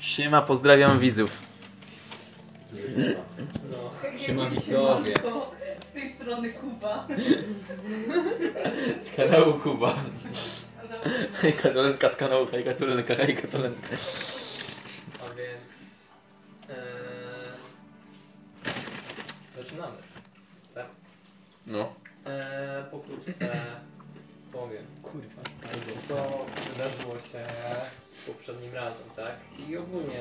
Siema, pozdrawiam widzów. Siema widzowie. Z tej strony Kuba. Z kanału Kuba. No, Hej Katolenka z kanału Hej Katolenka, Hej Katolenka. A więc. e, zaczynamy. No. E, pokrótce powiem, kurwa, z tego, co wydarzyło się poprzednim razem, tak? I ogólnie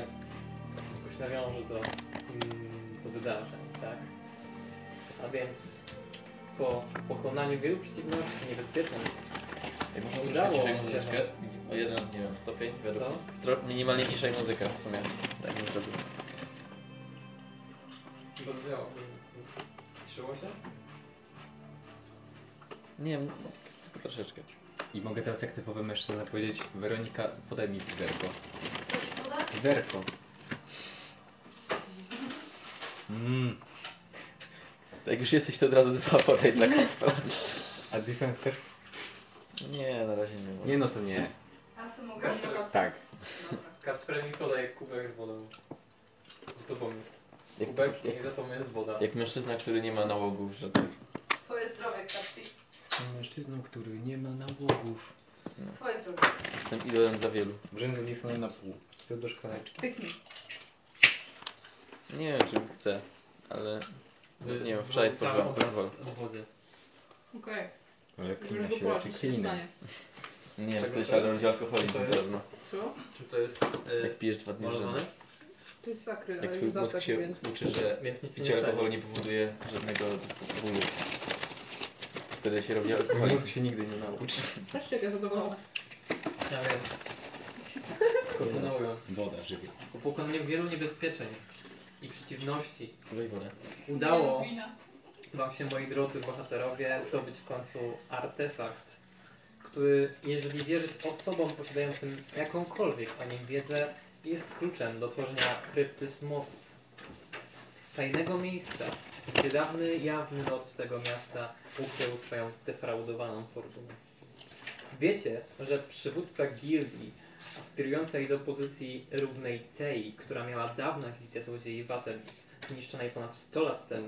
jakoś nawiążę do, mm, do wydarzeń, tak? A więc po pokonaniu wielu przeciwności niebezpiecznych, Ej, można Udało troszkę ciszej mi się, muzyczkę? O jeden, nie wiem, stopień według. co? Tro, minimalnie ciszej muzyka w sumie. Tak bym zrobił. Rozwiało. Cieszyło się? Nie wiem, no, tylko troszeczkę. I mogę teraz jak typowy mężczyzna powiedzieć, Weronika, podaj mi werko. Werko. Mmm. To jak już jesteś, to od razu dwa podaj dla Kacpra. A dystans chcesz? Nie, na razie nie mogę. Nie no to nie. A co mogę zrobić? Tak. Dobra. Kasper mi podaje kubek z wodą. Za tobą jest Jak, kubek jak, i za tobą jest woda. jak mężczyzna, który nie ma nałogów tak, żadnych. Twoje zdrowie, Kapi. Jestem mężczyzną, który nie ma nałogów. Twoje zdrowie. Jestem idolem dla wielu. Brzędzę Dixona na pół. Ty do szklaneczki. Pyknij. Nie wiem, czy chcę, ale nie Yy, wiem, wczoraj spożywałem obraz w wodzie. Okej, Ale okay. już go płacić, się stanie. nie wiem, Tak wtedy się naprawdę? ale będzie alkoholizm To na jest- pewno. Co? Czy to jest yy, Jak pijesz dwa dni malowane? rzędu. To jest sakry, Jak ale twój już mózg zasak, się więc... uczy, że Więc nic nie Picie alkoholu stanie. nie powoduje żadnego bólu. Wtedy się robi Mózg alkoholizm. się nigdy nie nauczy. Patrzcie, jak ja zadowolona. A więc, Tak, kontynuując. Woda, żywiec. Po pokonaniu wielu niebezpieczeństw i przeciwności Weź wodę. udało Wina. wam się, moi drodzy bohaterowie, zdobyć w końcu artefakt, który, jeżeli wierzyć osobom posiadającym jakąkolwiek o nim wiedzę, jest kluczem do tworzenia krypty smoków. Tajnego miejsca, gdzie dawny, jawny lot tego miasta ukrył swoją zdefraudowaną fortunę. Wiecie, że przywódca gildii, sterującej do pozycji równej tej, która miała dawno elitę złodziei Watem, zniszczonej ponad 100 lat temu,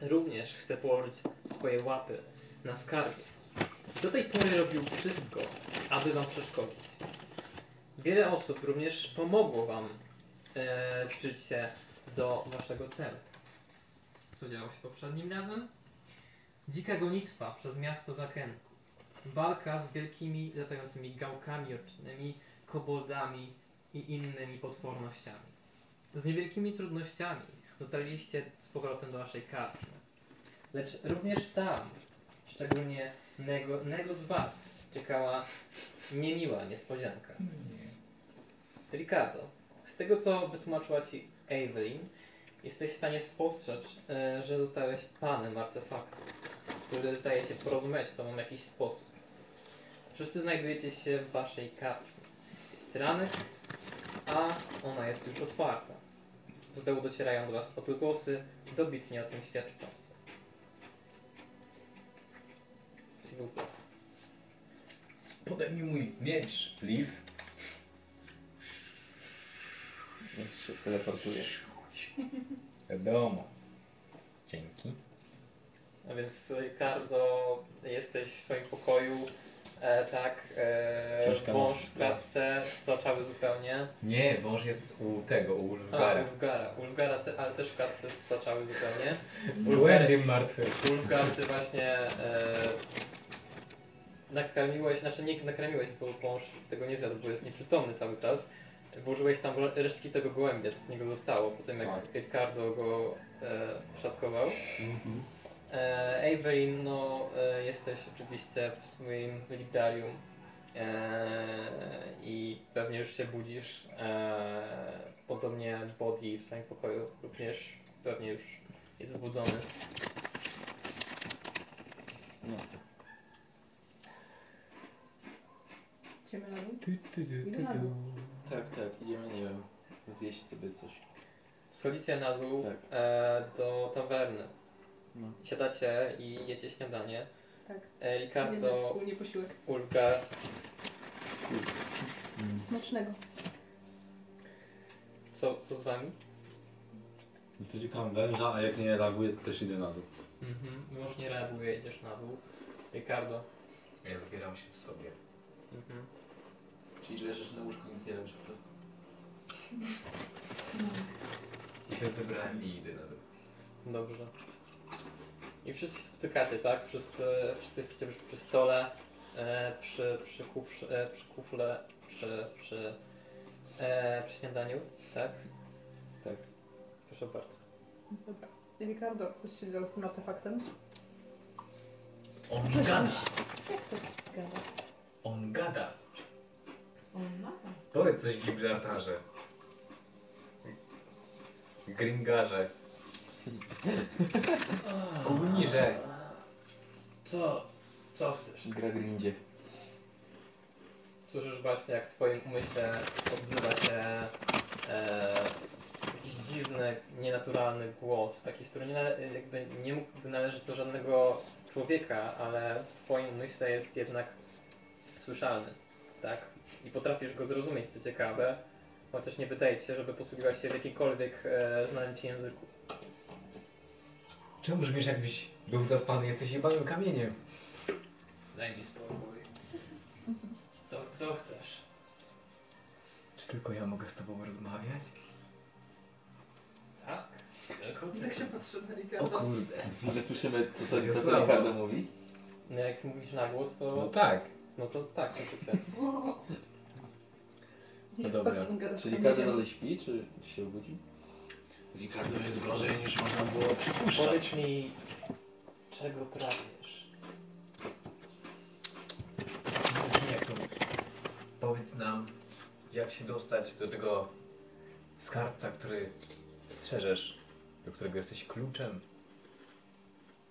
również chce położyć swoje łapy na skarbie. Do tej pory robił wszystko, aby wam przeszkodzić. Wiele osób również pomogło wam e, zbliżyć się do waszego celu. Co działo się poprzednim razem? Dzika gonitwa przez miasto Zakenku. Walka z wielkimi latającymi gałkami ocznymi, koboldami i innymi potwornościami. Z niewielkimi trudnościami dotarliście z powrotem do waszej karczmy. Lecz również tam, szczególnie nego, nego z was, czekała niemiła niespodzianka. Ricardo, z tego co wytłumaczyła ci Evelyn, jesteś w stanie spostrzec, e, że zostałeś panem artefaktu, który zdaje się porozumieć z tobą w jakiś sposób. Wszyscy znajdujecie się w waszej karczmie. Jest ranek, a ona jest już otwarta. Z dołu docierają do was odgłosy, dobitnie o tym świadczące. S'il vous plaît. Podaj mi mój miecz. Leaf. Więc się teleportuje. Wiadomo. Dzięki. A więc Ricardo, jesteś w swoim pokoju, e, tak, e, Książka wąż nas- w klatce, stoczały zupełnie. Nie, wąż jest u tego, u A, Ulfgara. Ulfgara, Ulfgara te, ale też w klatce stoczały zupełnie. Z Ulfgar- głębiem martwy. Ulfgar, ty właśnie e, nakarmiłeś, znaczy nie nakarmiłeś, bo wąż tego nie zjadł, bo jest nieprzytomny cały czas. Włożyłeś tam resztki tego gołębia, co z niego zostało, po tym jak Tak. Ricardo go e, szatkował. E, Evelyn, no e, jesteś oczywiście w swoim librarium e, i pewnie już się budzisz. E, podobnie Body w swoim pokoju również pewnie już jest zbudzony. No. Idziemy na dół? Tu, tu, tu, tu, tu. Tak, tak, idziemy, nie wiem, zjeść sobie coś. Schodzicie na dół Tak. e, do tawerny. No. Siadacie i jecie śniadanie. Tak. E, Jeden Ricardo, wspólnie posiłek. Ulga, Smacznego. Co, co z wami? Dotykam No węża, a jak nie reaguje, to też idę na dół. Mhm. Mąż nie reaguje, jedziesz na dół. Ricardo. Ja zbieram się w sobie. Mhm. Czyli leżysz na łóżku, nic nie robisz po prostu. I się zebrałem i idę na dół. Dobrze. I wszyscy spotykacie, tak? Wszyscy, wszyscy jesteście przy, przy stole, e, przy, przy, kuf, e, przy kufle, przy, przy, e, przy śniadaniu, tak? Tak. Proszę bardzo. Dobra. Ricardo, coś się działo z tym artefaktem? On gada! Jak to gada? On gada! On ma? Powiedz coś Gibraltarze. Gringarze. Gówniże. Co? Co chcesz? Gra grindzie. Słyszysz właśnie, jak w twoim umyśle odzywa się e, jakiś dziwny, nienaturalny głos, taki, który nie, nale- jakby nie mógłby należeć do żadnego człowieka, ale w twoim umyśle jest jednak słyszalny, tak? I potrafisz go zrozumieć, co ciekawe, chociaż nie wydaje ci się, żeby posługiwał się w jakikolwiek e, znanym ci języku. Czemu brzmisz jakbyś był zaspany? Jesteś jebanym kamieniem. Daj mi spokój. Co, co chcesz? Czy tylko ja mogę z tobą rozmawiać? Tak? Tylko Tak się patrzy na O no Ricardo. kurde. Ale słyszymy, co to, co to Wiosława. Ricardo mówi. No, jak mówisz na głos, No to... tak. No to tak, oczywiście. Niech dobra. fucking gada z Czy kamieniem. Ricardo nadal śpi, czy się obudzi? Zikardo jest gorzej niż można było przypuszczać. Powiedz mi, czego pragniesz? Jak to mówisz? Powiedz nam, jak się dostać do tego skarbca, który strzeżesz, do którego jesteś kluczem.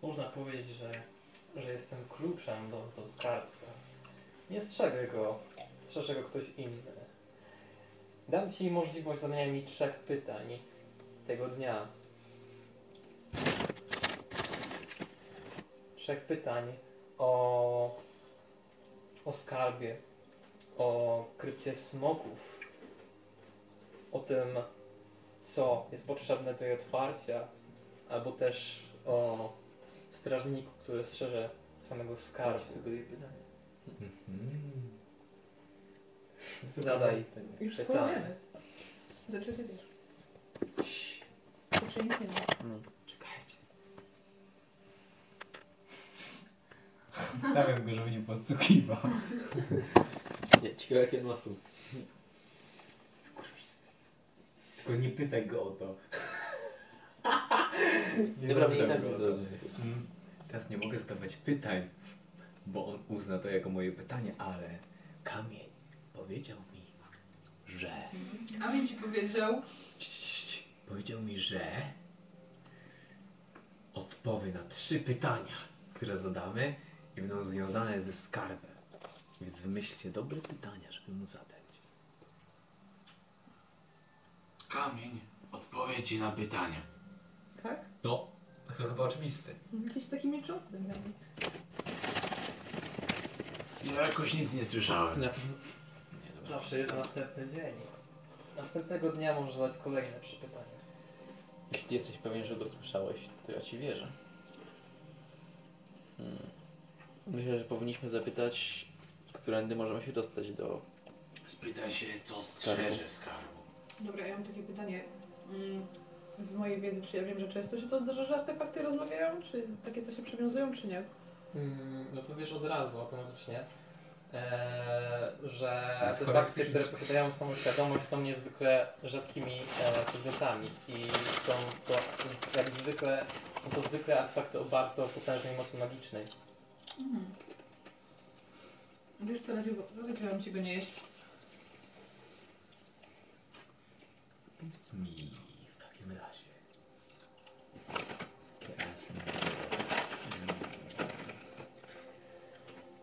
Można powiedzieć, że, że jestem kluczem do, do skarbca. Nie strzegę go, strzeże go ktoś inny. Dam ci możliwość zadania mi trzech pytań tego dnia. Trzech pytań o, o skarbie, o krypcie smoków, o tym, co jest potrzebne do jej otwarcia, albo też o strażniku, który strzeże samego Karol skarbu. sugeruje pytanie. Hmm. Zadaj. Już Znaczy, Pytanie. sporo wiemy. Dlaczego wiesz? Dlaczego Znaczy, nic nie ma? Czekajcie. Stawiam go, żeby nie podsłuchiwał. Nie, ciekawe jakie on ma słów. Kurwisty. Tylko nie pytaj go o to. Dobra, mnie i zapytam tak go o nie to. zrobię. Mm, Teraz nie mogę zadawać pytań, bo on uzna to jako moje pytanie, ale kamień powiedział mi, że. Kamień ci powiedział. Cii, cii, cii. Powiedział mi, że odpowie na trzy pytania, które zadamy i będą związane ze skarbem. Więc wymyślcie dobre pytania, żeby mu zadać. Kamień odpowie ci na pytanie. Tak? No, to chyba oczywiste. Jakiś taki milczący kamień. Ja jakoś nic nie słyszałem. No. Zawsze jest następny dzień. Następnego dnia możesz zadać kolejne trzy pytania. Jeśli jesteś pewien, że go słyszałeś, to ja ci wierzę. Hmm. Myślę, że powinniśmy zapytać, którędy możemy się dostać do... Spytaj się, co strzeże skarbu. Dobra, ja mam takie pytanie. Mm, Z mojej wiedzy, czy ja wiem, że często się to zdarza, że artefakty rozmawiają? Czy takie co się przywiązują, czy nie? Mm, no to wiesz od razu automatycznie, e, że Jest te chora bakcje, które posiadają samoświadomość są niezwykle rzadkimi e, przedmiotami i są to jak zwykle, są to zwykle artefakty o bardzo potężnej mocy magicznej. Mhm. Wiesz co, radziłbym, radziłam ci go nie jeść. Powiedz mi w takim razie. Teraz. mm,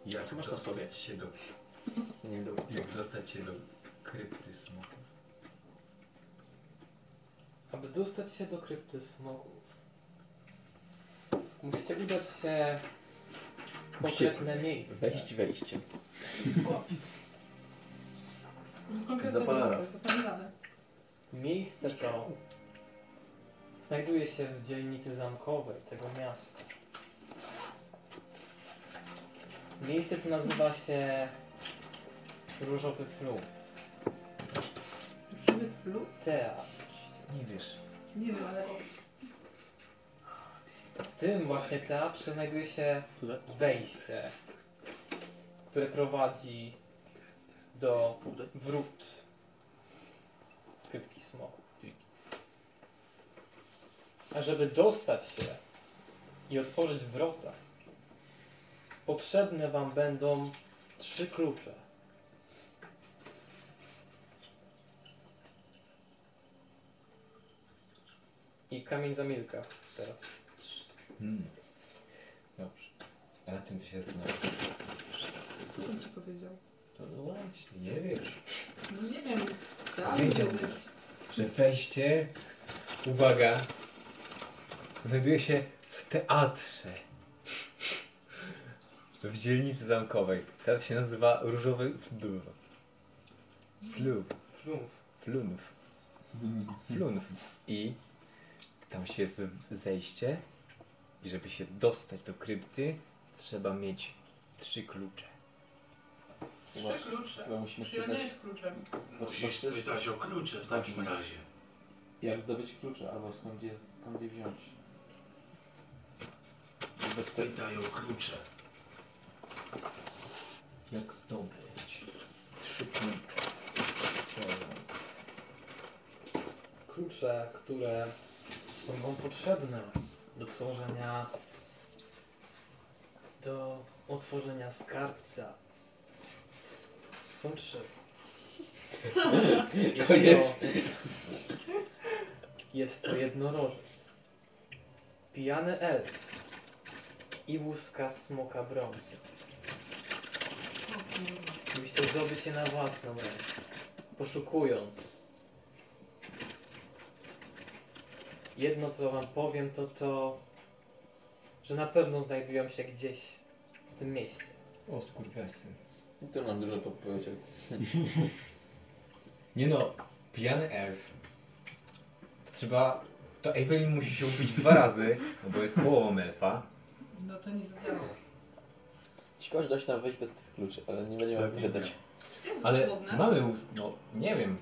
Jak Co masz na dostać sobie? się do Nie wiem, dobra. Jak dostać się do krypty smoków? Aby dostać się do krypty smoków, musicie udać się w konkretne miejsce. Wejść, wejście. Konkretne Zapalara. No, miejsce, zapamiętane. Miejsce to znajduje się w dzielnicy zamkowej tego miasta. Miejsce to nazywa się Różowy Flum. Żywy flu? Teatr. Nie wiesz. Nie wiem, ale W tym właśnie teatrze znajduje się Cuda? wejście, które prowadzi do wrót skrytki smoku. A żeby dostać się i otworzyć wrota, potrzebne Wam będą trzy klucze. I kamień zamilka teraz. Hmm. Dobrze. A nad czym ty się zastanawiasz? co on ci powiedział? To no właśnie, nie wiesz. No nie wiem, chciałam Wiedział. wiedzieć. Że wejście, uwaga, znajduje się w teatrze. W dzielnicy zamkowej. Teatr się nazywa Różowy Flub. Flub. Flumf. Flunów. Flunów. I tam się jest zejście. I żeby się dostać do krypty, trzeba mieć trzy klucze. Chyba- Trzy klucze. Chyba musimy Czyli on nie spytać, jest kluczem. Musisz to- to- spytać o klucze w takim razie. jak zdobyć klucze, albo skąd je, skąd je wziąć. Bez te... Spytaj o klucze. Jak zdobyć trzy klucze? Trzeba. klucze, które są Wam potrzebne do tworzenia, do otworzenia skarbca. Są trzy. Jest Koniec. To, jest to jednorożec, pijany elf i łuska smoka brązu. Musicie zdobyć je na własną rękę, poszukując Jedno co wam powiem to to, że na pewno znajdują się gdzieś w tym mieście. O skurwiasyn. I to nam dużo podpowiedział. Nie no, pijany elf. To trzeba... To Evelyn musi się upić dwa razy, no bo jest połową elfa. No to nie zadziałało. Śpiewasz dość na wejść bez tych kluczy, ale nie będziemy Pewnie odpowiadać. Ale Dosłowne. mamy ust... No, nie wiem.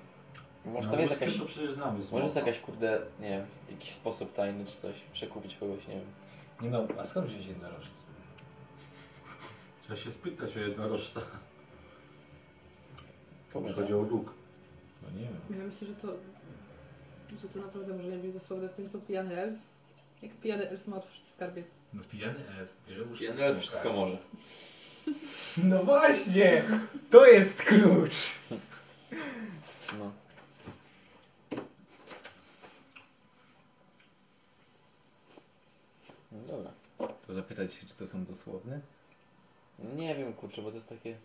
Może No, tam jest jakaś... No, to przecież znamy. z Może jest mocy. jakaś kurde, nie wiem, jakiś sposób tajny czy coś. Przekupić kogoś, nie wiem. Nie no, a skąd wziąć jednorożec? Trzeba się spytać o jednorożca. Kogoś. Chodzi o luk. No nie wiem. Ja myślę, że to, że to naprawdę może nie być dosłowne w tym, co pijany elf. Jak pijany elf ma otworzyć skarbiec. No pijany elf bierze łóżko Jeden smoka. wszystko może. No właśnie! To jest klucz! No. No dobra. To zapytać się, czy to są dosłowne? Nie wiem kurczę, bo to jest takie...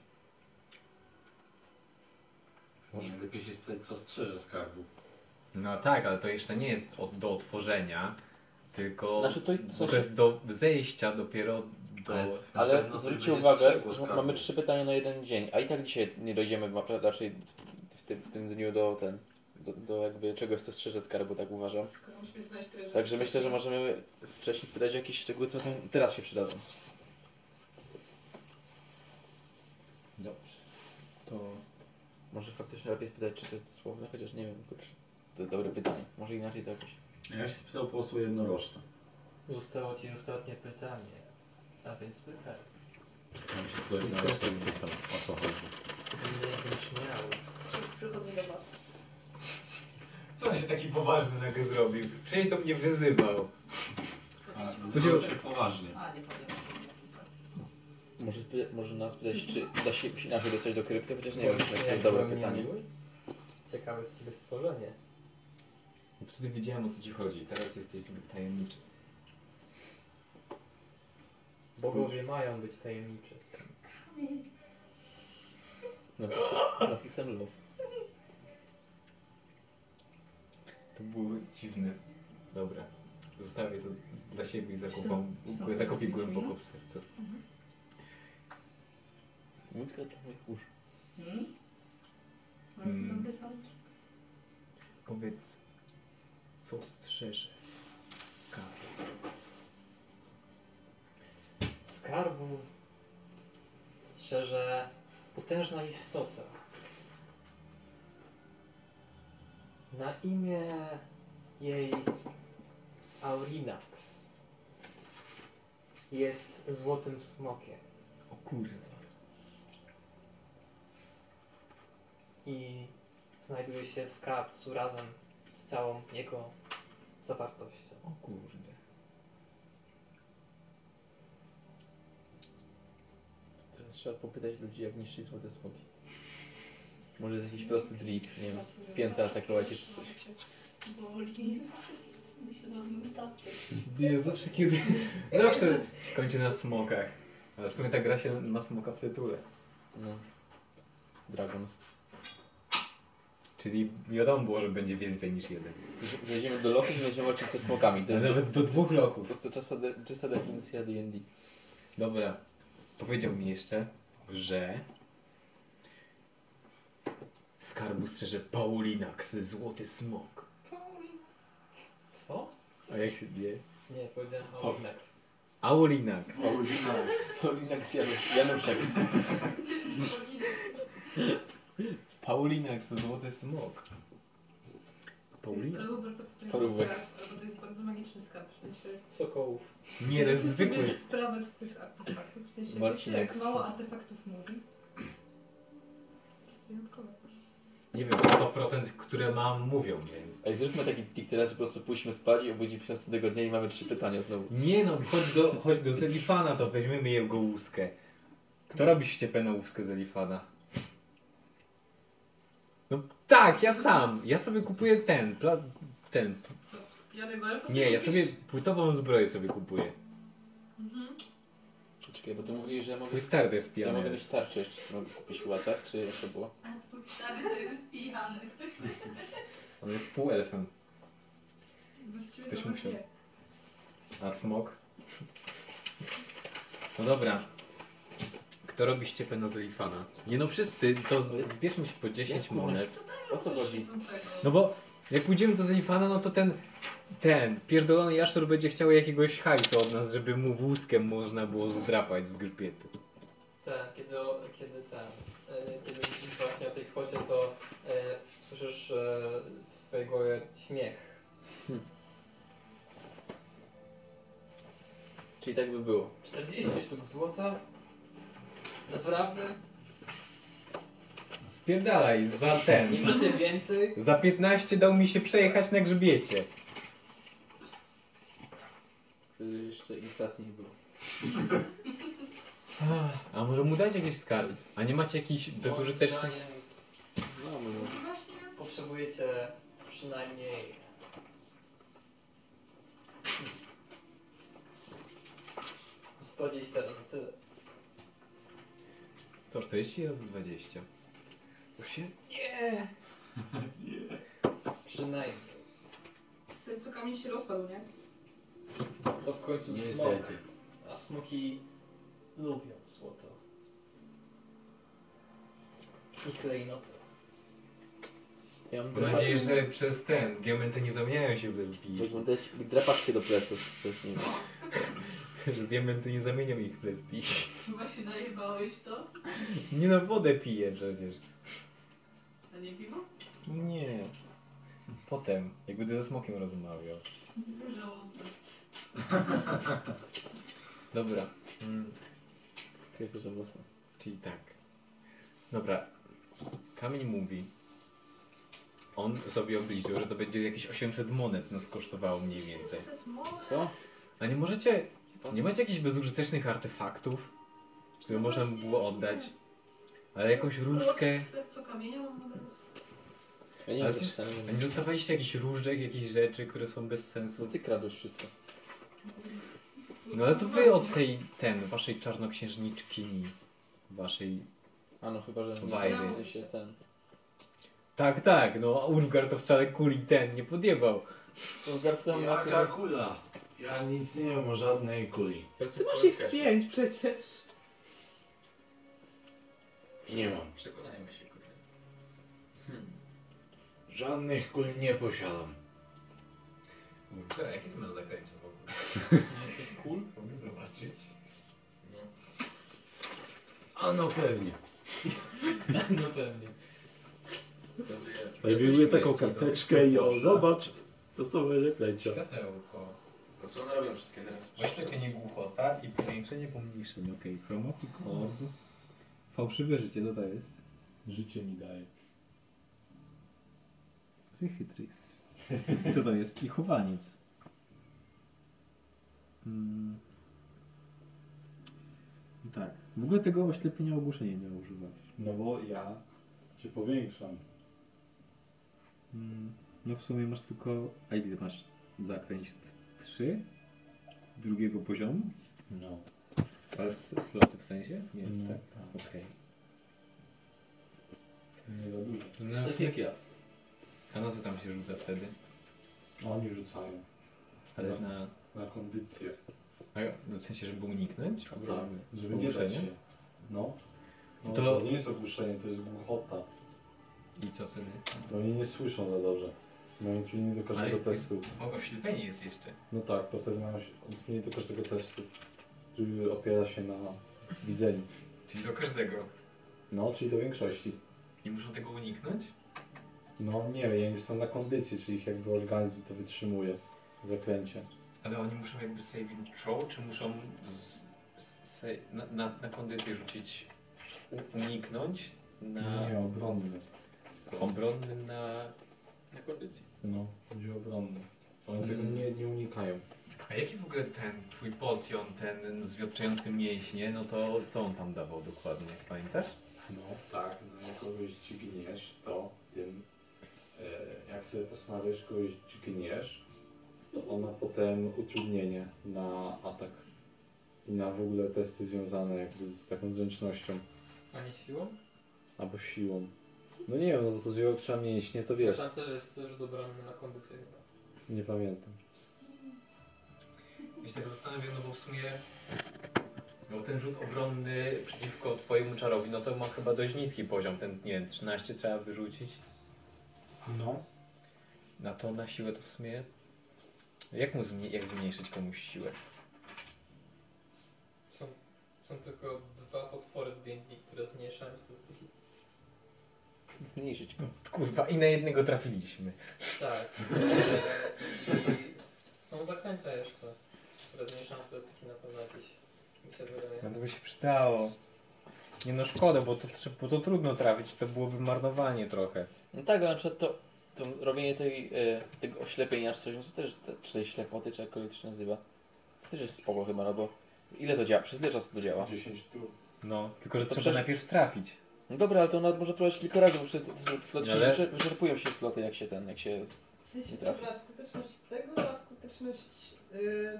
Nie, lepiej się spytać, co strzeże skarbu. No tak, ale to jeszcze nie jest od, do otworzenia, tylko... Znaczy to, bo to, to jest do zejścia dopiero do... Ale- Na No, Ale pewno zwróćcie sobie uwagę, będzie że strzegło mamy skarbu. trzy pytania na jeden dzień, a i tak dzisiaj nie dojdziemy ma- raczej w, tym- w tym dniu do ten, do, do jakby czegoś, co strzeże skarbu, tak uważam. Musimy znaleźć tyle Także myślę, że możemy wcześniej wydać jakieś szczegóły, co są, teraz się przydadzą. Dobrze. To... Może faktycznie lepiej spytać, czy to jest dosłowne, chociaż nie wiem, kurczę. To jest dobre pytanie. Może inaczej to jakoś. Ja się spytał po prostu o jednorożca. Zostało ci ostatnie pytanie, a więc pytaj. Tam się spytał o jednorożca. Tam, o co chodzi. Będę jakimś miał. Przychodzi do was. Co on się taki poważny nagle zrobił? Przecież do mnie wyzywał. A, Chodziło- Zdarzyło się poważnie. A, nie powiem. Może, spy- może nas pytać, czy da się inaczej dostać do krypty, chociaż nie wiem, czy to jest dobre pytanie. Ciekawe z ciebie stworzenie. Wtedy wiedziałem o co ci chodzi, teraz jesteś zbyt tajemniczy. Bogowie mają być tajemniczy. Z napisem, z napisem love. To było dziwne. Dobra. Zostawię to dla siebie i zakopam, zakopię głęboko w sercu. Muzyka dla moich uszu. Hmm? Mm. Dobry sound. Powiedz, co strzeże skarb. Skarbu strzeże potężna istota. Na imię jej Aurinax. Jest złotym smokiem O kurwa. i znajduje się w skarbcu razem z całą jego zawartością. O kurde. Teraz trzeba popytać ludzi, jak niszczyć złote smoki. Może jest jakiś prosty drip, nie wiem. Pięta atakować czy coś. Boli. Myślałam, że taty. Nie, zawsze kiedy... Zawsze kończy na smokach. Ale w sumie ta gra się ma smoka w tytule. No. Dragons. Czyli wiadomo było, że będzie więcej niż jeden. Wejdziemy do lochu i będziemy walczyć ze smokami. To Ale jest nawet do dwóch po loków. prostu czysta, de- czysta definicja D&D. Dobra. Powiedział mi jeszcze, że... Skarbu strzeże Paulinax, złoty smok. Co? A jak się dzieje? Nie, powiedziałem Aurinax. Aulinax. Paulinax Janusz, Januszek. Paulinax, złoty smok. To jest Paulinax? albo bardzo potężny Parówek. skarb, albo to jest bardzo magiczny skarb, w sensie... Sokołów. Nie, to jest Zdajecie sobie zwykły. sprawę z tych artefaktów, w sensie wiecie, Marcinek. jak mało artefaktów mówi. To jest wyjątkowe. Nie wiem, 100% które mam mówią, więc... Ej, zróbmy taki trik teraz, po prostu pójdźmy spać i obudzimy się następnego dnia i mamy trzy pytania znowu. Nie no, chodź do, chodź do Zelifana, to weźmiemy jego łuskę. Kto robi ściepę na łuskę Zelifana? No tak, ja sam. Ja sobie kupuję ten, pla, ten. Co? Pijany barw? Nie, ja sobie płytową zbroję sobie kupuję. Czekaj, bo ty mówiłeś, że ja mogę, Twój stary to jest ja mogę pijany. mieć tarczę jeszcze, co mogę kupić chyba, tak? Czy jak to było? A twój stary to jest pijany. On jest półelfem. Właściwie Ktoś to nawet musiał. nie. A smok? No dobra. Kto robi ściepę na Zelifana? Nie no, wszyscy, to z- zbierzmy się po 10 Jak można monet. O co chodzi? No bo jak pójdziemy do Zelifana, no to ten, ten pierdolony jaszczur będzie chciał jakiegoś hajsu od nas, żeby mu wózkiem można było zdrapać z grzbietu. Te, kiedy, o- kiedy ten, e, kiedy myślisz właśnie o tej kwocie, to e, słyszysz e, w swojej głowie śmiech. Czyli tak by było. 40 sztuk złota? Naprawdę? Spierdalaj, za ten. Nie macie więcej? Za 15 dał mi się przejechać na grzbiecie. Wtedy jeszcze inflacji nie było. A może mu dać jakiś skarb? A nie macie jakichś bezużytecznych... Moim zdaniem Mamy. no. Potrzebujecie przynajmniej z 20 razy tyle. Co, 40 razy 20? Już się... Przynajmniej. Sobie co kamień się rozpadł, nie? To w końcu smok. Niestety. A smoki lubią złoto. I klejnoty. Ja mam Mam nadzieję, że przez ten diamenty nie zamieniają się bez bij. Wyglądać jak drapaczkę do pleców, coś nie wiem. Że diamenty nie zamienią ich bez bij. Chyba się najebałeś, co? Nie no, wodę piję przecież. A nie piwo? Nie. Potem, jak będę ze smokiem rozmawiał. Żałosne. Dobra. Mm, Tylko, że mocno. czyli tak. Dobra. Kamień mówi. On sobie obliczył, że to będzie jakieś 800 monet nas kosztowało mniej więcej. Co? A nie możecie. Nie macie jakichś bezużytecznych artefaktów, które można by było oddać? Ale jakąś No różdżkę. Serce kamienia mam mogę dać. Ja nie Ale wiem, ty- że czasami... A nie dostawaliście jakichś różdżek, jakichś rzeczy, które są bez sensu? Ty kradłeś wszystko. No ale to wy od tej, ten, waszej czarnoksiężniczkini, waszej A no, chyba, że... Wajry. W sensie ten... Tak, tak, no a Urgar to wcale kuli ten nie podjebał. Ulgar, ty tam Jaka kula? Ja nic nie wiem o żadnej kuli. Ty masz ich z pięć przecież. Nie mam. Przekonajmy się, kurde. Żadnych kul nie posiadam. Kurczę, jakie ty masz zaklęcie w ogóle? Nie jesteś cool? Mogę zobaczyć. A no pewnie. No pewnie. Zajmuję taką karteczkę i o, zobacz, to są moje zaklęcia. Światełko. To co one robią wszystkie teraz? Oślepienie głuchota i powiększenie pomniejszenia. Okej, okay, chromoki kordu. Fałszywe życie, no to to jest? Życie mi daje. Ty chytry jesteś. Co to jest? I chowaniec. Mm. No Tak. W ogóle tego oślepienia ogłuszenia nie używam. No bo ja cię powiększam. Mm. No w sumie masz tylko... A ile masz zakręć? Trzy? Drugiego poziomu? No. A s- sloty w sensie? Nie, No, tak? tak. Okej. Nie za dużo. No, Tak jak ja. a na co tam się rzuca wtedy? No Oni rzucają Ale No. na... na kondycję. a, no, W sensie, Tak, żeby uniknąć? Ogromny. Tak. Żeby nie Ogłuszenie? dać się. No. no To- to... nie jest ogłuszenie, to jest głuchota. I co wtedy? Bo oni nie słyszą za dobrze. No Mają trudniej do każdego Ale- testu. O, oślepienie jest jeszcze. No tak, to wtedy mają się- trudniej do każdego testu, który opiera się na widzeniu. Czyli do każdego. No, czyli do większości. I muszą tego uniknąć? No nie wiem, oni są na kondycji, czyli ich jakby organizm to wytrzymuje. Zaklęcie. Ale oni muszą jakby saving throw, czy muszą z, z, sa- na, na, na kondycję rzucić, u, uniknąć? Na Nie, obronny. obronny na... Na kondycji. No, chodzi o obronny. Oni tego Mm. nie, nie unikają. A jaki w ogóle ten twój potion, ten zwietrzający mięśnie, no to co on tam dawał dokładnie, pamiętasz? No tak, no jak kogoś dźgniesz, to tym, e, jak sobie posmawiasz kogoś dźgniesz, to on ma potem utrudnienie na atak i na w ogóle testy związane jakby z taką zręcznością A nie siłą? albo siłą. No nie wiem, no to z jego trzeba mięśnie, to wiesz, Tam też jest rzut obronny na kondycję chyba. nie pamiętam. Ja się tak zastanawiam, no bo w sumie no ten rzut obronny przeciwko twojemu czarowi, no to ma chyba dość niski poziom, ten nie wiem, 13 trzeba wyrzucić. No. Na to na siłę to w sumie. Jak mu zmnie- jak zmniejszyć komuś siłę? Są, są tylko dwa potwory w D&D, które zmniejszają statystyki. Zmniejszyć go. No, Kurwa, i na jednego trafiliśmy. Tak. I są zaklęcia jeszcze, które zmniejszają statystyki na pewno jakieś. Mi się wydaje. No to by się przydało. Nie no szkoda, bo to, trze- bo to trudno trafić, to byłoby marnowanie trochę. No tak, ale na przykład to, to robienie tej, e, tego oślepienia czy coś, no to też, te, czy tej ślepoty, czy jakkolwiek to się nazywa, to też jest spoko chyba, no bo ile to działa? Przez ile czasu to działa? 10 tu. No, tylko że To trzeba przecież- najpierw trafić. No dobra, ale to nawet może próbować kilka razy, bo przecież te slot- slot się Ale- wyczer- wyczerpują się sloty, jak się ten, jak się... W sensie, Nie trafi. dobra, skuteczność tego, a skuteczność... Yy,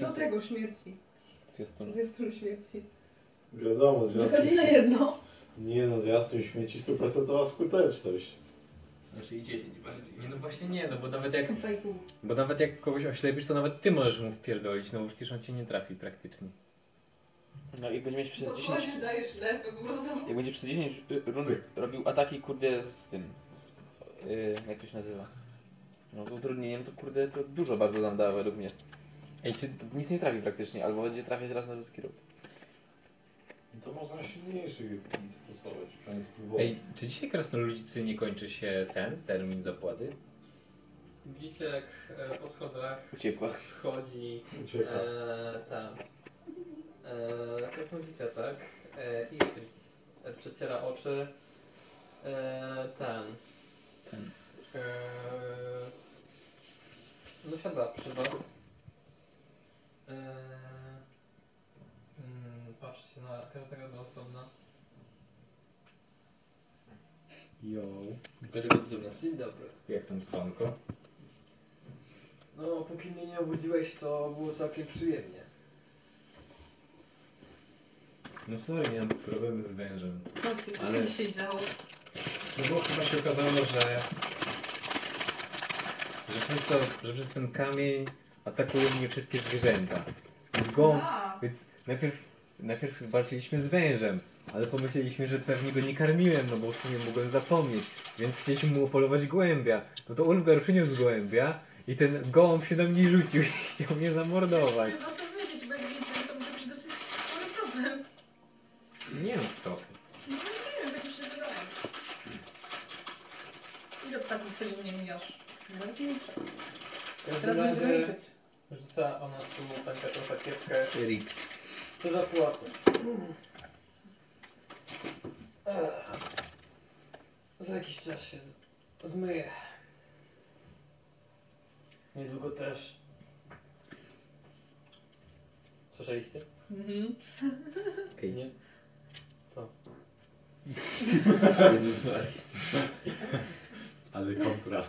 no tego, śmierci. Zwiastun. Zwiastun śmierci. Wiadomo, Wychodzi na jedno. Nie no, zwiastun śmieci 100% skuteczność. Znaczy i 10 bardziej. Nie no właśnie nie, no bo nawet jak. Fajku. Bo nawet jak kogoś oślepisz, to nawet ty możesz mu wpierdolić, no bo przecież on cię nie trafi praktycznie. No i będzie mieć przez 10... Podwozie dajesz lewy, po prostu. Jak będzie przez 10 y, rund robił ataki, kurde, z tym... Z, y, jak to się nazywa? No z utrudnieniem to, kurde, to dużo bardzo nam da według mnie. Ej, czy To Nic nie trafi praktycznie, albo będzie trafiać raz na wszystki ruch. No To można silniejszych stosować, przynajmniej spróbować. Ej, czy dzisiaj krasnoludzicy nie kończy się ten termin zapłaty? Widzicie jak e, po schodach Uciekła. schodzi Ucieka. e, ta e, kosmolica, tak? E, Istritz e, przeciera oczy. E, ten. E, no siada przy was. E, mm, patrzy się na każdego z osobna. Yo. Dzień dobry. Jak tam spanko? No, póki mnie nie obudziłeś, to było całkiem przyjemnie. No sorry, miałem problemy z wężem. Właśnie, Ale- co się działo? No bo chyba się okazało, że, że, przez to, że przez ten kamień atakują mnie wszystkie zwierzęta. Więc gołąb, A, więc najpierw Najpierw walczyliśmy z wężem, ale pomyśleliśmy, że pewnie go nie karmiłem, no bo w sumie mogłem zapomnieć, więc chcieliśmy mu opolować głębia. No to Ulgar przyniósł głębia i ten gołąb się do mnie rzucił i chciał mnie zamordować. Trzeba to wiedzieć, bo jak wiecie, to może być dosyć spory problem. Nie no co ty. No nie wiem, tak mi się wydaje. Ile ptaków codziennie mijasz? No, nie wiem. W każdym Teraz będziesz razie zmniejszyć. rzuca ona tu tam taką sakiewkę. Rick. To zapłatę. Za jakiś czas się z- zmyję. Niedługo też. Słyszeliście? Mhm. Ej. Nie. Co? Jezus Maria. Ale kontra.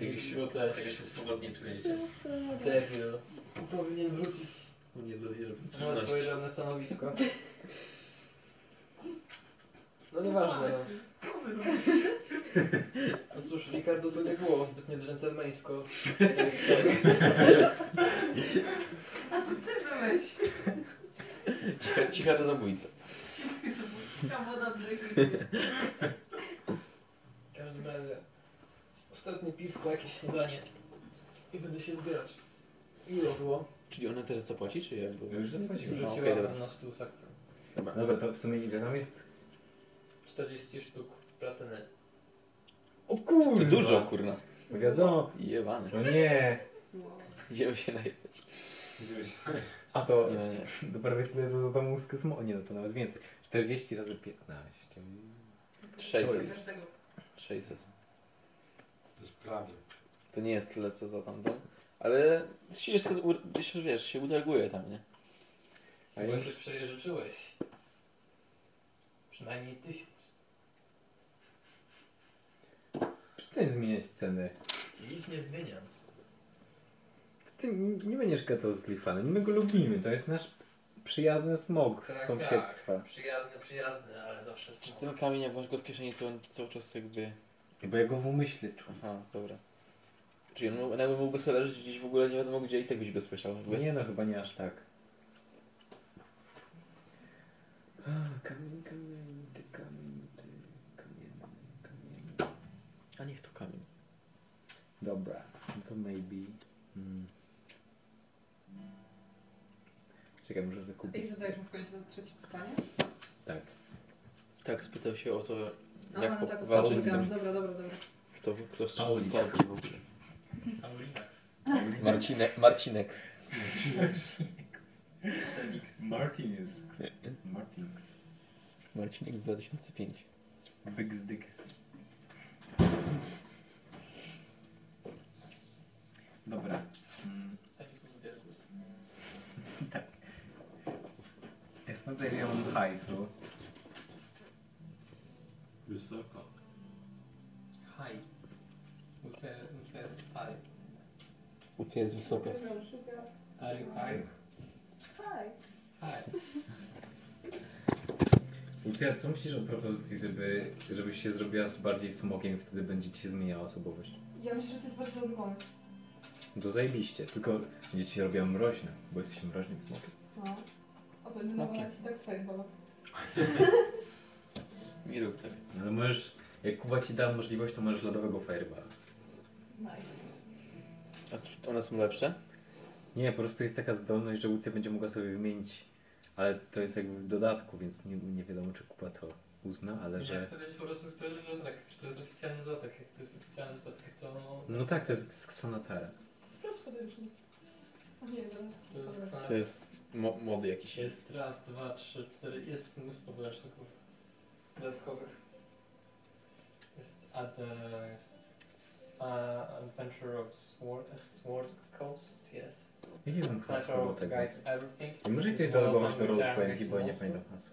Jakiś rzucę. Tak się swobodnie czujecie. Debil. Powinien wrócić Nie dowierzę. na no. swoje żadne stanowisko. No nieważne. no. tak. No cóż, Ricardo to nie było zbytnie dżentelmeńsko. A to ty byłeś. Cicha, cicha to zabójca. Tam woda brzegi. W każdym razie, ostatnie piwko, jakieś śniadanie i będę się zbierać. Ile było? Czyli ona teraz zapłaci, czy jak było? Już No, zapłaciłem. No, Rzuciła okej, dobra. na stół sakra. Dobra. Dobra, to w sumie ile nam jest? 40 sztuk platyny. O kurwa! To dużo, kurna. No Wiadomo. Jebane. No nie. Idziemy się na... A to Nie, no nie. do prawie tyle co za tą łuskę smo... Nie no, to nawet więcej. 40 razy 15. 600. Zresztą tego. 600. To jest prawie. To nie jest tyle, co za tamten. Ale się jeszcze, u- jeszcze wiesz, się utarguje tam, nie? A Bo już- już przejeżyczyłeś. Przynajmniej tysiąc. Przestań zmieniać ceny. Nic nie zmieniam. Ty n- nie będziesz gadał z Lifanem, my go lubimy, to jest nasz przyjazny smog z sąsiedztwa. Tak, Przyjazny, przyjazny, ale zawsze Czy smutny. ten kamień, jak masz go w kieszeni, to on cały czas jakby... tak. Bo ja go w umyśle czuję. Aha, dobra. Czyli on, mógł- nawet mógłby sobie leżeć gdzieś w ogóle nie wiadomo gdzie i tak byś go słyszał. jakby. Nie no, chyba nie aż tak. A, Kamień, kamień, ty kamień, ty kamień, kamień. A niech to kamień. Dobra, no to maybe. Hmm. Czekaj, muszę I zakupić. zadajesz mu w końcu to trzecie pytanie? Tak. Tak, spytał się o to, A, jak no tak, walczyć z odpowiedziałam. tym, Dobra, dobra, dobra. kto, kto strzelał Paulix. z walki w ogóle. Aurinax. Marcinek, Marcinek. Martinez. Martinez. Marcinek z 2005. Biggs Dicks. Dobra. Mm, tak. Ja sprawdzę ile ja mam hajsu. Wysoko. Hi. Who's says hi? UC jest wysoka. Are you high? Hi. Lucja, co myślisz o propozycji, żeby, żebyś się zrobiła z bardziej smokiem i wtedy będzie ci się zmieniała osobowość? Ja myślę, że to jest bardzo dobry pomysł. No to zajebiście, tylko będzie ci się robiła mroźna, bo jesteś mroźnym smokiem. No. A potem nawet tak swoje chyba. Nie rób tak. No Ale możesz, jak Kuba ci da możliwość, to możesz lodowego fireballa. Nice. A c- one są lepsze? Nie, po prostu jest taka zdolność, że Łucja będzie mogła sobie wymienić, ale to jest jakby w dodatku, więc nie, nie wiadomo, czy Kuba to uzna, ale Ja że... chcę wiedzieć po prostu, kto jest zadatek. Czy to jest oficjalny zadatek? Jak to jest oficjalny zadatek, to no... No tak, to jest z Xanatara. Sprawdź podręcznik. A nie, To jest dobra. Xanax. To jest mo- młody jakiś jest. Jest raz, dwa, trzy, cztery. Jest mnóstwo podręczników dodatkowych. Jest ad, jest uh, Adventure of Sword, Sword Coast, jest. Ja nie wiem Sniper hasła do of tego. Guide Everything. Nie może ktoś Jest one of zalogować do them, Roll20, Jack bo ja nie Monster. pamiętam hasła.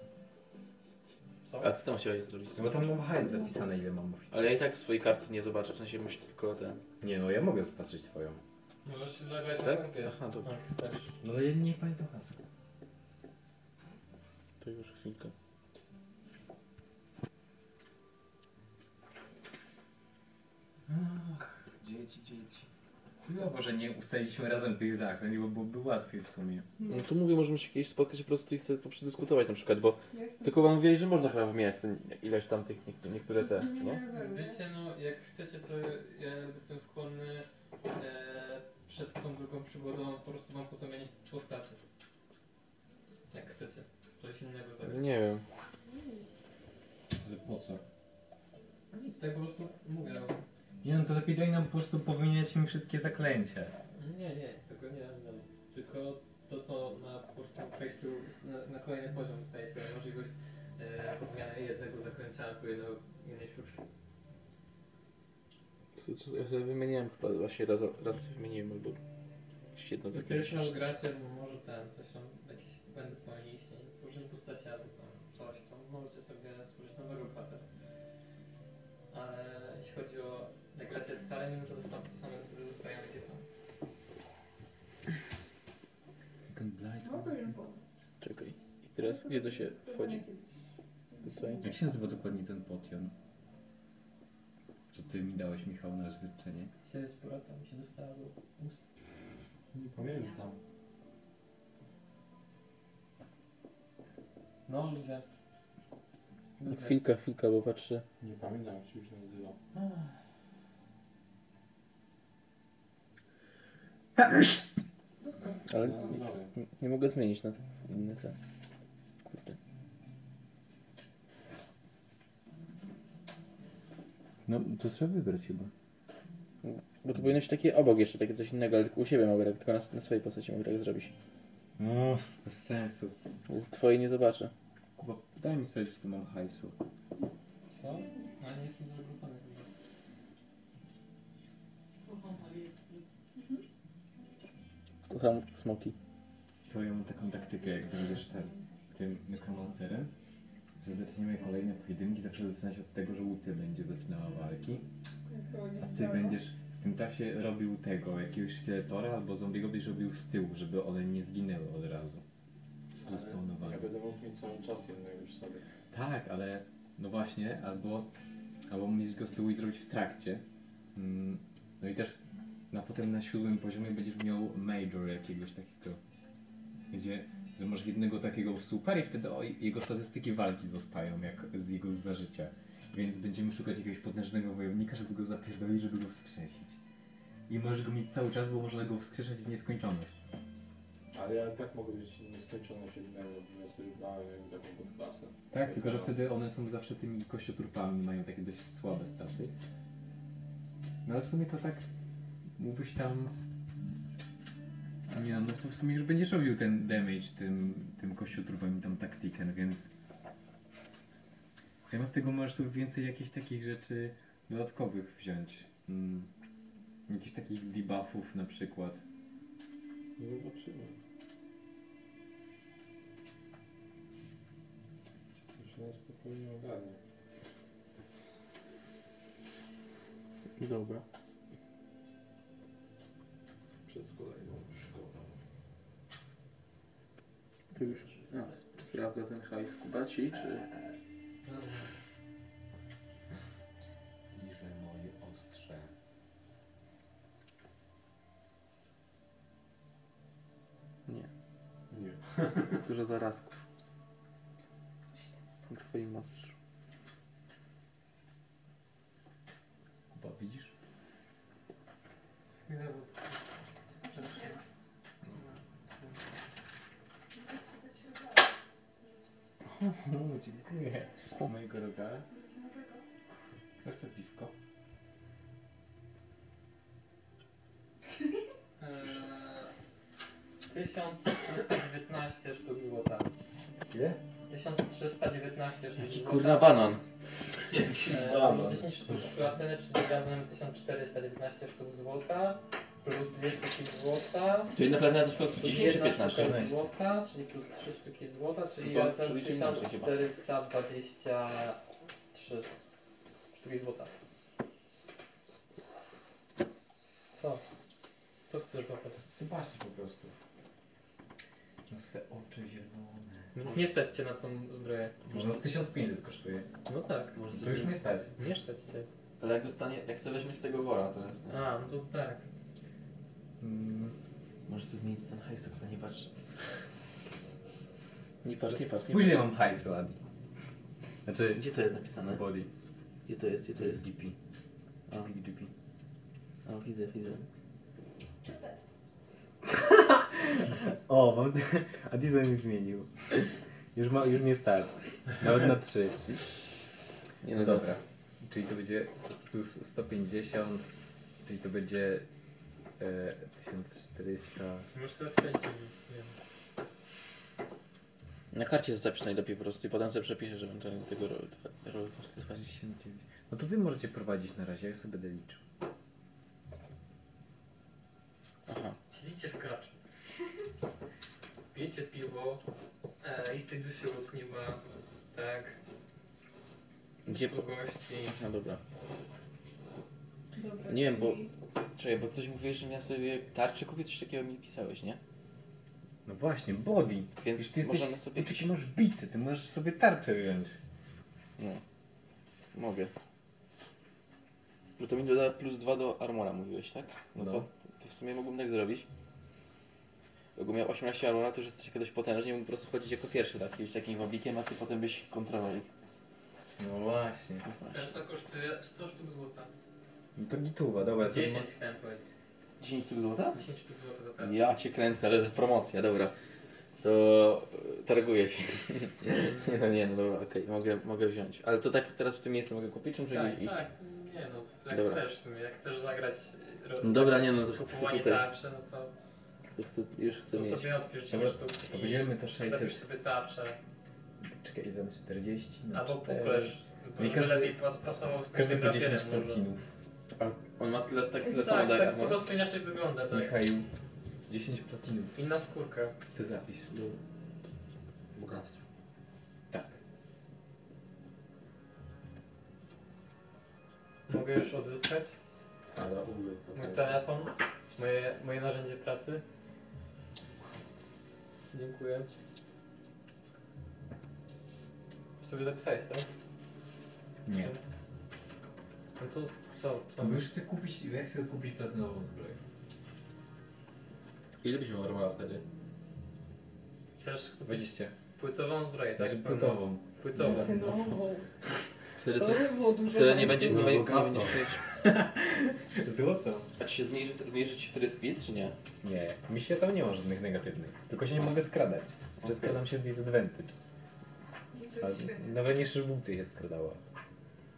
Co? A co tam chciałeś zrobić? No bo tam mam hajs zapisane, ile mam Ale ja oficjalnie. i tak swojej karty nie zobaczę, w sensie myślę tylko ten. Nie no, ja mogę zobaczyć twoją. Możesz się zalogować na Tak? kompie. Aha, dobra. Jak chcesz. No ale ja nie pamiętam hasła. To już chwilkę. Dzieci, dzieci. Chujowo, że nie ustaliliśmy razem tych zaklęć, bo byłoby łatwiej w sumie. No tu mówię, możemy się kiedyś spotkać po prostu i sobie to przedyskutować na przykład, bo Ja jestem... tylko wam mówili, że można chyba wymieniać ileś tam tych, nie- niektóre te, Nie, nie? Wiecie, no jak chcecie, to ja nawet jestem skłonny e, przed tą drugą przygodą po prostu wam pozamienić postacie. Jak chcecie. Coś innego Mhm. zagrać. Nie wiem. Ale po co? No Nic, tak po prostu mówię. no. Nie no, to lepiej daj nam po prostu powymieniać mi wszystkie zaklęcia. Nie, nie, tego nie dam. Tylko to, co na po prostu przejściu z- na, na kolejny poziom dostaje sobie możliwość e, podmiany jednego zakręcia albo jednego, jednej sztuczki. Co- co- Ja sobie wymieniłem chyba właśnie raz, raz sobie wymieniłem albo jakieś jedno Jak zaklęcie. No Pierwszy raz gracie, bo może ten, coś tam, jakiś będę pomyliście, tworzenie postaci albo tam coś, to możecie sobie stworzyć nowego bohatera. Ale jeśli chodzi o, jak gracie starym, no to dosta- to same zasady zostają jakie są. Mam pewien pomysł. Czekaj. I teraz gdzie to się wchodzi? Tutaj. Jak się nazywa dokładnie ten potion? Co ty mi dałeś, Michał, na oświadczenie? Siedzieć porad, tam mi się dostało do ust. Nie pamiętam. No ludzie. No tak. Ludzie. Chwilka, chwilka, bo patrzę. Nie pamiętam jak się już nazywa. Ale No, nie, dobra. nie, nie mogę zmienić na inne te. Kurde. No, to trzeba wybrać chyba. Bo to powinno być takie obok jeszcze, takie coś innego, ale tylko u siebie mogę tak, tylko na, na swojej postaci mogę tak zrobić. No, bez sensu. Więc twojej nie zobaczę. Bo daj mi sprawdzić, czy to mam hajsu. Co? No nie jestem zagrupany chyba. Kocham smoki. To ja mam taką taktykę, jak będziesz ten, tym nekromancerem, że zaczniemy kolejne pojedynki, zawsze zaczynać od tego, że Łucja będzie zaczynała walki, a ty będziesz w tym czasie robił tego, jakiegoś szkieletora albo zombiego będziesz robił z tyłu, żeby one nie zginęły od razu. Zespawnowane. Ja będę mógł mieć cały czas jednego przy sobie. Tak, ale no właśnie, albo, albo mieć go z tyłu i zrobić w trakcie. Mm, No i też na potem na siódmym poziomie będziesz miał major jakiegoś takiego, gdzie że masz jednego takiego super i wtedy o, jego statystyki walki zostają jak z jego z zażycia. Więc będziemy szukać jakiegoś potężnego wojownika, żeby go zapierdolić, żeby go wskrzesić. I możesz go mieć cały czas, bo można go wskrzeszać w nieskończoność. Ale ja tak mogę być nieskończone siedmioro, bo ja sobie brałem taką podklasę. Tak, tylko że wtedy one są zawsze tymi kościotrupami, mają takie dość słabe staty. No ale w sumie to tak mógłbyś tam... A nie no, no to w sumie już będziesz robił ten damage tym, tym kościotrupom i tam taktiken, więc... Chyba z tego możesz sobie więcej jakichś takich rzeczy dodatkowych wziąć. Mm. Jakichś takich debuffów na przykład. No zobaczymy. To się na spokojnie ogarnie. Dobra. Przed kolejną przygodą. To już a, sp- sprawdza ten hajs Kubaci, czy... Niże moje ostrze. Nie. Nie. Jest dużo zarazków. W twoim ostrzu. Bo widzisz? Chwilę, bo... Sprzęt. No, dziękuję. Mojego rogala. Chcesz sobie piwko? Eee, 1319 sztuk złota. Ile? 1319 sztuk Jaki złota. kurna banan. Eee, 10 sztuk platyny, czyli razem 1419 sztuk złota, plus 2 sztuki złota, To jedna platyna to w końcu plus 10 czy 1 15? sztuka złota, czyli plus 3 sztuki złota, czyli No to razem przeliczymy inaczej chyba. 1423 sztuki złota. Co? Co chcesz po prostu? Zobaczcie po prostu. Na swe oczy zielone. Więc nie stać cię na tą zbroję. Może z 1500 no, kosztuje. No tak. Może To już sobie- nie stać. Nie stać cię. Ale jak dostanie, jak sobie weźmie z tego wora teraz, nie? A, no to tak. Mm, Możesz sobie zmienić ten hajs, okno, nie patrz. Nie patrz, nie patrz, nie patrz. Później mam hajs ładny. Znaczy, Gdzie to jest napisane? body. Gdzie to jest, gdzie to jest? DP. A. DP, DP. O, widzę, widzę. O, mam... a design już zmienił. Już, ma, już nie stać. Nawet na 3. Nie No dobra. Czyli to będzie plus 150, czyli to będzie e, 1400. Możesz sobie pisać, nie wiem. Na karcie zapisz najlepiej po prostu i potem sobie przepiszę, żebym to- tego robił. No to wy możecie prowadzić na razie, ja sobie będę liczył. Aha. Siedzicie w kraczu. Pijecie piwo. E, listek już się ucniwa. Tak. Gdzie po... Długości. No dobra. Dobra, Nie wiem, bo- czyli- Czekaj, bo coś mówiłeś, że ja sobie tarczę kupię, coś takiego mi pisałeś, nie? No właśnie, body. Więc Już ty jesteś, no możemy sobie... ty, ty masz bicy, ty możesz sobie tarczę wziąć. Nie. No. Mogę. Bo to mi doda plus 2 do armora mówiłeś, tak? No, No. To, to w sumie mógłbym tak zrobić. Jakbym miał 18 armora, to już jesteś kiedyś potężny i mógł po prostu chodzić jako pierwszy, tak? Jakimś takim wabikiem, a ty potem byś kontrolował. No właśnie. Tarca kosztuje 100 sztuk złota. No to gituwa, dobra. To 10 chciałem powiedzieć. 10 sztuk złota? 10 sztuk złota za tarczę. Ja cię kręcę, ale to promocja, dobra. To e, targuję się. nie no nie, no dobra, okej, mogę, mogę wziąć. Ale to tak teraz w tym miejscu mogę kupić, czy muszę Tak, gdzieś iść? tak. Nie no, jak Dobra. chcesz w sumie, jak chcesz zagrać... e, ro- No dobra, zagrać nie, no to chcę kupowanie tutaj. tarczy, no to, To chcę, już chcę to mieć. sobie odpisz 10 Dobra, sztuk to i podzielmy to zapisz 600. sobie tarczę. Czekaj, tam 40. na Albo cztery. puklesz. To Znaczy, Nie żeby każdy- lepiej pas- pasował z Każdy każdym po 10 rapierem. może. platinów. A on ma tyle, tak, tyle samo Tak, daje. tak, po No. prostu inaczej wygląda, tak. Michaju, 10 platinów. Inna skórka. Chcę zapisz. Bogactwo. Tak. Mogę już odzyskać Ale Tak. mój telefon, moje, moje narzędzie pracy. Dziękuję. Sobie zapisałeś, tak? Nie. No to co? co? Mhm. No już chcę kupić, ja chcę kupić platynową zbroję. Ile byś miał armora wtedy? Chcesz kupić 20. płytową zbroję, tak? Znaczy Pełną. gotową. Płytową. Ty no, bo- Wtedy, to to, by było duże wtedy nie hajsu. będzie, nie No, będzie bogato. nie będziesz mieć- Złoto. A czy się zmniejszy, zmniejszy ci wtedy speed, czy nie? Nie, mi się tam nie ma żadnych negatywnych. Tylko się nie mogę skradać. Że skradam się z disadvantage. To jest A świetne. Nawet nie szybówcy się skradała.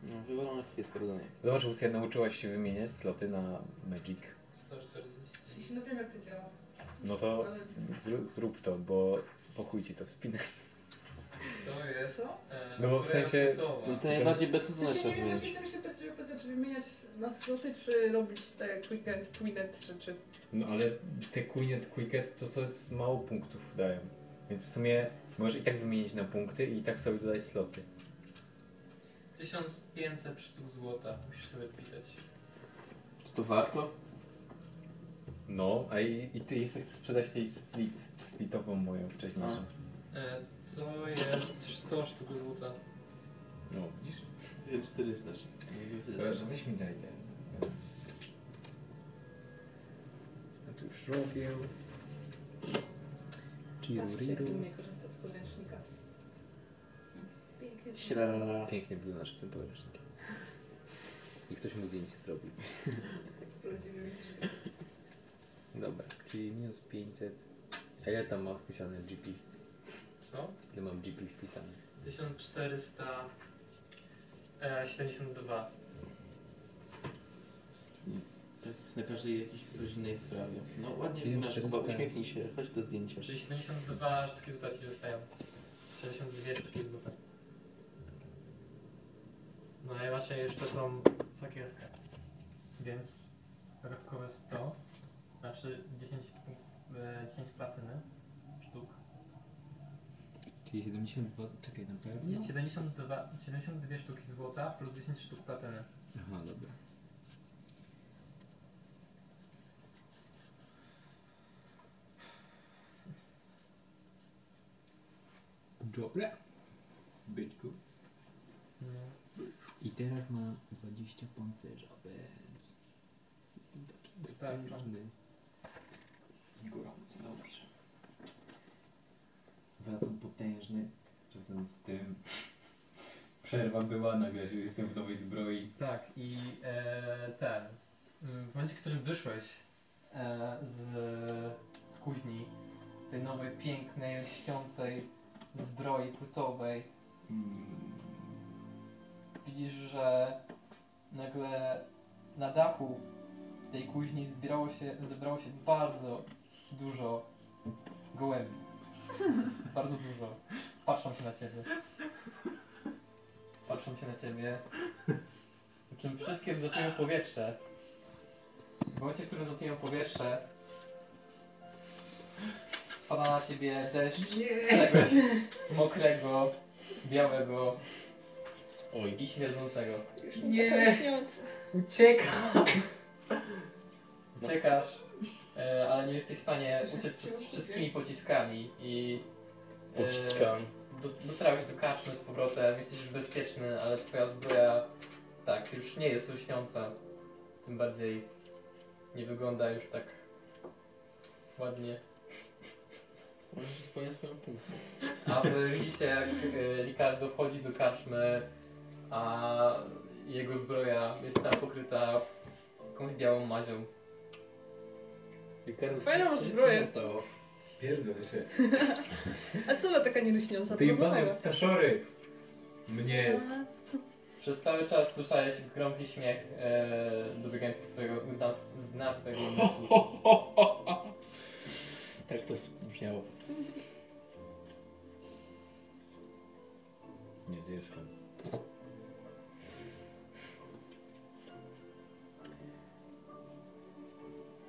No, wywalone jest skradanie. Zobacz, Lucja, nauczyłaś się wymieniać sloty na Magic. 140. No wiem jak to działa, No to ale zrób- zrób to, bo pokój ci to wspina. To jest. Co? E, No bo w zbroja sensie- płytowa. No, to najbardziej w bezsensowne sensie trzeba nie wiem, wymienić. właśnie chcę się pytać, pytać, czy wymieniać na sloty, czy robić te quick end, twin end rzeczy. No ale te Queenet, Quicket to co z mało punktów dają. Więc w sumie możesz i tak wymienić na punkty i tak sobie dodać sloty. 1500 sztuk złota. Musisz sobie pisać. Czy to warto? No, a i, i ty jeszcze chcesz sprzedać tej split, splitową moją wcześniejszą. E, to jest 100 sztuk złota. No, widzisz? 1400. Proszę, weź mi daj ten. A tu już robię. Patrzcie, tak, jak dumnie korzysta z podręcznika. Pięknie. Śrara. Pięknie był nasz ten podręcznik. I ktoś mu zdjęcie zrobił. Prawdziwy mistrz. Dobra, czyli minus 500. A ja tam mam wpisane GP. Co? Ja mam GP wpisane. e, 1472. Tak jest na każdej jakiejś rodzinnej sprawie. No ładnie Pięć wyglądasz, Kuba, czterysta. uśmiechnij się, chodź do zdjęcia. Czyli 72 sztuki złota ci zostają. 72 sztuki złota. No i macie jeszcze tą sakiewkę. Więc dodatkowe 100, znaczy 10, punk- e, 10 platyny sztuk. Czyli 72, czekaj na pewno. 72, 72 sztuki złota plus 10 sztuk platyny. Aha, dobra. Dobra. Bytku. No. I teraz mam 20 pancerza. Bez. Wystarczy. Żadny. Dobrze. Wracam potężny, czasem z tym. Przerwa była, nagle się jestem w nowej zbroi. Tak, i e, ten. mm, W momencie, w którym wyszłeś e, z, z kuźni, tej nowej, pięknej, lśniącej zbroi płytowej, Mm. widzisz, że nagle na dachu tej kuźni zbierało się, zebrało się bardzo dużo gołębi. Bardzo dużo. Patrzą się na ciebie. Patrzą się na ciebie. Po czym wszystkie wzlatują w powietrze. W momencie, w którym wzlatują w powietrze, spada na ciebie deszcz czegoś mokrego, białego Oj. i śmierdzącego. Nie. Śniąc. Uciekasz! Uciekasz, No. e, ale nie jesteś w stanie uciec przed wszystkimi pociskami i... e, Pociskami. do- Dotarłeś do kaczmy z powrotem, jesteś już bezpieczny, ale twoja zbroja, tak, już nie jest lśniąca. Tym bardziej nie wygląda już tak ładnie. Może się spełnia swoją funkcję. A wy widzicie jak e, Ricardo wchodzi do karczmy, a jego zbroja jest cała pokryta jakąś białą mazią. Ricardo, Fajna co- masz co- co zbroję. zostało? Pierdol się. A co ona taka nieryśniąca? Ty jebane ptaszory! Mnie. Przez cały czas słyszałeś gromki śmiech e, dobiegający swojego, na, z dna twojego umysłu. Tak to brzmiało. Nie, gdzie jestem?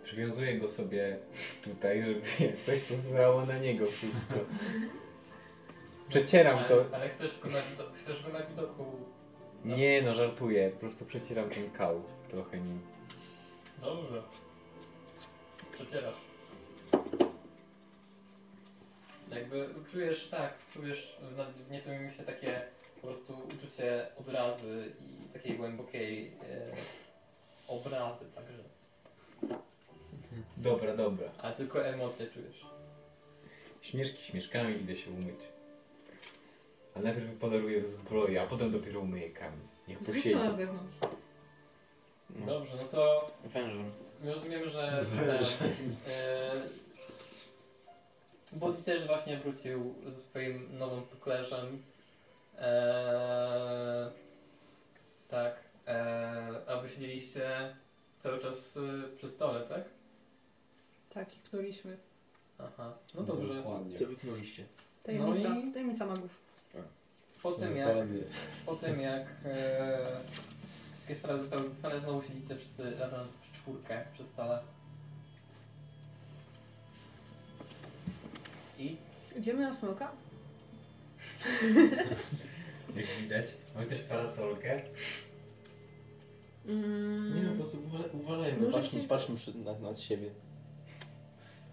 Przywiązuję go sobie tutaj, żeby coś to zrało na niego wszystko. Przecieram to. Ale, ale chcesz go na, wido- chcesz go na widoku. Nie no, żartuję. Po prostu przecieram ten kał trochę nim. Dobrze. Przecierasz. Jakby czujesz tak, czujesz w nad- w nietumieniu się takie po prostu uczucie odrazy i takiej głębokiej e, obrazy także. Dobra, dobra. Ale tylko emocje czujesz. Śmieszki śmieszkami idę się umyć. Ale najpierw wypoleruję zbroję, a potem dopiero umyję kamień. Niech posiedzi. Zwykła na zewnątrz. No. Dobrze, no to Wężem. Rozumiem, że ten, e, Body też właśnie wrócił ze swoim nowym poklerzem. E, tak. E, a wy siedzieliście cały czas e, przy stole, tak? Tak, i któryśmy. Aha, no dobrze. Dokładnie. Co wyknuliście? Tajemnica, No tajemnica magów. Po tym jak, Dokładnie. po tym jak e, wszystkie sprawy zostały załatwione, znowu siedzicie wszyscy razem w czwórkę przy stole. I Idziemy na smoka? Jak widać, ma ktoś parasolkę? Mm. Nie no, po prostu uważa- uważajmy, Może patrzmy, gdzieś- patrzmy przed- na, na siebie.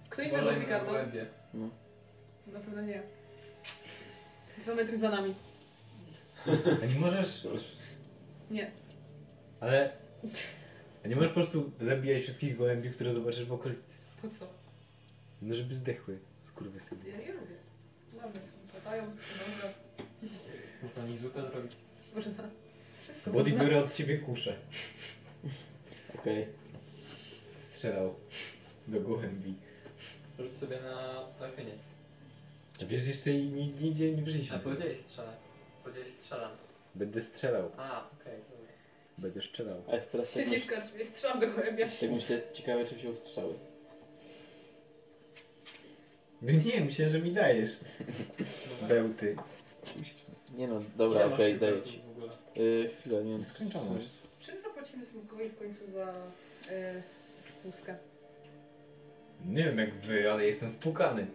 Kto idzie do uważajmy Ricardo? na głębie. Na pewno nie. Dwa metry za nami. A nie możesz. Nie. Ale. A nie możesz po prostu zabijać wszystkich gołębi, które zobaczysz w okolicy. Po co? No żeby zdechły. Skurwy Ja nie lubię. Ładne są, padają, dobra. Można mi zupę zrobić. Można. Wszystko Body można. biorę od ciebie kuszę. Okej. Strzelał do gołębi. Rzuć sobie na trafienie. A wiesz, jeszcze i ni- nigdzie nie A wyszliśmy. powiedziałeś strzelę. Powiedziałeś strzelam. Będę strzelał. A, okej. dobra. Będę strzelał. A jest teraz tak Siedzi w myślę, karczmie, strzelam do gołębia. tak myślę, ciekawe czym się ustrzały. No nie, myślałem, że mi dajesz. Bełty. Nie no, dobra, Ile masz okej, tych daję kroków ci. w ogóle? Yy, chwilę, nie wiem. Skończone. Czym zapłacimy smokowi w końcu za e, łuskę? Nie wiem jak wy, ale jestem spłukany.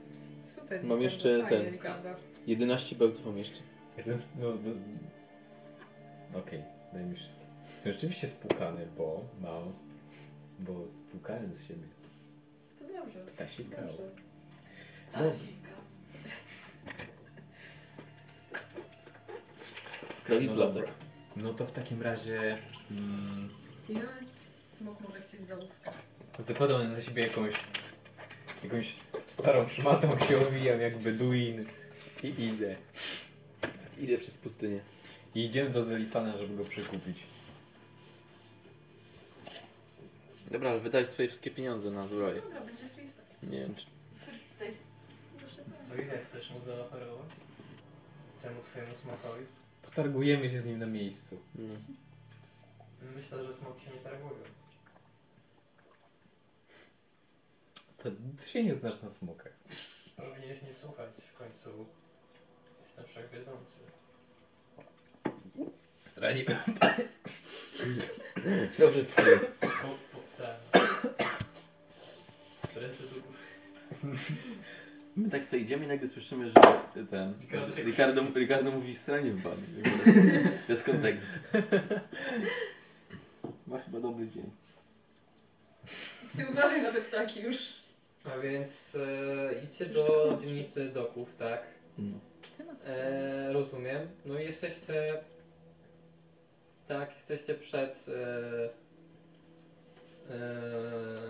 Super. Mam Ricardo, jeszcze fajnie, ten. Ricardo. 11 bełtów mam jeszcze. Jestem. s- No, no, Okej, daj mi wszystko. Jestem rzeczywiście spłukany, bo mam. Bo spłukałem z siebie. Tak To dobrze, Ptasi kawał. dobrze. No. Krali No placek. dobra. No to w takim razie. Mm, Ile smok może chcieć za łuskę? zakładam na siebie jakąś. jakąś Starą szmatą się owijam jak beduin i idę. Idę przez pustynię. I idziemy do Zelifana, żeby go przekupić. Dobra, ale wydaj swoje wszystkie pieniądze na zbroję. Dobra, będzie freestyle. Nie wiem, czy... Freestyle. Proszę To ile chcesz mu zaoferować? Temu twojemu smokowi? Potargujemy się z nim na miejscu. No. Myślę, że smoki się nie targują. To ty się nie znasz na smokach. Powinieneś mnie słuchać, w końcu jestem wszechwiedzący. Strani. Dobrze, powiedz. Po, po, ten... Ręce do góry. My tak sobie idziemy i nagle słyszymy, że ten... I każdy się Ricardo, Ricardo mówi stranie w bani. Bez kontekstu. Masz chyba dobry dzień. Ty uważaj na te ptaki już. A więc e, idźcie do dzielnicy doków, tak? No. E, rozumiem. No i jesteście... Tak, jesteście przed... E,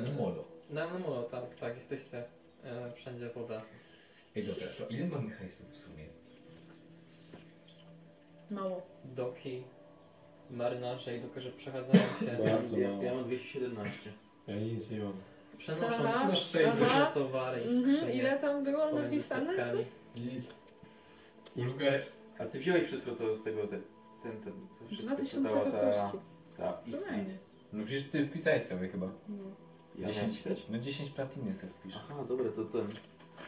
e, Molo. na molo, tak, tak, jesteście. E, wszędzie woda. Ej, dobra, to ile mamy hajsu w sumie? Mało. Doki, marynarze i dokarze przechadzają się. Bardzo ja, mało. ja mam 217. Ja nic nie mam. Aha, Przenosząc różne aha. towary i Mhm, skrzynie. ile tam było pomiędzy napisane? Co? statkami. Nic. Ulgę. A ty wziąłeś wszystko to z tego... Te, ten, ten, to wszystko, co dała ta... 2014. Ta Co istnieć. najmniej. No przecież ty wpisałeś sobie chyba. No. Ja miałem pisać? No 10 platiny sobie wpisz. Aha, dobra, to ten...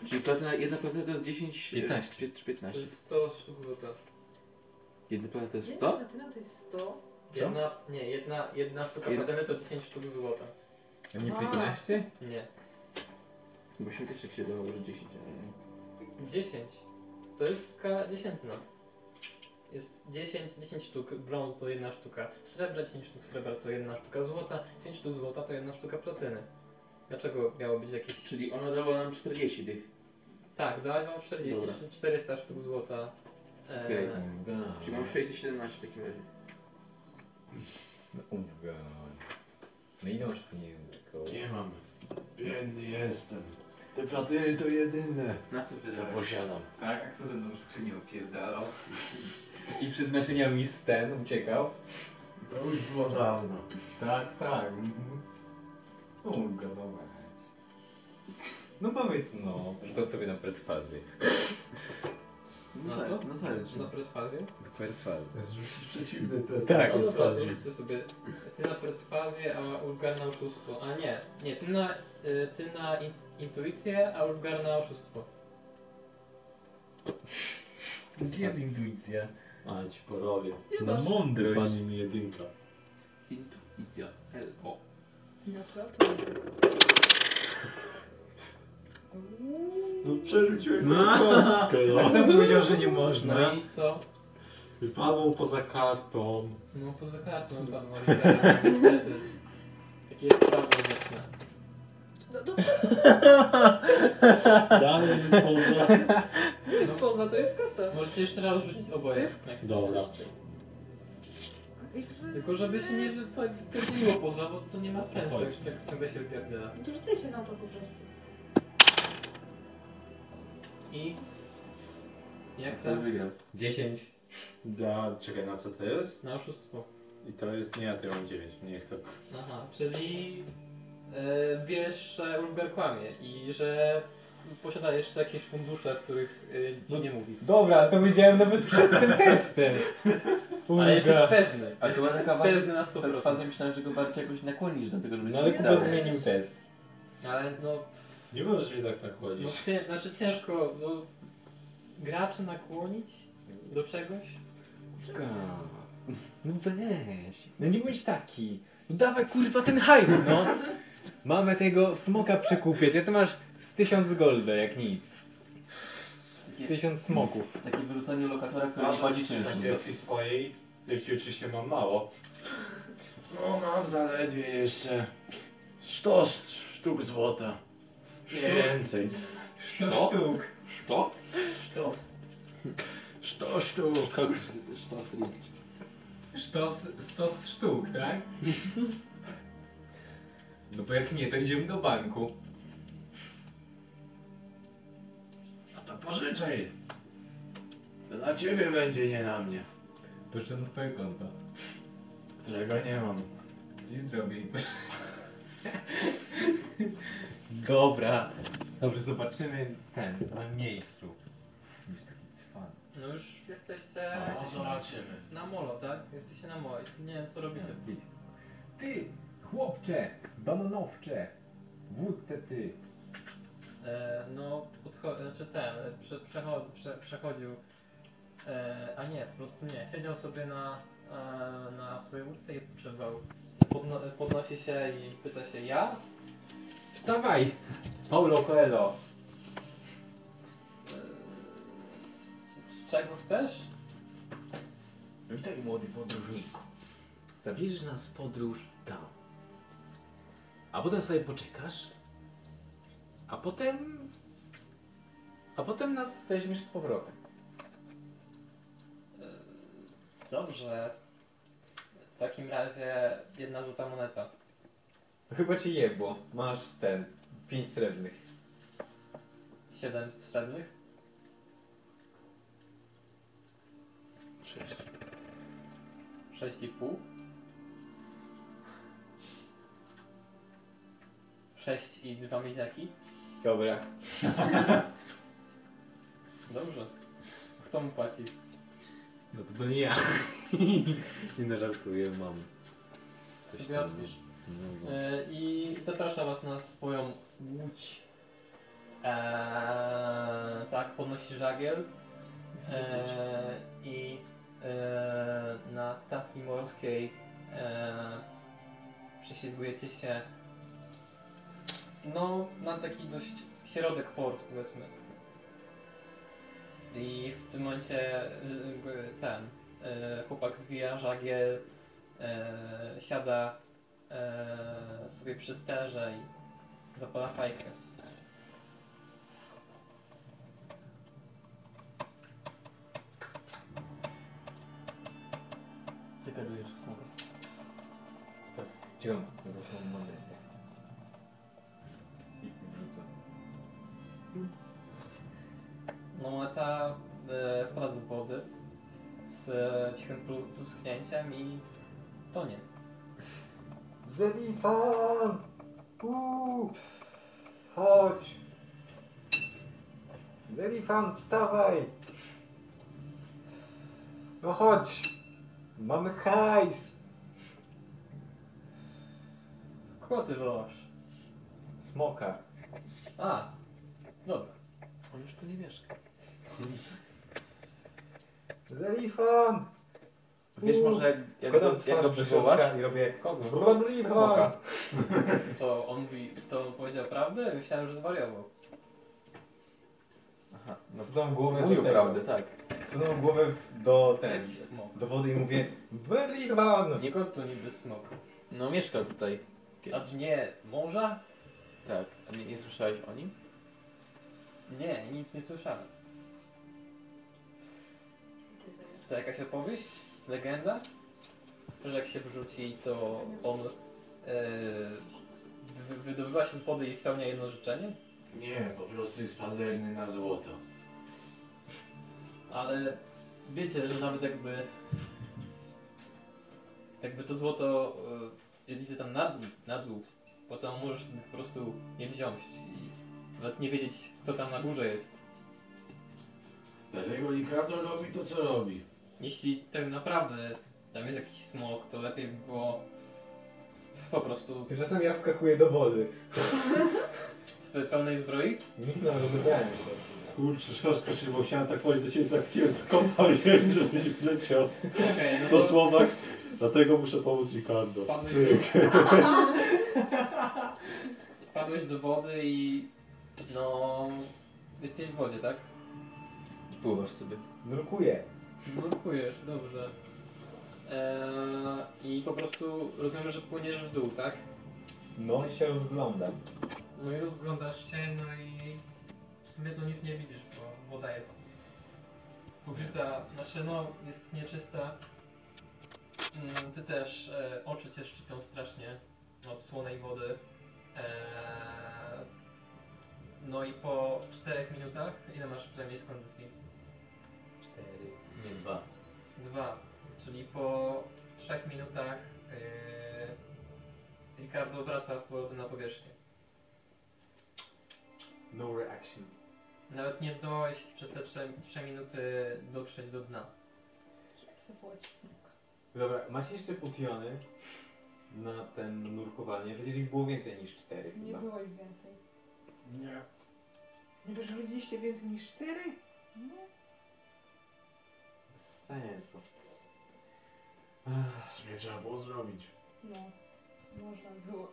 Czyli platyna, jedna platyna to jest e, 10... 15. 15. To jest 100 sztuk złota. Jedna platyna to jest Jedna 100? platyna to jest 100. Jedna, nie, jedna, jedna sztuka Jedna- platyny to 10 sztuk złota. A nie 15? Nie. Bo się też tak się dawało, że 10, ale nie. 10. To jest skala dziesiętna. Jest 10, 10 sztuk, brąz to jedna sztuka, srebra 10 sztuk srebra to jedna sztuka złota, 10 sztuk złota to jedna sztuka platyny. Dlaczego miało być jakieś... Czyli ona dała nam 40 tych. Tak, dałem wam 40 Dobra. czy 400 sztuk złota. E, Okej. Ulga. Czyli mam 617 w takim razie. No, Ulga. No i masz pieniędzy. koło. Nie mam. Biedny jestem. Te platyny to jedyne, Na co co wydałeś? posiadam. Tak, a kto ze mną skrzynię opierdalał? I przed naczyniami Sten uciekał. To już było dawno. Tak, tak. mhm. Ulga, dobra. No powiedz no. Rzucał sobie na perswazję. No Na co? co? Na zależy. Na perswazję? Perswazję. Zrzucić przeciwny test. Tak. No dobra, Perswazji. zróbcie sobie. Ty na perswazję, a Ulgar na oszustwo. A nie, nie, ty na, y, ty na in, intuicję, a Ulgar na oszustwo. Gdzie jest intuicja? A ci porobię. Na mądrość. Pani mi jedynka. Intuicja. L-O. Natural No przerzuciłem na kostkę, no. Kto powiedział, że nie No, można? i co? Wypadło poza kartą. No poza kartą tam Ulgar, niestety. Jakie jest prawda wieczne. No to Dalej poza... To jest poza, to jest karta. Możecie jeszcze raz rzucić oboje. jak chcecie. Dobra. Tylko żeby się nie wypierdziło poza, bo to nie ma sensu, jak, jak ciągle się wypierdziela. To rzucajcie na to po prostu. I... Jak Ten chcę? wygrał. 10. Da, czekaj, na co to jest? Na oszustwo. I to jest... Nie, to ja mam 9. Niech to... Aha, czyli e, wiesz, że Ulgar kłamie i że posiada jeszcze jakieś fundusze, których e, ci No. nie mówi. Dobra, to wiedziałem nawet przed tym testem. Ale jesteś pewny. A to była taka bardzo- pewny na 100%. Fazę myślałem, że go bardziej jakoś nakłonisz do tego, żeby No ale nie Kuba dało. zmienił test. Ale no, Nie możesz mnie tak no nakłonić. cię, znaczy ciężko no, graczy nakłonić do czegoś. No weź. No nie bądź taki. No dawaj kurwa ten hajs, no. Mamy tego smoka przekupiać, a ty masz z tysiąc golda jak nic. Z tysiąc smoków. Jest takie wyrzucanie No lokatora, tak, który nie płaci czynszu. Jaki swojej, jaki oczywiście mam mało. No mam zaledwie jeszcze. Sztos sztuk złota. Nie więcej. No. Szto? Szto? Sztos. Sztos sztuk. Szto strict. Sztos, stos sztuk, tak? No bo jak nie, to idziemy do banku. Pożyczaj. To na ciebie będzie, nie na mnie. Pożyczam z twojego konta. Którego nie mam. Nic zrobię i Dobra. Dobrze, zobaczymy ten, na miejscu. Jakiś taki cwan. No już jesteście No, zobaczymy. na molo, tak? Jesteście na molo. i Nie wiem co robicie. Git. Ty, chłopcze, bananowcze, wódce ty. E, no, podcho- znaczy ten, e, prze- przecho- prze- przechodził. E, a nie, po prostu nie. Siedział sobie na, e, na swojej łódce i odpoczywał. Podno- podnosi się i pyta się ja? Wstawaj! Paulo Coelho. E, c- czego chcesz? Witaj, młody podróżniku. Zabierzesz nas w podróż tam. A potem sobie poczekasz. A potem... A potem nas weźmiesz z powrotem. Dobrze. W takim razie jedna złota moneta. Chyba cię jebło. Masz ten, pięć srebrnych. Siedem srebrnych. Cześć. Sześć i pół. Sześć i dwa miedziaki. Dobra. Dobrze. Kto mu płaci? No to, to nie ja. nie nażartuję, mam. Coś Coś sobie tam. odpisz. No, no. E, I zapraszam was na swoją łódź. Eee, tak, podnosi żagiel. Eee, I eee, na tafli morskiej eee, prześlizgujecie się no, na taki dość środek portu, powiedzmy. I w tym momencie e, ten e, chłopak zwija żagiel, e, siada e, sobie przy sterze i zapala fajkę. Cygaruje czosnkowe. Teraz ciągnę złotą monetę. I wrzucę. No moneta e, wpada do wody z e, cichym plu- plusknięciem i tonie. Zelifan! Uuu! Chodź! Zelifan, wstawaj! No chodź! Mamy hajs! Kogo ty wołasz? Smoka. A, dobra. On już tu nie mieszka. Zelifan! Wiesz Uuu. może jak, jak, Godam go, twarz jak go do przywołasz? środka i robię Kogo? Zelifan! Smoka. To on mówi, to on powiedział prawdę? Myślałem, że zwariował. Aha, no, Zdam głowę do mówił tego. prawdę, tak. Zdam głowę w- do ten. Jakiś smok. Do wody i mówię no, Zelifan! Skąd to niby smok? No mieszkał tutaj. A nie morza? Tak. A nie, nie słyszałeś o nim? Nie, nic nie słyszałem. Ty zajesz. To jakaś opowieść? Legenda? Że jak się wrzuci, to on yy, wy- wydobywa się z wody i spełnia jedno życzenie? Nie, po prostu jest pazerny na złoto. Ale wiecie, że nawet jakby jakby to złoto y, jedlice tam na dół, na dół, potem możesz sobie po prostu nie wziąć i nawet nie wiedzieć, kto tam na górze jest. Dlatego Likador robi to, co robi. Jeśli tak naprawdę tam jest jakiś smok, to lepiej by było po prostu Tymczasem ja wskakuję do wody. w pełnej zbroi Nikt nam rozebrania się. Kurczę, szkoda, skoczyło, chciałem tak powiedzieć do ciebie, tak cię skopałem, żebyś wleciał Okej, no do to Słowak, dlatego muszę pomóc Ricardo. Wpadłeś- Cyk. wpadłeś do wody i no jesteś w wodzie, tak? I pływasz sobie. Nurkuję. Blokujesz, dobrze. Eee, I po prostu rozumiem, że płyniesz w dół, tak? No i się rozglądam. No i rozglądasz się, no i w sumie to nic nie widzisz, bo woda jest pokryta, znaczy no jest nieczysta. Mm, Ty też, e, oczy cię szczypią strasznie od słonej wody. Eee, E, No i po 4 minutach, ile masz premii z kondycji? Cztery, nie dwa. Dwa. Czyli po 3 minutach yy, Ricardo wraca z powrotem na powierzchnię. No reaction. Nawet nie zdołałeś przez te 3, minuty dotrzeć do dna. Jak zawołać snuka? Dobra, masz jeszcze potiony na ten nurkowanie. Przecież ich było więcej niż cztery Nie chyba. było ich więcej. Nie. Nie wyrzuciliście więcej niż cztery? Nie. Bez sensu. W sumie trzeba było zrobić. No, można było.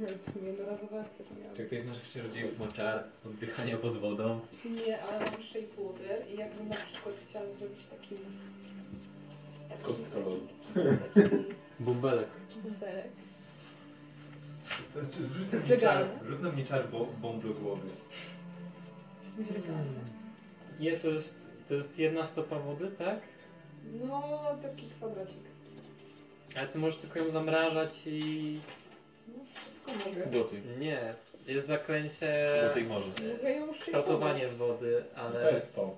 Nie, w sumie jednorazowe akcje to miałam. Czy ktoś z naszych czarodziejów ma czar oddychania pod wodą? Nie, ale mam trzy i połowy i jakbym na przykład chciała zrobić takim... takim- Kostka lodu. Taki Bąbelek. bumberek. To znaczy, To jest Zrzuć na mnie czar, legalne. rzut na mnie czar bo, bomb do głowy. Jest mi legalne. Jest, Hmm. to, jest, to jest jedna stopa wody, tak? No, taki kwadracik. Ale ty możesz tylko ją zamrażać i... No, wszystko mogę. Gotuj. Nie. Jest zaklęcie... Do tej morzu. Mogę ją szybko. Kształtowanie wody, ale... To jest to.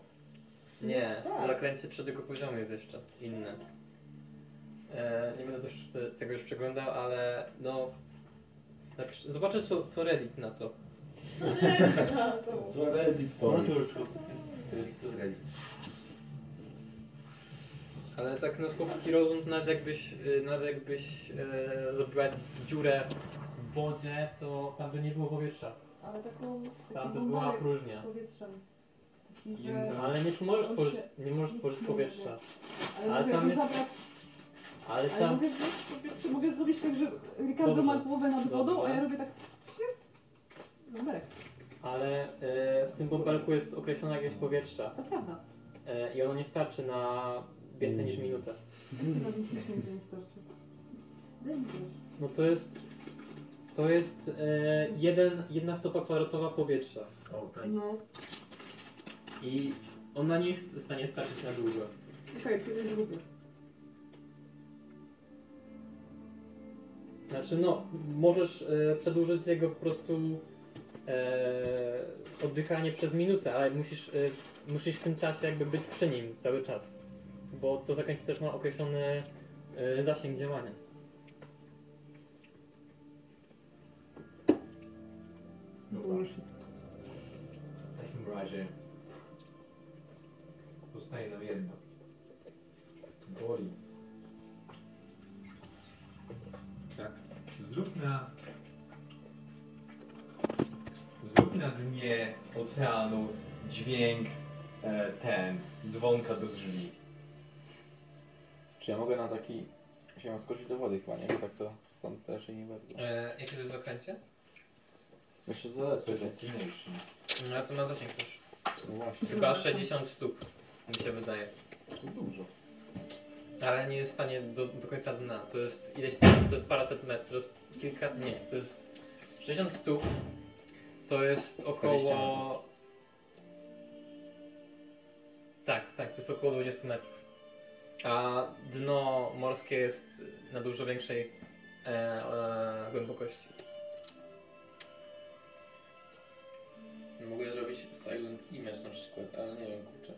Nie, Tak. zaklęcie trzeciego poziomu jest jeszcze inne. E, nie będę też te- tego już przeglądał, ale no. napisz- Zobaczę, co, co Reddit na to. Co Reddit powie? to już tylko z serwisu Ale tak na chłopski rozum, to nawet jakbyś, y, nawet jakbyś e, zrobiła dziurę w wodzie, to tam by nie było powietrza. Ale taką... taki Tam by była bąbelek próżnia. Z powietrzem. Taki, że... Jedna. Ale nie możesz Tak. On tworzyć, się- No, nie możesz tworzyć powietrza. Ale, Ale mogę tam go jest- zabrać, Ale ale tam. mogę zrobić powietrze, mogę zrobić tak, że Ricardo ma Dobrze. głowę nad wodą, a Dobrze. ja robię tak... Numerek, Ale e, w tym bąbelku jest określona jakieś powietrza. to prawda. E, I ono nie starczy na więcej niż minutę. Chyba nic nie będzie nie starczy. Daj mi coś. No to jest. To jest e, jeden, jedna stopa kwadratowa powietrza. No, I ona nie jest w stanie starczyć na długo. okej, to jest gruby. Znaczy, no, możesz e, przedłużyć jego po prostu e, oddychanie przez minutę, ale musisz, e, musisz w tym czasie jakby być przy nim cały czas. Bo to zaklęcie też ma określony e, zasięg działania. Dobra. No tak. W takim razie zostaje nam jedno. Boli. Tak. Zrób na. Zrób na dnie oceanu dźwięk e, ten dzwonka do drzwi. Czy ja mogę na taki... się skoczyć do wody chyba, nie? Bo tak to stąd też i nie wezmę. E, jakie to jest zaklęcie? Jeszcze zaleczy. Predestination. No, to ma zasięg też. No właśnie. Chyba 60 stóp, mi się wydaje. To dużo. Ale nie jest w stanie do, do końca dna. To jest ileś, to jest paraset metrów, to jest kilka, nie, to jest 60 stóp, to jest 20 około... metrów. Tak, tak, to jest około 20 metrów. A dno morskie jest na dużo większej e, e, głębokości. Mogę zrobić silent image na przykład, ale nie wiem, kurczę.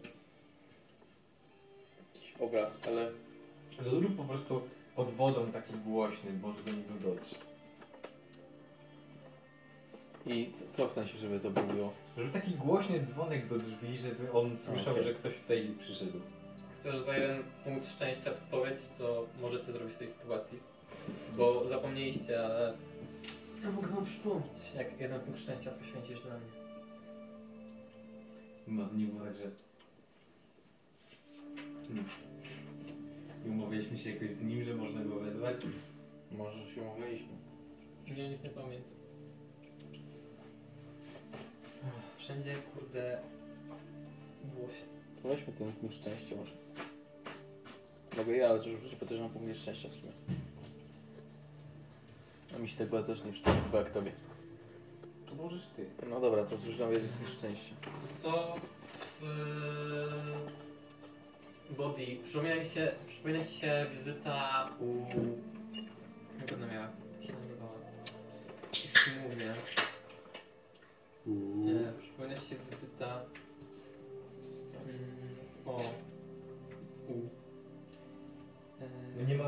Jakiś obraz, ale... To zrób po prostu pod wodą taki głośny, może do niego dojść. I co- co w sensie, żeby to było? Żeby taki głośny dzwonek do drzwi, żeby on słyszał, Okej. że ktoś tutaj przyszedł. Chcesz za jeden punkt szczęścia podpowiedź, co możecie zrobić w tej sytuacji? Bo zapomnieliście, ale... Ja mogę wam przypomnieć. Jak jeden punkt szczęścia poświęcisz dla mnie. No to nie było tak, że... Hmm. I umawialiśmy się jakoś z nim, że można go wezwać. Może się umawialiśmy. Ja nic nie pamiętam. Wszędzie, kurde... Włosie. Weźmy ten punkt szczęścia może. Mogę ja, ale już w życiu też mam punkt szczęścia w sumie. A mi się tak bardzo zacznie przyczynić, chyba jak tobie. To możesz ty. No dobra, to już nawet jest szczęście. To... W... e, Body. Przypomina mi się, przypomina mi się wizyta u... Jak ona miała? Jak się nazywała? Już ci Mówię. U mm,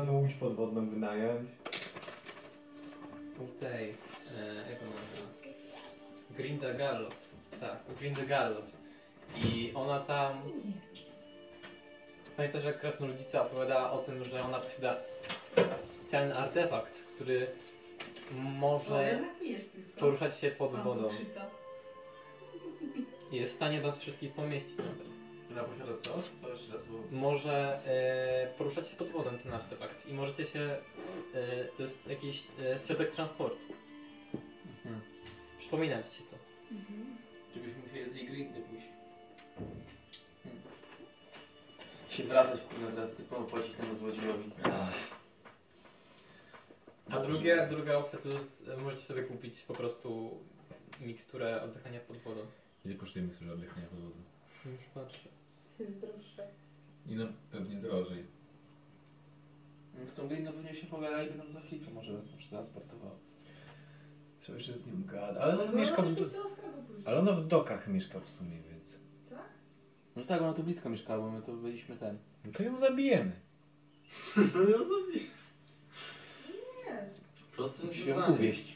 No, podwodną wynająć. u tej, e, jak ona nazywa? Grinda Gallot. Tak, u Grinda Gallot. I ona tam... Pamiętasz jak krasnoludzica opowiadała o tym, że ona posiada specjalny artefakt, który może poruszać się pod wodą. I jest w stanie nas wszystkich pomieścić nawet. Która posiada co? Co jeszcze raz było? Może e, poruszać się pod wodą ten artefakt i możecie się... E, to jest jakiś e, środek transportu. Przypominam ci się to. Mhm. Żebyśmy musieli z niej grindy pójść. Hmm. Się wracać, kurwa, teraz typowo płacić temu złodziejowi. A drugie, druga opcja to jest, e, możecie sobie kupić po prostu miksturę oddychania pod wodą. Ile kosztuje mikstura oddychania pod wodą? Już patrzę. Jest droższe. I no, pewnie drożej. Hmm, Z tą grindą pewnie się pogadali, by nam za flipę może nas przetransportowało. Co jeszcze z nim gada? Ale No, ona mieszka w, oczywiście do sklepu pójdzie. ale ona w dokach mieszka w sumie, więc... No tak, ona tu blisko mieszkała, bo my tu byliśmy ten. No to ją zabijemy. Nie. Proste Musi ją uwieść.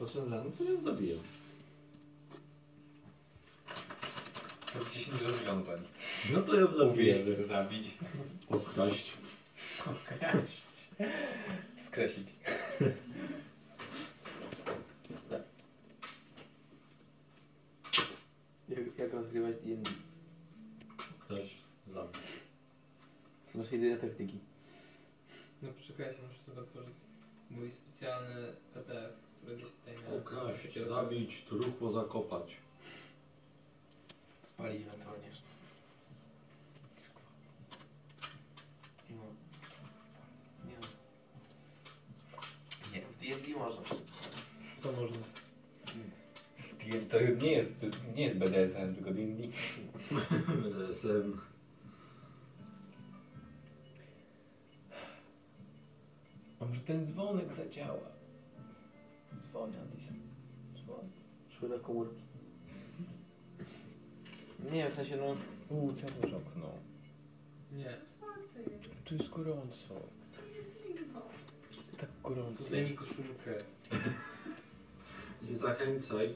Rozwiązano, to ją zabiję. To 10 rozwiązań. No to ją zabiję. zabić, Ukraść. okraść, skreślić. Jak, jak rozgrywać D&D? Ukraść. Zabić. To są nasze jedyne taktyki. No poczekajcie, muszę sobie otworzyć mój specjalny PDF, który gdzieś tutaj miałem. Ukraść. Zabić. Truchło zakopać. Spalić ewentualnie. No. Nie no. Nie, w D&D można. Co można? To nie jest, to nie jest BDSM, tylko D&D. Jestem. A może ten dzwonek zadziała? Dzwonię gdzieś. Dzwon. Szły do komórki. Nie wiem, w sensie no... Uuu, cały okno. Nie. Tu jest gorąco. Jest tak gorąco. No, Tutaj mi koszulkę. Nie zachęcaj.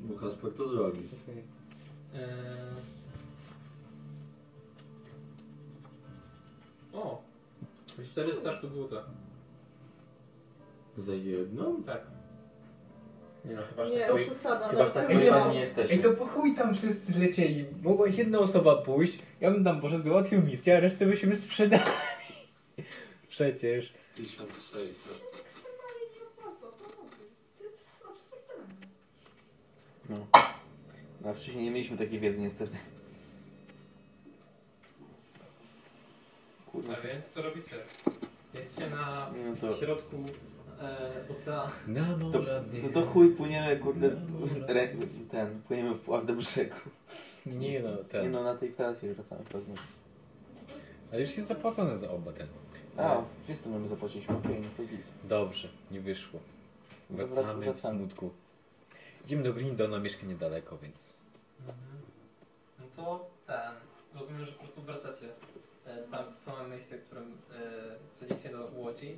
Bo Kasper to zrobi. Okej. Eee... O! 400 sztuk złota. Za jedną? Tak. Nie no, chyba Nie, przesada. Chyba no, tak to nie ma. nie jesteśmy. Ej, to po chuj tam wszyscy lecieli. Mogła jedna osoba pójść, ja bym tam poszedł, załatwił misję, a resztę byśmy sprzedali. Przecież. 1600. No. No, a wcześniej nie mieliśmy takiej wiedzy niestety. Kurwa. A więc co robicie? Jesteście na Nie, No to, środku e, oceanu. Na to, no to chuj płyniemy, kurde, re, ten, płyniemy w pław do brzegu. Nie no, Nie ten. no, na tej trasie wracamy pewnie. Ale już jest zapłacone za oba ten. A, Tak. w 20 mamy zapłaciliśmy, okej, no to git. Dobrze, nie wyszło. No to Wracamy w wracamy. smutku. Idziemy do Grinda, ona mieszka niedaleko, więc... Mhm. No to ten. Rozumiem, że po prostu wracacie. E, tam w same miejsce, w którym e, wsadzicie do łodzi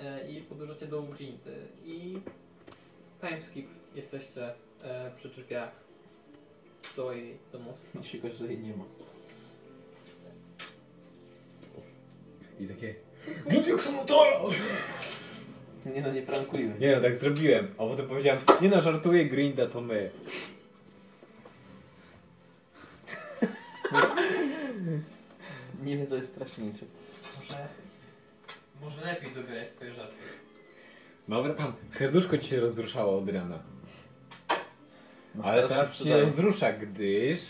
e, i podróżacie do Ugrinty. I timeskip jesteście e, przy drzwiach do jej do mostu. Się go, że jej nie ma. I takie... Nie no, nie prankujmy. Nie no, tak zrobiłem. A potem powiedziałem, nie no, żartuję Grinda, to my. Nie wiem, co jest straszniejsze. Może, może lepiej dobierać swoje żarty. No Dobra, tam serduszko ci się rozruszało od rana. No, Ale starasz się teraz się przydaje. rozrusza, gdyż...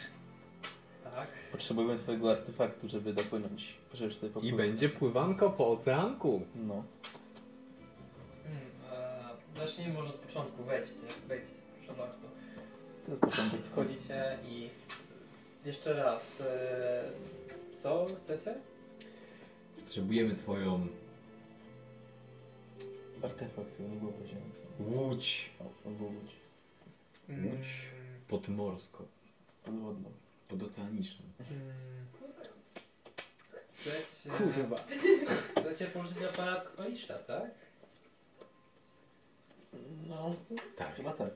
Tak. Potrzebujemy twojego artefaktu, żeby dopłynąć. Proszę sobie I popłynąć. będzie pływanko po oceanku. No. Hmm, e, zacznijmy może od początku. Wejdźcie, wejdźcie, proszę bardzo. To jest początek. Wchodzicie i jeszcze raz. E, co chcecie? Potrzebujemy twoją Artefakt, tego nie było powiedziane. łódź O, to było łódź. Łódź. podmorską, Podwodną. podoceaniczną. Mm, Chcecie... Kurwa. Chcecie położyć aparat Koisza, tak? No, tak. chyba tak.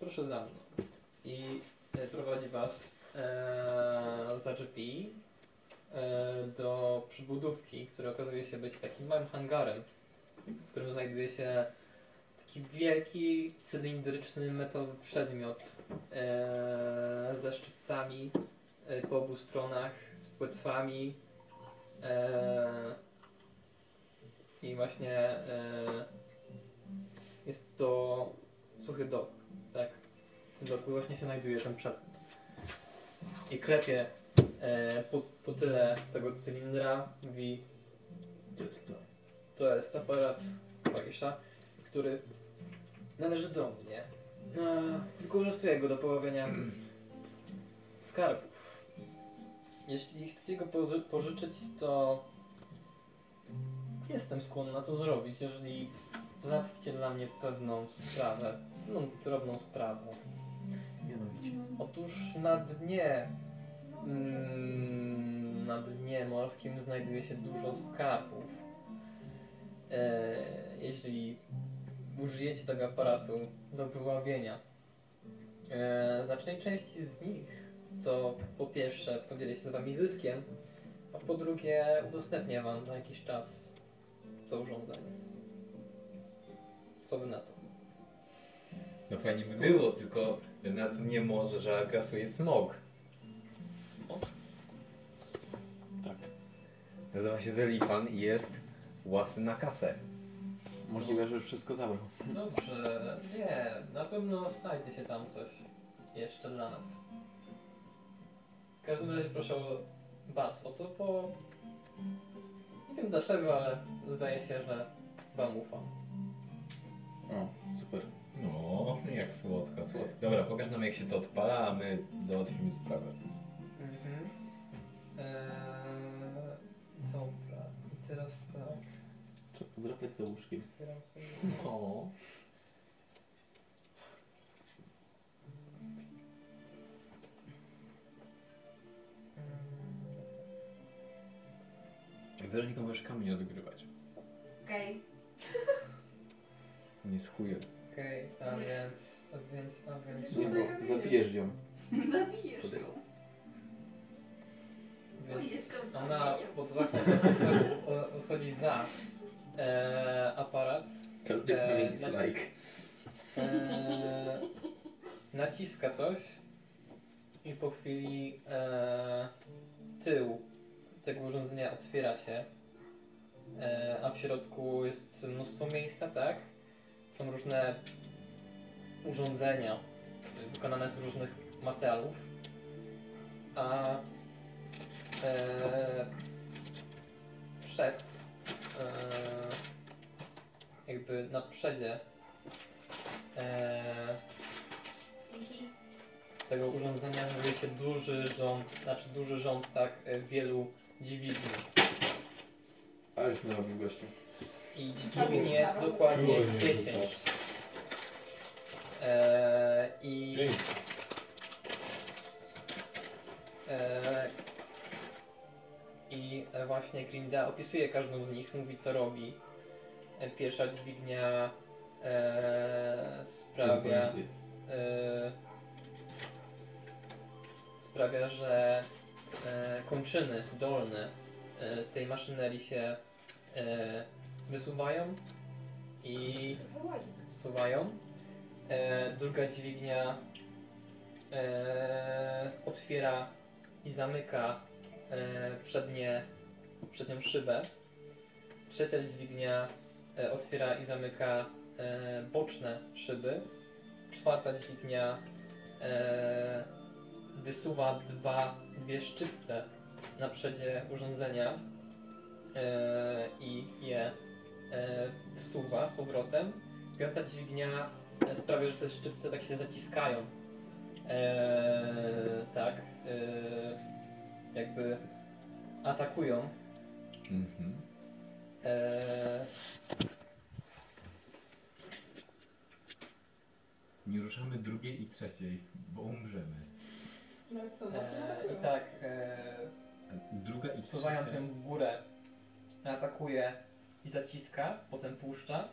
Proszę za mną. I e, prowadzi was e, za drzwi e, do przybudówki, która okazuje się być takim małym hangarem, w którym znajduje się taki wielki, cylindryczny, metalowy przedmiot e, ze szczypcami e, po obu stronach, z płetwami e, i właśnie e, jest to suchy dok. Tak. Wokół właśnie się znajduje ten przedmiot. I klepie e, po, po tyle tego cylindra, mówi To jest to. To jest aparat Magisza, który należy do mnie. E, wykorzystuję go do poławiania skarbów. Jeśli chcecie go pozy- pożyczyć, to jestem skłonna to zrobić, jeżeli załatwicie dla mnie pewną sprawę. No, drobną sprawę. Mianowicie. Otóż na dnie, mm, na dnie morskim znajduje się dużo skarbów. E, jeśli użyjecie tego aparatu do wyławienia, e, znacznej części z nich to po pierwsze podzielę się z wami zyskiem, a po drugie udostępnię wam na jakiś czas to urządzenie. Co wy na to? No fajnie by było, tylko że na dnie morza grasuje smog. Tak. Nazywa się Zelifan i jest łasy na kasę. Możliwe, że już wszystko zabrał. Dobrze, nie, na pewno znajdzie się tam coś jeszcze dla nas. W każdym razie proszę Was o to, bo nie wiem dlaczego, ale zdaje się, że Wam ufam. O, super. No, jak słodko, słodko. Dobra, pokaż nam jak się to odpala, a my załatwimy sprawę. Mhm. Eee, dobra, i teraz tak, Co podrapiać za łóżkiem? otwieram sobie. O. eee, Weronika, możesz kamień odgrywać. Okej. Nie jest chujem. Okej, a więc, a więc, a więc, Nie, bo zabijesz ją. Zabijesz ją. Więc Jest to ona kamieniem. odchodzi, odchodzi za e, aparat, Każdy Eee, kamień jest na- like. e, naciska coś i po chwili e, tył tego urządzenia otwiera się, e, a w środku jest mnóstwo miejsca, tak? Są różne urządzenia wykonane z różnych materiałów, a eee, e, przed, e, jakby na przedzie e, Dzięki. tego urządzenia znajduje się duży rząd, znaczy duży rząd tak e, wielu dźwigni. Ależ mi robił gościu. I dźwigni jest No dokładnie 10. E, I E, I e, właśnie Grinda opisuje każdą z nich, mówi co robi. E, Pierwsza dźwignia e, sprawia, Zbędzie. e, sprawia, że e, kończyny dolne e, tej maszynerii się e, wysuwają i zsuwają. E, druga dźwignia e, otwiera i zamyka e, przednie, przednią szybę. Trzecia dźwignia e, otwiera i zamyka e, boczne szyby. Czwarta dźwignia e, wysuwa dwa, dwie szczypce na przedzie urządzenia e, i je e, wsuwa z powrotem. Piąta dźwignia e, sprawia, że te szczypce tak się zaciskają. Eee, tak. eee, jakby atakują. Mhm. Eee, Nie ruszamy drugiej i trzeciej, bo umrzemy. No i co, nas nie eee, I atakują? tak. Eee, Druga i Wsuwając trzecia. ją w górę, atakuje i zaciska, potem puszcza,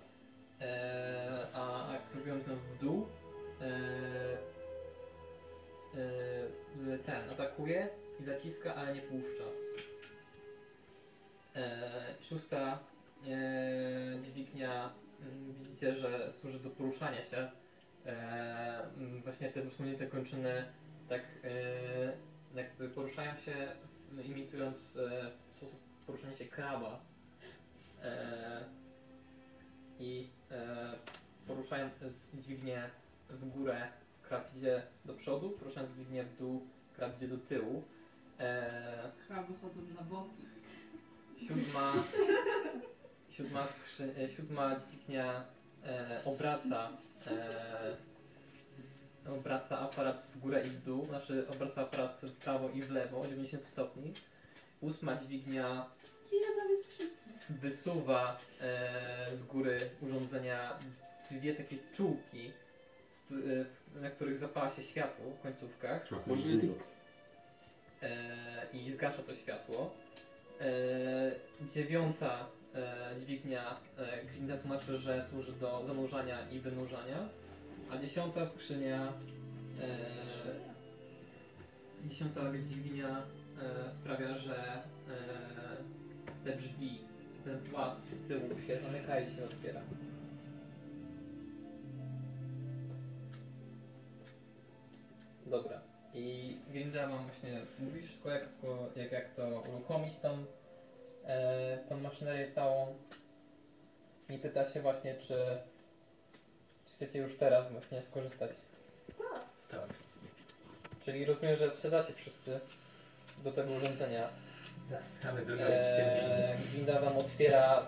eee, a aktywując ją w dół, eee, eee, ten atakuje i zaciska, ale nie puszcza. Eee, szósta eee, dźwignia, mm, widzicie, że służy do poruszania się. Eee, mm, właśnie te usunięte kończyny tak eee, jakby poruszają się No, imitując e, w sposób poruszania się kraba e, i e, poruszając z- dźwignię w górę, krab idzie do przodu, poruszając dźwignię w dół, krab idzie do tyłu. E, Kraby chodzą na boki. siódma, siódma, skrzy, e, siódma dźwignia e, obraca e, obraca aparat w górę i w dół, znaczy obraca aparat w prawo i w lewo o 90 stopni. Ósma dźwignia Ile tam jest trzy? wysuwa e, z góry urządzenia dwie takie czułki, z, tu- e, na których zapala się światło w końcówkach Trochę Może dużo. e, i zgasza to światło. E, dziewiąta e, dźwignia e, Glinda tłumaczy, że służy do zanurzania i wynurzania, a dziesiąta skrzynia e, dziesiąta dźwignia e, sprawia, że e, te drzwi, ten włas z tyłu się zamyka i się otwiera. Dobra. I Grinda wam właśnie mówi wszystko, jak, to- jak, jak to uruchomić tą, e, tą maszynerię całą. I pyta się właśnie, czy, czy chcecie już teraz właśnie skorzystać. Tak. Czyli rozumiem, że wsiadacie wszyscy do tego urządzenia. Mamy drugą eee... Eee, Glinda wam otwiera,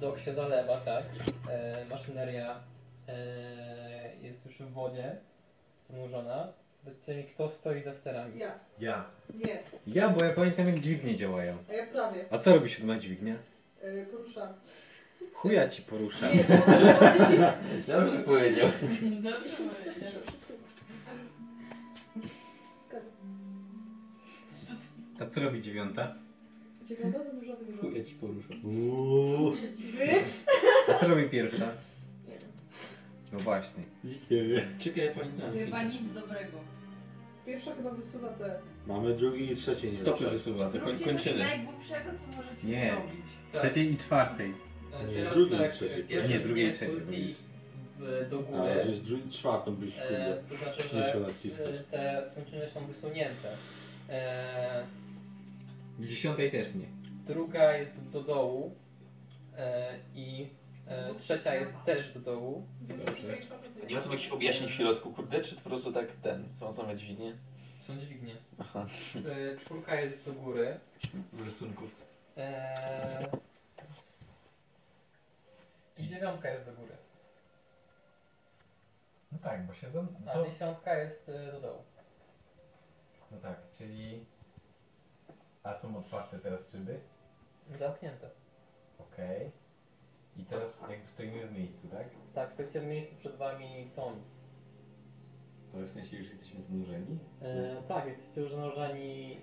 dok się zalewa, tak? Eee, maszyneria eee, jest już w wodzie, zanurzona. Powiedzcie mi, kto stoi za sterami. Ja. Ja. Nie. Ja, bo ja pamiętam jak dźwignie działają. A ja prawie. A co robi siódma dźwignia? Yy, kurusza. Chuja ci porusza. Nie, bo ona się Dobrze powiedział. A co robi dziewiąta? Dziewiąta zanurzona w Ja ci poruszę. Uuu, Wiesz? A co robi pierwsza? Nie wiem. No właśnie. nikt nie wie. Czekaj, ja pamiętam. Chyba nic dobrego. Pierwsza chyba wysuwa te... Mamy drugi i trzeci nie Stopy ruszać. wysuwa, to koń, Zróbcie kończyny. coś najgłupszego, co możecie Nie. zrobić. Tak. Trzeciej i czwartej. Eee, Nie, Teraz drugiej, tak, trzeciej. pierwsza Nie, drugiej, jest trzeciej pozycji w- e, do góry. Ale żeś dru- czwartą byś E, kurde. to znaczy, Nie że się naciskać. e, te kończyny są wysunięte. E, W dziesiątej też nie. druga jest do dołu e, i e, trzecia jest też do dołu. Dobrze. Nie ma tam jakichś objaśnień w środku, kurde, czy po prostu tak ten, są same dźwignie? Są dźwignie. Aha. E, czwórka jest do góry. Rysunków. E, I dziewiątka jest do góry. No tak, bo się zam... A to- dziesiątka jest e, do dołu. No tak, czyli... A są otwarte teraz szyby? Zamknięte. Okej. I teraz jakby stoimy w miejscu, tak? Tak, stoicie w miejscu przed wami Tom. Ale w sensie już jesteśmy znużeni? E, tak, jesteście już zanurzeni.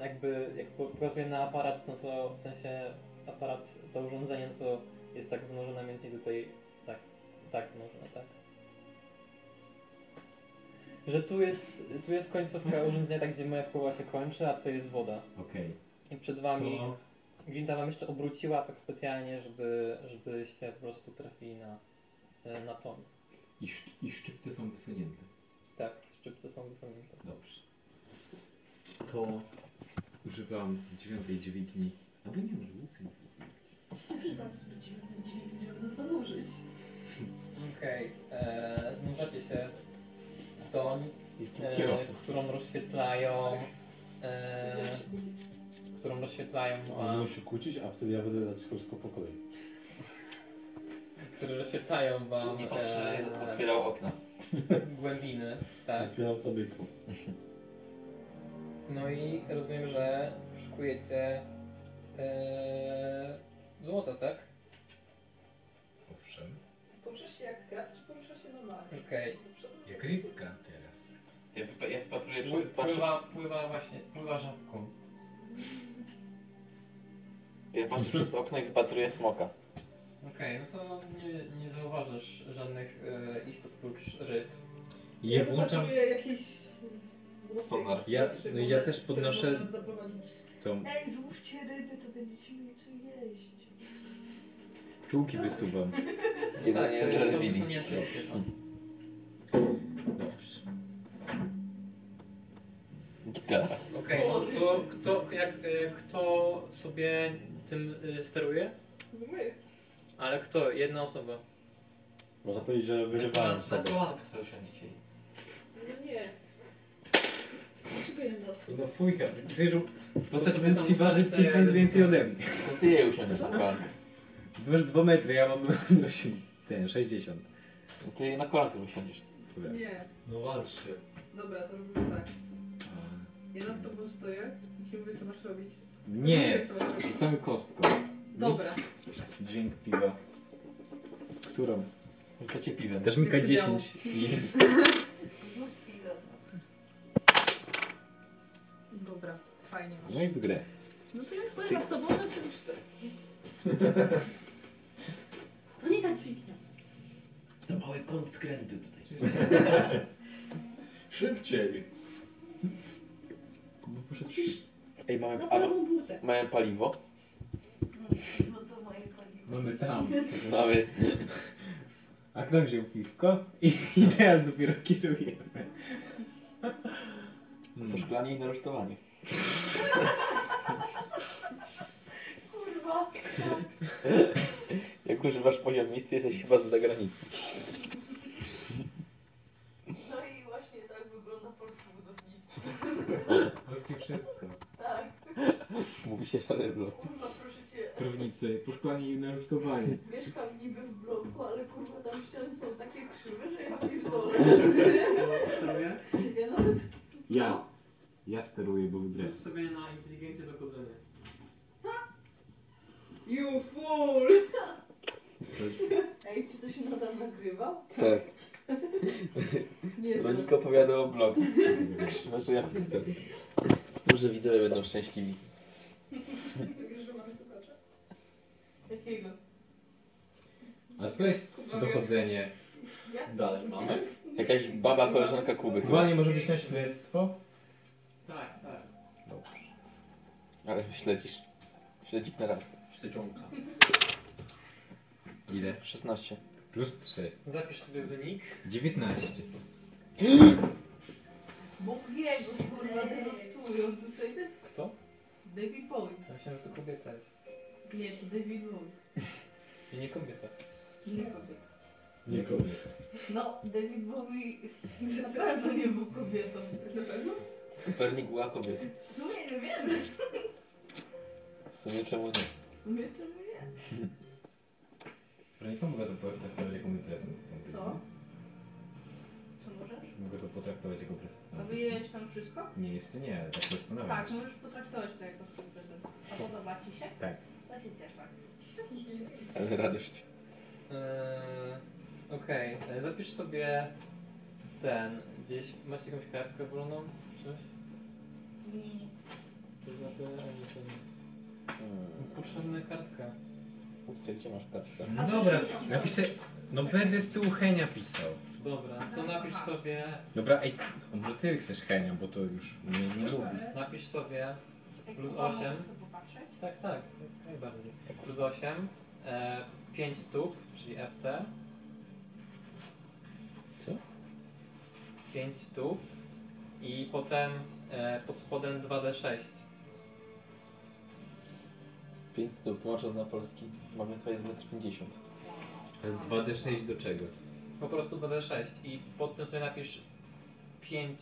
Jakby, jak po- pokazuję na aparat, no to w sensie aparat, to urządzenie, no to jest tak zanurzone mniej więcej tutaj, tak, tak zanurzone, tak. Że tu jest, tu jest końcówka urządzenia, tak gdzie moja pływa się kończy, a tutaj jest woda. Okej. I przed wami, To Glinda wam jeszcze obróciła tak specjalnie, żeby, żebyście po prostu trafili na, e, na ton. I, sz- I szczypce są wysunięte. Tak, szczypce są wysunięte. Dobrze. To używam dziewiątej dźwigni. Albo nie wiem, że ósmej. Przyznam sobie dziwny dźwięk, żeby nas zanurzyć. Okej, okay. znurzacie się w doń, Jest tu e, kierowców. którą rozświetlają, e, którą rozświetlają On wam, No, musi się kłócić, a wtedy ja będę naciskał wszystko po kolei. które rozświetlają wam Nie e, patrzę, otwierał okna. głębiny, tak. Otwieram sobie kół. No i rozumiem, że szukujecie e, złota, tak? Owszem. Porusza się jak krab, czy porusza się normalnie? Okej. Do przodu? Jak rybka teraz. Ja, wypa- ja wpatruję, Pły- patrzę, Pływa, pływa właśnie, pływa żabką. Ja patrzę przez okno i wypatruję smoka. Okej, no to nie, nie zauważysz żadnych e, istot prócz ryb. Ja włączam wypatruję jakiś... z- z- Sonar. Ja- rzeczy, no ja które też podnoszę- można zaprowadzić. tą Ej, złówcie ryby, to będziecie mieli co jeść. czułki wysuwam. Jedzenie jest dla są- rybili. są nieapetyckie, no. Dobrze. Gitara. Okej, to kto, jak, e, kto sobie tym e, steruje? No my. Ale kto? Jedna osoba. Można powiedzieć, że wyrywałem Na sobie. kolankę sobie usiądziecie. No nie. Dlaczego jedna osoba? No fujka, przecież postać sobie tam Lucy waży ustawię, 5 razy jakby więcej to ode jest- mnie. No ty je usiądziesz na kolankę. Ty masz 2 metry, ja mam osiem- ten, 60. No ty na kolankę usiądziesz. Dobra. Nie. No walczcie. Dobra, to robimy tak. Ja nad tobą stoję i ci mówię, co masz robić. Nie, Mówię, co masz robić. rzucamy kostką. Dobra. Dźwięk piwa. Którą? Rzucę cię piwem. Też mi Jest białą. K10. I... Dobra, fajnie masz. No i w grę. No to ja stoję nad tobą, no co już ty. No nie tak zwignę. Za mały kąt skrętu tutaj. Szybciej! Ej, mamy, Na a, prawą butę. mamy paliwo. No to moje paliwo. Mamy tam. Mamy A kto wziął piwko? I, i teraz dopiero kierujemy. poszklanie i narusztowanie. Kurwa. Jak używasz poziomnicy, jesteś chyba z zagranicy. No i właśnie tak wygląda polskie budownictwo. Polskie wszystko. Tak. Mówi się szaleblo. Kurwa, proszę cię. Prawnicy, poszklanie i narusztowanie. Mieszkam niby w bloku, ale kurwa tam ściany są takie krzywe, że ja pierdolę. Kto steruje? Ja nawet... Ja. Ja steruję, bo w grę. Rzuć sobie na inteligencję dochodzenie. You fool! Ej, czy to się nadal nagrywa? Tak. Nie, to... Rodzic opowiada o bloku. Krzywe, że ja pierdolę. Może widzowie będą szczęśliwi. Wiesz, że mamy słuchacza? Jakiego? A skądś dochodzenie? Jak? Dalej mamy? Jakaś baba, koleżanka Kuby chyba. Chyba nie może być na śledztwo? Tak, tak. Ale śledzisz. Śledzik na raz. Szczyciąka. Ile? 16. Plus 3. Zapisz sobie wynik. 19. Bóg wie, bo kurwa dewastują tutaj. Kto? David Bowie. Ja myślałem, że to kobieta jest. Nie, to David Bowie. I nie kobieta. Nie kobieta. Nie No, David Bowie na pewno nie był kobietą. Pewnie była kobieta. W sumie nie wiem. W sumie czemu nie? W sumie czemu nie? Pronika mogę to potraktować jako mój prezent. w tym Co? roku. Co możesz? Mogę to potraktować jako prezent. A wyjedziesz tam wszystko? Nie, jeszcze nie, ale tak zastanawiam Tak, się. możesz potraktować to jako swój prezent. A podoba ci się? Tak. To się cieszę. Ale radość. Eee, Okej, e, zapisz sobie ten. Gdzieś masz jakąś kartkę wolną? Coś? Mm. To jest na tyle, a nie to nie jest. Hmm. Potrzebna kartka. Upsy, gdzie masz kartkę? No dobra, napiszę... No będę z tyłu Henia pisał. Dobra, to napisz sobie. Dobra, ej, a może ty chcesz Henia, bo to już mnie nie lubi. Napisz sobie. Jak Plus mama osiem. chce popatrzeć? Tak, tak, jak najbardziej. Plus 8, e, 5 stóp, czyli FT. Co? 5 stóp i potem e, pod spodem 2D6. 5 stóp, tłumacząc na polski. Mamy tutaj jest 1,50 m. To jest 2D6 do czego? Po prostu 2D6 i pod tym sobie napisz 5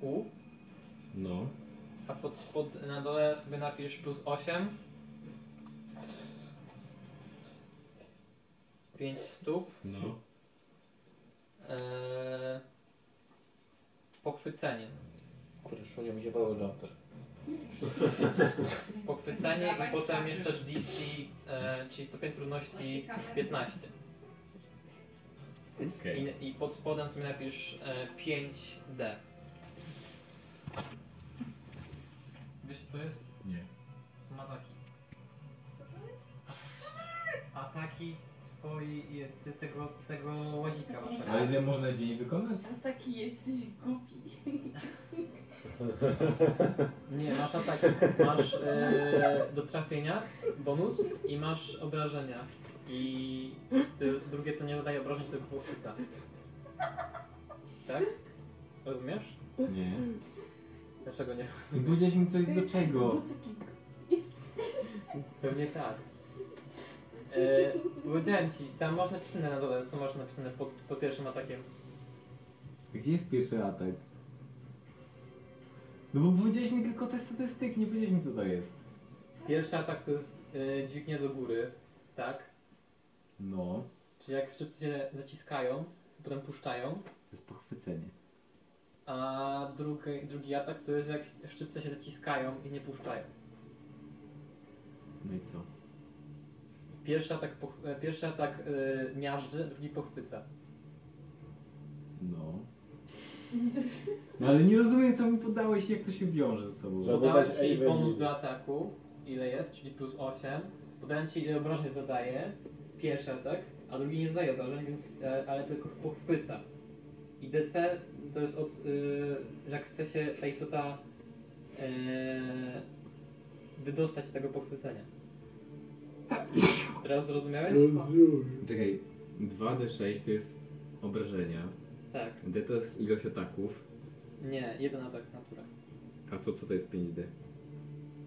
U, No. a pod spod na dole sobie napisz plus 8. 5 stóp. No. E, pochwycenie. Kurde, przypomniał mi się Paweł Jumper. Pochwycenie Dawaj, i potem tak. jeszcze DC, e, czyli stopień trudności 15. Okej. I, I pod spodem sobie napisz e, 5D. Wiesz co to jest? Nie. Są ataki. ataki swoi, ty, tego, tego łazika waszego. A Tak. ile można dzień wykonać? A taki jesteś głupi. Nie, masz ataki. Masz e, do trafienia bonus i masz obrażenia. I ty, drugie to nie dodaje obrażeń, tylko chłopica. Tak? Rozumiesz? Nie. Dlaczego nie? Powiedziałeś mi coś do czego? Pewnie tak. E, powiedziałem ci, tam masz napisane na dole, co masz napisane pod, pod pierwszym atakiem. Gdzie jest pierwszy atak? No bo powiedziałeś mi tylko te statystyki, nie powiedziałeś mi co to jest. Pierwszy atak to jest e, dźwignia do góry, tak? No, Czyli jak szczyt cię zaciskają, potem puszczają, to jest pochwycenie. a drugi, drugi atak to jest jak szczytce się zaciskają i nie puszczają. No i co? Pierwszy atak, poch- e, pierwszy atak e, miażdży, drugi pochwyca. No. No ale nie rozumiem co mi podałeś, jak to się wiąże ze sobą. Podałem ci bonus do ataku, ile jest, czyli plus 8. Podałem ci ile obrażeń zadaje, pierwszy atak, a drugi nie zdaje obrażeń, więc, e, ale tylko pochwyca. I DC to jest od, y, jak chce się ta istota e, wydostać z tego pochwycenia. Teraz zrozumiałeś? Czekaj, 2d6 to jest obrażenia, Tak. d to jest ilość ataków, Nie, jeden atak natura. a to co to jest 5d?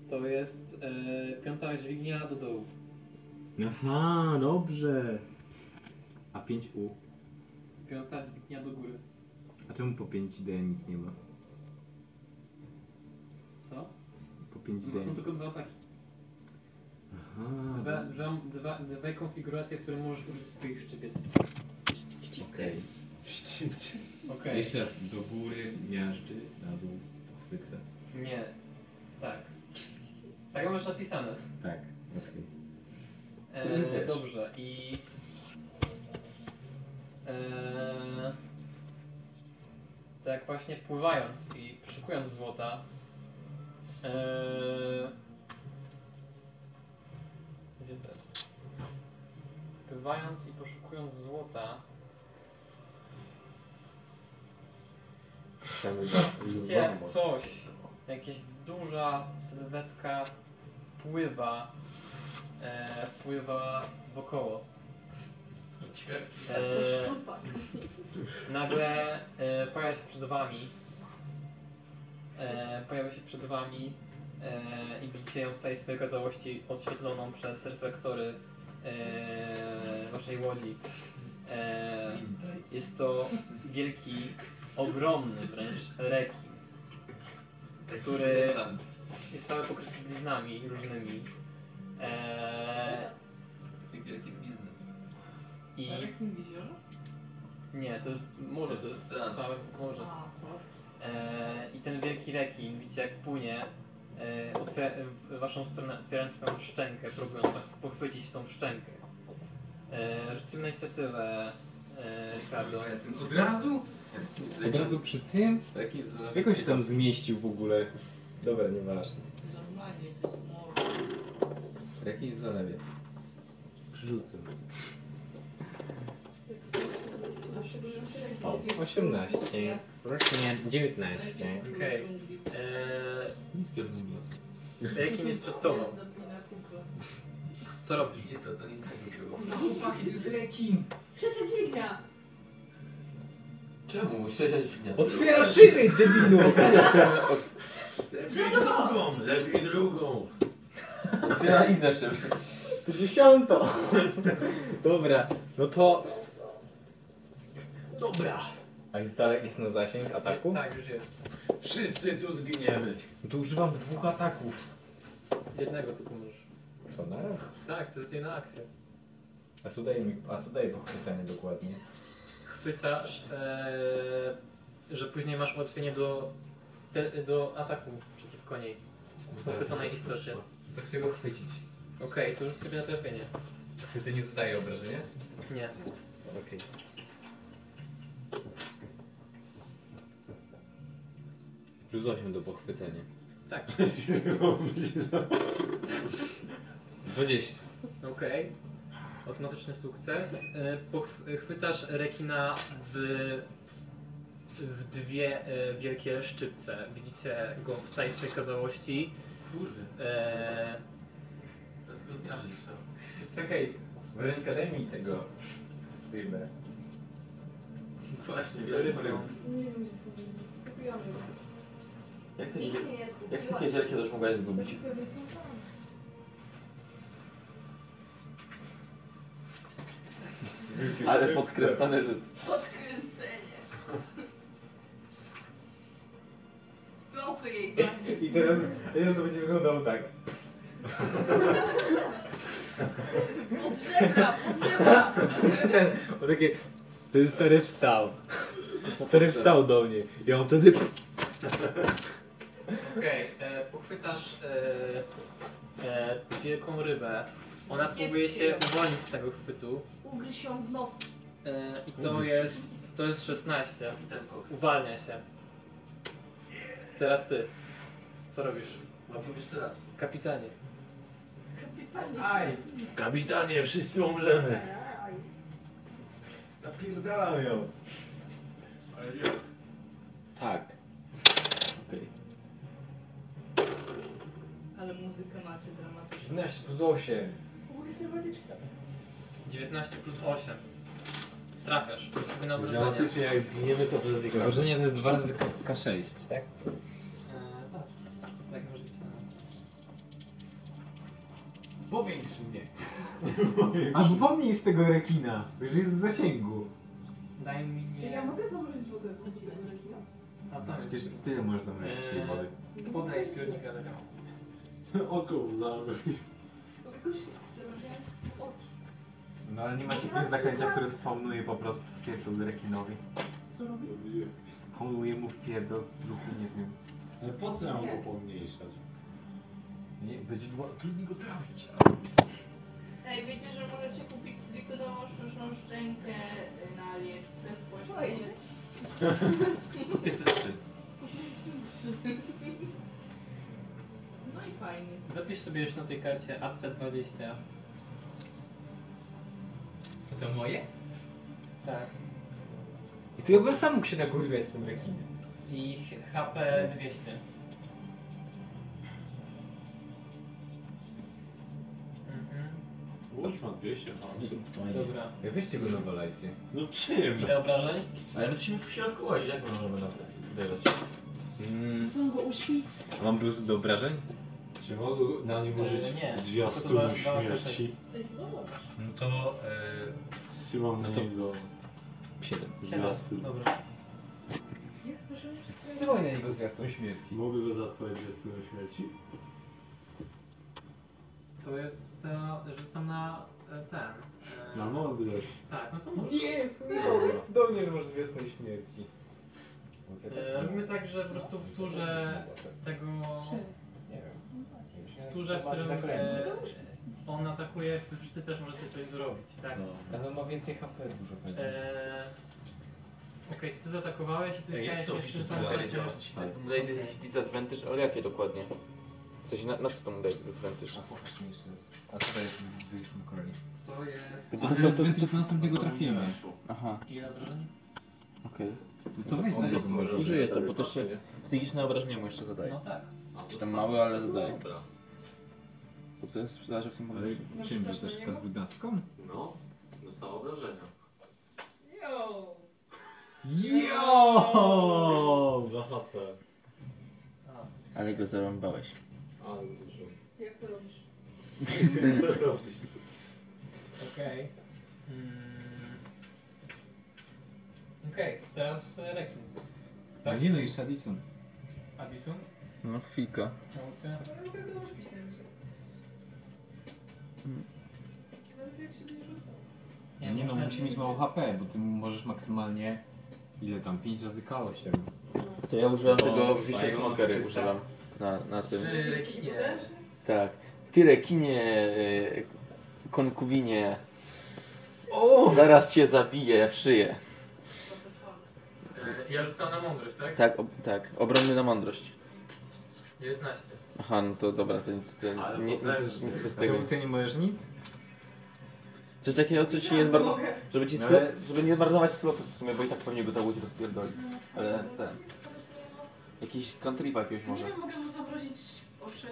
To jest e, piąta dźwignia do dołu. Aha, dobrze. A 5u? Piąta dźwignia do góry. A czemu po 5d nic nie ma? Co? Po To są 5d. tylko dwa ataki. Aha. No, Dwa, dwa, dwa, dwie konfiguracje, w których możesz użyć swoich szczypiec. Okej. Okej. Jeszcze raz, do góry, miażdży, na dół, pochwycę. Nie. Tak. Tak masz napisane. Tak, okej. E, dobrze i... E, tak właśnie pływając i szukując złota e, Gdzie to jest? Pływając i poszukując złota Widzicie coś, jakaś duża sylwetka pływa, e, pływa wokoło. E, nagle e, pojawia się przed wami, e, pojawia się przed wami e, i widzicie ją w całej swojej okazałości odświetloną przez reflektory e, waszej łodzi. E, jest to wielki, ogromny wręcz rekin, który jest cały pokryty bliznami różnymi. E, Wielki biznes. I Ale jak mi wizjerze? nie, to jest morze, to jest całe morze. A, sorry. E, I ten wielki rekin, widzicie jak płynie e, otwiera, w waszą stronę, otwierając swoją szczękę, próbując was pochwycić w tą szczękę. E, rzucimy na inicjatywę, e, Ricardo. Od razu? Od razu przy tym? Taki Jak on się tam zmieścił w ogóle? Dobra, nieważne. Normalnie to jest morze. Jaki w zalewie? Przerzucę. Jak sobie się wyobrażasz, jak O, jest- 18. Rocznie 19. Okej. Nic pewnego. E, rekin jest przed tobą. Jest zapina kupla. Co robisz? Nie, to, to nie tak było. No chłopaki, to jest rekin! Trzecia dźwignia! Czemu? Trzecia dźwignia. Otwiera szyby, debilu! Lepiej drugą! Lepiej drugą! Otwiera inne szyby. To dziesiąto! Dobra, no to... Dobra! A jest dalek jest na zasięg ataku? Tak, już jest. Wszyscy tu zginiemy. No to używam dwóch ataków. Jednego tylko możesz. Co, na raz? Tak, to jest jedna akcja. A co daje mi... A co daje pochwycenie dokładnie? Chwycasz, e, że później masz ułatwienie do, te, do ataku przeciwko niej. Pochwyconej istocie. Tak, To chcę go chwycić. Okej, to rzuć sobie na trafienie. Chwycenie zadaje obrażenia? Nie. Okej. Plus 8 do pochwycenia. Tak. 20. Okej. Automatyczny sukces. E, poch- Chwytasz rekina w, w dwie e, wielkie szczypce. Widzicie go w całej swojej kazałości. Kurde. E, Teraz go zmiażdżyć trzeba. Czekaj, Weronika, daj mi tego. Rybę. Właśnie, rybę. Nie wiem, gdzie sobie. Kupiłam ją. Jak ty, Nikt mnie nie jak zgubiła. takie wielkie też mogłaś zgubić? Zakupiłam ją sam tam. Ale podkręcony rzut. Podkręcenie. Spałkę jej bardziej. I teraz, teraz to będzie wyglądało tak. Pod żebra, pod żebra. Ten, o takie, ten stary wstał. Stary wstał do mnie. Ja on wtedy... Okej, e, pochwytasz e, e, wielką rybę. Ona próbuje się uwolnić z tego chwytu. Ugryź ją w nos. E, I to jest, to jest 16. Ten koks. Uwalnia się. Teraz ty. Co robisz? No, Łapiemy jeszcze raz. Kapitanie. Kapitanie. Aj! Kapitanie, wszyscy umrzemy. Aj. Napierdalam ją. Ale jak? Tak. Okej. Ale muzykę macie dramatyczną. 11 plus 8. Jest dramatyczna. 19 plus 8. Trafiasz. Rzuć sobie na obrażenia. Dramatycznie jak zginiemy to bez nikogo. Wrażenie to jest 2 razy K6, tak? E, tak. Tak może pisane. Powiększ mnie. Albo pomnij z tego rekina, że jest w zasięgu. Daj mi nie... Ja mogę zamrozić wodę do takiego rekina? A tak. No E, Eee. Przecież ty możesz zamrozić z tej wody. Podaj piórnika do domu. Oko zamknij. Jakoś zamrożenia z oczu. No ale nie macie jakiegoś zaklęcia, które spawnuje po prostu w pierdol rekinowi. Co robi? Spawnuje mu w pierdol w brzuchu, nie wiem. Ale po co ja mam go pomniejszać? Nie, będzie dwa, trudniej go trafić. Ej, wiecie, że możecie kupić silikonową sztuczną szczękę y, na AliExpress po Fajnie. 503. No i fajnie. Zapisz sobie jeszcze na tej karcie AC20. To moje? Tak. I to ja bym sam mógł się nakurwiać z tym rekinem. I HP 200. Mhm. Łódź ma 200 hamsów. Dobra. Ja weźcie go nawalajcie. No czym? Ile obrażeń? Ale my jesteśmy w środku łazi, jak możemy na to wybierać? Mm, Co go uśpić? a mam plus do obrażeń? Czy mogę na nim użyć E, nie. zwiastunu Tylko to dwa- dwa śmierci? No dobra. No to... Yy, Zsyłam na No to- niego 7. Siedem. zwiastun. Dobra. Zsyłaj na niego zwiastun śmierci. Mogę go zatkać zwiastunem śmierci? To jest ta... rzucam na e, ten. e, Na mądrość. Tak, no to może. Jest! Dobra, cudownie, że masz zwiastun śmierci. E, robimy tak, że po prostu w turze tego... Nie wiem. W turze, w którym Zaklęcie. e, on atakuje, wy wszyscy też możecie coś zrobić, tak? No. Ale on ma więcej HP, dużo będzie. E, Okej, to ty zaatakowałeś i ty Ej, chciałeś to mieć widzisz, rzucam to karcie. jest- Tak. Daj disadvantage, ale jakie dokładnie? W sensie, na, na co to mu daje disadvantage? A pokaż mi jeszcze raz. A tutaj jest Wisdom Crowley. To jest... To, to, to, to następnego trafienia. aha, Ile obrażeń? okej. No To weź na niego może. Użyję to, bo to się psychiczne obrażenie mu jeszcze zadaje. No tak. Jakieś tam małe, ale zadaje. Bo co jest zależy w tym momencie? No, czym rzucasz rzucasz na niego? dwunastką? No, dostała obrażenia. Jo. Jo! 2 HP. A, Ale go zarąbałeś. Ale dużo. Jak to robisz? Co robisz? Okej. Mm. Okej, teraz e, Rekin. Tak? Nie no, i Shadison. Addison? No chwilkę. Chaosy? Ale mogę Tak, go uśpić na razie. Nawet jak się nie rzucał. Nie no, musi mieć mało HP, bo ty możesz maksymalnie... Ile tam? 5 razy K8. To ja używam tego fajnie, Vicious Smokery, czysta. używam na, na tym. Ty, Rekinie. Tak. Ty rekinie, y, konkubinie. Zaraz cię zabiję w szyję. E, Ja rzucam na mądrość, tak? Tak, ob, tak. Obronny na mądrość. 19. Aha, no to dobra, to nic, to Ale nie, nic, potężny. nic z A to tego. ty nie możesz nic? Coś takiego, co ci nie zmarno... Żeby, ci No sklep... ale- żeby nie zmarnować sklepu w sumie, bo i tak pewnie go ta łódź rozpierdoli. Ale ten... Jakiś country jakiegoś Nie może. wiem, mogę mu zamrozić oczy.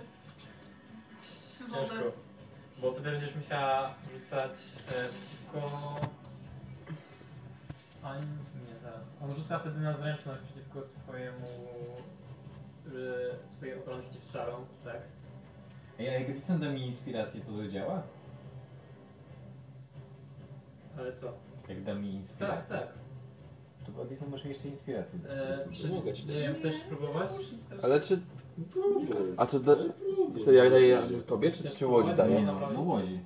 Wodę. Ciężko. Bo ty będziesz musiała rzucać e, przeciwko... Ani... nie, zaraz. On rzuca wtedy na zręczność przeciwko twojemu... E, twojej obronie przeciwczarom, tak? Ej, a jak Dyson da mi inspirację, to zadziała? Ale co? Jak da mi Tak, inspirację? tak. To od Dyson masz mi jeszcze inspirację. E, czy, Mogę ci nie wiem, chcesz spróbować? Ale czy... Próbuj. A to da... Wtedy jak daję tobie, czy, czy łodzi daje? No, No łodzi.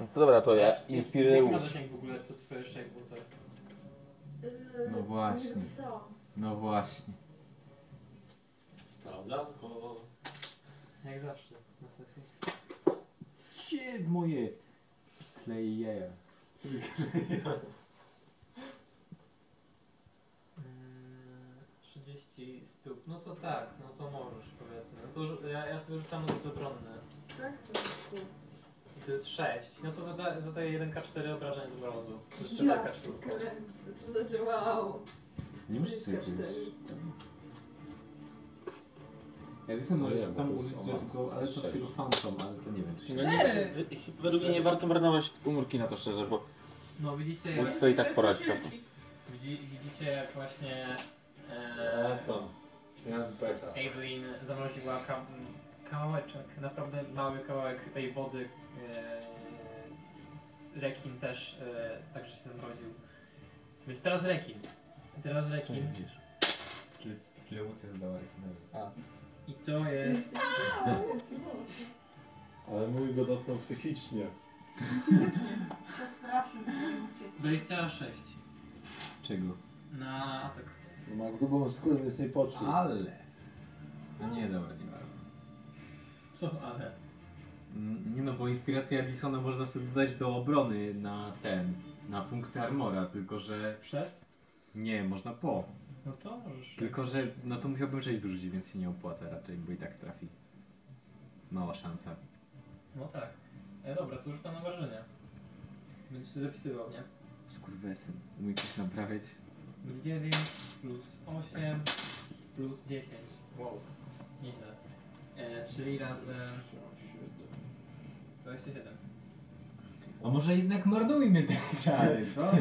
No to dobra, to ja inspiruję Jak ma łódź. zasięg w ogóle, to twoje szczegół, to... E, No właśnie. No właśnie. Sprawdzanko. Jak zawsze, na sesji. Shit, moje klej jaja. Mm, 30 stóp, no to tak, no to możesz powiedzmy. No to rzu- ja, ja sobie rzucam rzut obronny. Tak? I to jest 6. No to zada, zadaję 1k4 obrażeń z mrozu. To jeszcze Ja taka czwórka. kręcę, to zadziałało. Nie musisz Bliska tego cztery. powiedzieć. Ja Dyson No możesz nie, bo tam to jest użyć, o, żeby go, ale to sześć. tego fantom, ale to nie wiem, czy się... No nie, wy- według mnie nie warto marnować umórki na to szczerze, bo No widzicie jak, łódź sobie i tak poradzi. widzi, widzicie jak właśnie A e, to. Miałem pecha. Evelyn zamroziła ka- m, kawałeczek, naprawdę mały kawałek tej wody. E, rekin też e, także się zamroził. Więc teraz rekin. Teraz rekin. Tyle, tyle łódź zadała rekinowi. I to jest. Ale mój go dotknął psychicznie. 26 Czego? na atak. Ma grubą skórę, więc nie poczuł. Ale! No nie, dobra, nie warto. Co, ale. Mm, Nie no, bo inspirację Addisona można sobie dodać do obrony na ten, na punkty armora, tylko że... Przed? Nie, można po. No to możesz. Tylko że, no to musiałbym 6 wyrzucić, więc się nie opłaca raczej, bo i tak trafi. Mała szansa. No tak. E, dobra, to rzucam na wrażenie. Będziesz się zapisywał, nie? Skurwesyn, umie coś naprawiać? 9 plus 8 plus 10. Wow. Nieźle. E, czyli razem 27. A może jednak mordujmy te czary, co?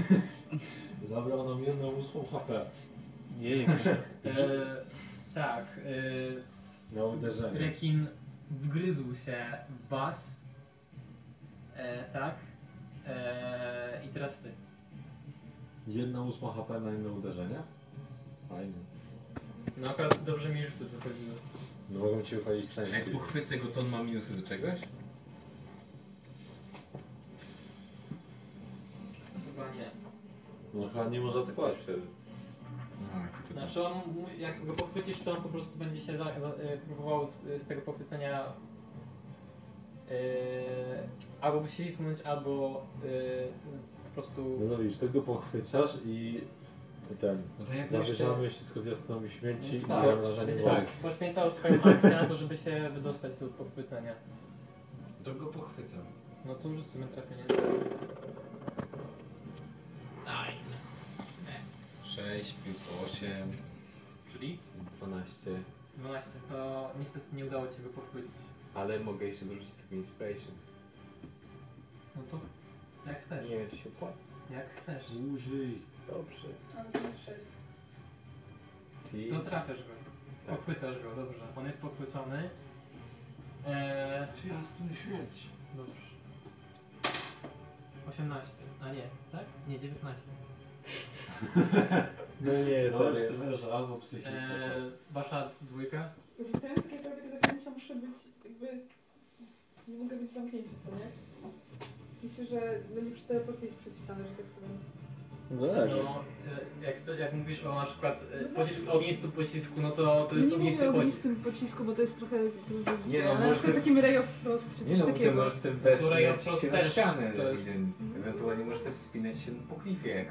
Zabrał nam jedną ósmą HP. Jej, E, tak. E, Miał uderzenie. Rekin wgryzł się w was. E, tak. E, I teraz ty. Jedna ósma HP na jedno uderzenie? Fajnie. No akurat dobrze mi rzuty wychodziły. No mogą ci wychodzić Jak częściej. uchwycę go, to on ma minusy do czegoś? Chyba nie. No chyba nie może atakować wtedy. No, Znaczy on, mu- jak go pochwycisz, to on po prostu będzie się za, za, e, próbował z, z tego pochwycenia e, albo wyślizgnąć, albo e, z, po prostu... No widzisz, tego pochwycasz i ten. No to jak jeszcze... Zabierzamy wszystko z jasnomi śmierci i Tak. zamrażanie Będzie tak. poś- poświęcał swoją akcję na to, żeby się wydostać z pochwycenia. To go pochwycam. No to rzucimy trafienie. Nice. 6 plus 8, Czyli? 12. 12. To niestety nie udało ci się go pochwycić. Ale mogę jeszcze dorzucić sobie inspiration. No to jak chcesz. Nie wiem, czy się opłaca. Jak chcesz. Użyj. Dobrze. Ale No, to jest sześć. Czyli... To trafiasz go. Tak. Pochwycasz go, dobrze. On jest pochwycony. Eee, Zwiastun śmierci. dobrze. 18. A nie, tak? Nie, 19. No nie, No sorry. już sobie raz o psychikę. Eee, wasza dwójka? Rzucając jakiekolwiek zaklęcia muszę być jakby... Nie mogę być zamknięcie, co nie? W sensie, że no nie przeteleportuję przez ścianę, że tak powiem. Tak. zależy. No, e, jak, chce- jak mówisz o na przykład e, pocisk, ognisty pocisku, no to to jest nie ognisty mówię o pocisk. ognisty pocisku, bo to jest trochę... Nie no, ale na może- przykład takim Ray of Frost czy coś Nie no, ty takiego. możesz sobie bez Która ja wprost się na też, ścianę. to jest- ewidentnie. Ewentualnie możesz sobie wspinać się po klifie, jak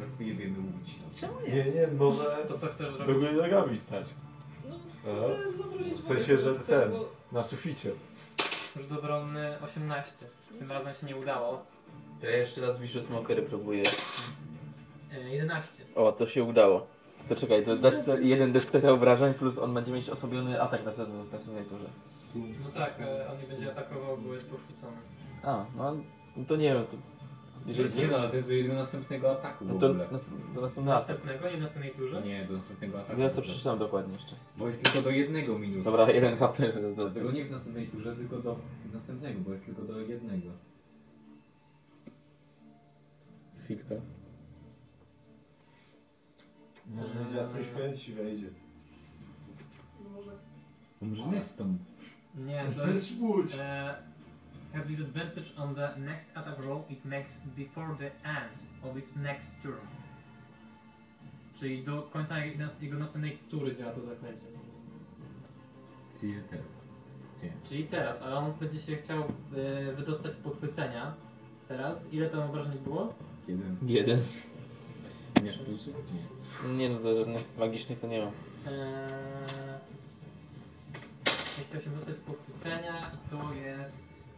rozbijemy łódź. Czemu nie? Nie, nie, może To co chcesz do zrobić? góry nogami stać. No, A? to jest wyobrazić W sensie, mogę, że co, ten. bo- Na suficie. Rzut obronny 18. Tym razem się nie udało. To ja jeszcze raz Vicious Mockery próbuję. E, 11. O, to się udało. To czekaj, to dasz 1d4 obrażeń plus on będzie mieć osłabiony atak na następnej na następnej turze. No tak, e, on nie będzie atakował, bo jest pochwycony. A, no to nie wiem, to... Nie no, to jest do jego następnego ataku No w to ogóle. nas- do następnego ataku. Następnego, nie następnej turze? Nie, do następnego ataku. Zaraz to przeczytam dokładnie jeszcze. Bo jest tylko do jednego minus. Dobra, jeden HP. do- do- Dlatego nie w następnej turze, tylko do następnego, bo jest tylko do jednego. Fik to. Może Zaraz śmierć i wejdzie. Może. Może nextą. Nie, to Bez jest... Zbudź! E, have disadvantage on the next attack roll it makes before the end of its next turn. Czyli do końca jego nas- jego następnej tury działa to zaklęcie. Czyli że teraz. Czyli teraz, ale on będzie się chciał e, wydostać z pochwycenia. Teraz, ile tam obrażeń było? Kiedy? Jeden. Miesz plusy? Nie. Nie no, to żadnych magicznych to nie ma. Eee, jak chciał się dostać z pochwycenia, to jest...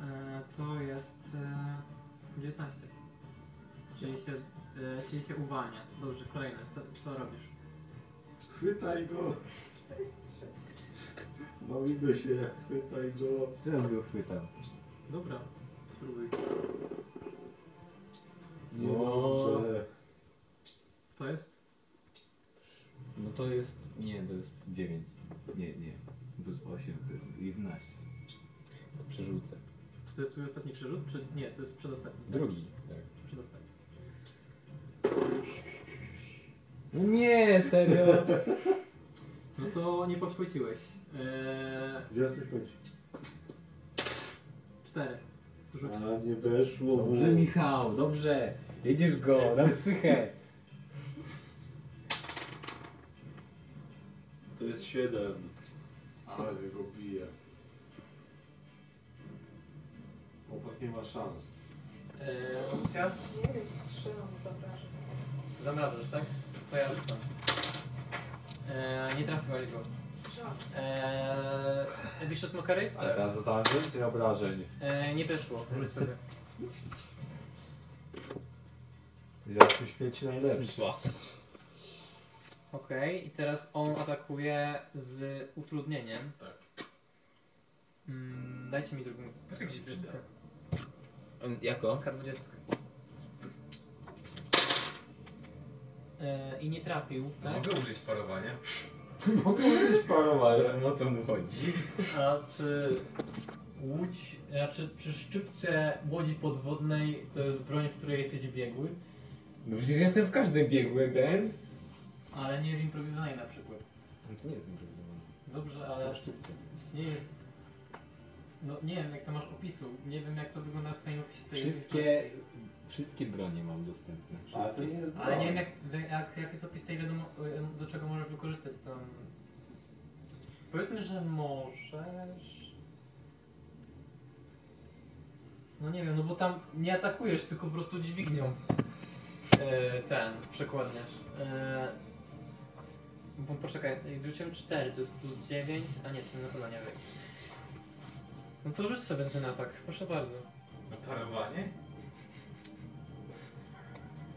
Eee, to jest... Eee, 19. Czyli się, e, czyli się uwalnia. Dobrze, kolejne. Co, co robisz? Chwytaj go! Bawimy się, chwytaj go. Teraz go chwytam. Dobra, spróbuj. Dobrze. To jest? No to jest. Nie, to jest 9. Nie, nie. Plus 8 to jest 11. Przerzucę. To jest twój ostatni przerzut? Czy nie, to jest przedostatni. tak? Drugi. Tak. Przedostatni. No nie, serio! No to nie podchwyciłeś. Eee, Zaraz mi kończy. cztery. Rzuć. A nie weszło. Dobrze, Michał, dobrze. Jedziesz go, na psychę. To jest 7. Ale go bije. Chłopak nie ma szans. Eee, opcja? Nie wiem, strzelam, zapraszam. Zamrażasz, tak? To ja rzucam. Eee, nie trafiłaś go. Strzelam. Eee, Wiesz smokery? Tak. Ja zadałem więcej obrażeń. Eee, nie weszło, rzuć sobie. Zaraz mi śmierć najlepszy. Okej, i teraz on atakuje z utrudnieniem. Tak. Mm, dajcie mi drugą Tak się przyda. Jako? K20. Eee, I nie trafił, tak? Mogę użyć parowania? Mogę użyć parowania. Ale o co mu chodzi? A czy łódź, raczej przy szczypce łodzi podwodnej to jest broń, w której jesteś biegły, No przecież jestem w każdym biegły, więc... ale nie w improwizowanej na przykład. No to nie jest improwizowane. Dobrze, ale nie jest... No nie wiem, jak to masz opisu. Nie wiem, jak to wygląda w twoim opisie. tej Wszystkie... Wszystkie bronie mam dostępne. Ale to nie jest Ale nie wiem, broń. jak, jak, jak jest opis tej wiadomo, y, do czego możesz wykorzystać tam. Powiedzmy, że możesz. No nie wiem, no bo tam nie atakujesz, tylko po prostu dźwignią e, ten przekładniesz. E, bo poczekaj, wrzuciłem 4, to jest plus 9, a nie, to na pewno nie wejdzie. No to rzuć sobie ten atak, proszę bardzo. Na parowanie?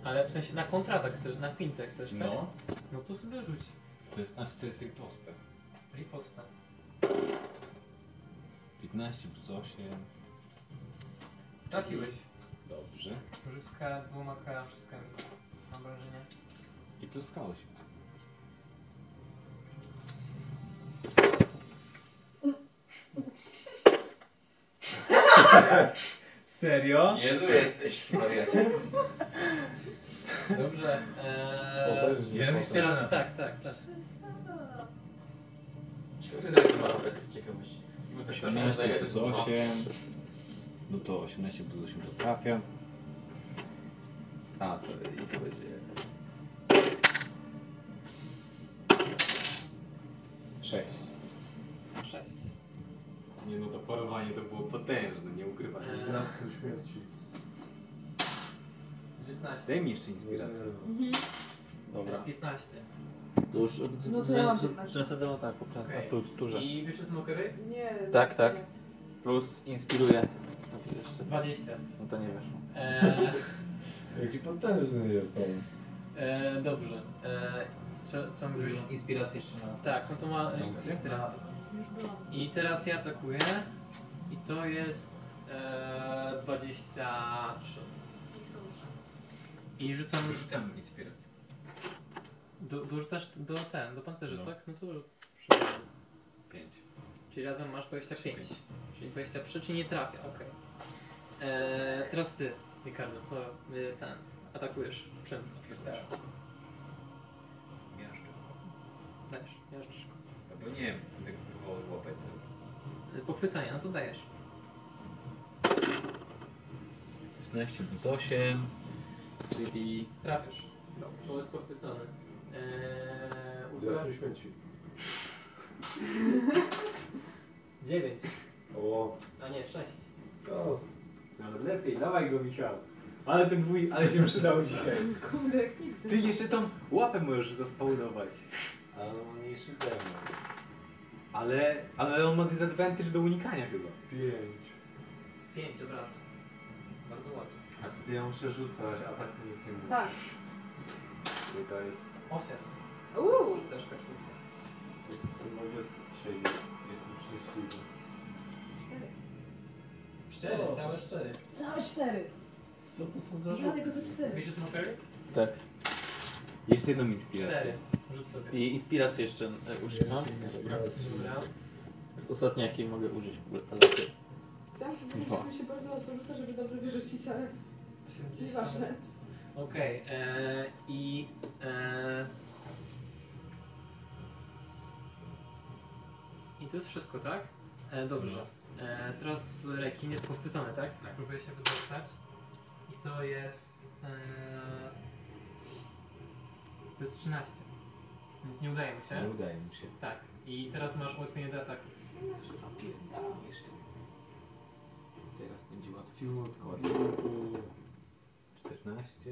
Ale w sensie na kontratak, chcesz, na fintech też, tak? No. No to sobie rzuć. To jest, znaczy to jest jak proste. Riposta. 15 plus 8. Trafiłeś. Dobrze. Rzucka dwoma K wszystkami. Mam wrażenie. I plus K8. Serio? Jezu jesteś, wariacie. Dobrze. Eee, Potężnie. Jest teraz tak, tak, tak. Ciekawe, jak to ma robić z ciekawości. Bo tak naprawdę 18 jak plus to jest- 8. No to 18 plus 8 to trafia. A, sorry, i to będzie... 6. Sześć. Nie no, to parowanie to było potężne, nie ukrywam. Eee, Raz tu śmierci. 19. Daj mi jeszcze inspirację. Dobra. 15. To już... No to ja mam Przy następnym ataku, przy Okej. następnej turze. I wyszedł z mokery? Nie. Tak, tak. nie. Plus inspiruje. Tak jeszcze. 20. No to nie weszło. Eee, Jaki potężny jest no. on. eee, dobrze. Eee, co, co mówisz? Inspirację jeszcze na... Tak, no to ma Opcję? inspirację. Już byłam. I teraz ja atakuję. I to jest eee, 23. Niech to już. I rzucam. Rzucam inspirację. Do, dorzucasz do ten, do pancerza, No. tak? No to przy- 5. Czyli razem masz 25. Czyli 23, czyli nie trafia, okej. Eee, teraz ty, Ricardo, co y, ten, atakujesz? Czym atakujesz? Miażdżę. Dajesz, miażdżesz. go. Albo nie wiem, będę go próbował złapać za Y, Pochwycanie, no to dajesz. 16 plus 8, czyli Trafiasz. Dobrze. Bo jest pochwycony. Eee, Zresztą śmieci. 9, O, a nie 6. to Nawet lepiej, dawaj go Michał. Ale ten dwój, ale się przydał dzisiaj. Kurde, jak nigdy. Ty jeszcze tą łapę możesz zaspawnować. ale ma mniejszy demon. Ale, ale on ma disadvantage do unikania chyba. 5. 5 obrażeń. Bardzo ładnie. A wtedy ja muszę rzucać, a tak to nic nie mówi. Tak. I to jest... 8. Uuu. Rzucasz kaczkę. Jak sobie mogę siedzieć, jestem szczęśliwy. Cztery. 4, całe 4. Całe cztery. Co to są za Ja tego za cztery. Wiesz, że to Tak. jeszcze jedną inspirację. 4. Rzuć sobie. I inspirację jeszcze e, używam. Dobra. To jest ostatnia, jakiej mogę użyć w ogóle. Ale... Chciałam powiedzieć, Dwa. że mi się bardzo łatwo rzuca, żeby dobrze wyrzucić, ale nieważne. Okej, e, i. E, I to jest wszystko, tak? E, dobrze. E, teraz rekin jest pochwycony, tak? tak? Próbuje się wydostać. I to jest. E, to jest 13. Więc nie udaje mu się. Nie udaje mi się. Tak. I teraz masz ułatwienie do ataku. Teraz będzie łatwiutko, łatwiutko. 14.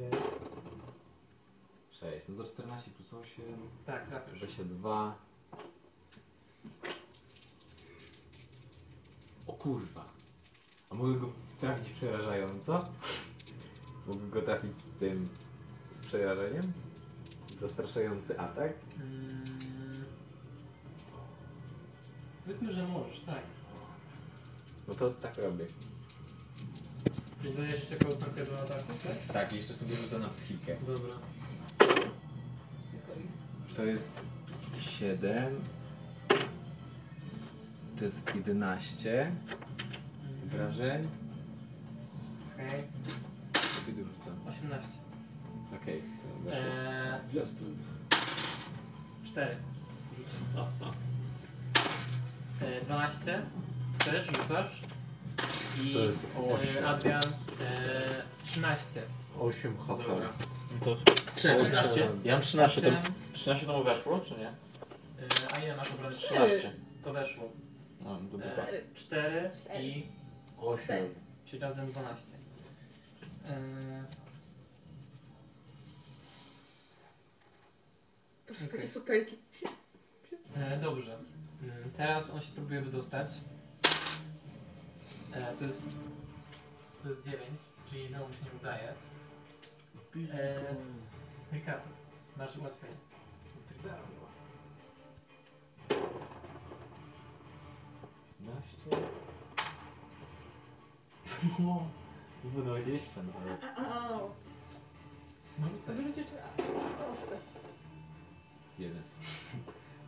6. No to 14 plus 8. Tak, trafisz. 22. O kurwa. A mogę go trafić przerażająco? Mogę go trafić tym z przerażeniem? Zastraszający atak? Mm, powiedzmy, że możesz, tak. No to tak robię. Czyli dodajesz jeszcze kostkę do ataku, tak? Tak, jeszcze sobie rzucę na psychikę. Dobra. To jest 7. To jest 11 wrażeń. Okej. Kiedy rzucam? 18. Okej, to weszło. Eee, Zwiastun. 4. Eee, 12. Też rzucasz. I To jest eee, osiem. Adrian eee, 13. 8 HP. Dobra. No to... 13? Ja mam 13. To... 13 to mu weszło, czy nie? Eee, a ile masz obrażeń? 13. To weszło. No, to bez tak. Eee, 4 Cztery. i 8. Czyli razem 12. Eee, Po prostu Okej. takie superki. E, dobrze. Mm, Teraz on się próbuje wydostać. E, to jest. To jest 9, czyli znowu mu się nie udaje. E, Ricardo, masz ułatwienie. No, 20 nawet. Au. No To wyrzuć jeszcze raz. Proste. Jeden.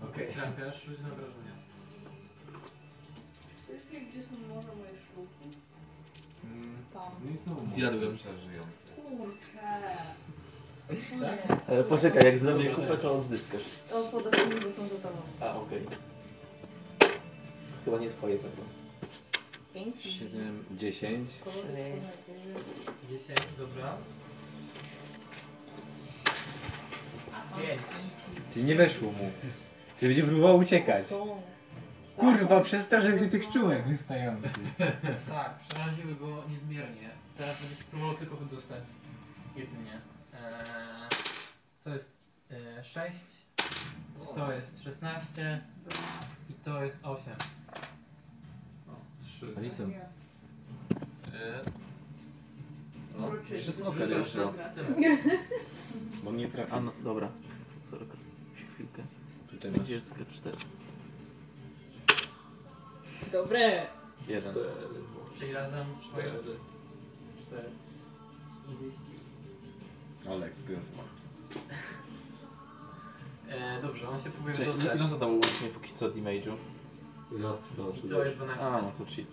Okej, trafiasz, rzuć na wrażenie. Wiesz, gdzie są może moje szluki? Mm. Tam. Zjadłem. Kurczę. E, poczekaj, jak zrobię kupę, to odzyskasz. O, podobnie, bo są do tobą. A, okej. Chyba nie twoje za to. Pięć. 7, 10. Kolory, 10, dobra. 5. Czyli nie weszło mu. Czyli będzie próbował uciekać. Są. Kurwa, przestraszył się tych czułek wystających. Tak, przeraziły go niezmiernie. Teraz będzie spróbował tylko wydostać. Jedynie. Eee, to jest e, 6, to jest 16 i to jest 8. 3. Alison, się. No, Wróciłem. jeszcze smoka Wróciłem doszło. na grę. Bo mnie trafi. A no, dobra. Sorka. Chwilkę. Tutaj 44. Dobre! Jeden. Czyli razem z twoim... Cztery. Ale jak zdjąłem smak. E, dobrze, on się próbuje Czekaj, dostać. ile zadało łącznie póki co damage'u? Raz, dwa, I to jest 12. A, no to cheat.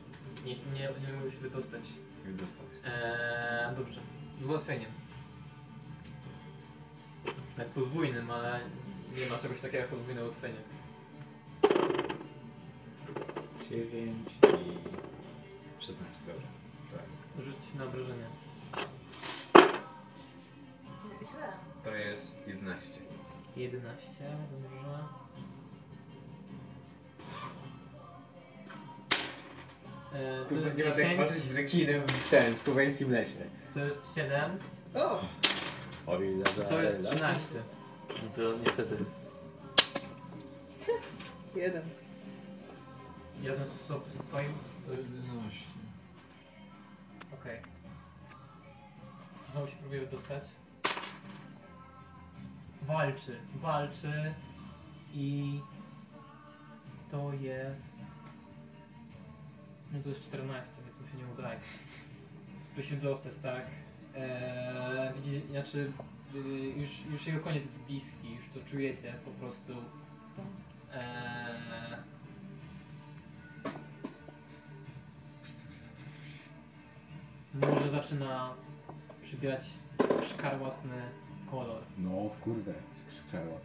Nie, nie, nie mogę się wydostać. Jak dostał. Eee, dobrze. Z ułatwieniem. Nawet podwójnym, ale nie ma czegoś takiego jak podwójne ułatwienie. 9 i 16, dobrze. Tak. Rzuć na obrażenie. Źle. To jest 11. 11, dobrze. Eee, to jest Nie ma tak patrzeć 10, z rekinem w ten, w słowiańskim lesie. to jest 7, O! O ile za Tak, to jest za- 13. No to niestety. Jeden. Ja za to stoim. To jest 11. Okej. Znowu się próbuję wydostać. Walczy, walczy i to jest. No to jest 14, więc mi się nie udaje. By się dostać, tak. Eee, widzicie, znaczy yy, już, już jego koniec jest bliski, już to czujecie po prostu. Eee, może zaczyna przybierać szkarłatny kolor. No, w kurwę, skrzyczało.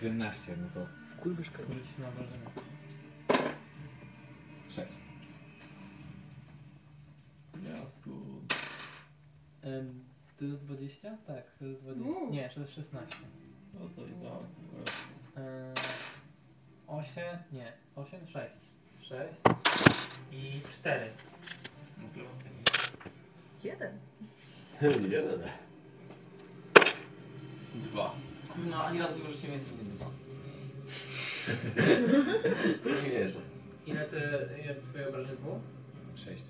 17, no to Rzuć na wrażenie. 6. Em, To jest 20? Tak, to jest 20. Uuu. Nie, to jest 16. No to i tak. Eee, 8, nie, 8, 6. 6 i 4. Jeden. Jeden. Dwa. Kurna, ani razu nie możecie więcej niż dwa. Nie wierzę. Ile ty, ile twoje obrażenie było? 6.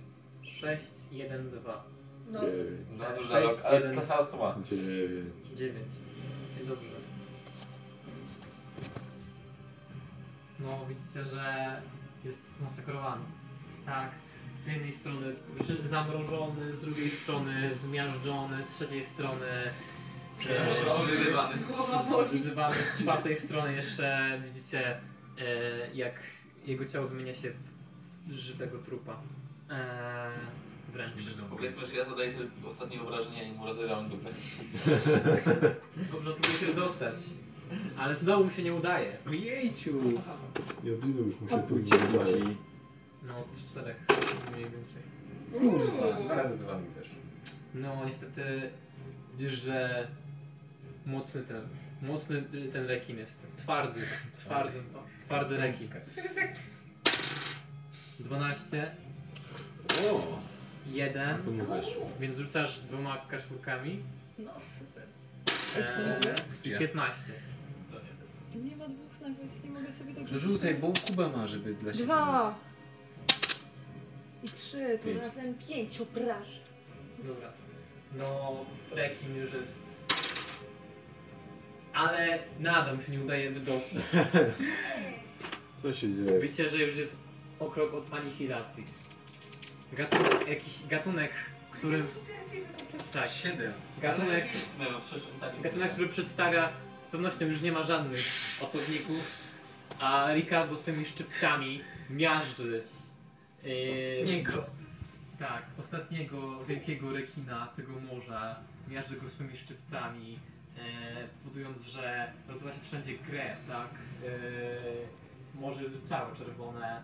6, 1, 2. No. Dziewięć. No Sześć, duża rok, ale jeden. ta sama suma. Dziewięć. 9. Dobrze. No, widzicie, że jest zmasakrowany. Tak. Z jednej strony przy- zamrożony, z drugiej strony zmiażdżony, z trzeciej strony e, Wyzywany. Głowa z- boli. wyzywany, z czwartej strony jeszcze widzicie e, jak jego ciało zmienia się w żywego trupa. E, wręcz. Powiedzmy, że ja zadaję te ostatnie obrażenia i mu rozerwam dupę. Dobrze, próbuję się dostać, ale znowu mu się nie udaje. Ojejciu! Jedyny już mu się tu nie udaje. No, od czterech mniej więcej. Kurwa, dwa razy dwa mi weszło. No, niestety widzisz, że mocny ten, mocny ten rekin jest. Twardy, twardy, tak. twardy rekin. 12, O, No 1, to mu weszło. więc rzucasz dwoma kaszurkami. No super. I 15. To jest. Nie ma dwóch nawet, nie mogę sobie No tak Rzucaj, bo Kuba ma, żeby dla siebie. Dwa. I trzy, tu Pięć. razem pięć obrażeń. Dobra. No, rekin już jest. Ale nadal mu się nie udaje wydostać. Co się dzieje? Widzicie, że już jest o krok od anihilacji. Gatunek, jakiś gatunek, który... Tak, Siedem. gatunek, No, przecież on tak nie gatunek, który przedstawia, z pewnością już nie ma żadnych osobników, a Ricardo swoimi szczypcami miażdży. Yy, Niego. Tak, ostatniego wielkiego rekina tego morza, miażdży go swoimi szczypcami, e, powodując, że rozlewa się wszędzie krew, tak? E, morze jest całe czerwone,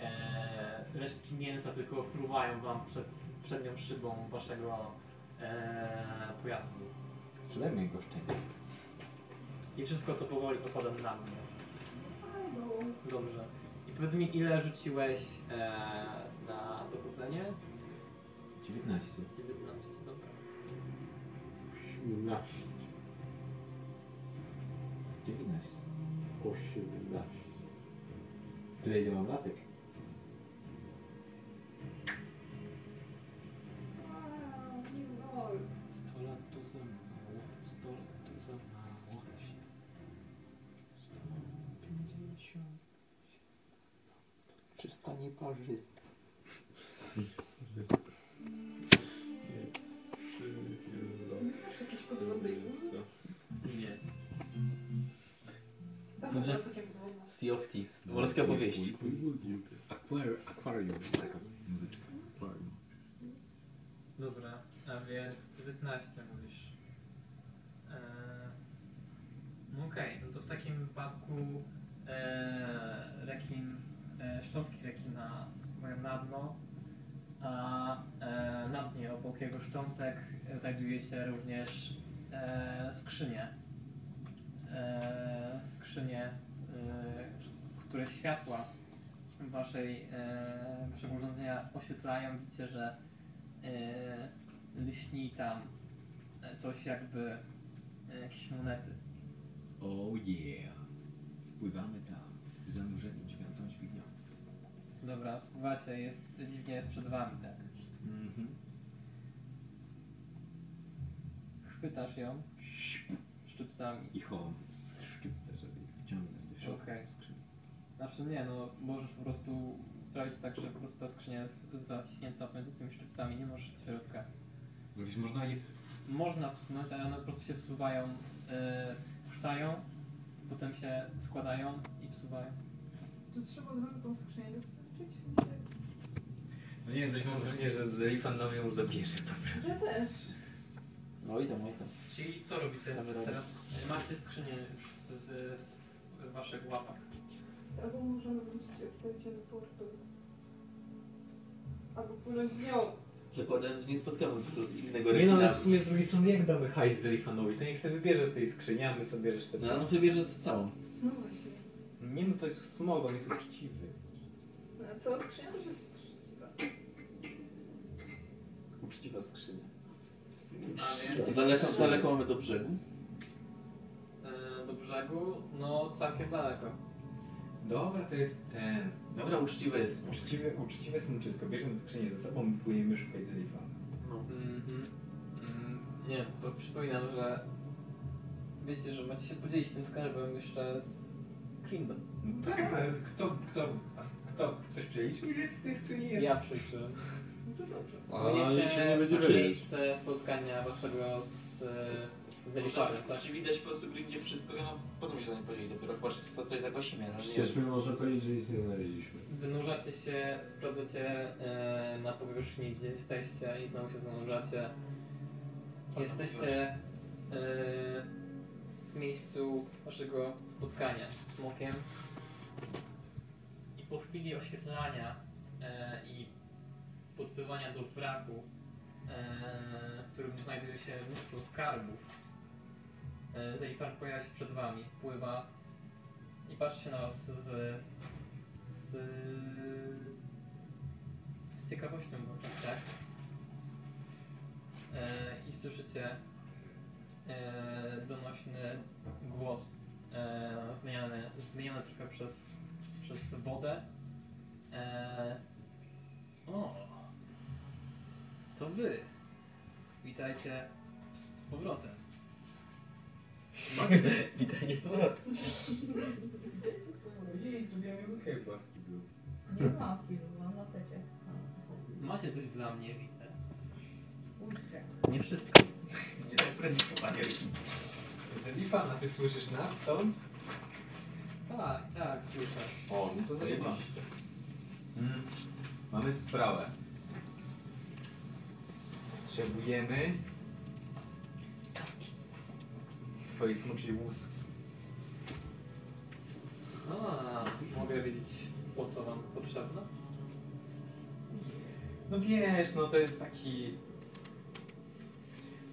e, resztki mięsa tylko fruwają wam przed przednią szybą waszego e, pojazdu. Sprzedaj mi go szczęście. I wszystko to powoli opada na mnie. Dobrze. I powiedz mi, ile rzuciłeś e, na dobudzenie? 19. 19, dobra. 18, 19. 18. Tyle ile mam latek. Czysta nieparzysta. Nie. Dobrze. Sea of Thieves. No, Morskie pój, opowieści. pój, Aquarium, aquarium jest taka muzyczka. Aquarium. Dobra, a więc 19 mówisz. Eee, no okej, no to w takim wypadku eee, rekin, eee, szczątki rekina spływają na dno, a eee, na dnie obok jego szczątek znajduje się również eee, skrzynie. Eee, skrzynie, eee, które światła waszej e, waszego urządzenia oświetlają. Widzicie, że e, lśni tam e, coś jakby e, jakieś monety. Oh yeah. Spływamy tam. Zanurzeni dźwięką dźwignią. Dobra, słuchajcie, jest dziwnie jest przed wami, tak? Mhm. Chwytasz ją szczypcami. I home. Szczypce, żeby ich wciągnąć do środka. Okej. Znaczy nie, no możesz po prostu sprawić tak, że po prostu ta skrzynia jest zaciśnięta pomiędzy tymi szczypcami, nie możesz do środka. Gdzieś można je Można wsunąć, ale one po prostu się wsuwają, yy, puszczają, potem się składają i wsuwają. Czy trzeba od razu tą skrzynię dostarczyć? No nie wiem, coś mam wrażenie, że Zelifan nam ją zabierze po prostu. Ja też. No idę, no idę. Czyli co robicie Dobra, dobra. teraz? Macie skrzynię już z, w waszych łapach. Albo możemy wrócić stawić ją do portu. Albo płynąć z nią. Zakładając, że nie spotkamy innego Nie no, ale rekina. w sumie z drugiej strony jak damy hajs Zelifanowi, to niech sobie bierze z tej skrzyni, a my sobie resztę... No, on sobie bierze z całą. No właśnie. Nie no, to jest smog, on jest uczciwy. No, A cała skrzynia też jest uczciwa. Uczciwa skrzynia. A więc- Daleko, daleko mamy do brzegu. E, do brzegu, no całkiem daleko. Dobra, to jest ten. Dobra, uczciwe jest. Uczciwe, uczciwe smuczysko. Bierzemy skrzynię ze sobą i płyniemy szukać Zelifana. Mhm. Mm, nie wiem, to przypominam, że wiecie, że macie się podzielić tym skarbem jeszcze z Krimdon. No tak, ale kto, kto, a kto, ktoś przeliczył ile w tej skrzyni jest? Ja przeliczyłem. No to dobrze. Płynie się nie będzie na wiedzieć. miejsce spotkania waszego z, e, z Elifarem, tak? Właściwie widać po prostu gry, gdzie wszystko, no potem się za nie podzieli dopiero, chyba że coś zagłosimy, no Przecież my można powiedzieć, że nic nie znaleźliśmy. Wynurzacie się, sprawdzacie e, na powierzchni, gdzie jesteście i znowu się zanurzacie. Jesteście e, w miejscu waszego spotkania z smokiem. I po chwili oświetlania e, i podpływania do wraku, e, w którym znajduje się mnóstwo skarbów, e, Zeifar pojawia się przed wami, wpływa i patrzy się na was z z, z ciekawością w oczach, tak? E, I słyszycie e, donośny głos e, zmieniany, zmieniony trochę przez, przez wodę. E, o, to wy. Witajcie z powrotem. Witajcie z powrotem. Jej, zrobiłem jego chyba. Nie ma pilu, mam łapecie. Macie coś dla mnie, widzę. Puszczę. Nie wszystko. Nie zaprezentowali. Zelifana, ty słyszysz nas stąd? Tak, tak, słyszę. O, no to zajebiście. Mm. Mamy sprawę. Potrzebujemy... Kaski. Twojej smuczej łuski. A, mogę wiedzieć, po co wam potrzebne? No wiesz, no to jest taki...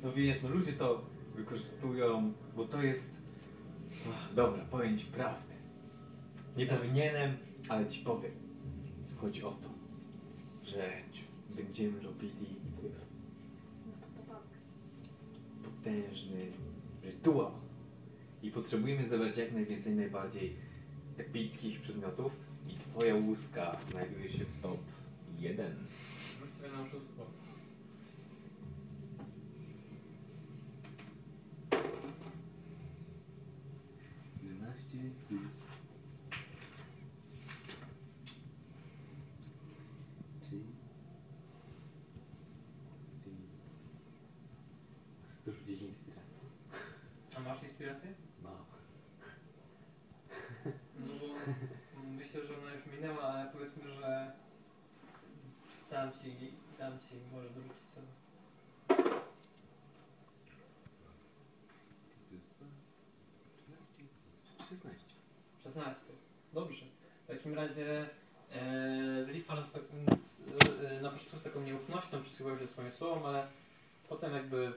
No wiesz, no ludzie to wykorzystują, bo to jest... Ach, dobra, powiem ci prawdę. Nie powinienem, ale ci powiem. Chodzi o to, że będziemy robili potężny rytuał. I potrzebujemy zebrać jak najwięcej najbardziej epickich przedmiotów. I twoja łuska znajduje się w top 1. Rzuć sobie na oszustwo. To już gdzieś inspiracja. A masz inspirację? No. No bo myślę, że ona już minęła, ale powiedzmy, że dam ci, dam ci, może dorzucić sobie. Przyznajcie. 16. Dobrze. W takim razie e, Zlipar z takim, z, e, na początku z taką nieufnością przysłuchiwał się swoim słowom, ale potem jakby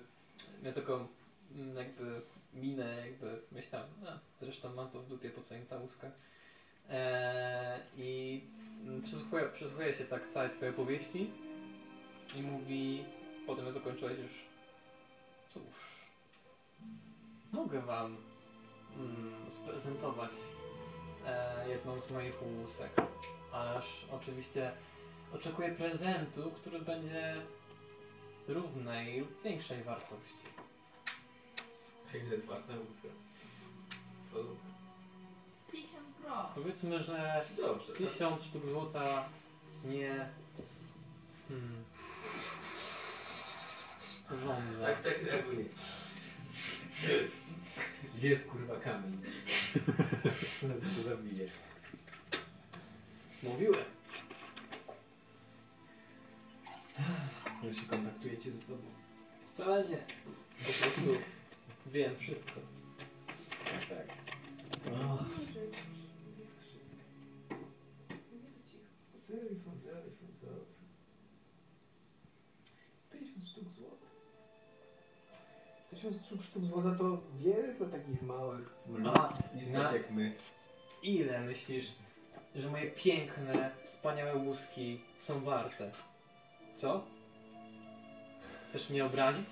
miał taką mm, jakby minę, jakby myślał, a, zresztą mam to w dupie, po co im ta łuska. E, I mm, przysłuchuje, przysłuchuje się tak całej twojej opowieści i mówi, potem jak zakończyłeś już, cóż, mogę wam mm, sprezentować e, jedną z moich łusek. Ależ oczywiście oczekuję prezentu, który będzie równej lub większej wartości. A ile jest warta łuska? To 50 groszy. Powiedzmy, że Dobrze, tak. 1000 sztuk złota nie hmm, żądza. Tak, tak, tak, nie. Gdzie jest kurwa kamień? Zaraz go zabiję. Mówiłem. Że No się kontaktujecie ze sobą. Wcale nie. Po prostu wiem wszystko. Tak, tak. Zerifon, zerifon, zerifon. 50 sztuk złota. 1000 sztuk, sztuk złota to wiele dla takich małych. No. A, Istot na- jak my. Ile myślisz, że moje piękne, wspaniałe łuski są warte? Co? Chcesz mnie obrazić?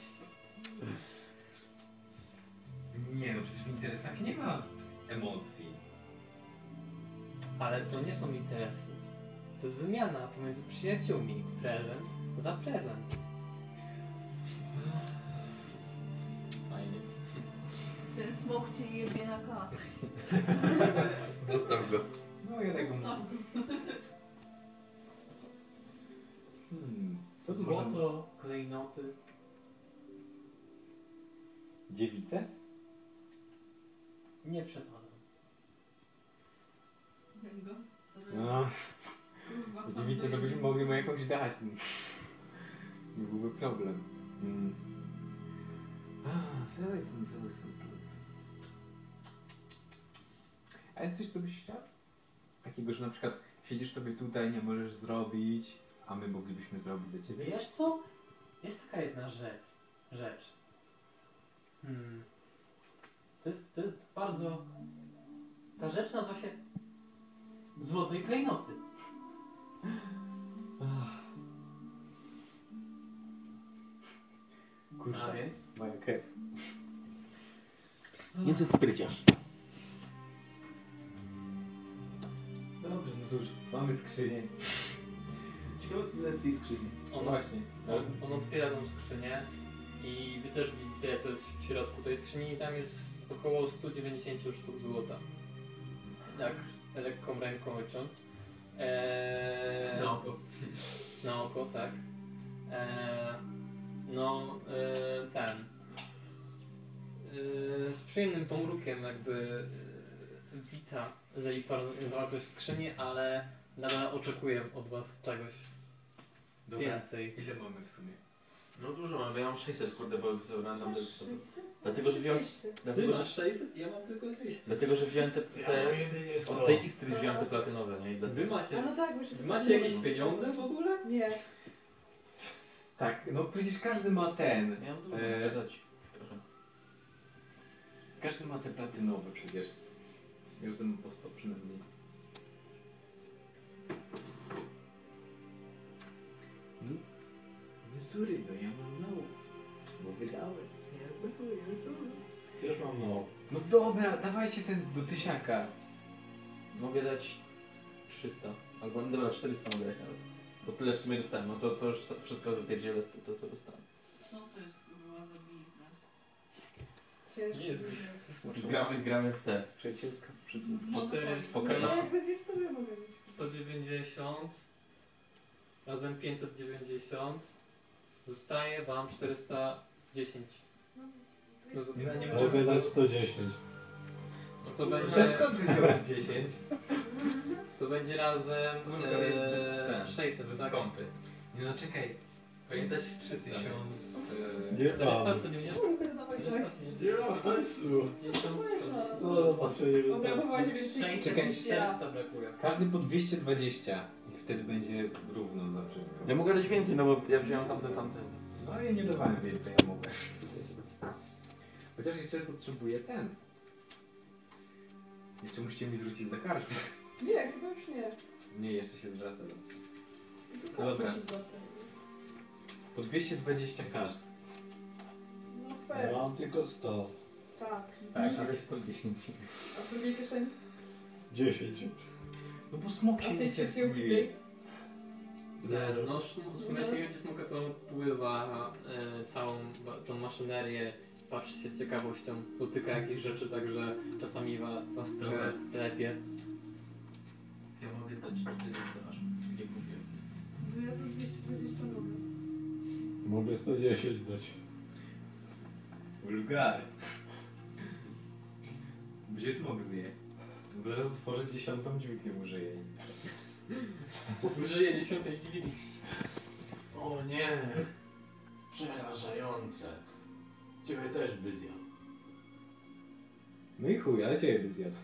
Nie no, przecież w interesach nie ma emocji. Ale to nie są interesy. To jest wymiana pomiędzy przyjaciółmi. Prezent za prezent. Fajnie. Ten smok cię jebie na kasę. Zostaw go. No ja tak mam. Hmm, co tu można- Złoto, klejnoty. Dziewice? Nie przepadam. Tego? Co to No. Kurwa, Dziewice to byśmy mogli mu jakąś dać. Nie byłby problem. Mm. A, telefon, telefon, telefon. A jest coś, co byś chciał? Takiego, że na przykład siedzisz sobie tutaj, nie możesz zrobić, a my moglibyśmy zrobić za ciebie. Wiesz co? Jest taka jedna rzecz. Rzecz. Hmm. To jest, to jest bardzo... Ta rzecz nazywa się Złoto i klejnoty. Kurwa, A więc? moja krew. Nieco spryciarz. Dobrze, no cóż, mamy skrzynię. Ciekawe tyle z tej skrzyni. On, właśnie. On, on otwiera tą skrzynię i wy też widzicie, co jest w środku tej skrzyni i tam jest około 190 sztuk złota. Tak, lekką ręką ojcząc. Eee, No. Na oko. Na oko, tak. Eee, no, eee, ten. Eee, z przyjemnym pomrukiem jakby eee, wita Zelipar zawartość skrzyni, ale nadal oczekuję od was czegoś Dobra. więcej. Ile mamy w sumie? No dużo mam, bo ja mam 600, kurde, bo zabrałem tam... Masz 600? Dlatego, że wziąłem... 200. Dlatego, że... 600, ja mam tylko 200. Dlatego, że wziąłem te... Ja te... mam jedynie 100. Od tej istry wziąłem te platynowe, nie? I dlatego... Wy macie, A no tak, bo się wy tak macie nie jakieś ma. pieniądze w ogóle? Nie. Tak, no przecież każdy ma ten. Ja mam dużo E, zgadzać. Trochę. każdy ma te platynowe przecież. Każdy ma po 100 przynajmniej. No, no sorry, no ja mam mało. Bo wydałem. Też mam mało. No dobra, dawajcie ten do tysiaka. Mogę dać 300. Albo, no dobra, 400 mogę dać nawet. Bo tyle w sumie dostałem, no to, to już wszystko wypierdzielę, to, to co dostałem. Co to jest kurwa za biznes? Ciężko. Nie jest Gramy, gramy w te. Przyjacielska No, przysłówka. Cztery Pokemon. No jakby dwie stówy mogę mieć. 190 razem 590 zostaje wam 410. No No to nie Mogę dać 110. No to będzie... skąd ty wziąłeś 10? To będzie razem Kurka, jest e, ten, 600, zbyt tak? skąpy. Nie no, czekaj. Pamiętać z 300 tysiąc... e, Nie 400, mam. 190? Nie mam hajsu. To zobaczenie Obradowała się więcej niż Czekaj, ja. 400 brakuje. Każdy po 220 i wtedy będzie równo za wszystko. Ja mogę dać więcej, no bo ja wziąłem tamte, tamte. No ja nie dawałem więcej, ja mogę. Chociaż jeszcze potrzebuję ten. Jeszcze musicie mi zwrócić za karczmę. Nie, chyba już nie. Nie, jeszcze się zwraca. I tu No dobra. kartę się zwraca. Po 220 każdy. No fair. Mam tylko 100. Tak. Tak, żebyś 110. A w drugiej kieszeni? 10. No bo smok A tej trzeciej ubitej? E, No, sz- w sumie jeśli chodzi smoka, to pływa e, całą ba- tą maszynerię, patrzy się z ciekawością, dotyka jakichś rzeczy, także czasami wa, was trochę telepie. Ja mogę dać 400, aż nie kupię. No ja za 220 mogę. Mogę 110 dać. Wulgary. Gdzie smok zje? Bo Zaraz otworzę dziesiątą dźwignię użyję. Użyję dziesiątej dźwigni. O nie. Przerażające. Ciebie też by zjadł. No i chuj, ale ciebie zjadł.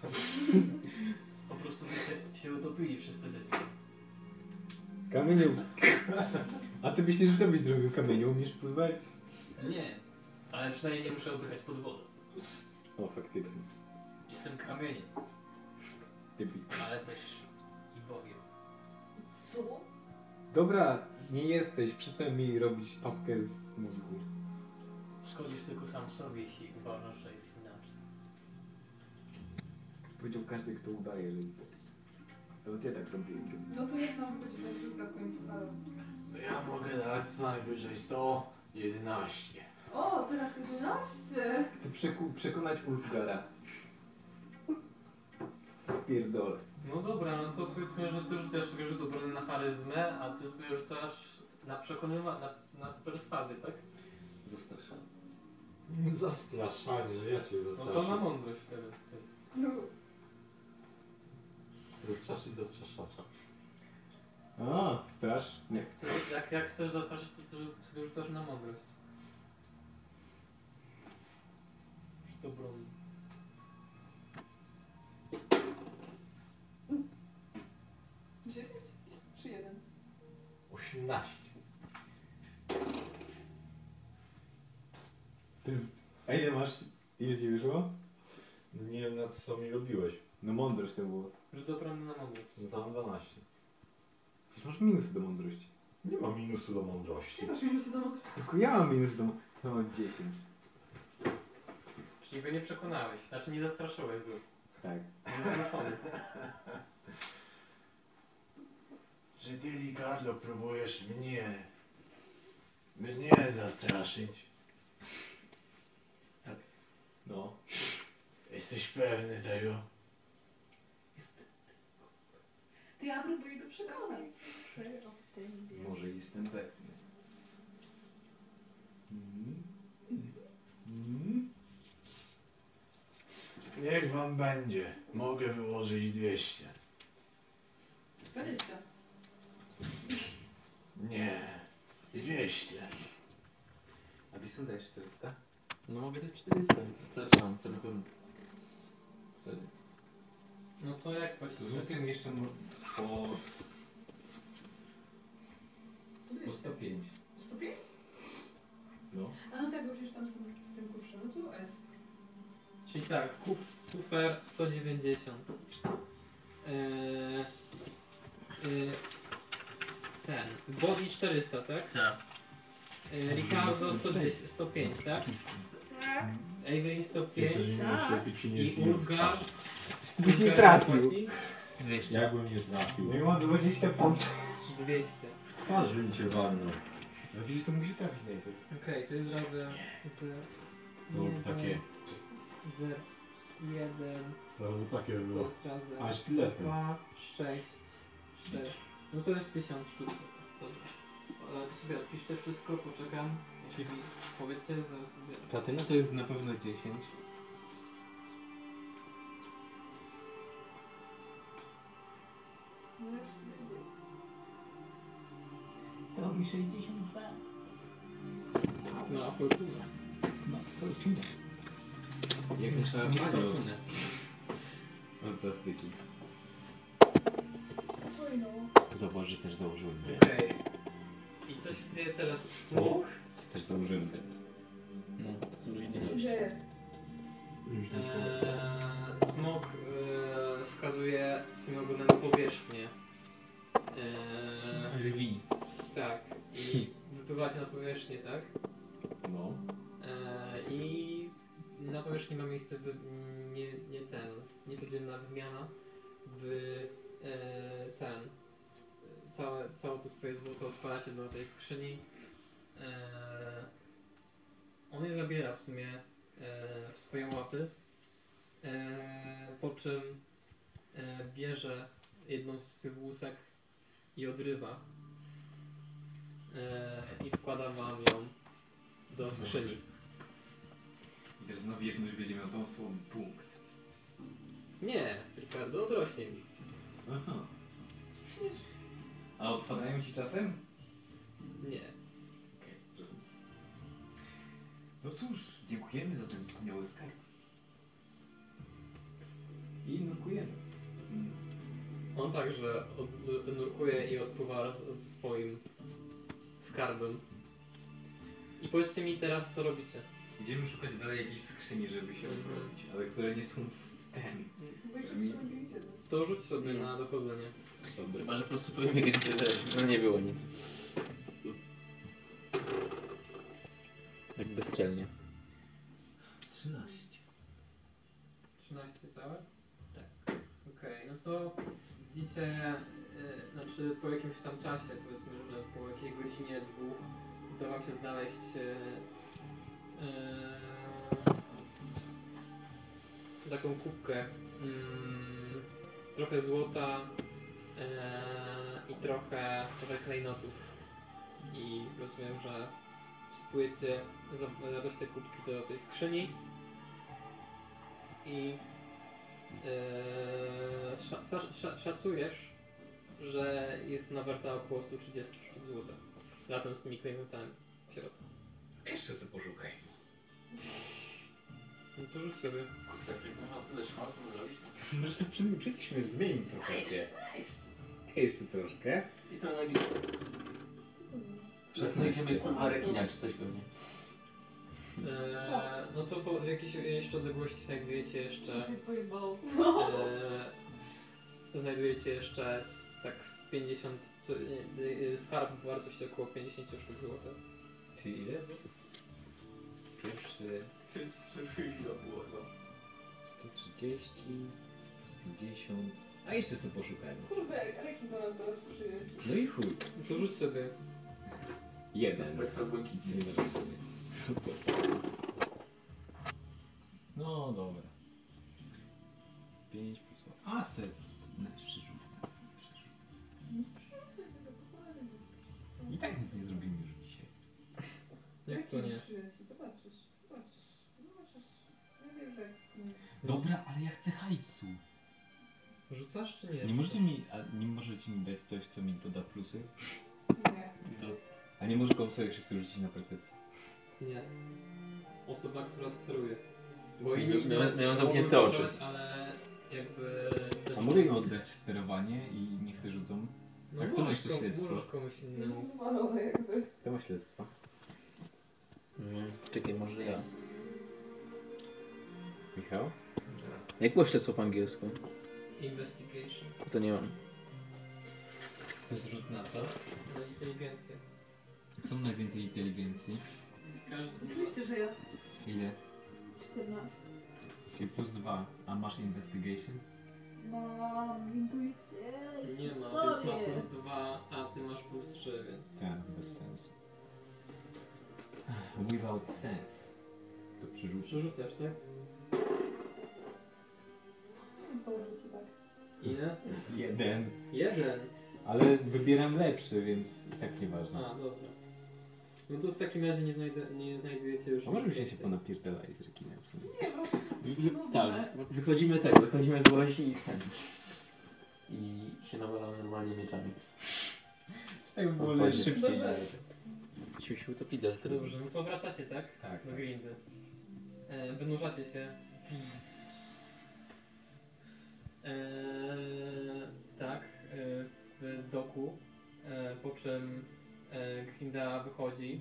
Po prostu byście się utopili wszyscy lepiej. Kamieniu. A ty myślisz, że to byś zrobił kamieniu? Umiesz pływać? Nie, ale przynajmniej nie muszę oddychać pod wodą. O, No, faktycznie. Jestem kamieniem, Debil. ale też i Bogiem. Co? Dobra, nie jesteś. Przestań mi robić papkę z mózgu. Szkodzisz tylko sam sobie, jeśli uważasz, że jest inaczej. Powiedział każdy, kto udaje, że jest Bóg. Nawet ja tak zrobiłem. kiedyś. No to jak nam będzie tak druga końcówka? No ja mogę dać co najwyżej 111. O, teraz 11! Chcę przeku- przekonać Ulfgara. Pierdolę. No dobra, no to powiedzmy, że ty rzucasz tego rzut obrony na charyzmę, a ty sobie rzucasz na przekonywanie, na, na perswazję, tak? Zastraszam. Zastraszanie, że ja cię No to na zastraszę. mądrość wtedy. Ty. No, Zastraszyć zastraszacza. A, strasz. Nie. Jak chcesz, jak, jak chcesz zastraszyć, to, to sobie rzucasz na mądrość. Rzut obrony. dziewięć czy jeden? 18. To jest... A ile masz? Ile ci wyszło? No nie wiem na co mi robiłeś. No mądrość to było. Rzut obrony na mądrość. Znam 12. Przecież masz minusy do mądrości. Nie ma minusu do mądrości. Nie masz minusy do mądrości. Tylko ja mam minus do... Ja mam 10. Czyli go nie przekonałeś, znaczy nie zastraszyłeś go. Tak. On jest zmuszony. Czy ty, Ricardo, próbujesz mnie... mnie zastraszyć? No. Jesteś pewny tego? To ja próbuję go przekonać. Trzy o tym wie. Może jestem pewny. Mm. Mm. Niech wam będzie. Mogę wyłożyć 200. 20. Nie. 200. A ty są dajesz 400? No mogę dać 400, to zaczynam, to na pewno. Wtedy. No to jak To właściwie? zrzucę mi jeszcze mo- po, po 105. 105? No. A no tak, bo przecież tam są w tym kursze. No to S. Czyli tak, kup, kufer 190. Eee, eee, e, ten, body 400, tak? Tak. Eee, Ricardo 110, 105, tak? Tak. Avery 105 Jeśli ty ci nie i Ulgar. byś nie Ulgar trafił. płaci 200. Jakbym nie trafił. No i mam 20 punktów. 200. Twarz bym cię walnął. No widzisz, to musi trafić najpierw. Okej, to jest razem 0, To takie. 0, 1, To No, takie to było. jest razem Aż lepiej. 2, 6, 4. No to jest 1000 sztuk. Dobra. Ale to sobie odpiszcie wszystko, poczekam. Czyli powiedzcie, że sobie... Platyna to jest na pewno 10. No już sobie Stało mi 62. No, a fortuna. No, fortuna. Jak Miss- trzeba Miss palić. Fortuna. Od plastyki. Oj no. Zobacz, że też założyłem teraz. Okej. I coś się teraz słuch. Też założyłem teraz. No, Co się dzieje? e, Eee, smok eee, wskazuje swoim ogonem powierzchnię. Eee, Rwi. Tak. I Hm. wypływacie na powierzchnię, tak? No. Eee, I na powierzchni ma miejsce wy... nie, nie ten, niecodzienna wymiana, by eee, ten, całe, całe to swoje złoto odpalacie do tej skrzyni. Eee, on je zabiera w sumie e, w swoje łapy, e, po czym e, bierze jedną z tych łusek i odrywa e, i wkłada wam ją do skrzyni. I też znowu wiesz, że będzie miał tą słową punkt. Nie, Ricardo, odrośnie mi. Aha. A odpadają ci czasem? Nie. Okej, rozumiem. No cóż, dziękujemy za ten wspaniały skarb. I nurkujemy. On także od, nurkuje i odpływa z- ze swoim skarbem. I powiedzcie mi teraz, co robicie. Idziemy szukać dalej jakiejś skrzyni, żeby się odrobić, ale które nie są w ten. Bo jeszcze Mm. przyrobiliście. To rzuć sobie na dochodzenie. Chyba, że po prostu powiem Grincie, że no nie było nic. Tak bezczelnie. 13. 13 całe? Tak. Okej, no to widzicie, y, znaczy po jakimś tam czasie, powiedzmy, że po jakiejś godzinie, dwóch, uda wam się znaleźć e, y, y, taką kubkę. mm, trochę złota y, i trochę, trochę klejnotów. I rozumiem, że spłycie za- zabrać te kubki do tej skrzyni i e, sza, sza- sza, szacujesz, że jest ona warta około 130 sztuk złota. Razem z tymi klejnotami w środku. Jeszcze sobie poszukaj. No to rzuć sobie. Kurde, ty można tyle szmaków zrobić. Może przyjdziemy, zmień profesję. Jeszcze troszkę. I to na liczbę. Co to było? Przesnęliśmy kurwa rekina czy coś pewnie. E, no to po jakiejś jeszcze odległości znajdujecie jeszcze... Co się pojebało? E, znajdujecie jeszcze z, tak z 50... Co, e, e, skarb w wartości około 50 sztuk złota. Czyli ile? Pierwszy Co chwila było chyba. 130 plus 50. A jeszcze sobie poszukajmy. Kurde, rekin do nas teraz przyjedzie. No i chuj. To rzuć sobie. Jeden. Betwa błękitna. Jeden. No dobra. 5 plus 2. A set. No, przerzucę, przerzucę. I tak nic nie zrobimy już dzisiaj. Jak to nie? Przyjedzie, zobaczysz, zobaczysz, zobaczysz. Ja wiem, że... Dobra, ale ja chcę hajsu. Rzucasz czy nie? Nie możecie mi, a nie możecie mi dać coś, co mi doda plusy? A nie może go sobie wszyscy rzucić na percepcję. Nie. Osoba, która steruje. Bo Mia- inni mia- miałem mogą zamknięte oczy. kontrolować, Ale jakby... A mogę im oddać sterowanie i niech sobie rzucą? No a kto ma możesz, jeszcze komu- śledztwo? możesz komuś No. innemu. Zwalone jakby. Kto ma śledztwo? Mm, czekaj, może ja. Michał? Jak było śledztwo po angielsku? Investigation. To nie mam. To jest rzut na co? Na inteligencję. Kto ma najwięcej inteligencji? Każdy Oczywiście, że ja. Ile? 14. Czyli plus 2. A masz investigation? Mam intuicję. i nie ma, historię. więc ma plus 2, a ty masz plus 3, więc... Tak, bez sensu. Without sense. To przerzucę. Przerzucasz, tak? Dobrze ci tak. Ile? Jeden. Jeden. Ale wybieram lepszy, więc i tak nieważne. A, dobra. No to w takim razie nie, znajdę, nie znajdujecie już A może nic byście się więcej. ponapierdalali z rekinem w sumie? Nie, wracam. Wy- Tak, wychodzimy tak, wychodzimy z łosi i ten. I się nawalamy normalnie mieczami. Tak by było Fajnie. szybciej Dobrze. nawet. Siu, siu, to pidel wtedy. Dobrze, no to wracacie, tak? Tak, Do tak. grindy. E, wynurzacie się. E, tak, e, w doku. E, po czym e, grinda wychodzi.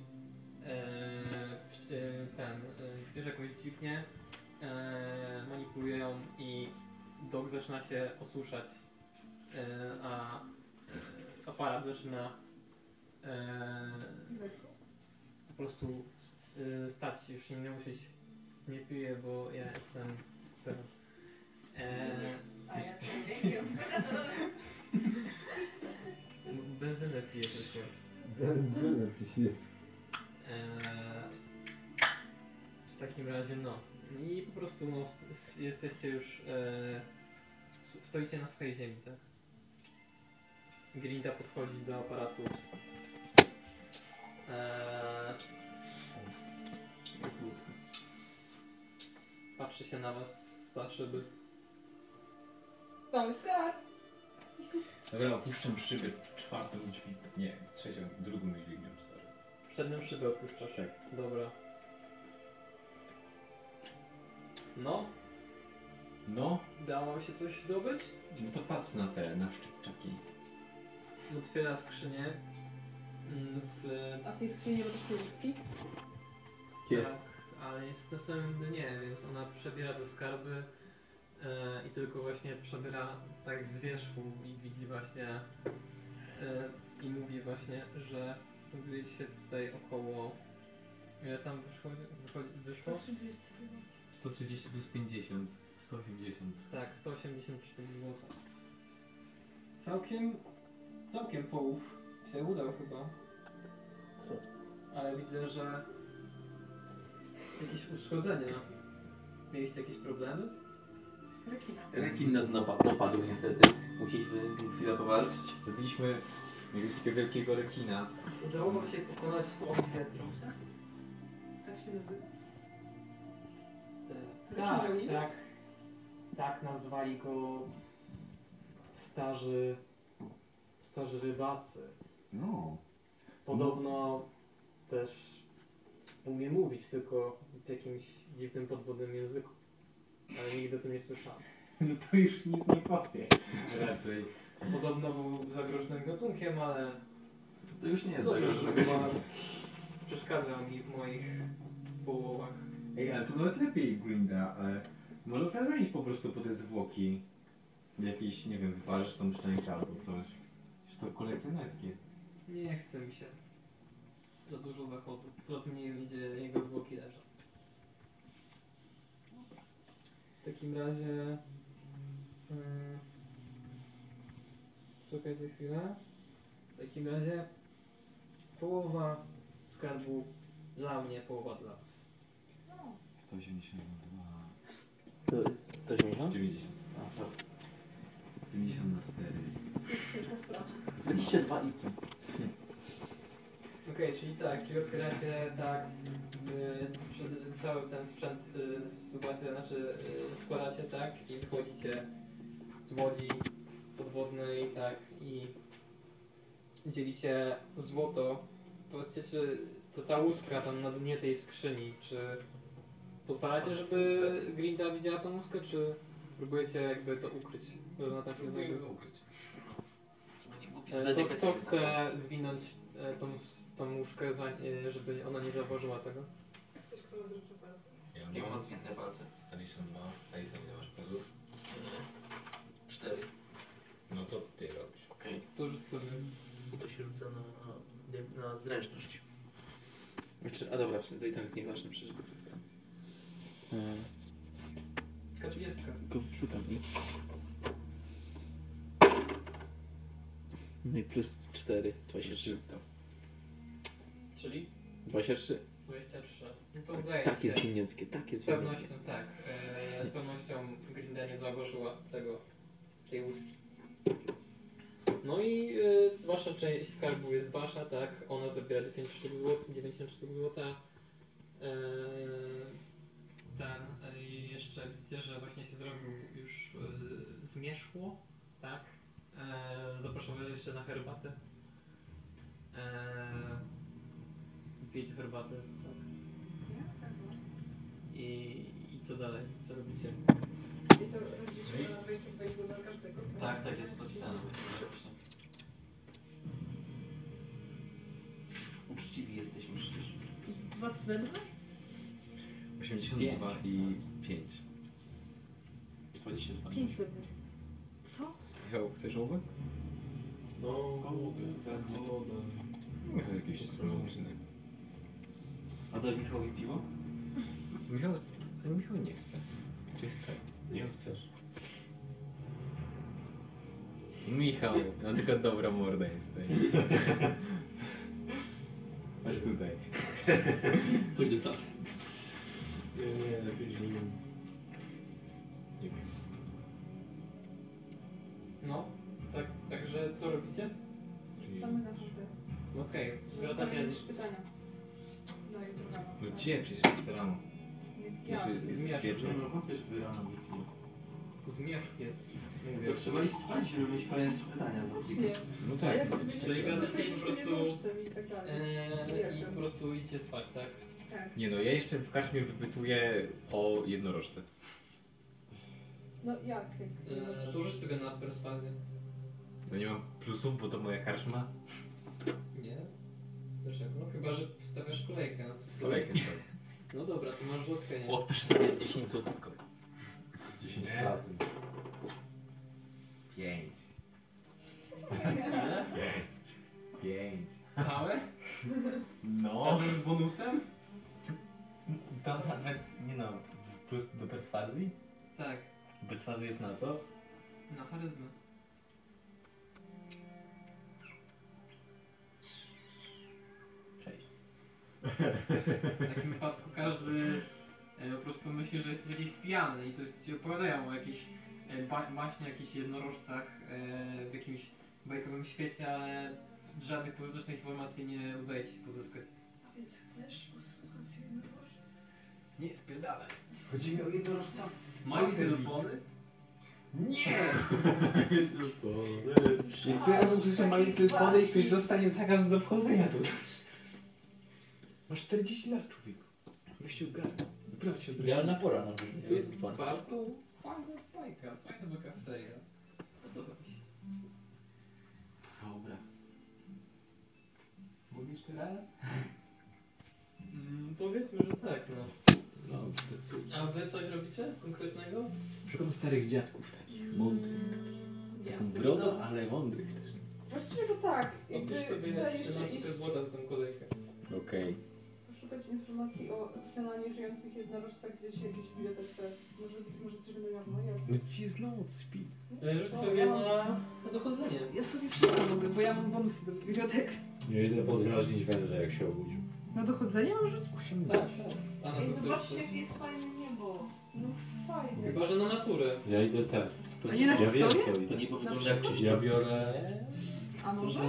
E, przy- e, ten, e, bierze jakąś dźwignię, e, manipuluje ją i dok zaczyna się osuszać, e, a e, aparat zaczyna e, po prostu y, stać, już nie musieć. Nie piję, bo ja jestem E, skuterem. A ja Eee, benzynę piję tylko. Benzynę pije. Eee, w takim razie no. I po prostu no, s- s- jesteście już. E, s- stoicie na swojej ziemi, tak? Grinda podchodzi do aparatu. Eee, patrzy się na was za szyby. Mamy skarb. Dobra, opuszczam szybę czwartą dźwignię. Nie, trzecią, drugą dźwignią, sorry. Przednią szybę opuszczasz. Tak. Dobra. No, No, dało się coś zdobyć? no to patrz na te, na szczypczaki. Otwiera skrzynię mm, z... A w tej skrzyni nie ma też kluski? Jest. Tak, ale jest na samym dnie, więc ona przebiera te skarby e, i tylko właśnie przebiera tak z wierzchu i widzi właśnie e, i mówi właśnie, że znajduje się tutaj około... Ile tam wyszło? wychodzi- wyszło? 130 plus 50, 180. Tak, 184 zł. Całkiem, całkiem połów się udał chyba. Co? Ale widzę, że jakieś uszkodzenia. Mieliście jakieś problemy? Rekin nas napa- napadł niestety. Musieliśmy z nim chwilę powalczyć. Zabiliśmy jakiegoś takiego wielkiego rekina. Udało wam się pokonać Ofiatrosa? Tak się nazywa. Tak, Rekinami? tak. Tak nazwali go starzy, starzy rybacy. No. Podobno też umie mówić, tylko w jakimś dziwnym podwodnym języku. Ale nigdy o tym nie słyszałem. No to już nic nie powie. Raczej. Podobno był zagrożonym gatunkiem, ale To już nie jest No, Dobrze, zagrożone. że chyba Przeszkadzał mi w moich połowach. Ej, ale to nawet lepiej Grinda, ale może znaleźć po prostu po te zwłoki. Jakiś, nie wiem, wyparzysz tą szczękę albo coś. Już to kolekcjonerskie. Nie chce mi się. Za dużo zachodu. Poza tym nie widzę jego zwłoki leżą. W takim razie... mm, Czekajcie chwilę. W takim razie połowa skarbu dla mnie, połowa dla was. 182, To jest 180? 90, A, dobra. 50 na 4. Ciężka sprawa. Zaliście dwa E, iki. Okej, czyli tak, czyli otwieracie tak y, przy- cały ten sprzęt y, zsuwacie, znaczy y, składacie tak i wychodzicie z łodzi podwodnej tak i dzielicie złoto. Powiedzcie, czy to ta łuska tam na dnie tej skrzyni, czy pozwalacie, żeby Grinda widziała tą łuskę, czy próbujecie jakby to ukryć, że ona tak tam się znajduje? E, To tak. kto chce zwinąć e, tą, s- tą łóżkę, za, e, żeby ona nie zauważyła tego? Ktoś, kto ma zręczne palce. Ja Ja mam zwinne palce. Alison ma. Alison, nie masz pedów? Cztery. No to ty robisz. Okej. To rzuć sobie. To się rzuca na, na, na zręczność. Znaczy, a dobra, w sumie to i tak nieważne przecież. Hmm. Kaczyniestka. Go wrzucam i... No i plus 4, 23. Czyli? 23. 23. No to Tak- udaje tak się. jest niemieckie, tak jest Z pewnością niemieckie. tak. E, z pewnością Grinda nie zauważyła tego, tej łuski. No i y, wasza część skarbu jest wasza, tak? Ona zabiera 9 sztuk złota. 90 sztuk złota. Eee, ten e, i jeszcze widzę, że właśnie się zrobił już e, zmierzchło, tak? Eee, zapraszam was jeszcze na herbatę. E, Eee, pijcie herbatę, tak? I, I co dalej? Co robicie? I to rodzice na wejściu wejdą dla każdego. Tak, tak jest napisane. Uczciwi jesteśmy przecież. Dwa srebra? 82 i 5. 22. Pięć srebra. Co? Jo, chcesz ołówek? No, mogę, tak, mogę. Nie, to jakiś sprowadzony. A daj Michałowi piwo? Michał, ale Michał nie chce. Czy chce? Nie chcesz. Michał, no tylko dobra morda jesteś. Aż tutaj. Pójdę tak. Nie, nie, lepiej, że nie. Nie wiem. No, tak, także co robicie? Same na chutę. Okej, Zostawiam zwracacie... trzy pytania. No i druga. No gdzie? Przecież jest rano. Ja. Znaczy- Jeszcze jest Zmierzch. wieczór. No, chłopiec by rano wypił. Zmierzch jest. No To trzeba iść spać, żeby mieć kolejne trzy pytania. Właśnie. No tak. A jak sobie Czyli myślisz, gadacie po co coś z prostu... pieniążcem i tak dalej. Eee, I Jak po tam? prostu idziecie spać, tak? Tak. Nie no, ja jeszcze w karczmie wypytuję o jednorożce. No jak? jak Eee, to rzuć sobie na perswazję. No nie mam plusów, bo to moja karczma. Nie? Dlaczego? Chyba, że stawiasz kolejkę. No, to... Kolejkę tak. no dobra, to masz rzutkę, nie? Odpisz sobie 10 zł. 10 Nie. platyn. 5. Ile? 5. Całe? No. Razem z bonusem? To nawet, nie no, plus do perswazji? Tak, Perswazja jest na co? na charyzmę. Sześć. W takim wypadku każdy e, po prostu myśli, że jesteś jakiś pijany i coś ci opowiadają o jakichś e, ba- baśnie, jakichś jednorożcach e, w jakimś bajkowym świecie, ale żadnych pożytecznych informacji nie udaje ci się pozyskać. A więc chcesz posłuchać jednorożca? Nie, spierdalaj. Chodzi mi o jednorożca. Mają telefony? Nie! Jeszcze raz usłyszę mali telefony i ktoś dostanie zakaz do wchodzenia tu. Masz 40 lat, człowieku. Weź ogarnij. Brać się Idealna pora na To jest bardzo fajna bajka, fajna bajka seria. Podoba mi się. Dobra. Mówisz jeszcze raz? Mm, powiedzmy, że tak, no. No, to co? A wy coś robicie konkretnego? Szukam starych dziadków takich, mądrych. Mm, Taką brodą, ale mądrych też. Właściwie to tak. Jakby Odbierz sobie chcę jeszcze 14 iść złota za tą kolejkę. Okej. poszukać informacji o profesjonalnie żyjących jednorożcach gdzieś w jakiejś bibliotece. Może, może coś będę miał w mojej. No ci jest noc, śpi. No, Rzuć sobie na, na dochodzenie. Ja sobie wszystko mogę, bo ja mam bonusy do bibliotek. Nieźle podrażnić węża, jak się obudził. Na dochodzenie mam rzucić? Tak, tak. A na Ej, co chcesz? zobaczcie jakie jest fajne niebo. No fajnie. Chyba, że na naturę. Ja idę ten. A nie na ja wiem historię? co idę. To nie Na powinno jak czyścić. Ja biorę... A może?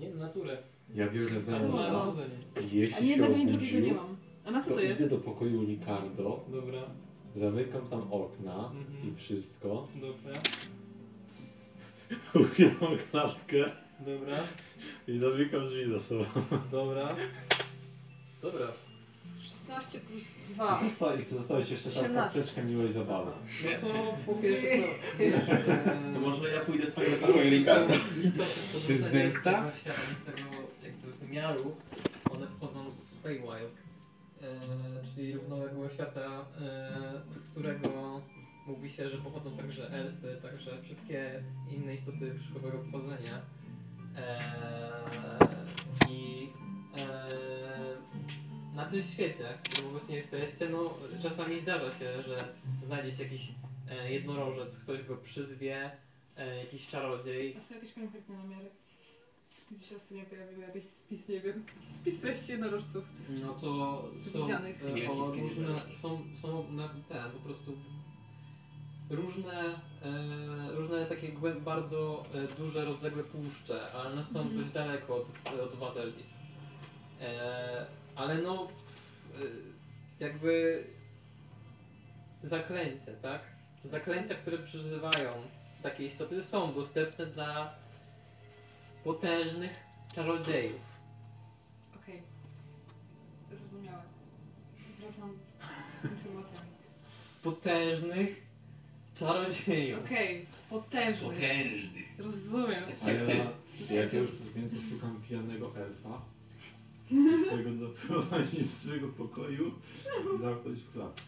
Nie, na naturę. Ja biorę Albo na węża. dochodzenie. Jeśli Ani jednego, się ani drugiego obudził, nie mam. A na co to jest? idę do pokoju Licardo, Dobra, zamykam tam okna Mhm. i wszystko. dobra, Uchylam klatkę dobra, i zamykam drzwi za sobą. dobra. Dobra. 16 plus 2. Zostawi, chcę zostawić jeszcze tam 18. karteczkę miłej zabawy. No to po pierwsze co? Wiesz, To e, No może ja pójdę z panią taką Ricardo. To jest zemsta? Z tego jakby wymiaru one pochodzą z Feywild, e, czyli równoległego świata, e, z którego mówi się, że pochodzą także elfy, także wszystkie inne istoty przyszłego pochodzenia. E, I e, na tym świecie, w którym obecnie jesteście, no czasami zdarza się, że znajdzie się jakiś e, jednorożec, ktoś go przyzwie, e, jakiś czarodziej, To są jakieś konkretne namiary. Gdzieś się ostatnio pojawiły jakiś spis, nie wiem. Spis treści jednorożców. No to są, Widzianych. e, Wielki o, spis różne, wybranych. są, są na, ten, po prostu różne, e, różne takie głę- bardzo e, duże, rozległe puszcze, ale one są Mhm. dość daleko od, od Waterdeep. E, ale no, e, jakby zaklęcie, tak? Zaklęcia, które przyzywają takie istoty są dostępne dla potężnych czarodziejów. Okej. Zrozumiałe. Wracam z informacjami. Potężnych czarodziejów. Okej, potężny. Potężny. Rozumiem. Jak ty? Jak ja już więcej szukam pijanego elfa, chcę go zaprowadzić z swojego pokoju i zamknąć w klatce.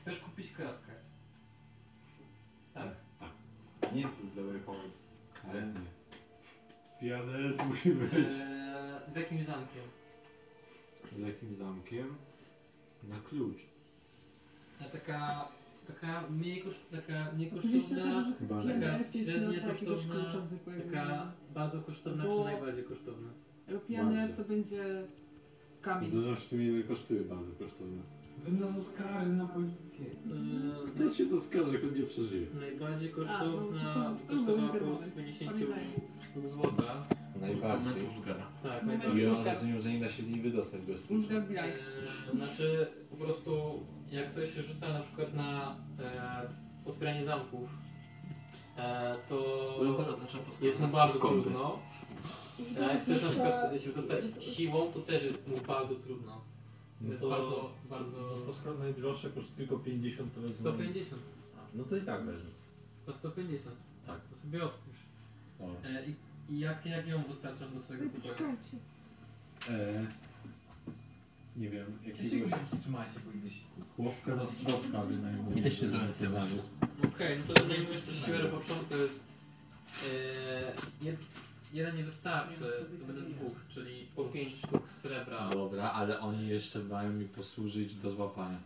Chcesz kupić klatkę? Tak? Nie jest to dobry pomysł, ale nie. Pijany elf musi być. Eee, z jakim zamkiem? Z jakimś zamkiem? Na klucz. A E, taka, taka mniej, koszt, taka mniej Oczywiście kosztowna, to, że Chyba, że taka jest średnio nazwa jakiegoś kosztowna, klucza zwykłego. taka bardzo kosztowna czy Bo- najbardziej kosztowna? Bo Pijany elf to będzie kamień. Zobacz, co mi ile kosztuje bardzo kosztowne. Bym nas oskarży na policję. Kto się zaskarży, jak on nie przeżyje? Yy, Najbardziej A, no, kosztowna, to- to- to kosztowała był około garbanek. 150 Pamiętaj. sztuk złota. No Najbardziej. Tak, I najbardziej. ja mam rozumiem, że nie da się z niej wydostać bez klucza. Eee, Znaczy, po prostu jak ktoś się rzuca na przykład na e, otwieranie zamków, e, to Barbara zaczęła posłuchać jest mu nas bardzo skąpy. trudno. E, jak ktoś na przykład się dostać siłą, to też jest mu bardzo trudno. Jest bardzo, bardzo... No To skoro najdroższe kosztuje tylko 50, to wezmę. 150. No to i tak wezmę. To 150. Tak. To sobie odpisz. Dobra. E, i, I jak, jak ją dostarczam do swojego pokoju? E, nie wiem, Jeśli jakiegoś go wstrzymacie powinnyś. chłopka roztropka wynajmuję. I też się trochę chce Okej, no to zajmujesz się siłę roboczą, to jest... E, jed, jeden nie wystarczy, to będzie dwóch, czyli po pięć sztuk srebra. Dobra, ale oni jeszcze mają mi posłużyć do złapania.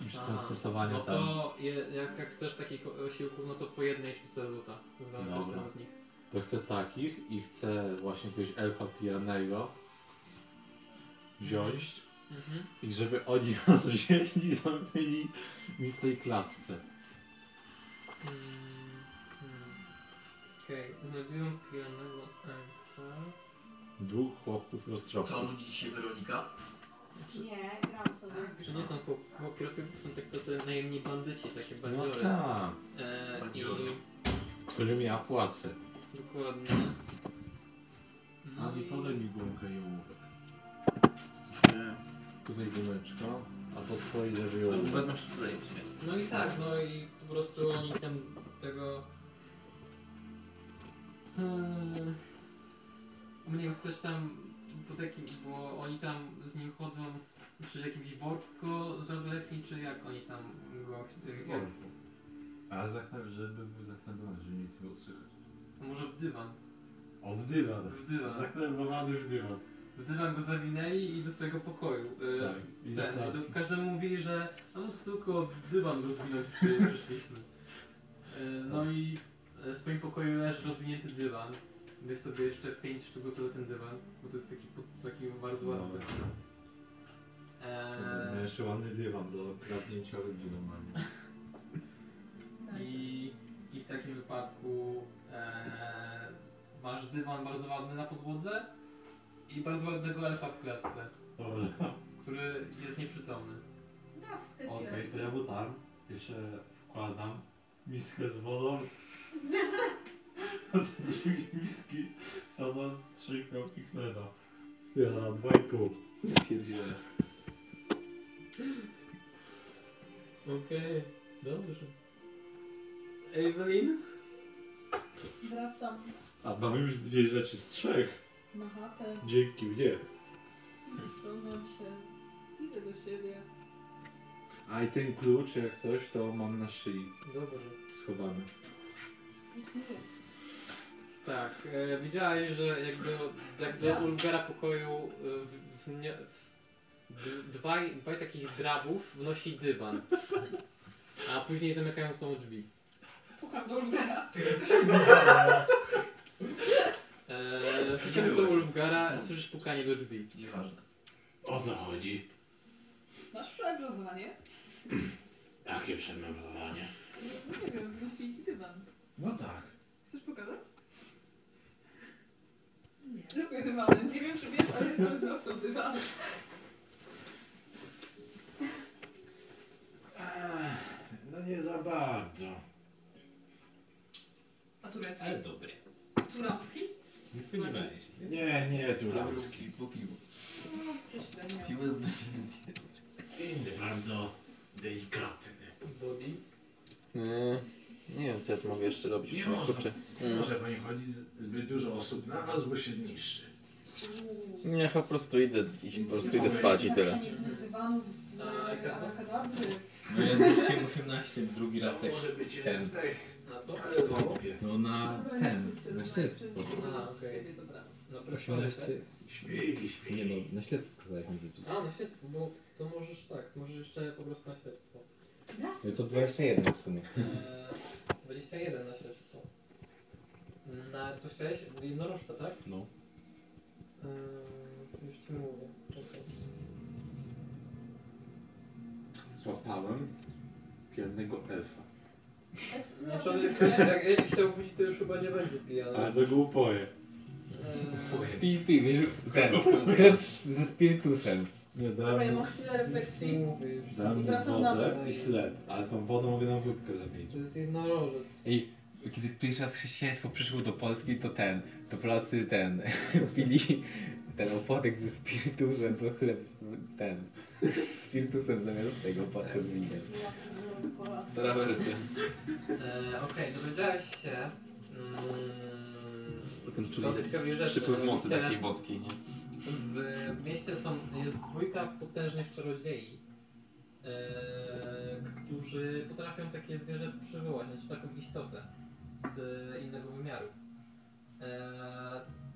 I przetransportowania No tam. to je, jak, jak chcesz takich osiłków, no to po jednej sztuce złota za Dobra. każdą z nich. To chcę takich i chcę właśnie jakiegoś elfa pijanego wziąć Mhm. i żeby oni nas wzięli i zamknęli mi w tej klatce. Mm, mm. Okej, znajdują pijanego elfa. Dwóch chłopców roztropnych. Co nudzi dzisiaj Weronika? Znaczy, Nie, gram sobie. Że nie są po, po prostu to są tak tacy najemni bandyci, takie No bandziory. tak. E, Bandziory. I Którym ja płacę. dokładnie. A No nie podaj i mi gumkę i ołówek. Tutaj gumeczka, a po twojej lewej ołówek. masz tutaj dzisiaj. No i tak, no i po prostu oni tam tego... Hmm. Mnie coś tam po takim, bo oni tam z nim chodzą, czy jakimś worku zawlekli, czy jak oni tam go... Jak, A zaknę, żeby był zaknębiony, żeby nic nie usłyszeć. a może w dywan? O, w dywan. W dywan. Zaknębowany w dywan. W dywan go zawinęli i do swojego pokoju. Y, Tak, i ten, tak. i do, każdemu mówili, że no to tylko dywan rozwinąć przy- przyszliśmy. Y, no Tak. i y, w swoim pokoju leży rozwinięty dywan. Bierz sobie jeszcze 5 sztuk do ten dywan, bo to jest taki, po- taki bardzo ładny. Dobra. dywan. Eee. Eee, Jeszcze ładny dywan do kradnięcia rodziną mam. Tak. I, I w takim wypadku e, masz dywan bardzo ładny na podłodze i bardzo ładnego elfa w klatce, Dobra. który jest nieprzytomny. No, Okej, skończyłam. to ja mu tam jeszcze wkładam miskę z wodą. A te drugie miski sadzam trzy kropki chleba. Ja na dwa i pół. Ja pierdzielę. Okej, dobrze. Evelyn? Wracam A mam już dwie rzeczy z trzech. na chatę, Dzięki mnie. ściągam się, idę do siebie. A i ten klucz, jak coś, to mam na szyi Dobrze. schowany. Nic nie wiem. Tak, e, widziałeś, że jak do, jak do Ulgara pokoju e, w, w, nie, w d- dwaj, dwaj takich drabów wnosi dywan. A później zamykają są drzwi. Pukam do Ulgara. Czekaj, co się dzieje? E, Eee, jak do Ulgara słyszysz pukanie do drzwi. Nieważne. O co chodzi? Masz przebrowanie? Jakie przemeblowanie? No Nie wiem, wymyślili ci dywan. No tak. Chcesz pokazać? Nie. Lubię dywany. Nie wiem, czy wiesz, ale jestem znawcą dywanu. No nie za bardzo. A turecki? Ale dobry. Turamski? Nie spodziewałem się. Nie, nie, tu Ramski. Po piwo. No, prześledzenia. Piwo z definicji. Inny bardzo delikatny. Body? Yy, Nie wiem, co ja tu mogę jeszcze robić. Nie można. Mhm. Może bo nie chodzi, z- zbyt dużo osób na nas, bo się zniszczy. Nie, po prostu idę, i po prostu idę spać i tyle. Przenieśmy dywanów z Arakadabry. No ja dzisiaj musimy na ścień drugi raz jak Może być ten. jeden z tych. Na co? No na ten, na śledztwo. A, okej. No proszę. Musimy na tak? śledztwo. Śpi, śpi. Nie no, na śledztwo kazaliśmy rzucić. A, na śledztwo, bo to możesz tak, możesz jeszcze po prostu na śledztwo. No to 21 w sumie. Eee, 21 na śledztwo. Na co chciałeś? Jednorożca, tak? No. Eee, już ci mówię. Czekaj. Złapałem pijanego elfa. No, Znaczy on jak, jak, jak chciał być, to już chyba nie będzie no. pijany. Yy, Ale to głupoje. Pij, pij, wiesz, ten, chleb z- ze spirytusem. Nie Dobra, ja dałem. mam chwilę refleksji. No. Dałem I mu wracam na wodę dół. i chleb, ale tą wodą mogę na wódkę zamienić. To jest jednorożec. I kiedy pierwszy raz chrześcijaństwo przyszło do Polski, to ten, to Polacy ten, pili ten opłatek ze spirytusem, to chleb z, ten, z spirytusem zamiast tego opłatka z winem. Stara wersja. Eee, Okej, dowiedziałeś się. Mm, Potem czuli o ciekawej rzeczy. przypływ mocy Mianowicie takiej boskiej, nie? W mieście są, jest dwójka potężnych czarodziei, eee, którzy potrafią takie zwierzę przywołać, znaczy taką istotę z innego wymiaru. Eee,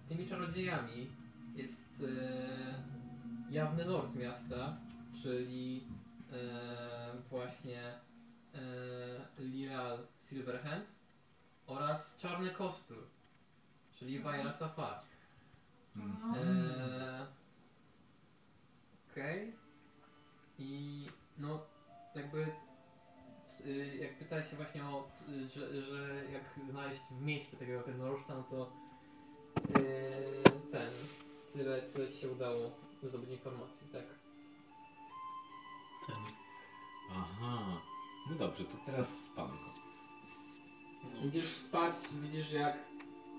tymi czarodziejami jest eee, jawny lord miasta, czyli eee, właśnie eee, Liral Silverhand oraz Czarny Kostur, czyli Vaira Safar. Eee, Okej. I no, jakby. y, Jak pytałeś się właśnie o. y, że, że jak znaleźć w mieście takiego jednorożca, no to. y, ten. Tyle, tyle ci się udało zdobyć informacji, tak. Ten. Aha. No dobrze, to teraz spanko. Idziesz spać, widzisz jak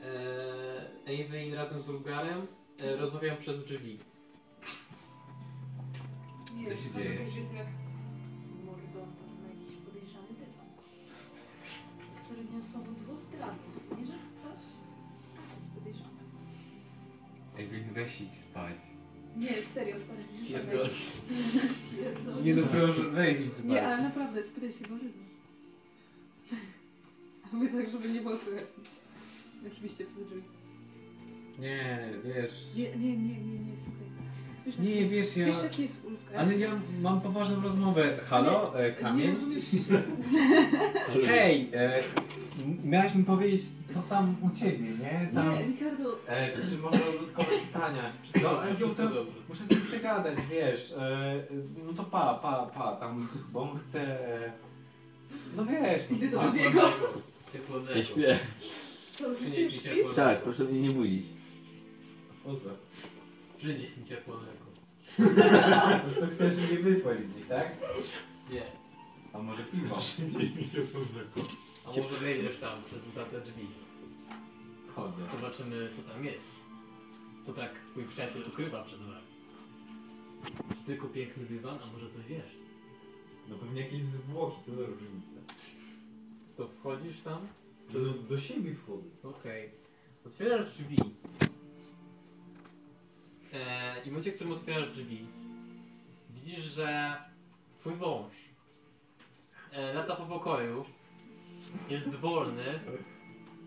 e, Avery razem z Ulgarem e, rozmawiają przez drzwi. Nie, Co to się że dzieje? też jest jak mordowny na jakiś podejrzany dywan, który niosą od dwóch tyranów. Nie, że coś? To jest podejrzane. Ej, weź idź spać. Nie, serio, stary. musisz to Pierdol. wejść. Pierdol. Nie no, proszę, weź idź spać. Nie, ale naprawdę, spytaj się Boryna. A my tak, żeby nie było słychać nic. Oczywiście przez drzwi. Nie, wiesz. Nie, nie, nie, nie, nie, słuchaj. Wiesz, Nie, jaki jest- wiesz, ja- Wiesz, jaki jest Ulfgar? Ale ja mam poważną rozmowę. Halo, e, Nie kamień? rozumiesz? Hej, e, m- miałaś mi powiedzieć, co tam u ciebie, nie? Tam... Nie, Ricardo, E, czy mogę dodatkowe pytania? No, ale to, to, muszę z tym przegadać, wiesz. E, e, no to pa, pa, pa, tam, bo on chce... E, no wiesz. Idę do pa- Wodiego. Ciepło Ja śpię. co, ty Przynieś mi śpisz? ciepło. Tak, proszę mnie nie budzić. Poza. Przynieś mi ciepło mleko. Po prostu chcesz mnie wysłać gdzieś, tak? Nie. A może piwo? A może wejdziesz tam przez te drzwi. Chodzę. Zobaczymy, co tam jest. Co tak twój przyjaciel ukrywa przed nami. Czy tylko piękny dywan, a może coś jeszcze? No pewnie jakieś zwłoki, co za różnica. To wchodzisz tam? To do, do siebie wchodzę. Okej. Otwierasz drzwi. Eee, I w momencie, w którym otwierasz drzwi, widzisz, że twój wąż e, lata po pokoju, jest wolny,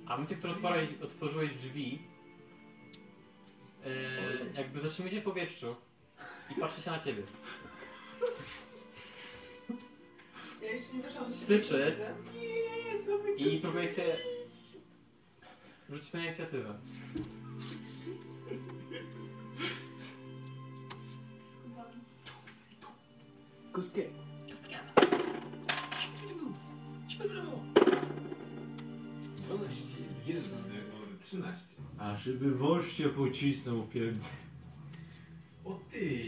a w momencie, w którym otworzyłeś, otworzyłeś drzwi, e, jakby zatrzymuje się w powietrzu i patrzy się na ciebie. Ja jeszcze nie weszłam do Syczy. siebie, I próbujecie rzucić na inicjatywę. widzę. Skuba. Kostkę. Jezu, no nie, 13. A żeby wąż cię pocisnął pierdolę. O ty!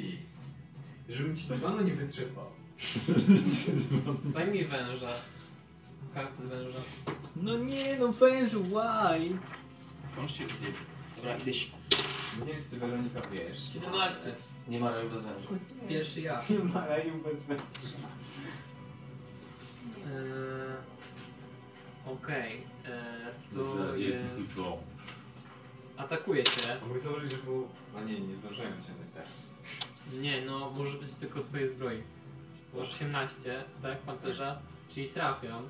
Żebym ci dywanu nie wytrzepał. Daj mi węża. Kartę węża. No nie, no wężu, why? Wąż się rozjebie. Dobra, gdzieś. Nie wiem, czy ty Weronika wiesz. 17. Nie ma raju bez węża. Pierwszy ja. Nie ma raju bez węża. Eee, Okej. Eee, to Zdradziecki jest... dom. Atakuje cię. A mogę założyć, że było... A nie, nie zdążyłem cię tak. Nie, no może być tylko swojej zbroi. Masz 18, tak? Pancerza. Czyli trafią.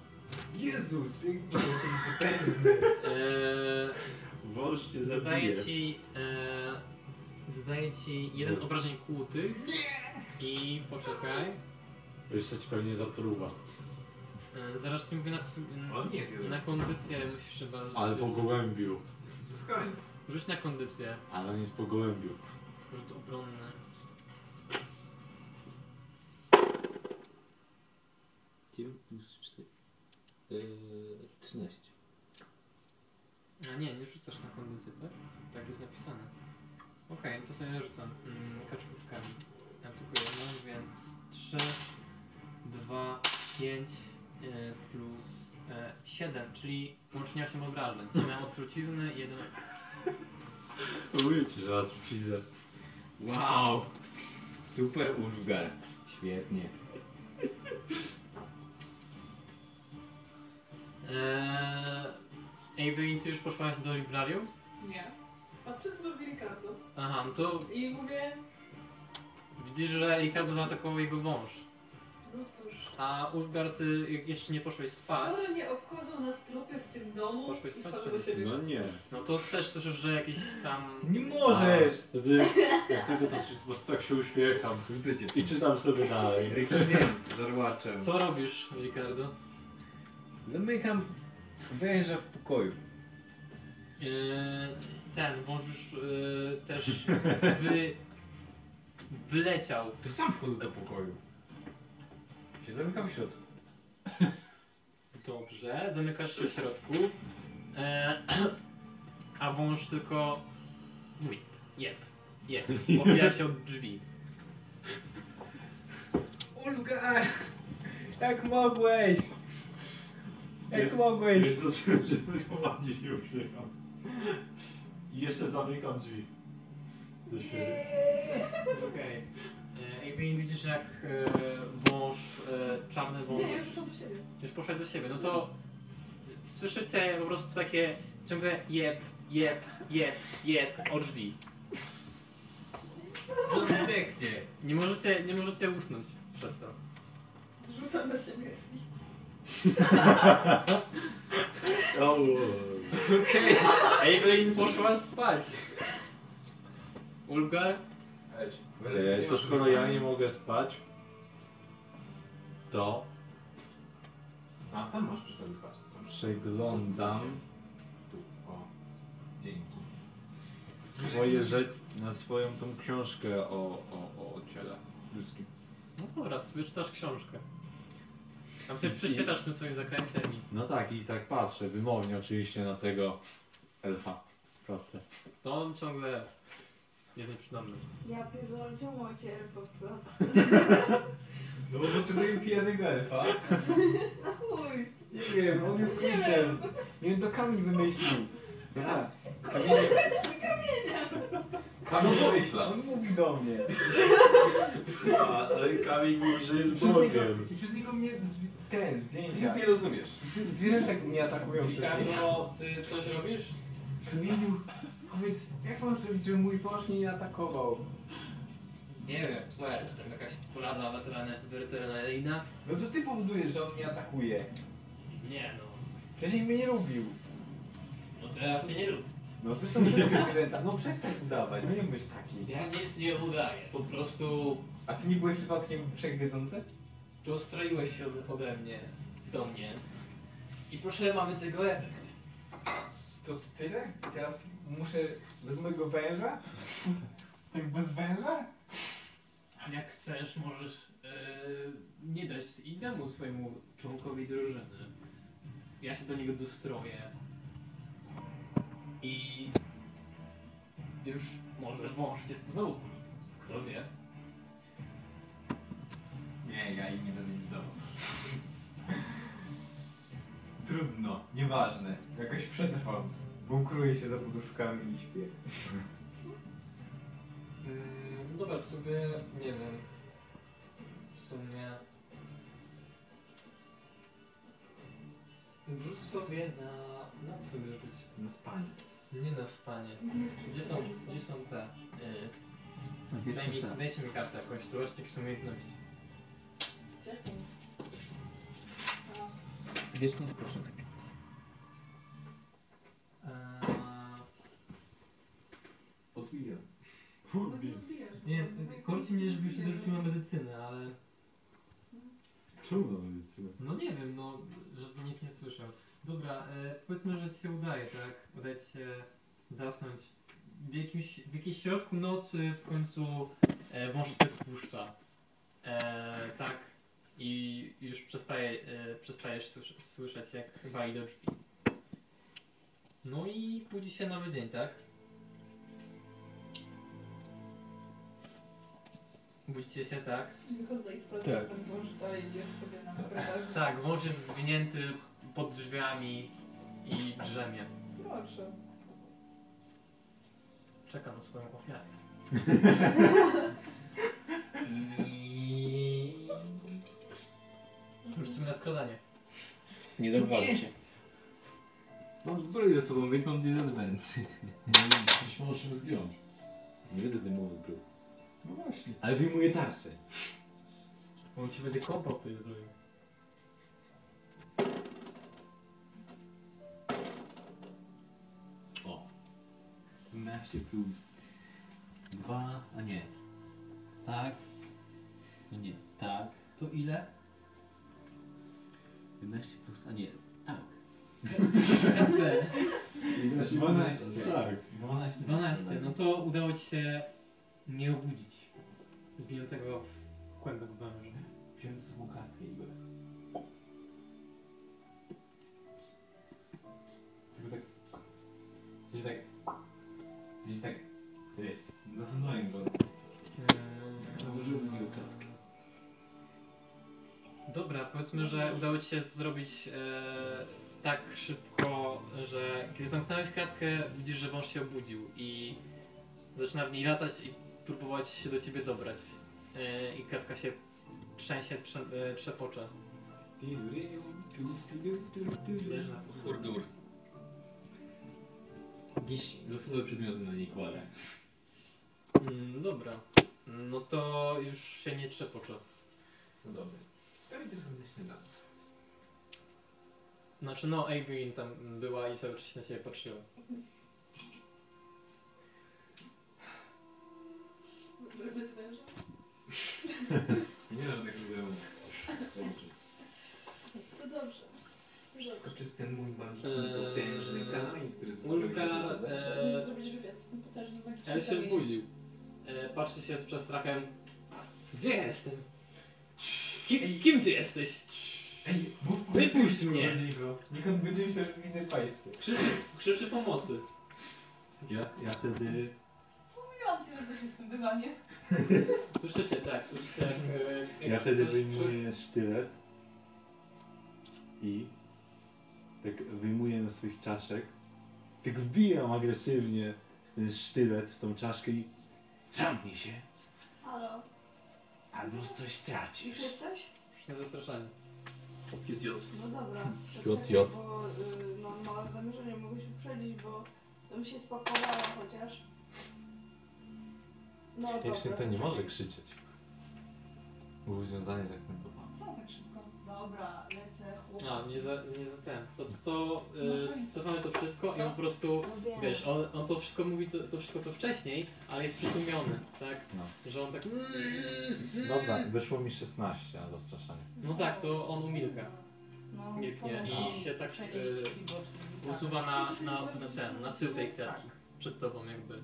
Jezus, jak to jest potężny. Eee, cię E, zadaję zabije. ci. Eee, zadaję ci jeden obrażeń kłutych. I poczekaj. Jeszcze ci pewnie zatruwa. Eee, zaraz ci mówię na, s- On nie jest jeden. na kondycję musisz chyba. Ale po gołębiu. To jest koniec. Rzuć na kondycję. Ale on jest po gołębiu. Rzut obronny. 9 plus 4. Yy, 13. A No nie, nie rzucasz na kondycję, tak? Tak jest napisane. Okej, no to sobie rzucam mm, kaczkutkami. Atakujemy, więc 3, 2, 5 e, plus e, 7, czyli łącznie 8 obrażeń. 7 od trucizny, 1 Mówię ci, że na truciznę. Wow! Super Ulfgar. Świetnie. Eee, Avery, ty już poszłaś do librarium? Nie. Patrzę, co robi Ricardo. Aha, no to I mówię, widzisz, że Ricardo zaatakował jego wąż. no cóż, A Ulfgar, ty jeszcze nie poszłeś spać. skoro nie obchodzą nas trupy w tym domu, Poszłeś i spać, wchodzę do czy siebie. No nie. No to też słyszysz, że jakieś tam... Nie możesz! A, Ty, dlatego to się, po prostu tak się uśmiecham. Widzę cię. I czytam sobie dalej. Wiem, zarłaczem. Co robisz, Ricardo? Zamykam węża w pokoju. Yy, ten wąż już yy, też wy... wyleciał. To sam wchodzę do pokoju. Się zamykam w środku. Dobrze, zamykasz się w środku. E, a wąż tylko mówi jeb, jeb. Odbija się od drzwi. Ulgar! Jak mogłeś? Jak mogłeś? Wiesz, to sobie się tylko ładnie się uśmiecham. I jeszcze zamykam drzwi. Do siebie. Okej. Okay. Ej, widzisz jak e, wąż, e, czarny wąż... Nie, ja poszłam do siebie. Już poszedł do siebie, no to słyszycie po prostu takie ciągle jeb, jeb, jeb, jeb o drzwi. No Zdechnie. Nie możecie, nie możecie usnąć przez to. Zrzucam na siebie i Evelyn poszła spać. Ulgar? E, to skoro ja nie mogę spać, to A, tam masz przy sobie patrz. przeglądam Tu, o. Dzięki. swoje rzeczy, na swoją tą książkę o, o, o ciele ludzkim. No dobra, to sobie czytasz książkę. Tam sobie przyświeczasz w tym swoim zakręciem i... No tak, i tak patrzę, wymownie oczywiście na tego elfa. Prawda. To on ciągle jest nieprzytomny. Ja pierdolę, gdzie macie elfa w klatce? No bo potrzebuję pijanego elfa. Na chuj! Nie wiem, on jest Nie kluczem. Nie wiem, to kamień wymyślił. Aha. Kurwa, będzie kamienia! Kamień wymyśla. On mówi do mnie. A, ale Kamil mówi, że jest Przez niego, Bogiem. i przez niego mnie z, ten, zdjęcia. Nic nie rozumiesz. Z- Zwierzęta mnie atakują przez niego. ty coś robisz? Kamieniu, powiedz, jak mam zrobić, żeby mój wąż mnie nie atakował? Nie wiem, słuchaj, jestem jakaś porada weterana- weterynaryjna. No to ty powodujesz, że on mnie atakuje. Nie no, Wcześniej mnie nie lubił. no teraz cię nie lubię. No zresztą wszystkie zwierzęta. No przestań udawać, no nie bądź taki. Ja nic nie udaję, po prostu A ty nie byłeś przypadkiem wszechwiedzący? dostroiłeś się ode mnie, do mnie. I proszę, mamy tego efekt. To tyle? Teraz muszę bez mojego węża? Tak bez węża? Jak chcesz, możesz yy, nie dać innemu swojemu członkowi drużyny. Ja się do niego dostroję. I już może wąż cię znowu polubi. Kto wie? Nie, ja im nie będę nic dawał. Trudno, nieważne. Jakoś przetrwam. Bunkruję się za poduszkami i śpię. Mm, dobra, sobie, nie wiem. W sumie... Rzuć sobie na... na co sobie rzuć? Na spanie. Nie na spanie. Gdzie są, gdzie są te... e, Tak, Na Yy, daj pierwszym mi, sen. dajcie mi kartę jakąś, zobaczcie jakie są umiejętności. Wieczny wypoczynek. Eee, Odbijam. Nie, chodzi mnie, żebyś się dorzucił na medycynę, ale Czemu na medycynę? no nie wiem, no, żeby nic nie słyszał. Dobra, e, powiedzmy, że ci się udaje, tak? Udaje ci się zasnąć. W jakimś, w jakimś środku nocy w końcu e, wąż się puszcza. E, tak. I już przestaje, e, przestajesz słysz, słyszeć, jak wali do drzwi. No i budzi się nowy dzień, tak? Budzicie się tak. Wychodzę i sprawdzę, Tak. czy ten wąż dalej jest sobie na korytarzu. Tak, wąż jest zwinięty pod drzwiami i drzemie. Proszę. Czeka na swoją ofiarę. Rzucimy na skradanie. Nie zauważy się. Mam No, zbroję ze sobą, więc mam disadvantage. Być może ją zdjąć. Nie będę zdejmował zbroi. No właśnie. Ale wyjmuję tarczę. On ci będzie kąpał w tej zbroi. O. 12 plus 2, a nie. Tak. No nie, tak. To ile? 11 plus, a nie, tak. Kasper. 11 plus, tak. 12. 12. No to udało ci się nie obudzić zwiniętego w kłębek węża. Wziąłem ze sobą kartkę i byłem. Tylko tak... Coś tak... Coś tak... To jest. Zasunąłem go. Założyłem na niego klatkę. Dobra, powiedzmy, że udało ci się to zrobić e, tak szybko, że kiedy zamknąłeś kratkę, widzisz, że wąż się obudził i zaczyna w niej latać i próbować się do ciebie dobrać. E, I kratka się trzęsie, trze, e, trzepocze. Leży na podłodze. Furdur. Jakiś losowy przedmiot na niej kładę. Mm, dobra, no to już się nie trzepocze. No dobra. To będzie sobie na śniadanie. Znaczy no, Avery tam była i cały czas się na ciebie patrzyła. Ryby z węża? Nie ma żadnych problemów. To dobrze. Wszystko przez ten mój magiczny, Eee, potężny kamień, który zostawił się Ulga, tu za zawsze. e, Możesz zrobić wywiad z tym potężnym magicznym El się kamieniem. zbudził. E, patrzy się z przestrachem. Gdzie ja jestem? Kim, kim ty jesteś? Wypuść mnie! Nikąd będzie myślał, że zginę pańskie. Krzyczy, krzyczy pomocy. Ja, ja wtedy... Mówiłam ci, że coś jest w tym dywanie. Słyszycie, tak, słyszycie jak... e, jak Ja wtedy coś- wyjmuję sztylet i tak wyjmuję na swoich czaszek, tak wbijam agresywnie ten sztylet w tą czaszkę i zamknij się, Halo. albo coś stracisz. Już jesteś? coś- Nie zastraszanie. Idiot. No dobra. Jot, Czekaj, jot. Bo y, no, ma zamierzenie mogę się uprzedzić, bo bym się spakowała chociaż. No Jeszcze dobra. to nie może krzyczeć. Było związane z jak Co tak szybko? Dobra, lecę, chłopak. A, nie za, nie za ten. To, to, to e, cofamy to wszystko i on po prostu, Wiem. wiesz, on, on to wszystko mówi, to, to wszystko co wcześniej, ale jest przytłumiony, tak? Że on tak... mm, mm. No. Dobra, wyszło mi 16 na zastraszanie. No tak, to on umilka. No, Milknie pomogę. i się tak Przenieść e, usuwa na, na, na ten, na tył tej kwiatki. Przed tobą jakby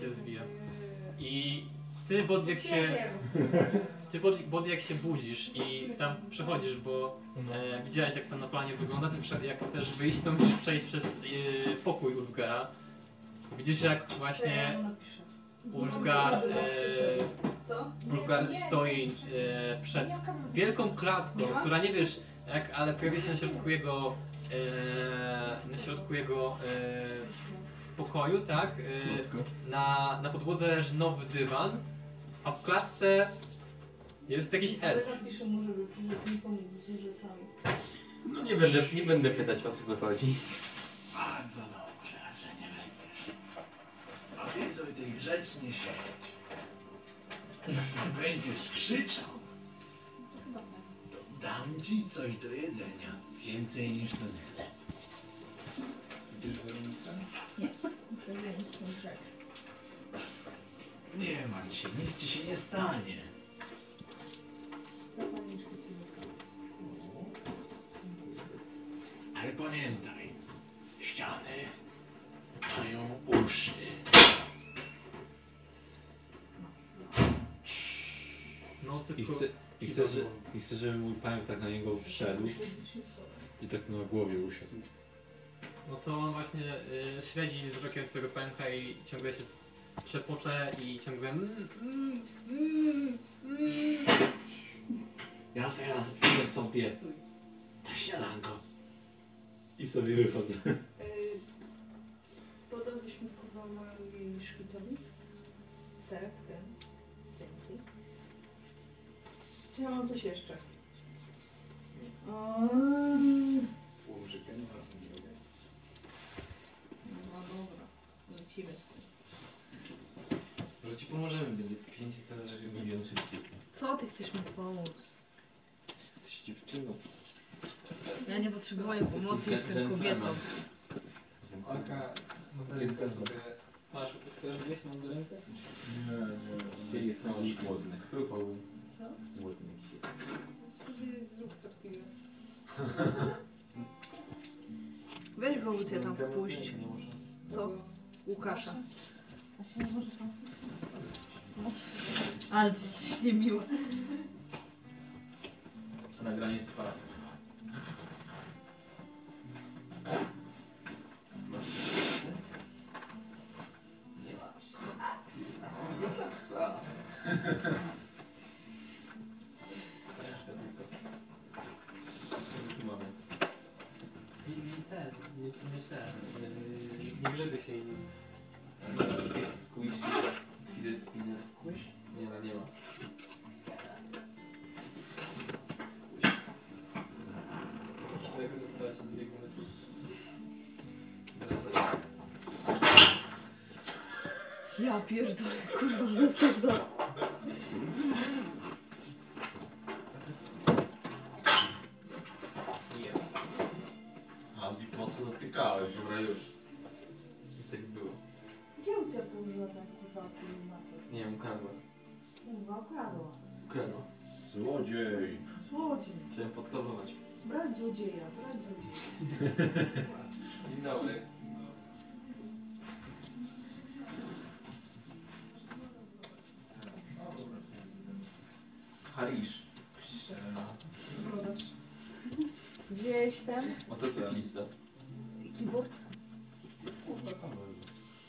się zwija. I Ty, Bodjak, się... wiem. Ty, Bodjak, Bodjak, się budzisz i tam przechodzisz, bo e, widziałeś, jak to na planie wygląda. Ty, prze- jak chcesz wyjść, to musisz przejść przez e, pokój Ulfgara. Widzisz, jak właśnie Ulfgar... E, Co? Bulgar stoi e, przed wielką klatką, która nie wiesz jak, ale pojawia się na środku jego e, na środku jego e, pokoju, tak? Słodko. E, na, na podłodze leży nowy dywan, a w klatce jest jakiś elf. Napiszę mu, żeby żeby mi pomógł z rzeczami. No nie będę, nie będę pytać o co tu chodzi. Bardzo dobrze, że nie będziesz. A ty sobie tej grzecznie siedź. Jak będziesz krzyczał, to dam ci coś do jedzenia. Więcej niż to tyle. Będziesz Weronika? Nie martw się, nic ci się nie stanie. Ale pamiętaj, ściany mają uszy. No I chcę, i, chcę, że, I chcę, żeby mój pan tak na niego wszedł i tak mu na głowie usiadł. No to on właśnie y, śledzi wzrokiem twojego pęka i ciągle się przepocze i ciągle mm, mm, mm, mm. Ja teraz idę sobie na śniadanko. I sobie wychodzę. Yy, Podałbyś mi kurwa mojej szkicowi? Tak, tak. Dzięki. Czy ja mam coś jeszcze? Nie. Położę kanał, nie mogę. No dobra, lecimy z tym. Może ci pomożemy, będzie 500 razy milion szybciej. Co ty chcesz mi pomóc? Jesteś dziewczyną. Ja nie potrzebuję pomocy, jestem kobietą. Oka, modelkę sobie. Masz, chcesz zjeść modelkę? Nie, nie, nie. Jestem już głodny. Skrupałbym. Co? Głodny jakiś jest. Sobie zrób tortillę. Weź go Łucję tam wpuść. Co? Łukasza. Ale ty jesteś niemiła. Nagranie trwa. Nie ma psa. Nie ma psa. Mamy. Nie, nie ten, nie, nie ten. Yy, nie grzeby się innym. Jest squish. Fidget spinner. Squish? Nie ma, nie ma. Czego zatwarcie dwie minuty? Ja pierdolę, kurwa, zostaw to. A Zik mocno dotykałeś, dobra już. Jest tak było. Gdzie Lucja położyła tam kurwa kulinatę? Nie wiem, ukradła. Kurwa, ukradła. Ukradła. Złodziej! Złodziej. Chciałem podkozować. Brać złodzieja, brać złodzieja. Dzień dobry. Harisz. Brodacz. Wziąłeś ten Motocyklista. keyboard?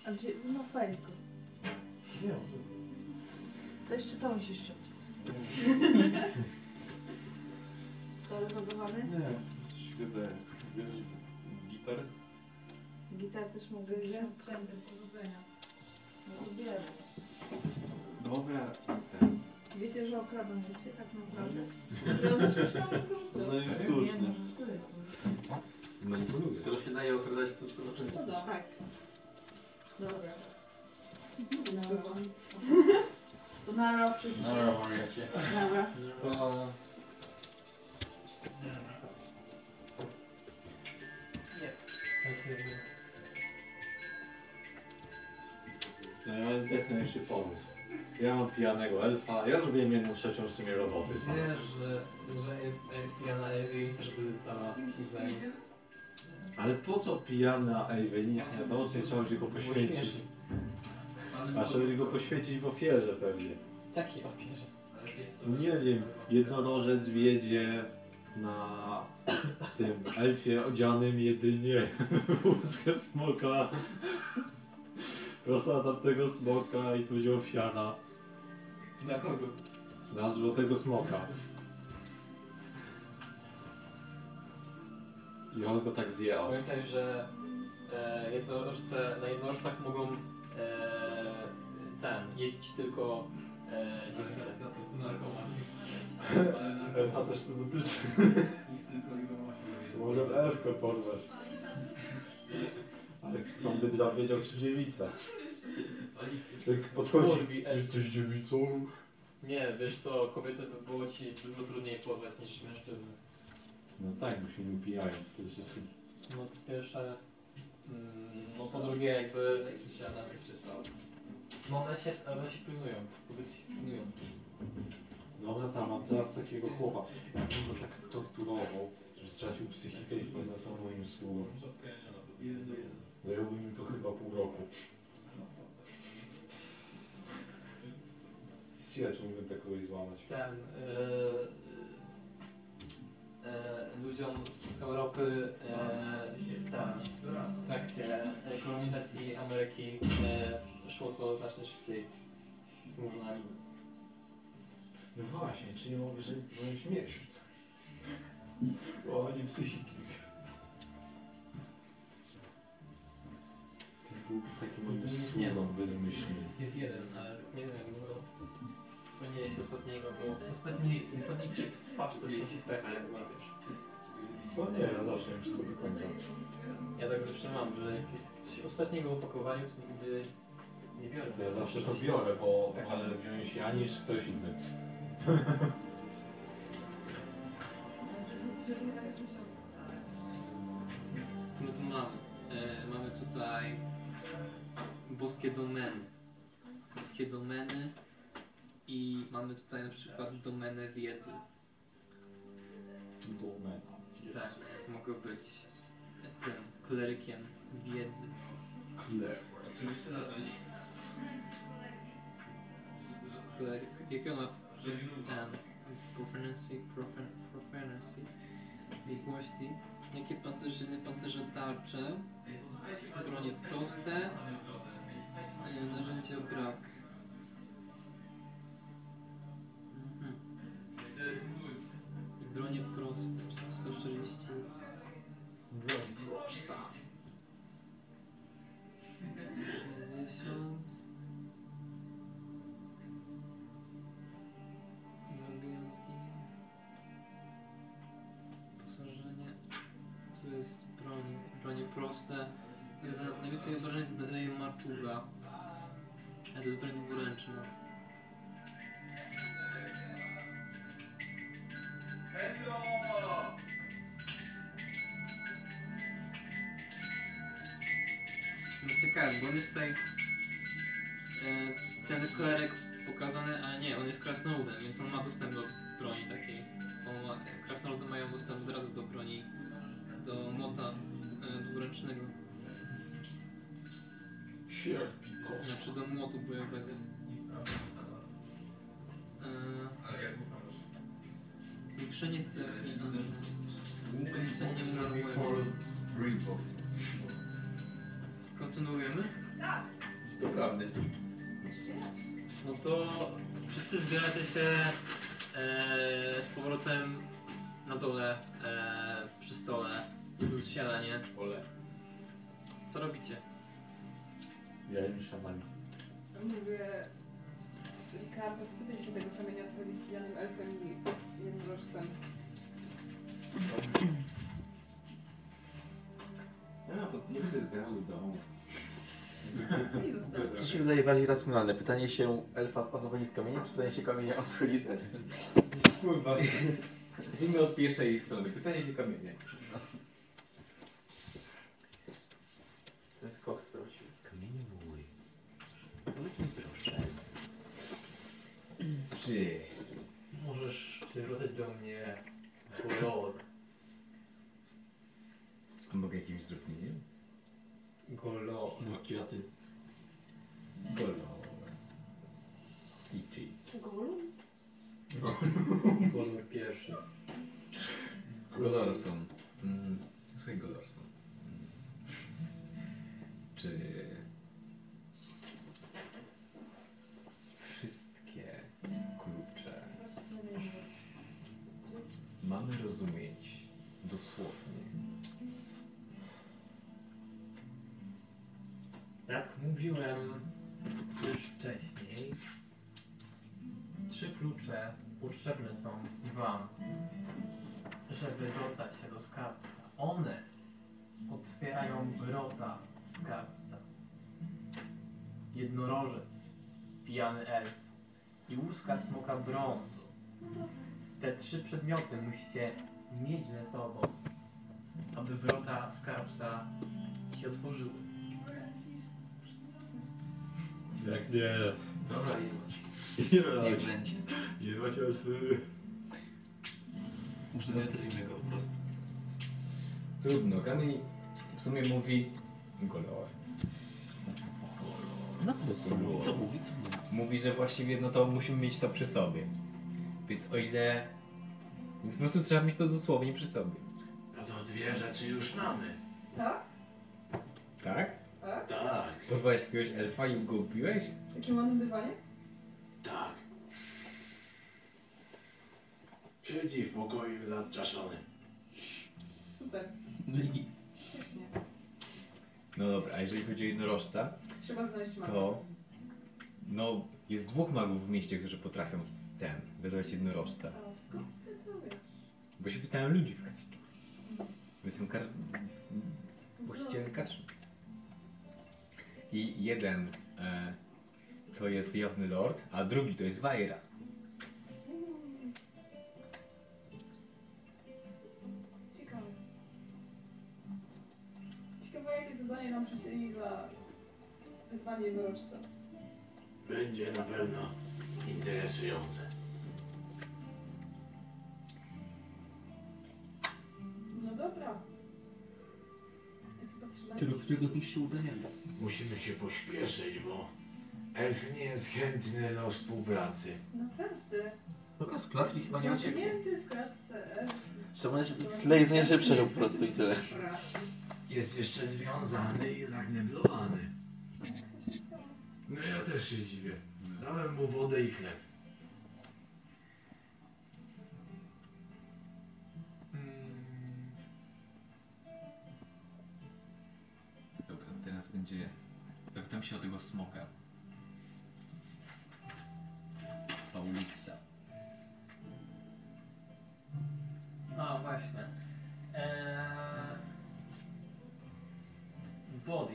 A gdzie? No fajko. Nie. To jeszcze to musisz ściąć. Co, rozładowany? Nie, coś się gadaje. Bierzesz gitarę? Gitar też mogę wziąć? Sprzętem powodzenia. No to bierę. Dobra, ten. Wiecie, że okradam życie, tak naprawdę? No i słusznie. no, Skoro się daje okradać, to co zawsze No jesteś. tak. Dobra. Dobra. To nara wszystko. Nara, wariacie. Nara. To... No ja mam najlepszy pomysł. Ja mam pijanego elfa, ja zrobiłem jedną trzecią w sumie roboty sam. Wiesz, że, że Jana Ewi też by zdała egzamin. Ale po co pijana Evelyn, jak na to, czy trzeba tylko poświęcić? A ale A żeby go poświecić w ofierze pewnie. Taki opierze. Nie wiem, jednorożec wiedzie na tym elfie odzianym jedynie w łuskę smoka. Prosta tamtego smoka i tu będzie ofiara Na kogo? na złotego smoka. I on go tak zje. o. Pamiętaj, że e, jednorożce, na jednorożcach mogą e, ten, jeździć tylko e, dziewice. Elfa też to dotyczy. Mogę elfkę porwać. Ale skąd by dra wiedział, czy dziewica? Tak podchodzi. Kurwi, elf. Jesteś dziewicą? Nie, wiesz co, kobiety by było ci dużo trudniej porwać niż mężczyzny. No tak, bo się nie upijają przede wszystkim. No po pierwsze, mm, no po drugie jakby... No one się, one się pilnują, kobiety się pilnują. Dobra, tam mam teraz takiego chłopa. Ja bym go tak torturował, żeby stracił psychikę i nie został moim sługą. Zajęłoby mi to chyba pół roku. Ściele, czy mógłbym takogo złamać? ten e, e, ludziom z Europy e, ta, w trakcie e, kolonizacji Ameryki e, szło to znacznie szybciej z murzynami. No właśnie, czy nie mogę żyć w miesiąc? Łamanie psychiki. Ty byłby takim moim sługą bezmyślnie. Jest jeden, ale nie wiem, bo pomyliłeś ostatniego, bo ostatni, ostatni krzyk z paczce ci pecha, jak was już. Co nie, ja zawsze wiem wszystko do końca. Ja tak zawsze mam, że jak jest coś ostatniego w opakowaniu, to nigdy nie biorę. To ja zawsze to biorę, bo tak ale wziąć ja niż ktoś inny. Co my tu mamy? No E, mamy tutaj boskie domeny. Boskie domeny i mamy tutaj na przykład domenę wiedzy. Domena. Tak, mogę być tym klerykiem wiedzy. Kleryk. Oczywiście zacząć. Kleryk, jakie ona ten profancy, profan, profancy, biegłości. Jakie pancerzyny, pancerze tarcze, bronie proste, e, narzędzia brak. Mhm. I bronie proste, 140. Broń prosta. 60. Drobiazgi. Wyposażenie. Tu jest broń. Bronie proste. Za najwięcej obrażeń zadaje maczuga. A to jest broń dwuręczna. No jest ciekawe, bo on jest tutaj e, ten klerek pokazany, a nie, on jest krasnoludem, więc on ma dostęp do broni takiej. On ma, krasnoludy mają dostęp od razu do broni, do mota e, dwuręcznego. Sierpi Znaczy do młotu bojowego. E, zwiększenie cechy, a, zwiększenie muramu. Kontynuujemy? Doprawdy. No to wszyscy zbieracie się e, z powrotem na dole e, przy stole, jedząc śniadanie. Ole. Co robicie? Ja i szaman. Mówię, Ricardo, spytaj się tego kamienia, co chodzi z pijanym elfem i jednorożcem. Ja na pod nigdy grał do domu. Co się wydaje bardziej racjonalne? Pytanie się elfa o co chodzi z kamieniem, czy pytanie się kamienia o co chodzi z elfem? Kurwa. Zacznijmy od pierwszej strony. Pytanie się kamienie. Ten skok sprawdził. Kamienie mój. Proszę. Czy Możesz się zwracać do mnie Golor. mogę jakimś drobnikiem? Golor. No, kwiaty. Golor. Warner pierwszy. Godorson. Mm, Słuchaj, Godorson. Mm. Czy wszystkie klucze mamy rozumieć dosłownie? Jak mówiłem już wcześniej, trzy klucze potrzebne są Wam, żeby dostać się do skarbca. One otwierają wrota skarbca. Jednorożec, pijany elf i łuska smoka brązu. Te trzy przedmioty musicie mieć ze sobą, aby wrota skarbca się otworzyły. Jak nie. Dobra, Tak. Jebać. Niech będzie. Jebać elfy. Może nie trafimy go po prostu. Trudno, Kami w sumie mówi... Golor. No, co mówi, co mówi, co mówi? Mówi, że właściwie no to musimy mieć to przy sobie. Więc o ile... Więc po prostu trzeba mieć to dosłownie przy sobie. No to dwie rzeczy już mamy. Tak? Tak? Tak? Tak, Porwałeś jakiegoś elfa i go upiłeś? W Takim ładnym dywanie? tak. Siedzi w pokoju zastraszony. Super. No i nic. Świetnie. No dobra, a jeżeli chodzi o jednorożca, Trzeba znaleźć matkę. to no jest dwóch magów w mieście, którzy potrafią ten, wezwać jednorożca. A skąd ty to wiesz? Bo się pytałem ludzi w karczmie. Jestem kar... właścicielem karczmy. I jeden e, to jest Jotny Lord, a drugi to jest Wajra. Ciekawe. Ciekawe jakie zadanie nam przycięli za wyzwanie jednorożca. Będzie na pewno interesujące. No dobra. To chyba trzeba Tylko iść. którego z nich się uda, nie wiem. Musimy się pośpieszyć, bo elf nie jest chętny do współpracy. Naprawdę. Dobra, z klatki chyba nie ucieknie. Zamknięty w e, klatce elf. Trzeba tyle jedzenia, żeby przeżył po prostu i tyle. Dobra. Jest jeszcze związany i zagneblowany. No ja też się dziwię. Dałem mu wodę i chleb. mm, Dobra, teraz będzie... Zapytam się o tego smoka. Paulixa. No właśnie. Eee... Body.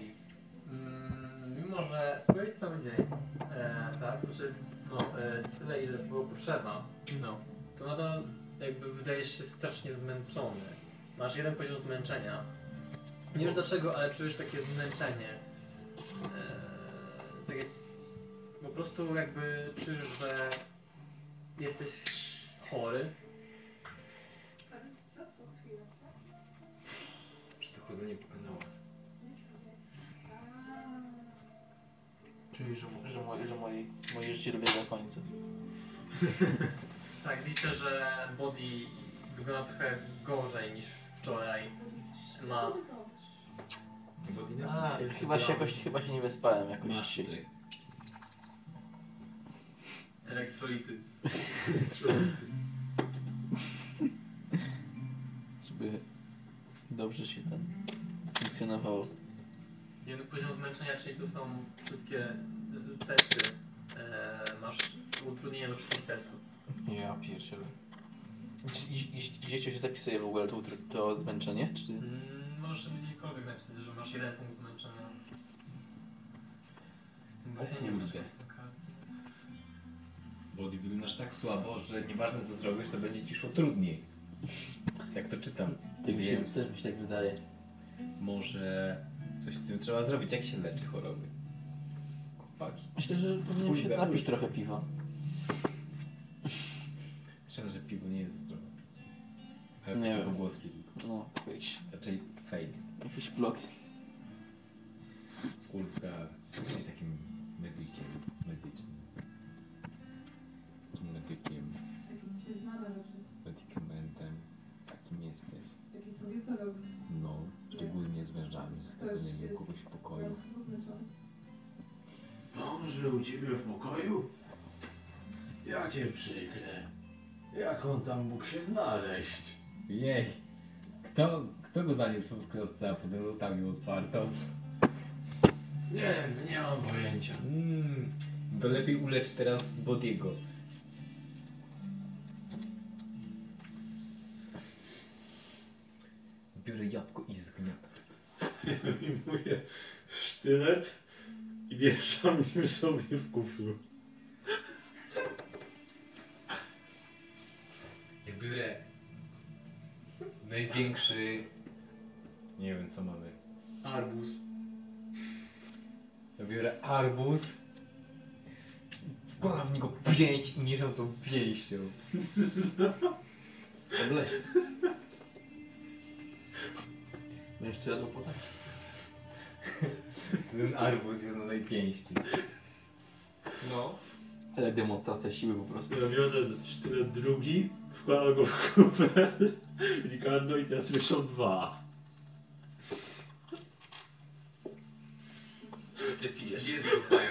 Mm, mimo, że spędzić cały dzień, eee, tak, znaczy, no, eee, tyle ile było potrzeba, no, to nadal jakby wydajesz się strasznie zmęczony. Masz jeden poziom zmęczenia. Nie wiesz dlaczego, ale czujesz takie zmęczenie. Eee, takie... Po prostu jakby czujesz, że jesteś chory, Co co chwilę, co? Czy to chodzenie po kanałach? Czyli, że, mo- że, moje, że moje, moje życie dobiega końca. Tak, widzę, że Body wygląda trochę gorzej niż wczoraj. Ma. A, chyba się jakoś, chyba się nie wyspałem jakoś Masz dzisiaj. Elektrolity. Żeby dobrze się ten funkcjonowało. Jeden no, poziom zmęczenia, czyli to są wszystkie y, testy. E, masz utrudnienie do wszystkich testów. Ja pierdzielę. Czy gdzieś- Gdzieś gdzieś to się zapisuje w ogóle to, utr- to zmęczenie? Czy... Mm, Możesz sobie gdziekolwiek napisać, że masz jeden punkt zmęczenia. Właśnie nie wiem, kurde. czy taka- Bo wyglądasz tak słabo, że nieważne co zrobisz, to będzie ci szło trudniej. Tak to czytam. Tak mi się- też mi się tak wydaje. Może coś z tym trzeba zrobić. Jak się leczy choroby? Chłopaki. Myślę, że powinienem się Chuj, napić chuj. trochę piwa. Szczerze, że piwo nie jest zdrowe. Ale Nie nie wiem. wiem. Głoski tylko. No, jakiś, Raczej fake. jakiś plot. Kurka jesteś takim medykiem. Medycznym. Medykiem. No, też jest... kogoś w pokoju. Różny czas. Mąż był u ciebie w pokoju? Jakie przykre. Jak on tam mógł się znaleźć? Jej. Kto, kto go zaniósł w klatce, a potem zostawił otwartą? Nie, nie mam pojęcia. Mm, to lepiej ulecz teraz Bodiego. Biorę jabłko i zgniatam. Wyjmuję sztylet i wieszam nim sobie w kuflu. Ja biorę największy... Nie wiem co mamy. Arbus. Ja biorę arbuz, wkładam w niego pięść i mierzam tą pięścią. W lesie. Będziesz co jadł potem? Ten arbuz jest na tej pięści. No. Ale demonstracja siły po prostu. Ja biorę sztylet drugi, wkładam go w kufel, Ricardo i teraz mieszam dwa. Ty pijesz, jest zupełnie.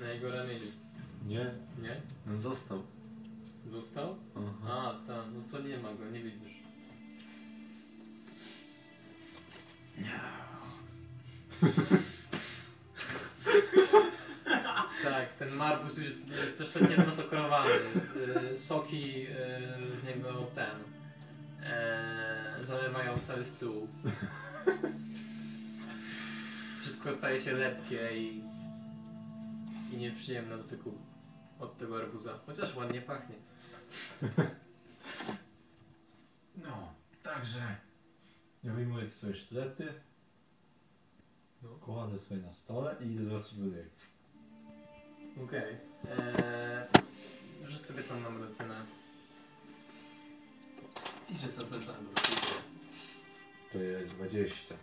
Na jego ramieniu. Nie. Nie? On został. Został? A, tam, no to nie ma go, nie widzisz. Tak, ten marbus już jest, jest troszeczkę zmasakrowany. Y, Soki y, z niego ten. e, zalewają cały stół. Wszystko staje się lepkie i, i nieprzyjemne do tyku od tego arbuza. Chociaż ładnie pachnie. No, także Ja wyjmuję te swoje sztylety, no. kładę sobie na stole i idę zobaczyć Bodiego. Okej. Okay. Rzuć Eee, sobie tam na medycynę. I że jestem zmęczony po prostu. To jest 20.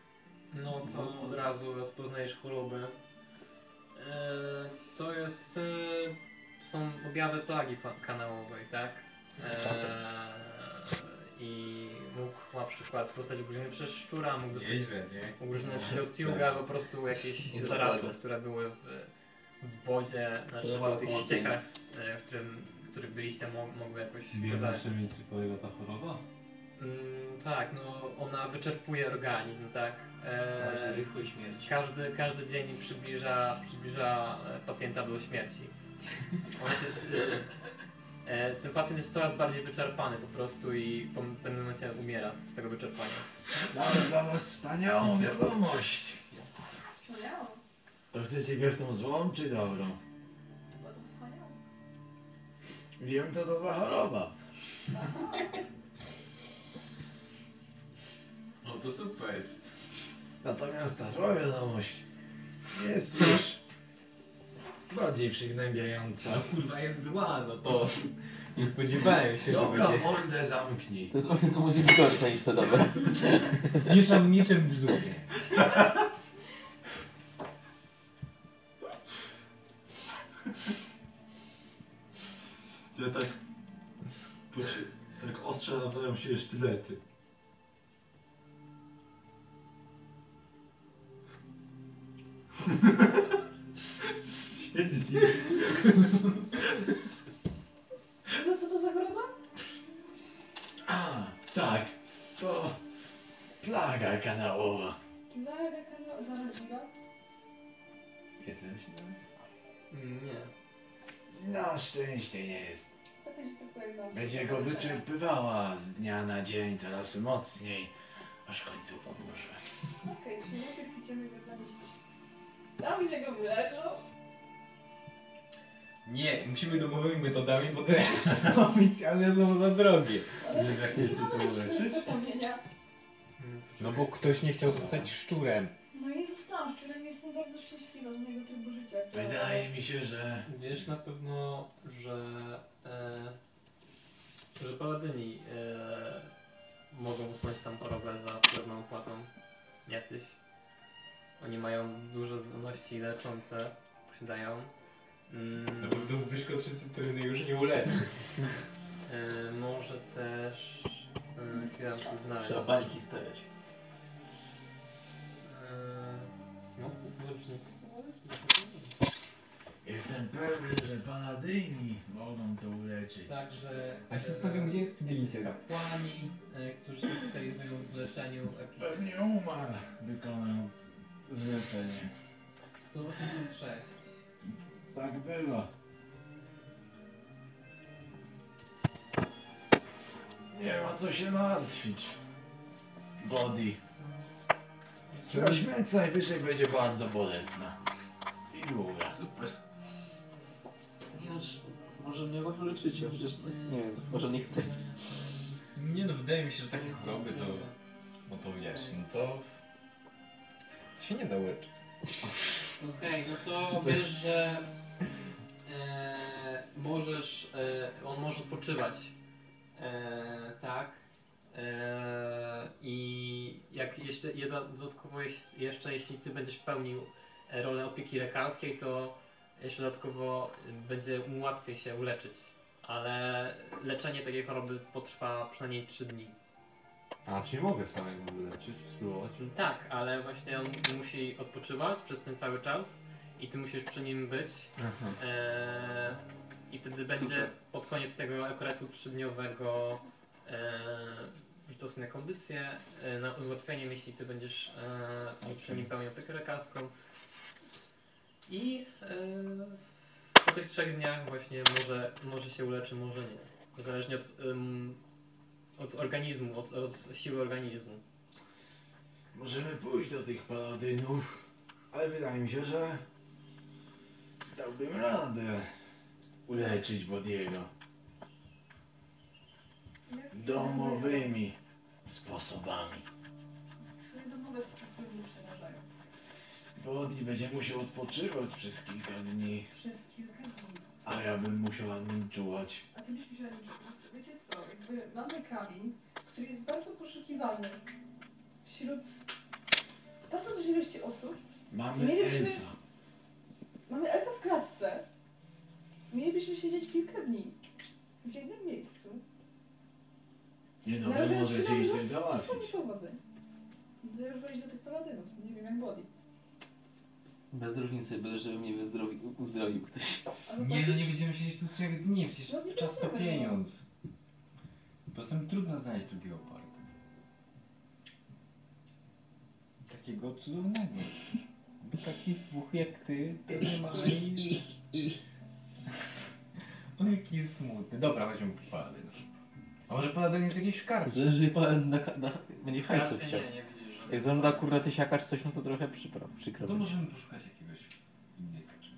No to od razu rozpoznajesz chorobę. Eee, to jest. eee, to są objawy plagi fa- kanałowej, tak? Eee, I mógł na przykład zostać ugryziony przez szczura, mógł zostać Nieźle, nie? No. ugryziony przez otiuga, po prostu jakieś Nie zarazy, zakładam. które były w, w wodzie, znaczy Była w tych pomocy. ściekach, e, w którym, w których byliście, mo- mogły jakoś Wiem, zarazić. jeszcze więcej polega ta choroba? Mm, tak, no ona wyczerpuje organizm, tak. Eee. Właśnie, rychło śmierć. Każdy, każdy dzień przybliża, przybliża e, pacjenta do śmierci. On się, e, e, ten pacjent jest coraz bardziej wyczerpany po prostu i po w pewnym momencie umiera z tego wyczerpania. mamy dla was wspaniałą No, wiadomość. Wspaniałe. To chcecie pierw tą złą czy dobrą? Chyba to wspaniałe. Wiem co to za choroba. No to super. Natomiast ta zła wiadomość jest już bardziej przygnębiająca. No kurwa jest zła, no to nie spodziewałem się, że Dobra, będzie- mordę zamknij. To jest o wiadomość gorsza niż ta dobra. Mieszam niczym w zupie. Ja tak... Poczy, tak ostrze nawzajem się sztylety. Siedzi. No co to za choroba? A, tak, to plaga kanałowa. Plaga kanał... Zaraźliwa? Jesteś? Nie. Na szczęście nie jest. To tak będzie tylko jedna Będzie go wyczerpywała z dnia na dzień coraz mocniej, aż w końcu pomoże. Okej, czyli najpierw idziemy go zanieść. Tam gdzie go wyleczą? Nie, musimy domowymi metodami, bo te oficjalne są za drogie. Ale jak nie mamy już serca kamienia. No bo ktoś nie chciał zostać szczurem. No i zostałam szczurem, jestem bardzo szczęśliwa z mojego trybu życia. które- Wydaje mi się, że Wiesz na pewno, że, e, że paladyni e, mogą usunąć tam chorobę za pewną opłatą. Jacyś. Oni mają duże zdolności leczące, posiadają. Mm, Na pewno Zbyszko trzy cytryny już nie uleczy. e, może też. E, chwila, muszę znaleźć. Trzeba bańki stawiać. E, no, Jestem pewny, że paladyni mogą to uleczyć. Tak. Także. A się zastanawiam, gdzie jest Więc Glitter? kapłani, e, którzy się specjalizują w leczeniu jakichś Pewnie umarł, wykonując zlecenie. 186. Tak było. Nie ma co się martwić. Body. Ta śmierć najwyżej będzie bardzo bolesna. I długa. Super. Nie no, może nie mogę leczyć, a przecież nie wiem, może nie chcecie. E, Nie no, wydaje mi się, że takie choroby to... No to wiesz, no to... się nie da uleczyć. Okej, no to Super. wiesz, że e, możesz, e, on może odpoczywać, e, tak? E, I jak jeszcze, jedna, dodatkowo jeś- jeszcze jeśli ty będziesz pełnił e, rolę opieki lekarskiej, to jeszcze dodatkowo e, będzie mu łatwiej się uleczyć. Ale leczenie takiej choroby potrwa przynajmniej 3 dni. A, czy mogę samego wyleczyć, spróbować? Tak, ale właśnie on musi odpoczywać przez ten cały czas i ty musisz przy nim być. Aha. Eee, I wtedy będzie pod koniec tego okresu trzydniowego e, eee, witos na kondycję, e, na uzłatwienie, jeśli ty będziesz eee, przy nim pełnił opiekę lekarską. I eee, po tych trzech dniach właśnie może, może się uleczy, może nie. Zależnie od, em, od organizmu, od, od siły organizmu. Możemy pójść do tych paladynów, ale wydaje mi się, że dałbym radę uleczyć Bodiego. Domowymi sposobami. Twoje domowe sposoby mnie przerażają. Bodi będzie musiał odpoczywać przez kilka dni, Przez kilka dni. a ja bym musiał nad nim czuwać. A ty byś musiała liczyć. Wiecie co, jakby mamy kamień, który jest bardzo poszukiwany wśród bardzo dużej ilości osób. Mamy Mielibyśmy- elfa. Mamy elfa w klatce. Mielibyśmy siedzieć kilka dni w jednym miejscu. Nie no, wy Narażając się możecie na iść sobie mnóstwo załatwić. niepowodzeń. No to już wejść do tych paladynów, nie wiem jak boli. Bez różnicy, byle żeby mnie wyzdrowi, uzdrowił ktoś. Nie, no nie będziemy siedzieć tu trzech dni, przecież czas to pieniądz. Poza tym trudno znaleźć drugiego oparta. Takiego cudownego. Bo takich dwóch jak ty, to nie ma ani... On jaki jest smutny. Dobra, chodźmy po Paladyna. A może Paladyn jest jakiś karp? Zależy, pan na, na, będzie hajsu Nie, chciał. nie, nie widzisz, że- Jak zażąda kurna tysiakacz coś, no to trochę przypraw, przykro. To mi. możemy poszukać jakiegoś innej kaczy.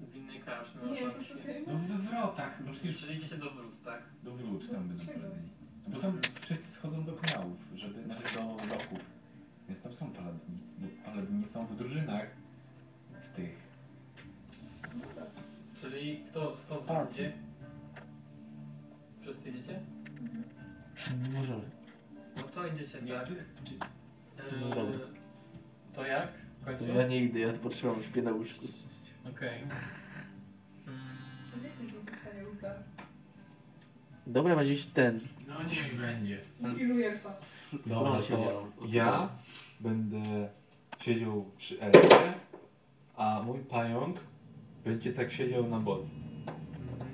W innej karczmie. Nie, masz to rację. szukajmy. No, we wrotach, no przecież- Czyli idziecie do wrót, tak? Do wrót tam będą Paladyni. No Bo tam wszyscy schodzą do kanałów, żeby, znaczy do bloków. Więc tam są Paladyni. Bo Paladyni są w drużynach. W tych. Czyli kto, kto z was Party. idzie? Wszyscy idziecie? Nie możemy. No to idziecie, tak. Eee, No dobra. To jak? W końcu? Ja nigdy, ja potrzebam śpię na łóżku. Okej. no Mm, Niech ktoś nie zostanie uda. Dobra, ma gdzieś ten. No niech będzie. Ilu elfa? Dobra, Flon się to działa. ja będę siedział przy elfie, a mój pająk będzie tak siedział na body.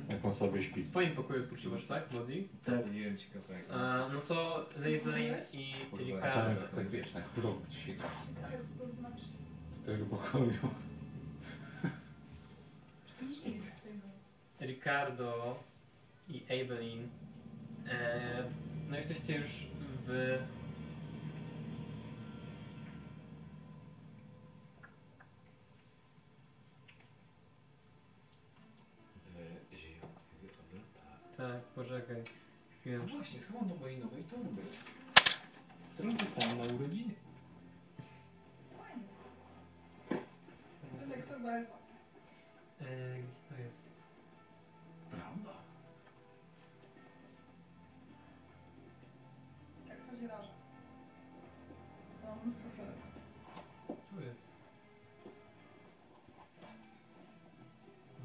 Jak on sobie śpi. W swoim pokoju odpoczywasz, tak, Body? Tak. Nie wiem ciekawego. Eee, no to Leiblein i A Lika. tak, tak wiesz, tak w rogu ci się Co to znaczy? w tego pokoju. Ricardo i Evelyn. E, no jesteście już w. Tak, poczekaj. Chwilę. No właśnie, schowam do mojej nowej torby. Którą dostałem na urodziny. Będę kto ma tak, elfa. E, gdzie to jest? Prawda? Tak, chodzi raża. Są mnóstwo floret. Tu jest.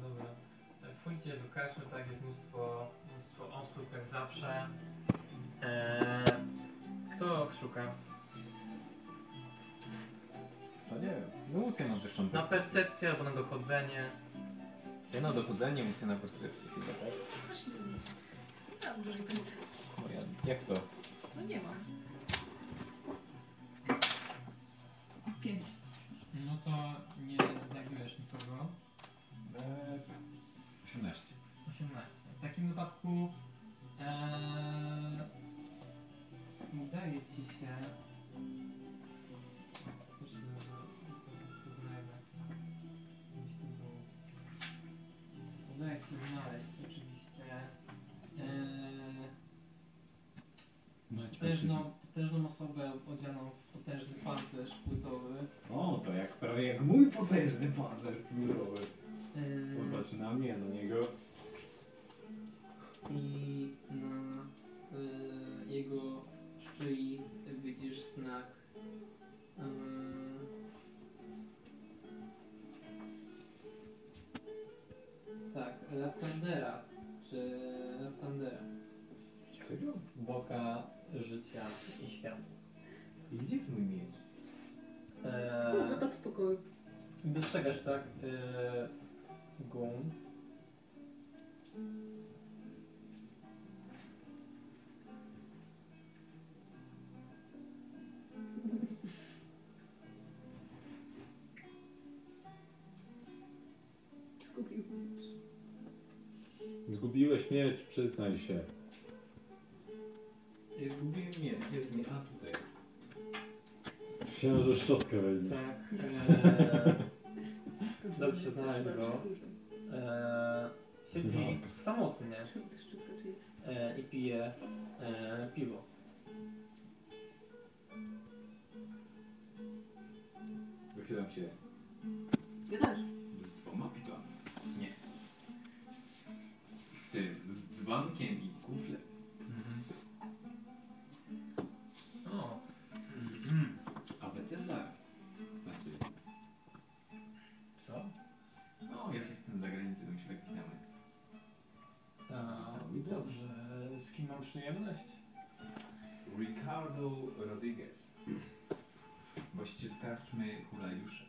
Dobra. Wchodzicie do karczmy, tak jest mnóstwo, mnóstwo osób jak zawsze. Eee, kto szuka? To nie wiem. No Łucja ma wyższą Na percepcję. percepcję albo na dochodzenie. Ja No, na dochodzenie, Łucja na percepcję chyba, tak? Właśnie to nie. Nie mam dużej percepcji. Moja. Jak to? No nie mam. Pięć. No to nie zabiłeś nikogo. 18. 18. W takim wypadku e, udaje ci się. Też zaraz- zaraz to znajdę. Gdzieś tu było. Udaje ci się znaleźć oczywiście. E, no- potężną, potężną osobę odzianą w potężny pancerz płytowy. O, to jak prawie jak mój potężny panzer królowy. Eee. Popatrz na mnie, na niego. i na e, jego szyi widzisz znak e, tak, Laptandera czy Laptandera Boga życia i światła I gdzie jest mój miecz? Eee, Wypadł z pokoju. Dostrzegasz, tak? e, Yy, gum. Zgubił miecz. Zgubiłeś miecz, przyznaj się. Ja Zgubiłem miecz, gdzie jest mi? A tutaj. Myślałem, że szczotkę weźmie. Tak. e, Eee, dobrze znaleźć go. Eee, siedzi samotnie eee, i pije eee, piwo. Wychylam się. Ja też. Z dwoma pitami. Nie. Z, z, z, z tym, z dzbankiem i kuflem. O, ABC za. Znaczy, co? no jak jestem za granicą, to mi się tak witamy. A, dobrze, z kim mam przyjemność? Ricardo Rodriguez. Właściciel karczmy Hulajusze.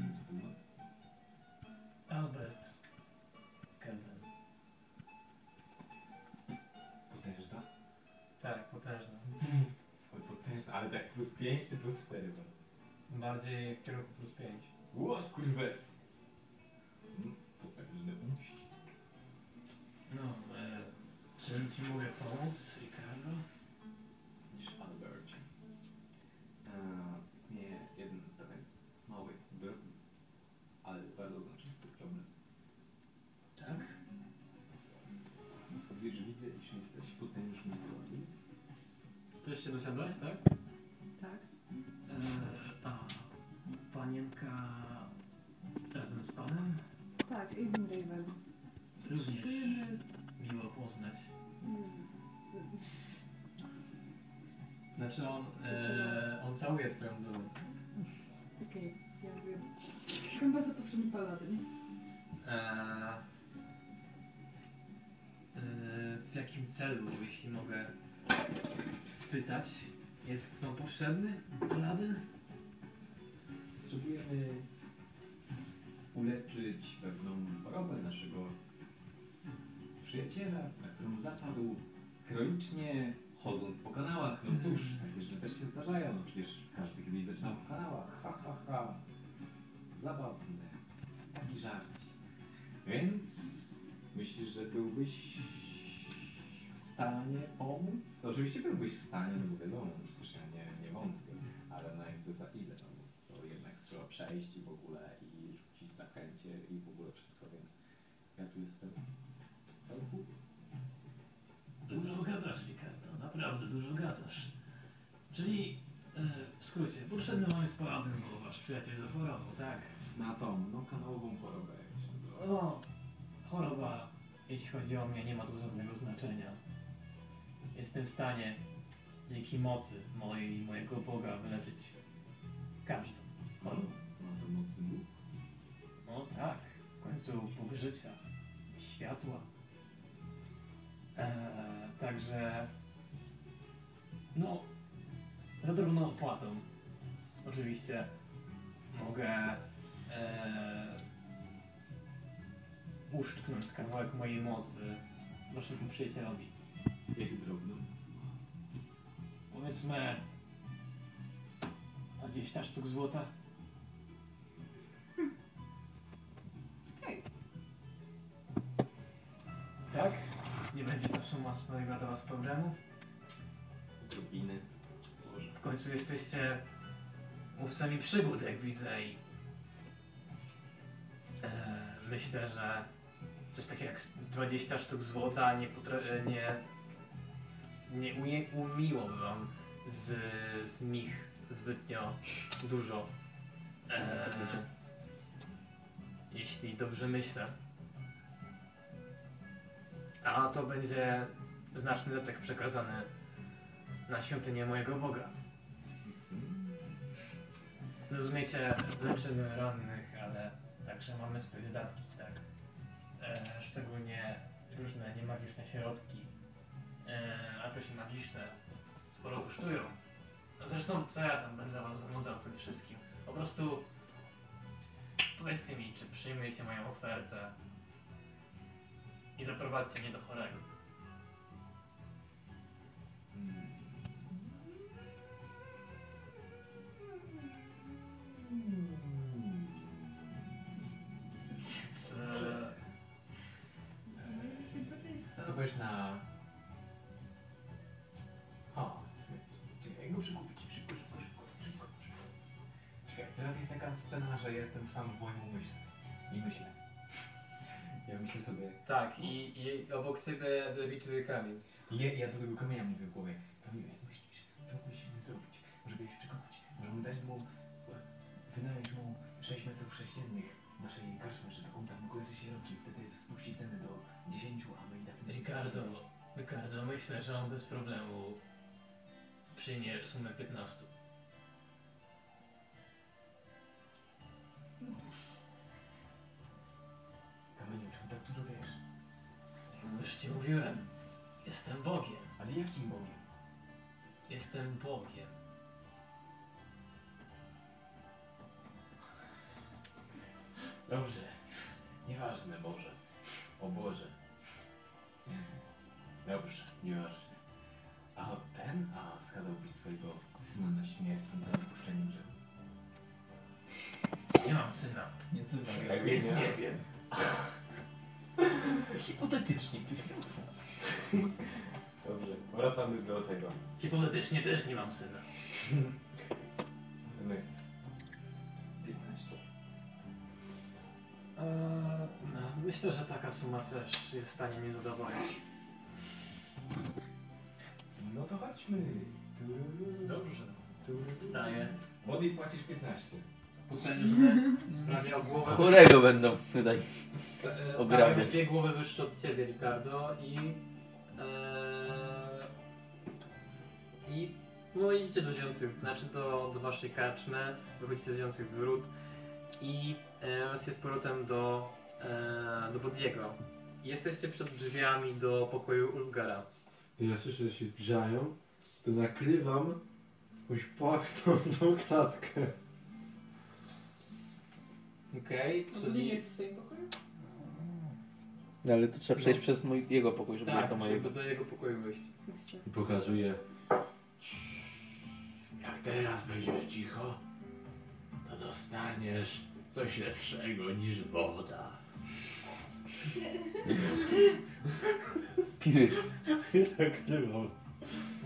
Więc z północy. Albert. Kennan. Potężna? Tak, potężna. Oj, Potężna, ale tak plus 5 czy plus 4 bardziej? Bardziej w kierunku plus 5. Głos kurwes! Mm, Potężny uścisk. No, e, czym ci mogę pomóc, Ricardo? niż Albert. Eee, Istnieje jeden pewien mały, drobny, ale bardzo znaczy, znaczący problem. Tak? Gdyż widzę, iż jesteś potężny broń. Też się dosiadłeś, tak? Tak. E, a panienka razem z panem? Tak, Aiden Raven. Również Jedyny- miło poznać. Mm. Znaczy on, e, on całuje twoją dumę. Okej, ja wiem. Jestem bardzo potrzebny paladyn. E, e, w jakim celu, jeśli mogę spytać, jest wam potrzebny paladyn? Potrzebujemy uleczyć pewną chorobę naszego przyjaciela, na którą zapadł chronicznie chodząc po kanałach. No cóż, takie rzeczy też się zdarzają. No przecież każdy kiedyś zaczynał po kanałach. Ha, ha, ha. Zabawne. Taki żart. Więc myślisz, że byłbyś w stanie pomóc? Oczywiście byłbyś w stanie, no bo wiadomo, przecież ja nie, nie wątpię, ale no jakby za ile, no bo to jednak trzeba przejść i w ogóle i rzucić zakręcie i w ogóle wszystko, więc ja tu jestem cały chłop. Dużo gadasz, Ricardo, naprawdę dużo gadasz. Czyli, e, w skrócie, potrzebny mamy spaladyn, bo wasz przyjaciel zachorował, tak? Na tą, no kanałową chorobę. No, choroba, jeśli chodzi o mnie, nie ma tu żadnego znaczenia. Jestem w stanie, dzięki mocy mojej i mojego Boga, wyleczyć każdą chorobę. Ma to mocny Bóg. No tak, w końcu Bóg życia, i światła. Eee, także, no, za drobną opłatą, oczywiście, Mogę e, uszczknąć kawałek mojej mocy naszemu przyjacielowi. Jak drobno. Powiedzmy 20 sztuk złota. Okej. Tak? Nie będzie ta suma sprawiła dla was problemu? Drobiny. W końcu jesteście łowcami przygód, jak widzę i e, myślę, że coś takiego jak 20 sztuk złota nie, potra- e, nie, nie umie- umiłoby wam z, z nich zbytnio dużo. E, jeśli dobrze myślę. A to będzie znaczny datek przekazany na świątynię mojego Boga. Rozumiecie, leczymy rannych, ale także mamy swoje wydatki, tak? E, szczególnie różne niemagiczne środki, e, a to się magiczne, sporo kosztują. No zresztą co ja tam będę was zanudzał tym wszystkim? Po prostu powiedzcie mi, czy przyjmiecie moją ofertę i zaprowadźcie mnie do chorego. Czy... Zajmujcie się 20. To powiesz na... O, czekaj, jak go przykupić? Szybko, szybko, szybko, szybko, szybko. Czekaj, teraz jest taka scena, że jestem sam w moim umyśle. I myślę. Ja myślę sobie... Tak, i, i obok ciebie wybituje kamień. Je, ja do tego kamienia mówię w głowie. Kamieniu, jak myślisz, co musimy zrobić, żeby ich przekonać? Możemy dać mu... e, wynająć mu 6 metrów sześciennych naszej karczmy, żeby on tam kojarzy się robił. Wtedy spuści cenę do 10, a my i tak... nie Ricardo, zobaczymy. Ricardo, myślę, że on bez problemu przyjmie sumę 15. Kamieniu, czemu tak dużo wiesz? Już ci mówiłem, jestem Bogiem. Ale jakim Bogiem? Jestem Bogiem. Dobrze. Nieważne, Boże. O Boże. Dobrze, nieważne. A ten? A skazałbyś swojego syna na śmierć za wypuszczenie grzechu. Nie mam syna. Nie słyszałem. Więc nie wiem. Hipotetycznie ty miał Dobrze, wracamy do tego. Hipotetycznie też nie mam syna. My. 15. no, myślę, że taka suma też jest w stanie mnie zadowolić. No to chodźmy. Dobrze. Wstaję. Młody płacisz 15. Potężny. Prawie o głowę. Chorego będą tutaj E, Prawie obrabiać. dwie głowy wyższe od ciebie, Ricardo, i. E, I. No idziecie do zwiących, znaczy do, do waszej karczmy, wychodzicie z zwiących wzród i e, was jest powrotem do, e, do Bodiego. Jesteście przed drzwiami do pokoju Ulgara. Ja słyszę, że się zbliżają, to nakrywam jakąś płachtą tą klatkę. Okej, Nie czyli. jest w swoim pokoju? No, ale to trzeba przejść przez mój, jego pokój, żeby Tak, do mojego. żeby do jego pokoju wyjść. I pokazuję. Jak teraz będziesz cicho, to dostaniesz coś lepszego niż woda. Spirytus. I nakrywam.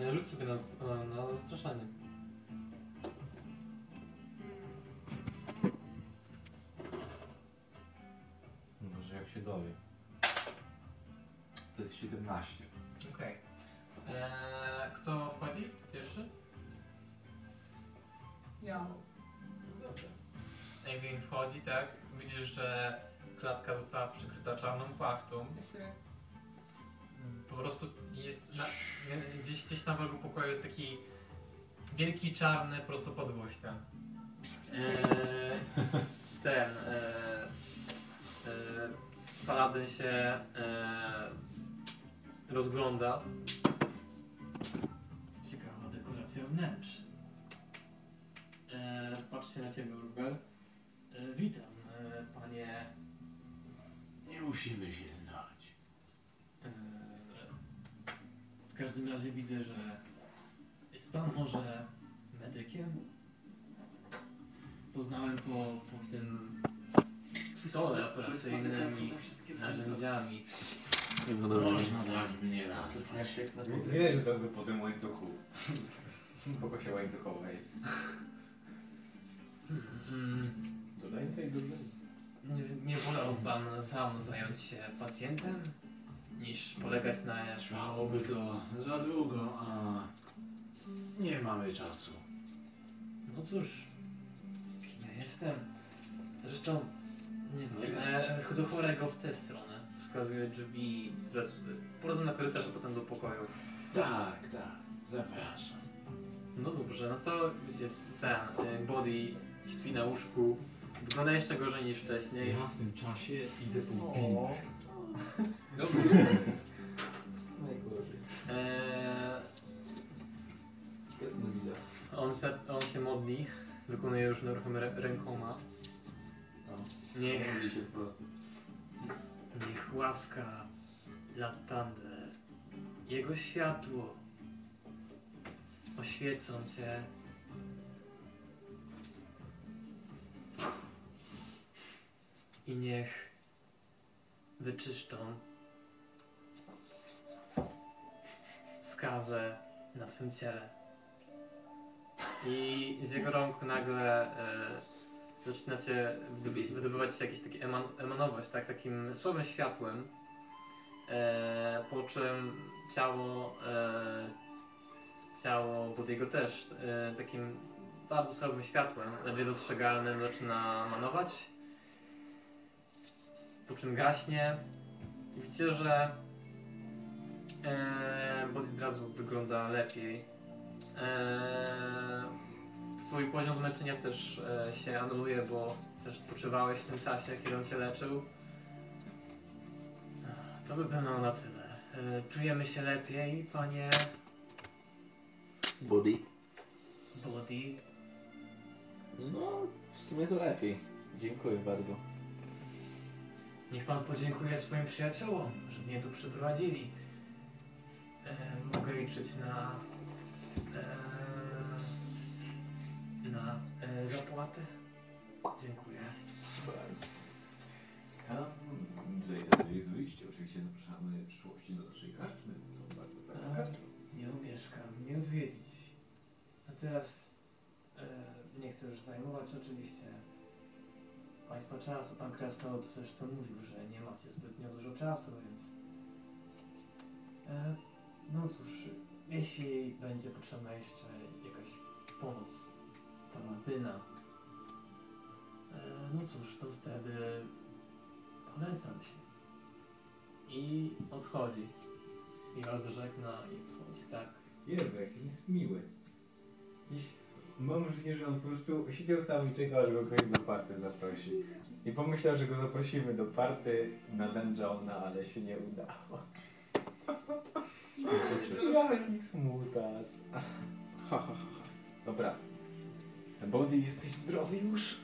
E, Rzuć sobie na, na, na straszanie. Może jak się dowie. To jest 17. Okej. Eee, Kto wchodzi pierwszy? Ja. Egwin wchodzi, tak? Widzisz, że klatka została przykryta czarną pachtą. Jestem jak Po prostu jest na, gdzieś, gdzieś tam w rogu pokoju jest taki wielki czarny prostopadłość ten. Eee, tak. ten eee, eee, paladyn się eee, rozgląda. Ciekawa dekoracja wnętrz. Eee, patrzcie E, na ciebie, Urber. E, Witam, e, panie. Nie musimy się znać. E, W każdym razie widzę, że jest pan może medykiem? Poznałem po, po tym stole operacyjnym i narzędziami. No Można tak mnie nazwać. Wiesz, że razu po tym łańcuchu. Kogo się łańcuchowaj? Dodańca i dodańca. Nie, Hmm, nie wolałby pan sam zająć się pacjentem, niż polegać na... Trwałoby to za długo, a nie mamy czasu. No cóż, kim ja jestem? Zresztą, nie wiem, e, do chorego w tę stronę. Wskazuje drzwi, teraz porozum na korytarz, a potem do pokoju. Tak, tak, zapraszam. No dobrze, no to jest ten, e, body śpi na łóżku. Wygląda jeszcze gorzej niż wcześniej. Ja w tym czasie idę po O. piłkę. Dobrze. Najgorzej. Eee, on, se, on się modli, wykonuje różne ruchy rę- rękoma. Niech. Mówi się wprost. Niech łaska Latande, jego światło oświecą cię. I niech wyczyszczą skazę na twym ciele. I z jego rąk nagle e, zaczynacie wydoby- wydobywać się jakieś takie eman, emanować, tak? Takim słabym światłem. E, po czym ciało, e, ciało Budiego też e, takim bardzo słabym światłem, ledwie dostrzegalnym zaczyna manować. Po czym gaśnie. I widzicie, że Eee, Body od razu wygląda lepiej. Eee, twój poziom leczenia też e, się anuluje, bo też odpoczywałeś w tym czasie, kiedy on cię leczył. To by było na tyle. Eee, czujemy się lepiej, panie Body. Body. No, w sumie to lepiej. Dziękuję bardzo. Niech pan podziękuje swoim przyjaciołom, że mnie tu przyprowadzili. E, mogę liczyć na. E, na e, zapłatę. Dziękuję. Tam, gdzie jest wyjście, oczywiście zapraszamy w przyszłości do naszej karczmy. To bardzo fajna Tak. A, karczma. Nie omieszkam, nie odwiedzić. A teraz e, nie chcę już zajmować oczywiście Państwa czasu. Pan Krasnolud zresztą mówił, że nie macie zbytnio dużo czasu, więc e, no cóż, jeśli będzie potrzebna jeszcze jakaś pomoc paladyna, e, no cóż, to wtedy polecam się. I odchodzi. I was żegna i odchodzi, tak. Jezu, jaki on jest miły. Dziś mam wrażenie, że on po prostu siedział tam i czekał, aż go ktoś do party zaprosi. I pomyślał, że go zaprosimy do party na dungeona, ale się nie udało. Jaki smutas. Ha, ha, ha. Dobra. Body, jesteś zdrowy już?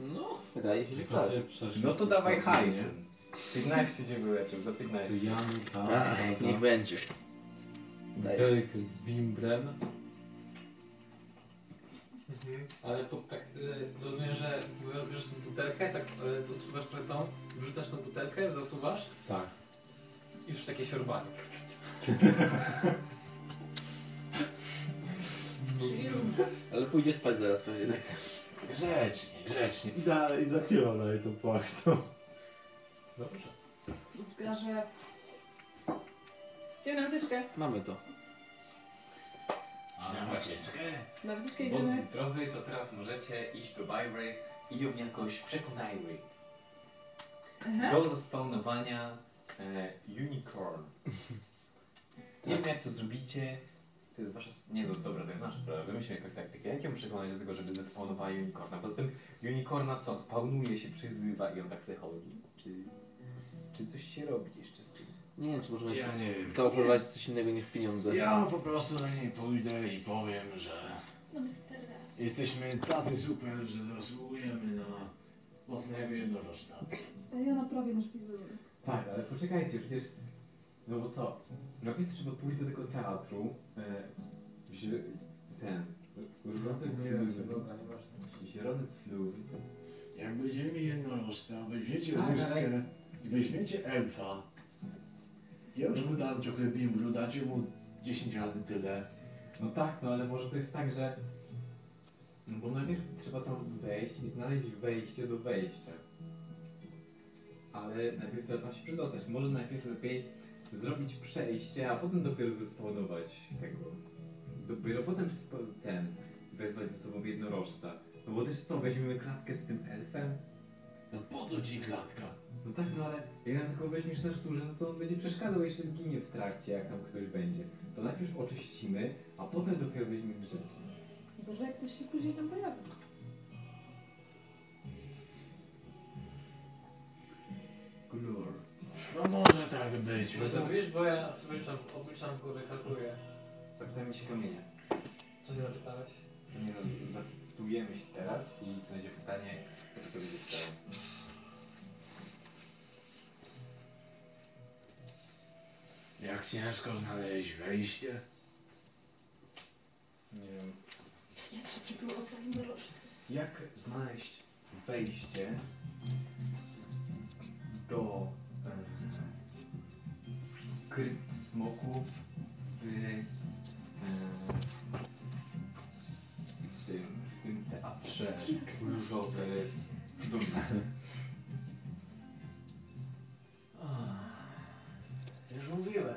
No, wydaje się, że tak. tak. No to dawaj hajs. 15 cię wyleczył, za 15. No, Ach, niech będzie. Butelek z bimbrem. Ale to tak, y, rozumiem, że bierzesz tą butelkę, tak y, odsuwasz trochę tą, wrzucasz tą butelkę, zasuwasz Tak. i już takie siorbanie. Ale pójdzie spać zaraz pewnie, tak? Grzecznie, grzecznie. I dalej zakrywa dalej tą płachtą. Dobrze. Garze. Idziemy na wycieczkę. Mamy to. Na wycieczkę? Na wycieczkę Bądź idziemy. zdrowy, to teraz możecie iść do Byray i ją jakoś przekonajmy. Do zaspawnowania e, Unicorn. Nie wiem jak to zrobicie. To jest wasza... s- Nie no, dobra, to jest nasza sprawa. Wymyślmy jakąś taktykę. Jak ją przekonać do tego, żeby zespawnowała Unicorna? Poza tym Unicorna co? Spawnuje się, przyzywa i on tak se chodzi. Czy, czy coś się robi jeszcze z tym? Nie wiem, czy możemy Ja nie wiem. zaoferować coś innego niż pieniądze. Ja po prostu do niej pójdę i powiem, że No bez perle. jesteśmy tacy super, że zasługujemy na mocnego jednorożca. A ja naprawię nasz wizerunek. Tak, ale poczekajcie, przecież... No bo co? Najpierw trzeba pójść do tego teatru, e, wzi- ten... Zielony flur. Zielony flur. Jak będziemy jednorożca, weźmiecie Tak, ale- łuskę i weźmiecie elfa. Ja już mu dałem trochę bimblu, dacie mu 10 razy tyle. No tak, no ale może to jest tak, że... No bo najpierw trzeba tam wejść i znaleźć wejście do wejścia. Ale najpierw trzeba tam się przedostać. Może najpierw lepiej zrobić przejście, a potem dopiero zesponować tego. Dopiero potem spo- ten wezwać ze sobą jednorożca. No bo też co, weźmiemy klatkę z tym elfem? No po co ci klatka? No tak, no ale jak na tylko weźmiesz na szturze, no to on będzie przeszkadzał, jeśli zginie w trakcie, jak tam ktoś będzie. To najpierw oczyścimy, a potem dopiero weźmiemy rzeczy. Boże, jak ktoś się później tam pojawi. Glur. No może tak być. Co zrobisz? Bo ja sobie obliczam, obliczam górę, kalkuluję. Zapytaj mi się kamienia. Co się zapytałeś? Nie no, zapytujemy się teraz i będzie pytanie, jak to będzie chciało. Jak ciężko znaleźć wejście? Nie wiem. Jak szybko było co jednorożce. Jak znaleźć wejście do e, krypt smoków w, e, w, tym, w tym teatrze różowy w Dunaju? Już mówiłem,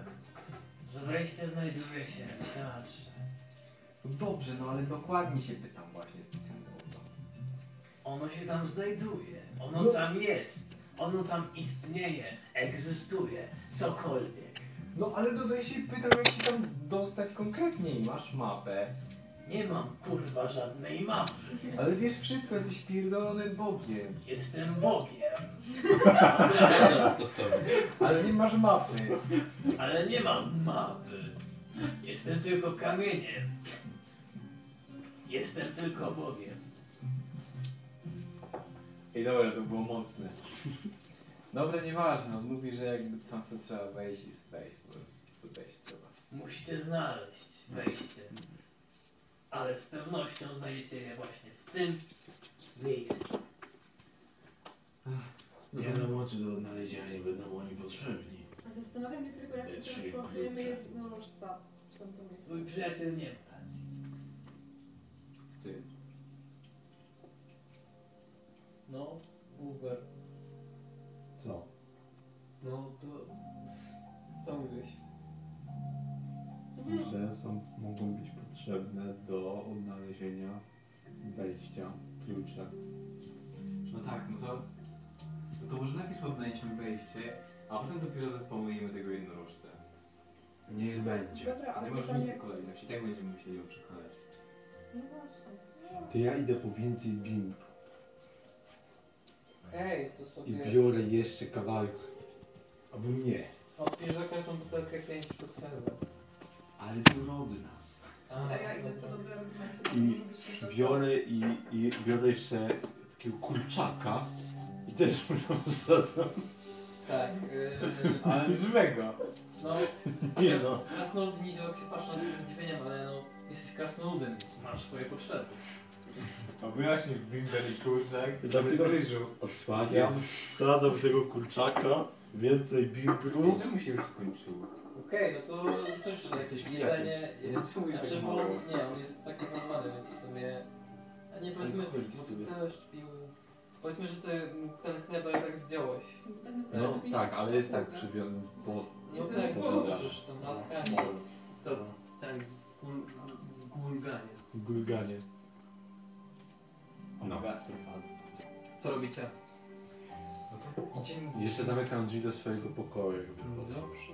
że wejście znajduje się w teatrze. No Dobrze, no ale dokładnie się pytam właśnie specjalnie o to. Ono się tam znajduje, ono tam jest, ono tam istnieje, egzystuje, cokolwiek. No ale dodaj się pytam, jak się tam dostać konkretniej. Masz mapę. Nie mam kurwa żadnej mapy. Ale wiesz wszystko, jesteś pierdolonym bogiem. Jestem Bogiem. to sobie. Ale nie masz mapy. Ale nie mam mapy. Jestem tylko kamieniem. Jestem tylko Bogiem. Ej, dobra, to było mocne. Dobra, nieważne, on mówi, że jakby tam sobie trzeba wejść i sobie wejść, po prostu wejść trzeba. Musicie znaleźć wejście. Ale z pewnością znajdziecie je właśnie w tym miejscu. Nie Mhm. no, oczy do odnalezienia nie będą oni potrzebni. A zastanawiam się tylko, jak się transportujemy jednorożca w tamto miejsce. Mój przyjaciel nie ma racji. Z czym? No, Uber. Co? No to... Co mówiłeś? że są, mogą być potrzebne do odnalezienia wejścia, klucza. No tak, no to... No to może najpierw odnajdźmy wejście, a potem dopiero zespołujemy tego jednorożca. Niech będzie. Dobra, ale Nie masz pytanie- nic kolejności, i tak będziemy musieli ją przekonać. No właśnie. To ja idę po więcej bimbu Ej, to i sobie... biorę jeszcze kawałek. Albo nie. Odpisz za każdą butelkę 5 sztuk serwa. Ale dużo od nas. A Tak, ja idę po dobrym argumencie. I biorę i, i biorę jeszcze takiego kurczaka i też mu tam wsadzam. Tak. Yy, Ale żywego. No, Nie no. krasnolud niziołek się patrzy na to ze zdziwieniem, ale no, jesteś krasnoludem, więc masz swoje potrzeby. A wyjaśnij Bimber i kurczak, Dlatego ryżu. odsłaniam, wsadzam tego kurczaka, więcej bimbru. Czemu się już skończyło? Okej, no to coś, że Jesteś pijakiem. jedzenie... Czemu jest znaczy, tak bo, mało? nie, on jest tak normalny, więc w sumie... A nie, powiedzmy, bo Alkoholik ty sobie. też pił... Powiedzmy, że ty ten chleba i tak zdjąłeś. No tak, ale jest tak przywiązany. No tak, No, bo przecież tam laskanie. To ten gul, gulganie. Gulganie. No. Gastrofaza. Co robicie? Jeszcze zamykam drzwi do swojego pokoju. jakby. Dobrze.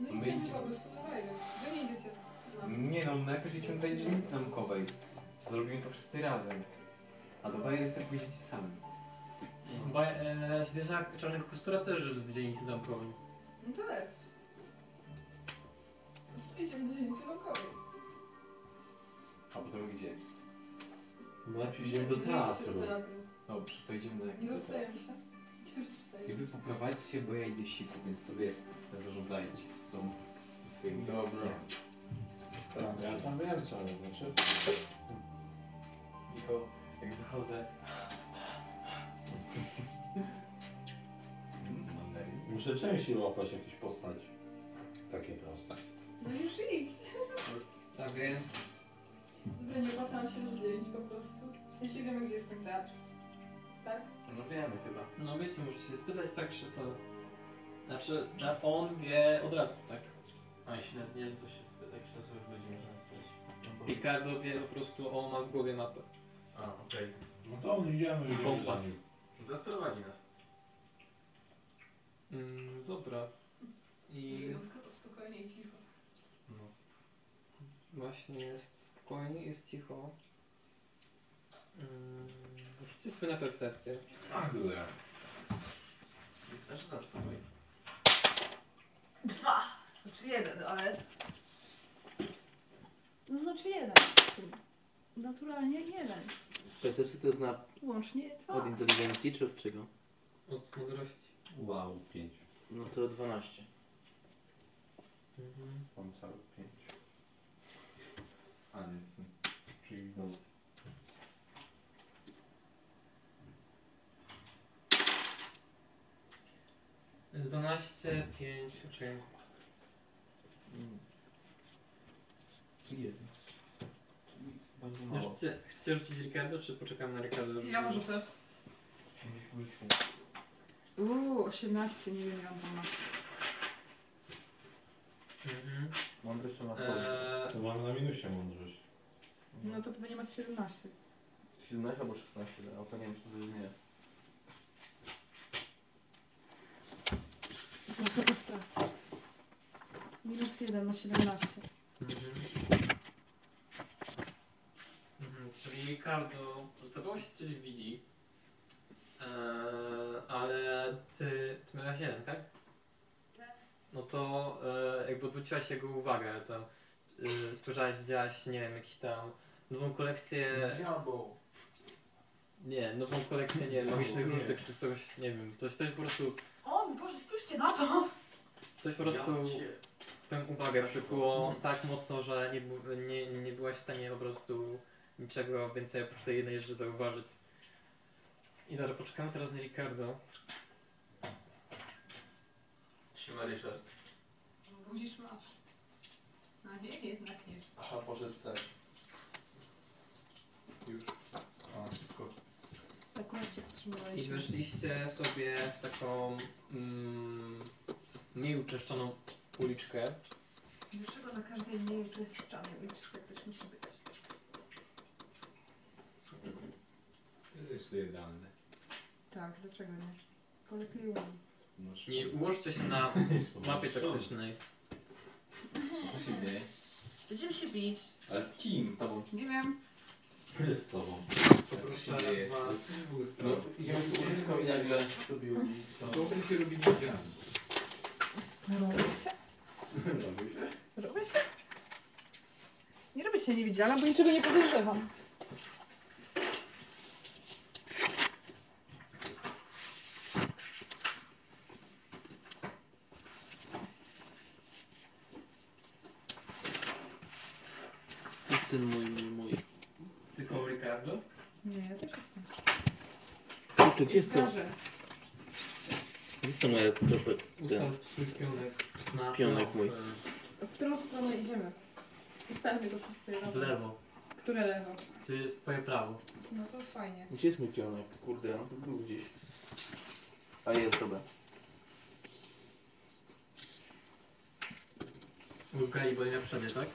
No My idziemy idziemy. po prostu na rajdę. Wy nie idziecie z nami. Nie no, najpierw idźmy do dzielnicy zamkowej. To zrobimy to wszyscy razem. A do bajery sobie pójdziecie sami. Ba, e, zwierzak czarnego kostura też żył w dzielnicy zamkowej. No to jest. Idziemy do dzielnicy zamkowej. A potem gdzie? No najpierw idziemy do Miejsce teatru. do teatru. Dobrze, to idziemy na Nie eksperyment. rozstajemy się. Nie rozstajemy. I wy poprowadźcie się, bo ja idę siku, więc sobie zarządzajcie są swoimi Dobra. Ja tam wiem co, znaczy... Michał, jak wychodzę... Muszę częściej łapać jakieś postać. Takie proste. No już idź. Tak więc Dobra, nie opasałam się rozdzielić po prostu. W sensie wiemy, gdzie jest ten teatr. Tak? No wiemy chyba. No wiecie, możecie się spytać tak, że to... Znaczy, że on wie od razu, tak? A jeśli nawet nie wiem, to Tak się spytaj, czy to sobie będziemy No rozmawiać. Ricardo wie po prostu, on ma w głowie mapę. A, okej. No to idziemy, idziemy za nim. Kompas. No To sprowadzi nas. Mm, dobra. I Wyjątkowo spokojnie i cicho. właśnie jest spokojnie, jest cicho. Mm, rzućcie sobie na percepcję. Kurde. Jest aż zaspokojony. Dwa! Znaczy jeden, ale... No znaczy jeden. Naturalnie jeden. Percepcja to jest na... Łącznie dwa. od inteligencji czy od czego? Od mądrości. Wow, 5. No to 12. Mhm. Mam całe 5. A nie jestem. Czyli widzący. Dwanaście, pięć, czyli... Mm. Jeden. Bardzo mało. Rzućcie, chcecie rzucić Ricardo, czy poczekamy na Ricardo? Ja może co? Uuu, 18, nie wiem, miałam 12. Mhm. Mądrość to ma Eee, To mam na minusie mądrość. No to pewnie masz 17. 17 albo 16, no to nie wiem, czy to zrozumiałem. Proszę No to z pracy. Minus 1 na 17. Mhm, Czyli Ricardo, zdawało się, coś widzi, eee, ale ty, ty miałaś jeden, tak? No to e, jakby odwróciłaś jego uwagę, tam e, spojrzałaś, widziałaś, nie wiem, jakiś tam nową kolekcję... Diabeł. Nie, nową kolekcję, nie wiem, magicznych Nie. różdżek czy coś, nie wiem, coś, coś po prostu, O mój Boże, spójrzcie na to! coś po prostu twoją uwagę przykuło tak mocno, że nie, bu- nie, nie byłaś w stanie po prostu niczego więcej oprócz tej jednej rzeczy zauważyć. I dobra, poczekamy teraz na Ricardo. Trzyma Ryszard. Budzisz masz. No nie, jednak nie. Aha, poszedł sen. Już. A, szybko. Akurat cię podtrzymywaliśmy. I weszliście sobie w taką mm, mniej uczeszczoną uliczkę. Dlaczego na każdej mniej uczestniczanej uliczce ktoś musi być? To jest jeszcze idealne. Tak, dlaczego nie? Polepiej umiem. Nie ułożcie się na mapie taktycznej. Co się dzieje? Będziemy się bić. Ale z kim? Z tobą. Nie wiem. Z tobą. Co się dzieje? No, idziemy z uliczką i nagle sobie uliczką. Dobrze się robi widziałem. Robię się? Robię się? Nie robię się niewidzialna, bo niczego nie podejrzewam. Jest ten mój, mój, mój. Tylko Ricardo? Nie, ja też jestem. Kurczę, gdzie jest to? Pokażę. Gdzie jest to moje... Ten, Ustaw swój pionek na Tak. Pionek mój. W którą stronę idziemy? Ustalmy go przez sobie e, w lewo. Które lewo? Ty w twoje prawo. No to fajnie. gdzie jest mój pionek? Kurde, on tu był gdzieś. A jest, dobra. Łukali, bo na przodzie, tak?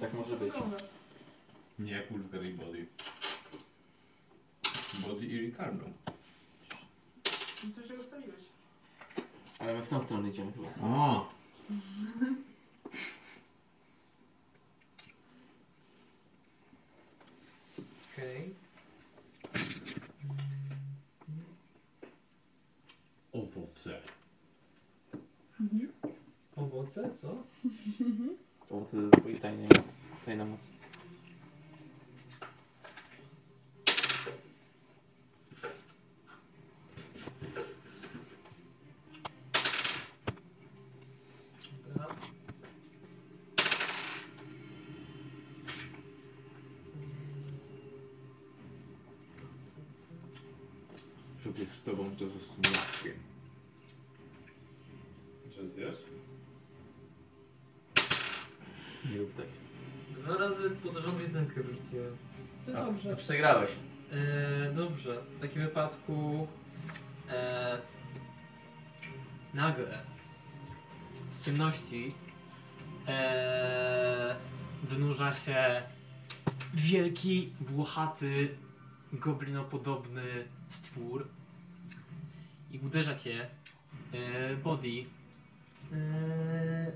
Tak może być. Dobra. Nie jak Ulgar i Body. Body i Ricardo. No to się ustawiłeś. Ale my w tą stronę idziemy chyba. O! Okej. Owoce. Owoce, co? O, to twój tajny moc. Tajna moc. sobie z tobą to zastanowiłem. Czy zdjesz? Nie rób tak. Dwa razy pod rząd jedynkę wrzuciłem. To A, dobrze. to przegrałeś. E, dobrze. W takim wypadku e, nagle z ciemności e, wynurza się wielki, włochaty, goblinopodobny stwór i uderza cię e, body e,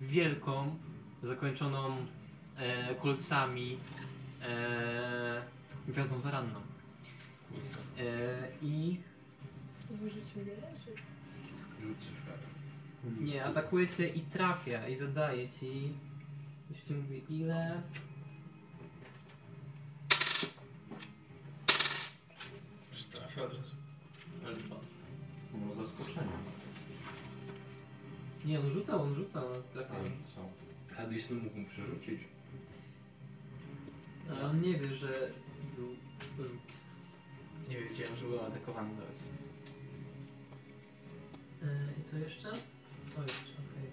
wielką, zakończoną e, kolcami e, gwiazdą zaranną. E, I To wyrzucił mnie leży. nie, atakuje cię i trafia i zadaje ci. Już ci mówię ile. Że trafia od razu. Ale dwa. No zaskoczenie. Nie, on rzucał, on rzucał, on trafia. Co? Hadis mógł mu przerzucić. No, Ale on nie wie, że był rzut. Nie wiedziałem, że byłem atakowany nawet. E, I co jeszcze? To jeszcze, okej.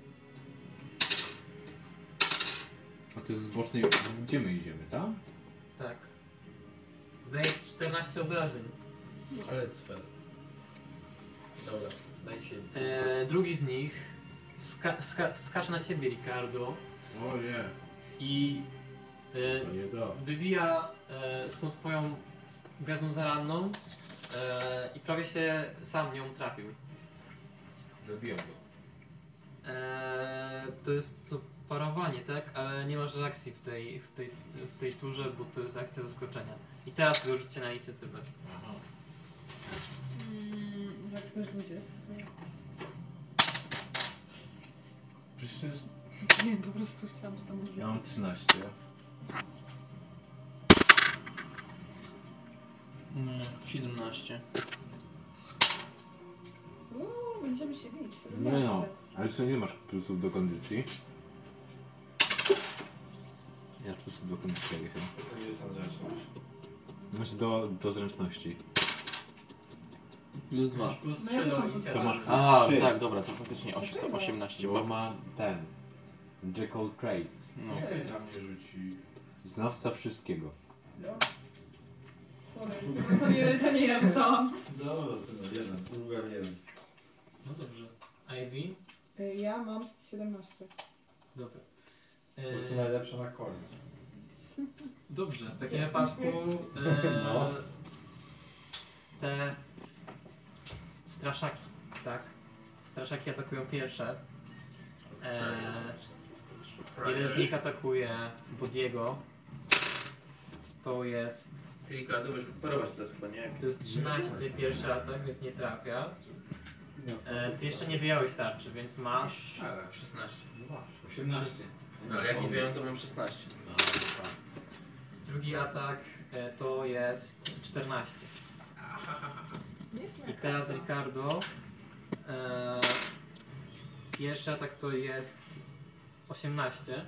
A to jest z bocznej... Gdzie my idziemy, tam? Tak. Zdaje ci 14 obrażeń. Ale cfel. Dobra, daj się. E, drugi z nich ska ska skacze na ciebie, Ricardo. O nie. I To nie da. e, wybija e, z tą swoją gwiazdą zaranną e, i prawie się sam nią trafił. Zabiłem go. E, to jest to parowanie, tak? Ale nie masz reakcji w tej, w tej, w tej turze, bo to jest akcja zaskoczenia. I teraz sobie rzućcie na inicjatywę. Mm, jak ktoś 20. Przecież to jest... No. Nie wiem, po prostu chciałam to tam użyć. Ja mam 13. Mm, 17. Uuu, będziemy się bić. No, no. Ale co, nie masz plusów do kondycji? Ja plusów do kondycji nie chyba. To nie jest na zręczność. Znaczy do, do zręczności. Plus 2. plus trzy do inicjatywy. To masz plus A, trzy. tak, dobra, to faktycznie osiem- to 18 Bo było. ma ten. Jekyll Trace. No. Nie, za mnie rzuci. Znawca wszystkiego. Sorry, to nie, to nie ja rzucałam. Dobra, to jeden, druga jeden. No dobrze. Ivy? Y, Ja mam 17. Dobra. Po prostu E, najlepsza na koniec. Dobrze, w takim Cię wypadku śmieci. e, No. te straszaki, tak? Straszaki atakują pierwsze. E, jeden z nich atakuje Bodiego. To jest... Czyli karty będziesz parować teraz chyba, nie? To jest 13 pierwszy atak, więc nie trafia. E, ty jeszcze nie wyjąłeś tarczy, więc masz... 16. 18. No ale jak nie wiem, to mam 16. Drugi atak e, to jest 14. Nie I smaka. teraz Ricardo. E, pierwszy atak to jest 18.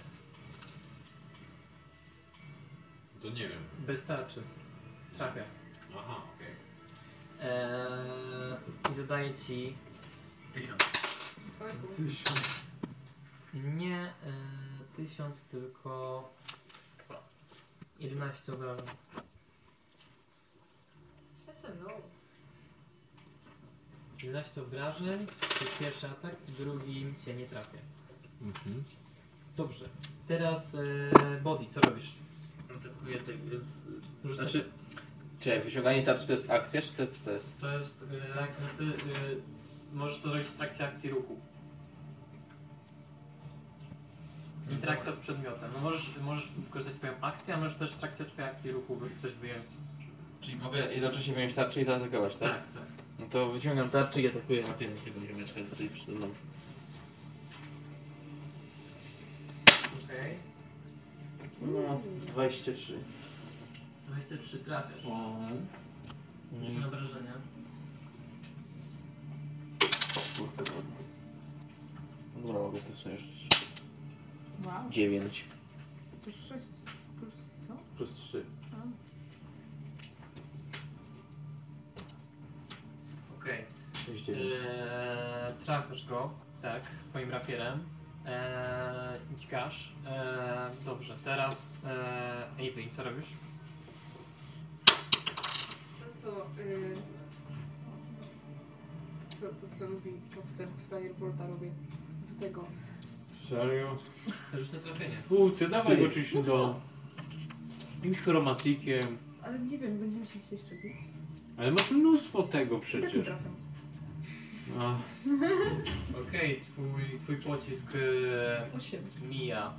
To nie wiem. Bez tarczy. Trafia. Aha, okej. E, I zadaje ci. 1000. Nie e, 1000, tylko. 11 obrażeń. SNO. 11 obrażeń, to jest pierwszy atak i drugim cię nie trafię. Mhm. Dobrze. Teraz e, Body, co robisz? Atakuję tego z... Rzucaj. Znaczy... Czy wyciąganie tarczy to jest akcja, czy to jest? To jest? To jest, e, jak ty e, możesz to zrobić w trakcie akcji ruchu. Mhm. Interakcja z przedmiotem. No możesz, możesz wykorzystać swoją akcję, a możesz też w trakcie swojej akcji ruchu wy- coś wyjąć. z- Czyli mogę jednocześnie wziąć tarczę i zaatakować, tak? Tak, tak. No to wyciągam tarczę i atakuję na pewno tego ziomeczka tutaj przede mną. Okej. No, 23. 23 trafiasz. Mm. Jakieś no, obrażenia. Kurde, ładnie. No Dobra, mogę to sobie rzucić. Wow. 9 Plus 6. Plus co? plus 3. A. 39. Eee, trafisz go, tak, swoim rapierem. Eee, dźgasz. Eee, dobrze, teraz eee, Avery, co robisz? To co, y, to co, to co lubi Kacper Firebolta robię w tego. Serio? Rzucę trafienie. Kurczę, dawaj go czymś do... Jakimś chromatikiem. Ale nie wiem, będziemy się dzisiaj jeszcze bić. Ale masz mnóstwo tego I tak nie przecież. trafiam. Ach. Okej, twój, twój pocisk eee, mija.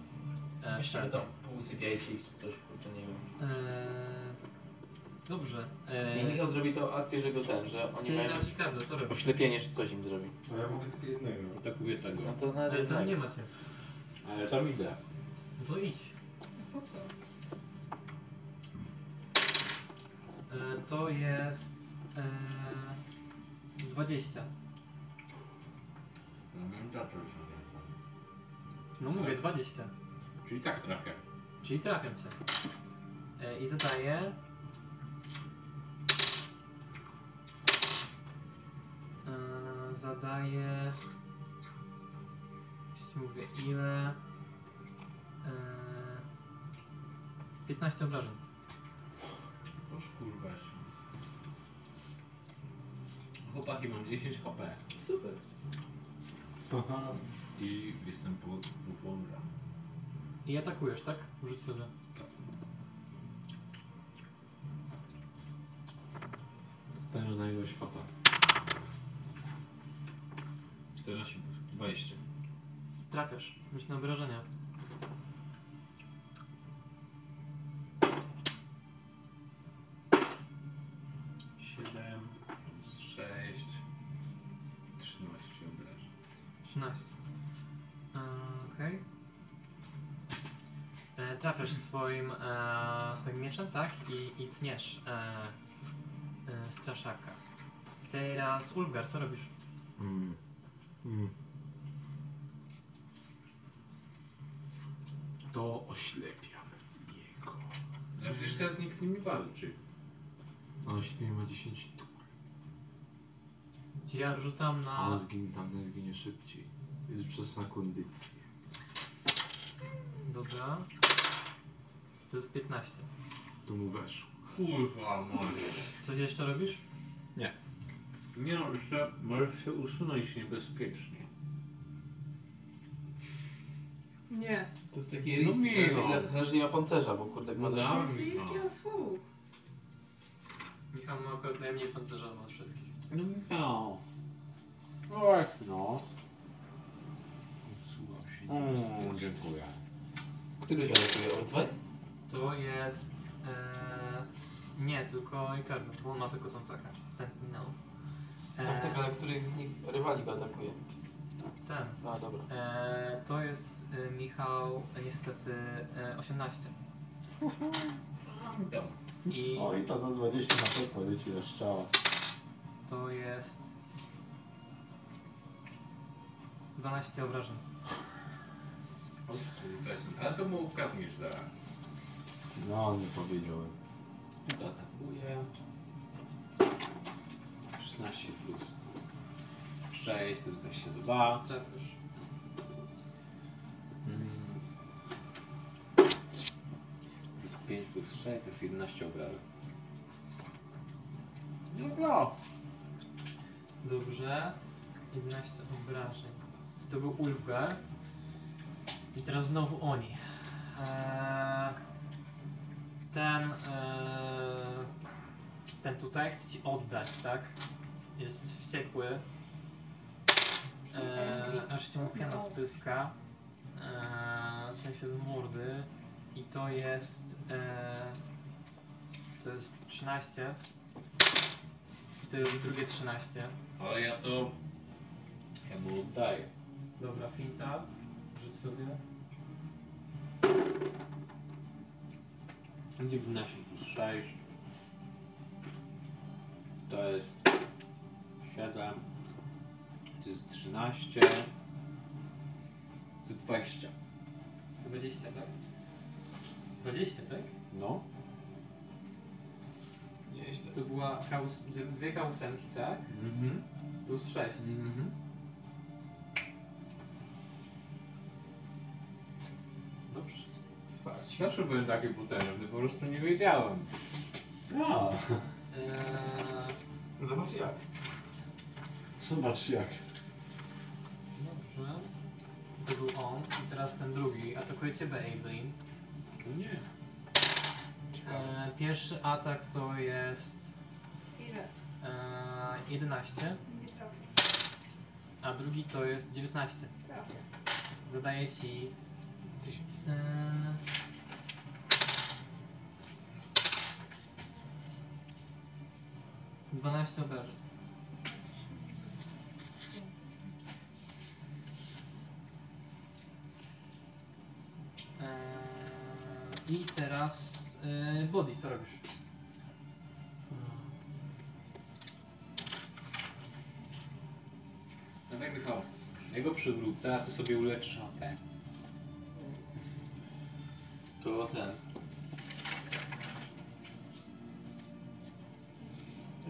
Eee, Yy, Jeszcze tam pousypiajcie ich czy coś, kurczę, nie wiem. Eee, dobrze. E, I Michał zrobi to akcję, że go ten, że oni Ty mają na Ricardo, co robisz? oślepienie czy coś im zrobi. No ja mogę tylko jednego. Atakuję Tak tego. No to na Ale tam E, nie macie. Ale tam idę. No to idź. Po co? E, To jest e, 20. No miałem zacząć. No mówię, 20. Czyli tak trafię. Czyli trafiam cię. E, I zadaję. E, Zadaję. Już ci mówię ile. E, 15 obrażeń. Boż kurwa się. Chłopaki, mam 10 HP. Super. I jestem po dwóch łądra. I atakujesz, tak? Rzuć sobie. Ten już na ilość HP. 14, 20. Trafiasz. Rzuć na obrażenia. Siedem, sześć, trzynaście obrażeń. 13. E, Okej. E, Trafiasz swoim, e, swoim mieczem, tak? I, i tniesz e, e, straszaka. Teraz Ulgar, co robisz? Mm. Mm. To oślepiam jego. Ale przecież teraz nikt z nimi walczy. A oślepienie ma 10 tu. Czyli ja rzucam na... A on zginie, tamten zginie szybciej. Jest przez na kondycję. Dobra. To jest 15. To mu weszło. Kurwa, moje. Coś jeszcze robisz? Nie. Nie no, jeszcze możesz się usunąć niebezpiecznie. Nie. To jest taki No risk, nie no, no. dla zależy nie ma pancerza, bo kurde, jak ma No dość... dam. Rosyjski osłuch. Michał ma akurat najmniej pancerza od wszystkich. No Michał. Och no. Odsuwam się Hmm. niebezpiecznie. Mm, dziękuję. Któryś atakuje? Obydwaj? To jest... E, nie, tylko Ricardo, bo on ma tylko tą cechę. Sentinel. E, Tak, tak, ale których z nich rywali go atakuje? Ten. A, dobra. E, to jest e, Michał, e, niestety e, 18. I O i to do 20 na pewno leci na strzała. to jest 12 obrażeń. A to mu ukradniesz zaraz. No nie powiedziałem. Atakuje. 16 plus 6 to jest 22. Trafisz. Mm. To jest 5 plus 6 to jest 11 obrażeń. No. Dobrze. 11 obrażeń. To był Ulfgar. I teraz znowu oni. Eee, ten. Eee, ten tutaj chce ci oddać, tak? Jest wściekły. Eee, aż ci mu piana spyska. Eee, w sensie z mordy. I to jest. Eee, to jest 13. I to jest drugie 13. Ale ja to... Ja mu oddaję. Dobra, finta. Rzuć sobie. 19 plus 6 to jest 7 to jest 13 to jest 20 20, tak? 20, tak? no To była chaos, dwie kałusenki, tak? mhm Plus 6. Dobrze. Spać. Zawsze byłem taki potężny, po prostu nie wiedziałem. A. Eee... Zobacz jak. Zobacz jak. Dobrze. To był on. I teraz ten drugi. Atakuje ciebie, Evelyn. Nie. E, pierwszy atak to jest Ile? e, 11, Nie trafię. a drugi to jest 19. Trafię. Zadaję ci... E, Dwanaście obrażeń. Eee, I teraz e, Body, co robisz? No tak Michał, ja go przywrócę, a ty sobie uleczysz AP. To ten.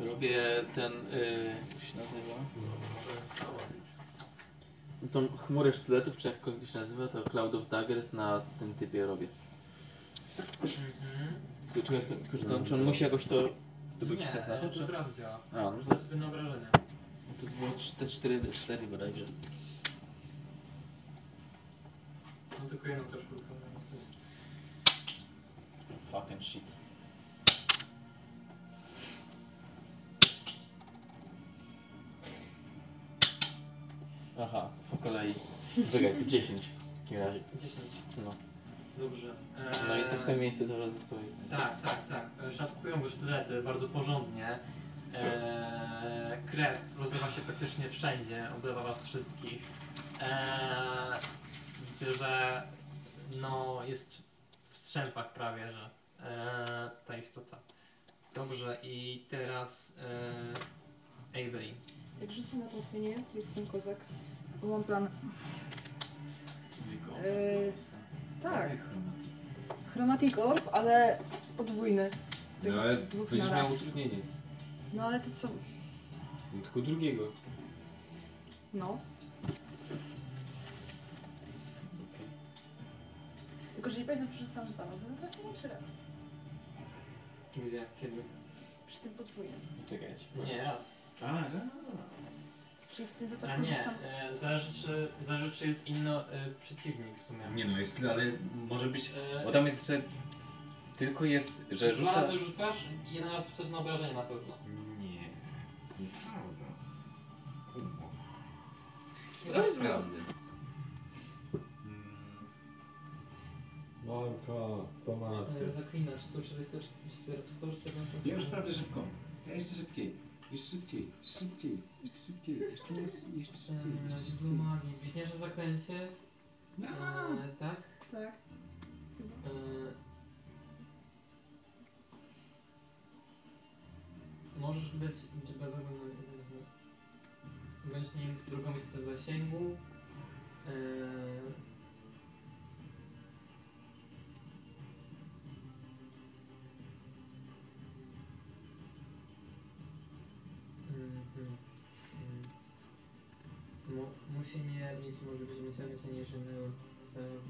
Robię ten, yy, jak się nazywa? Tą chmurę sztyletów, czy jakkolwiek to się nazywa, to Cloud of Daggers na tym typie robię. Tylko Czy, tylko czy, on- czy on musi jakoś to... To był Mhm. Nie, jakiś czas na No to, to czy? od razu działa. A, no To to, jest na obrażenia. to było cz- te cztery, cztery bodajże. No tylko jedną też próbowałem niestety. Fucking shit. Aha, po kolei. Czekaj, to 10 w takim razie. 10. No. Dobrze. No i to w tym Eee, miejscu cały czas stoi. Tak, tak, tak. E, Szatkują go sztylety bardzo porządnie. Eee, krew rozlewa się praktycznie wszędzie, oblewa was wszystkich. Eee, widzicie, że no, jest w strzępach prawie, że eee, ta istota. Dobrze, i teraz eee, Avery. Jak rzucę na trafienie, to jestem kozak. Bo mam plan. Eee, tak. Chromatic Orb, ale podwójny. Tych No ale dwóch będziesz na miał raz. utrudnienie. No ale to co? No, tylko drugiego. No. Tylko, że nie pamiętam, czy rzucałam dwa razy na trafienie, czy raz? Gdzie? Kiedy? Przy tym podwójnym. Czekaj. Nie, raz. A, raz. no. Czyli w tym A wypadku nie, rzucam... e, zależy czy, zależy czy jest inny e, przeciwnik w sumie. Nie no, jest, ale może być, Eee, bo tam jest jeszcze, tylko jest, że Dwa rzuca... razy rzucasz, jeden raz rzucasz na obrażenie na pewno. Nie. Nieprawda. Teraz sprawdzę. Walka, tonacja. E, Zaklinacz 144, 144. Już tak. prawie szybko. Ja jeszcze szybciej. Jeszcze szybciej. Szybciej. Jeszcze szybciej. Jeszcze, jeszcze szybciej. Jeszcze e, szybciej. magii. Wiśniacze zaklęcie. E, tak? Tak. E, możesz być bez oglądania. Będziesz nim drugą istotę w zasięgu. E, Mhm. Mu, musi nie mieć możliwości myślenia cenicznym celu.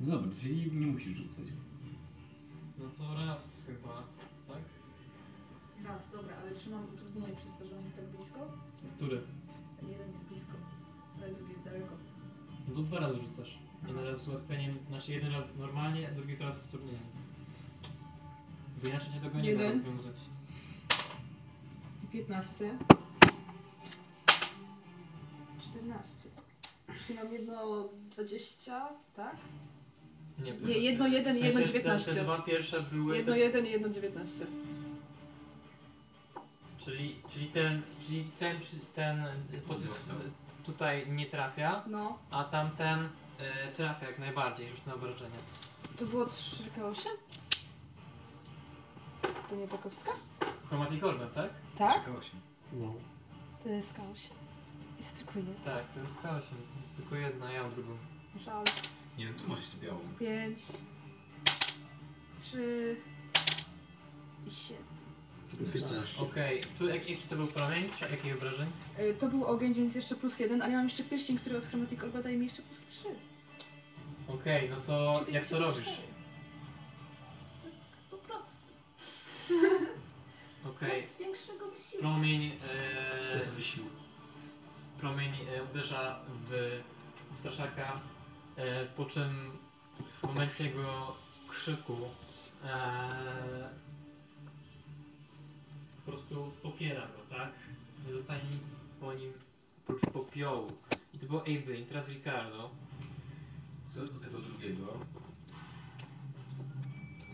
No dobra, czyli nie, nie musisz rzucać. No to raz chyba, tak? Raz, dobra, ale czy mam utrudnienie przez to, że on jest tak blisko? Który? Jeden jest blisko, ale drugi jest daleko. No to dwa razy rzucasz. Jeden raz z ułatwieniem, znaczy jeden raz normalnie, a drugi raz z utrudnieniem. Bo inaczej się tego nie da Jeden. rozwiązać. 15. 14. Czyli mam jedno 20, tak? Nie, Nie, jedno jeden i sensie te- jedno 19. Te dwa pierwsze były... Jedno te, 1 i jedno 19. Czyli, czyli ten, czyli ten, przy- ten e, pocisk tutaj nie trafia, No. a tamten e, trafia jak najbardziej, już na obrażenie. To było 3K8? To nie ta kostka? Chromatic Orbem, tak? Tak? No. To jest K8. Jest tylko jeden. Tak, to jest K8, to jest tylko jedna, ja mam drugą. Żal. Nie no, tu masz jeszcze białą. 5, 3 i 7. No, Okej, tu jak, jaki to był promień? Czy Jakich obrażeń? Y, To był ogień, więc jeszcze plus jeden, ale ja mam jeszcze pierścień, który od Chromatic Orba daje mi jeszcze plus trzy. Okej, no to jak to robisz? Po prostu. Okej. No. Bez większego wysiłku. Promień. E, Bez wysiłku. Promień e, uderza w straszaka, e, po czym w momencie jego krzyku e, po prostu spopiera go, tak? Nie zostanie nic po nim oprócz popiołu. I to było Avery, i teraz Ricardo. Co do tego drugiego?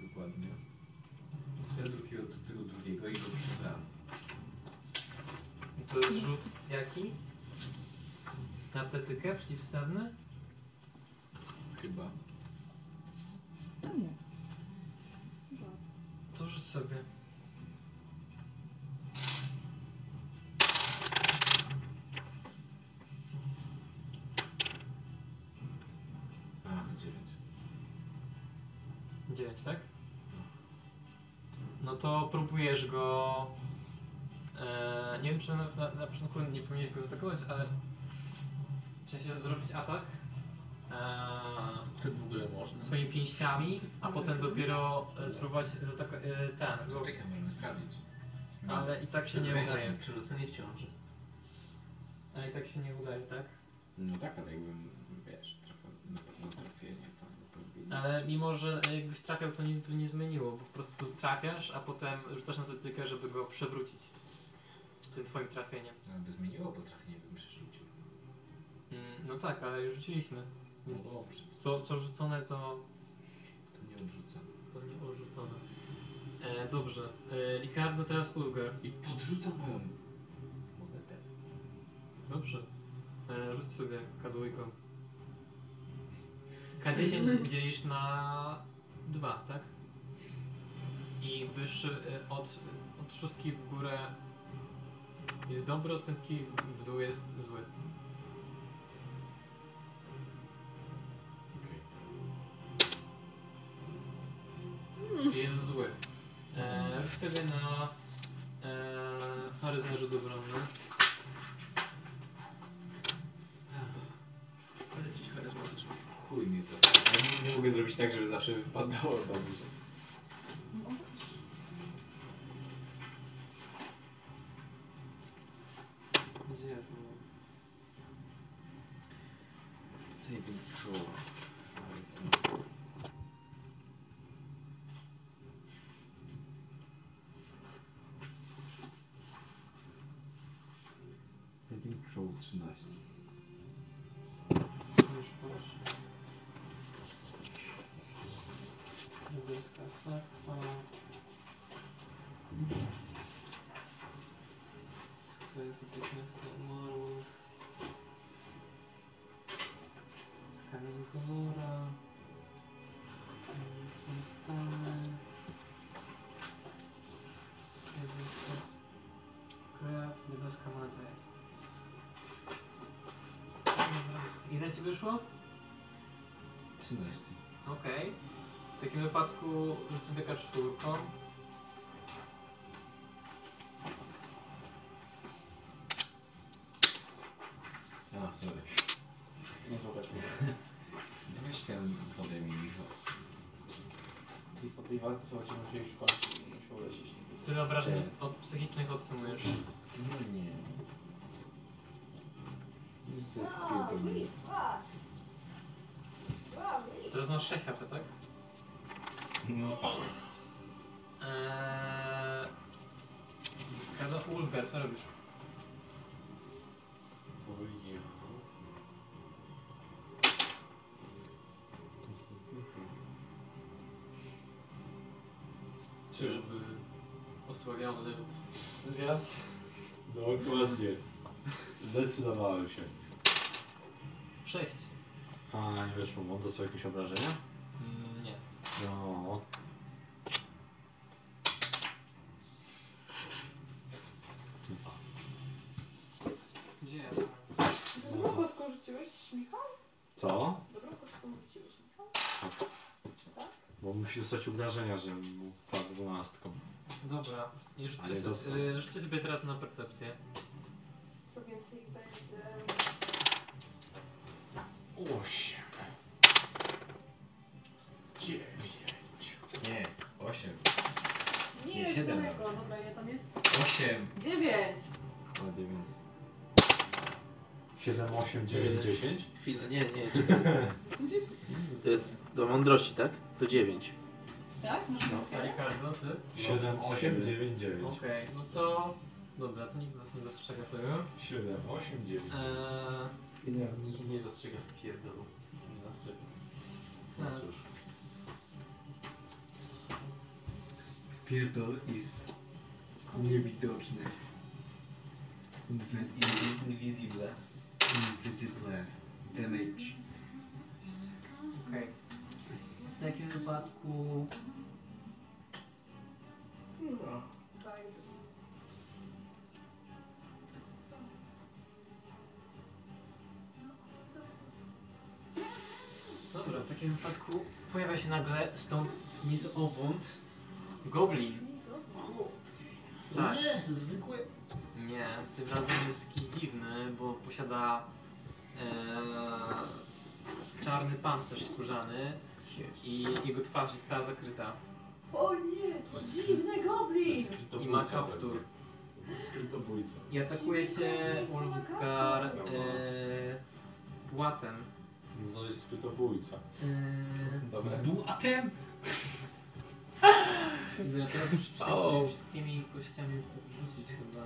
Dokładnie. Ten drugi od tego drugiego i go przewraca. I To jest rzut jaki? Na atletykę przeciwstawny? Chyba. No nie. To rzuć sobie. Ach, dziewięć. 9, tak? No to próbujesz go. E, nie wiem, czy na, na, na początku nie powinieneś go zaatakować, ale. W sensie zrobić atak. E, To w ogóle można. swoimi pięściami, a potem dopiero e, spróbować zaatakować. E, ten. Go... Ale i tak się nie udaje. Przerzucenie w ciąży. A i tak się nie udaje, tak? No tak, ale jakbym, wiesz, trochę na pewno trafienie to by Ale mimo, że jakbyś trafiał, to nic by nie zmieniło. Po prostu trafiasz, a potem rzucasz na atletykę, żeby go przewrócić. Tym twoim trafieniem. No, by zmieniło, bo trafienie bym przerzucił. Mm, No tak, ale już rzuciliśmy. Więc No dobrze. co, co rzucone, to, To nie odrzucam. to nie odrzucone. E, dobrze. E, Ricardo, teraz Ulgar. I podrzucam moją monetę. Dobrze. E, rzuć sobie K2. K10 dzielisz na 2, tak? I wyższy e, od, od szóstki w górę jest dobry, od piątki w- w dół jest zły. Jest zły. E, rzuć sobie na e, charyzmę rzut obronny. To jest coś charyzmatycznego. Chuj mnie to. Ja nie, nie mogę zrobić tak, żeby zawsze wypadało dobrze. Gdzie ja to mam? Saving throw. Saving throw 13. Już proszę. Niebieska sakwa. To jest jakieś miasto umarłych. Z kamieni kolora. Mm, Są stany. Niebieska krew. Niebieska moneta jest. Dobra. Ile ci wyszło? 13. Okej. W takim wypadku rzuć sobie K4. A, sorry. Nie zobaczmy. Weź ten wodę mi, Michał. I po tej walce chodzi na już końcu. Musiał lecieć. Tyle obrażeń od psychicznych odsumujesz. No nie. Teraz masz 6 HP, tak? No tak. Eee... Każda Ulgar, co robisz? To jechał. Czyżby osłabiony zjazd? Dokładnie. Zdecydowałem się. 6. A, nie weszło mu. To są jakieś obrażenia? Nie. No. Gdzie ja? Dobrą kostką rzuciłeś, Michał? Co? Dobrą kostką rzuciłeś, Michał? Bo musi dostać obrażenia, żebym był padł dwunastką. Dobra, i Ale rzućcie, dostał. sobie, y, rzućcie sobie teraz na percepcję. Co więcej e, będzie... Osiem. Dziewięć. Nie, 8. Nie, Nie, siedem daleko, dobra, ile tam jest? 8. Dziewięć! O, 9. 7, 8, 9, 10. Chwilę, nie, nie, czekaj. To jest do mądrości, tak? To 9. Tak? Masz No, rację? Ricardo, ty? Siedem, osiem, dziewięć, dziewięć. Okej, no to... Dobra, to nikt nas nie dostrzega tego. 7, 8, 9. Eee, nie, nikt nie dostrzega w pierdolu. Nie dostrzega. No Tak. cóż. Pierdol is niewidoczny. Invis in- invisible. Invisible. Damage. Okej. W takim wypadku... No. Fajnie. Dobra, w takim wypadku pojawia się nagle stąd ni z owąd goblin. Tak. Nie, zwykły. Nie, tym razem jest jakiś dziwny, bo posiada e, czarny pancerz skórzany i jego twarz jest cała zakryta. O nie, to dziwny goblin! I ma kaptur. Skrytobójca. I atakuje cię Ulfgar e, płatem. No jest skrytobójca. E, Dobra. bułatem? Spało. Spało. Wszystkimi kościami rzucić chyba.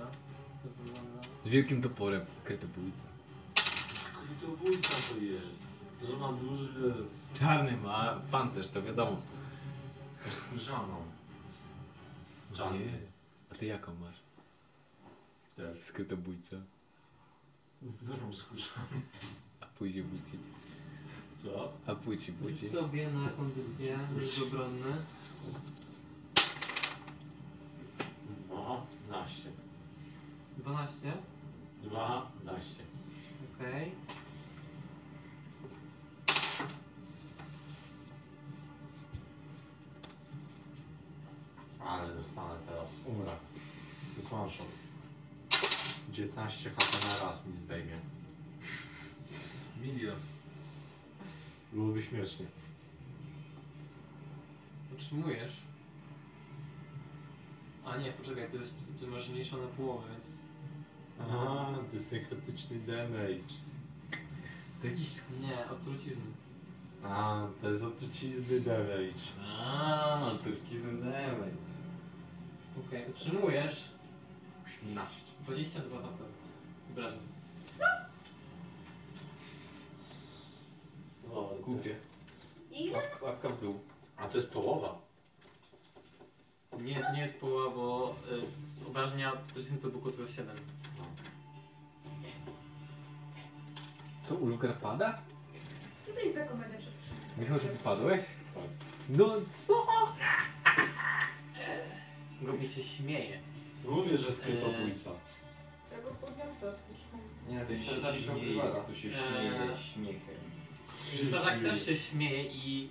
To wygląda. Z wielkim toporem, krytobójca. Skrytobójca to jest. To, że ma duży... Czarny ma pancerz, to wiadomo. Żaną. Nie. A ty jaką masz? Też. Skrytobójca, Dużą skórzaną. a później buci. Co? A płyci, płyci. Rzuć sobie na kondycję, jest obronny. No, naście. 12, Dwa, naście. okej. Ale dostanę teraz. Umrę. To jest one shot. 19 HP na raz mi zdejmie. Milion. Byłoby śmiesznie. Otrzymujesz. A nie, poczekaj, to jest, ty masz mniejszą na połowę, więc... A, to jest nekrytyczny damage. To jakiś... Nie, od trucizny. A, to jest od trucizny damage. A, od trucizny damage. Okej, otrzymujesz 18. 22 HP. Obrażeń. O, głupie. Ile? Łapka w dół. A to jest połowa. Nie, to nie jest połowa, bo y, z obrażenia od trucizny to było koło 7. Co, Ulgar pada? Co to jest za komedia przed Michał, czy ty padłeś? Tak. No co? Goblin się śmieje. E, Mówię, że skrytobójca. Ja go podniosę. Eee, Nie, to się Zabić śmieje, Ulgara. to się śmieje Eee. śmiechem. Zarak też się śmieje i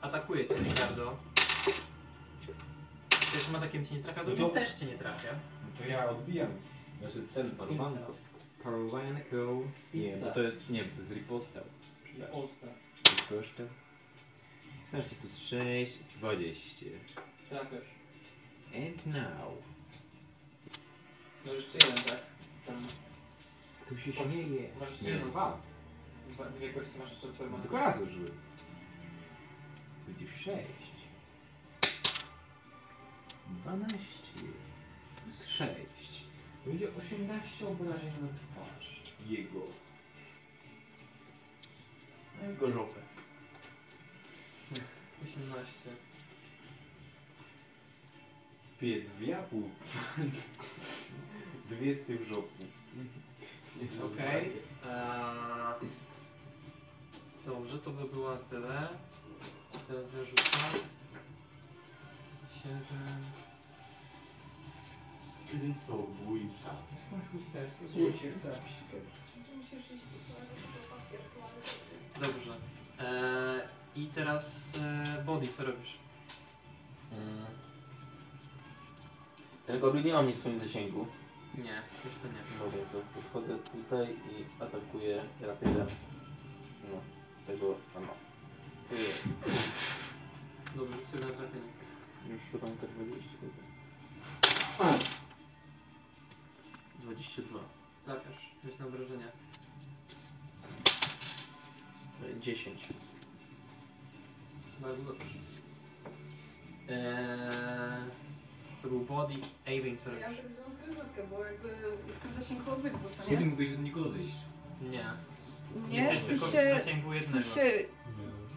atakuje cię, Ricardo. Pierwszym atakiem cię nie trafia, drugim też cię nie trafia. No to ja odbijam. Znaczy ten parowan... Parowanko... Nie, bo to jest... nie, to jest riposte. Riposte. Riposte. 14 Znaczy, plus 6, 20. Trafiasz. And now... No jeszcze jeden, tak? Tam. Tu się śmieje. Masz jeszcze Nie, jedną. dwa. Dwa, dwie kości masz jeszcze swoją No Tylko raz użyłem. Będzie 6. 12 plus 6. Będzie 18 obrażeń na twarz. Jego. No i go żopę. 18. Piec w jaku. Dwie w żoku. Okej. eee, Dobrze, to by było na tyle. Teraz zarzucę. 7. Skrytobójca. Musisz iść do toalety, papier, toalety. Dobrze. Eee, I teraz e, body, co robisz? Mm. Ten goblin nie ma nic w swoim zasięgu. Nie, już to nie. Dobra, to podchodzę tutaj i atakuję rapierem. No, tego pana. Dobrze, rzucę na trafienie. Już szukam tak K20. 22. Trafiasz, rzuć Tak, na obrażenia. 10. Bardzo dobrze. Eee, to był body aiming, co Ja robisz? tak zrobiłam zgryzotkę, bo jakby jestem w zasięgu obydwu, co nie? Kiedy mogłeś od niego odejść? Nie. Nie, Jesteś w tylko sensie- w zasięgu w jednego. sensie-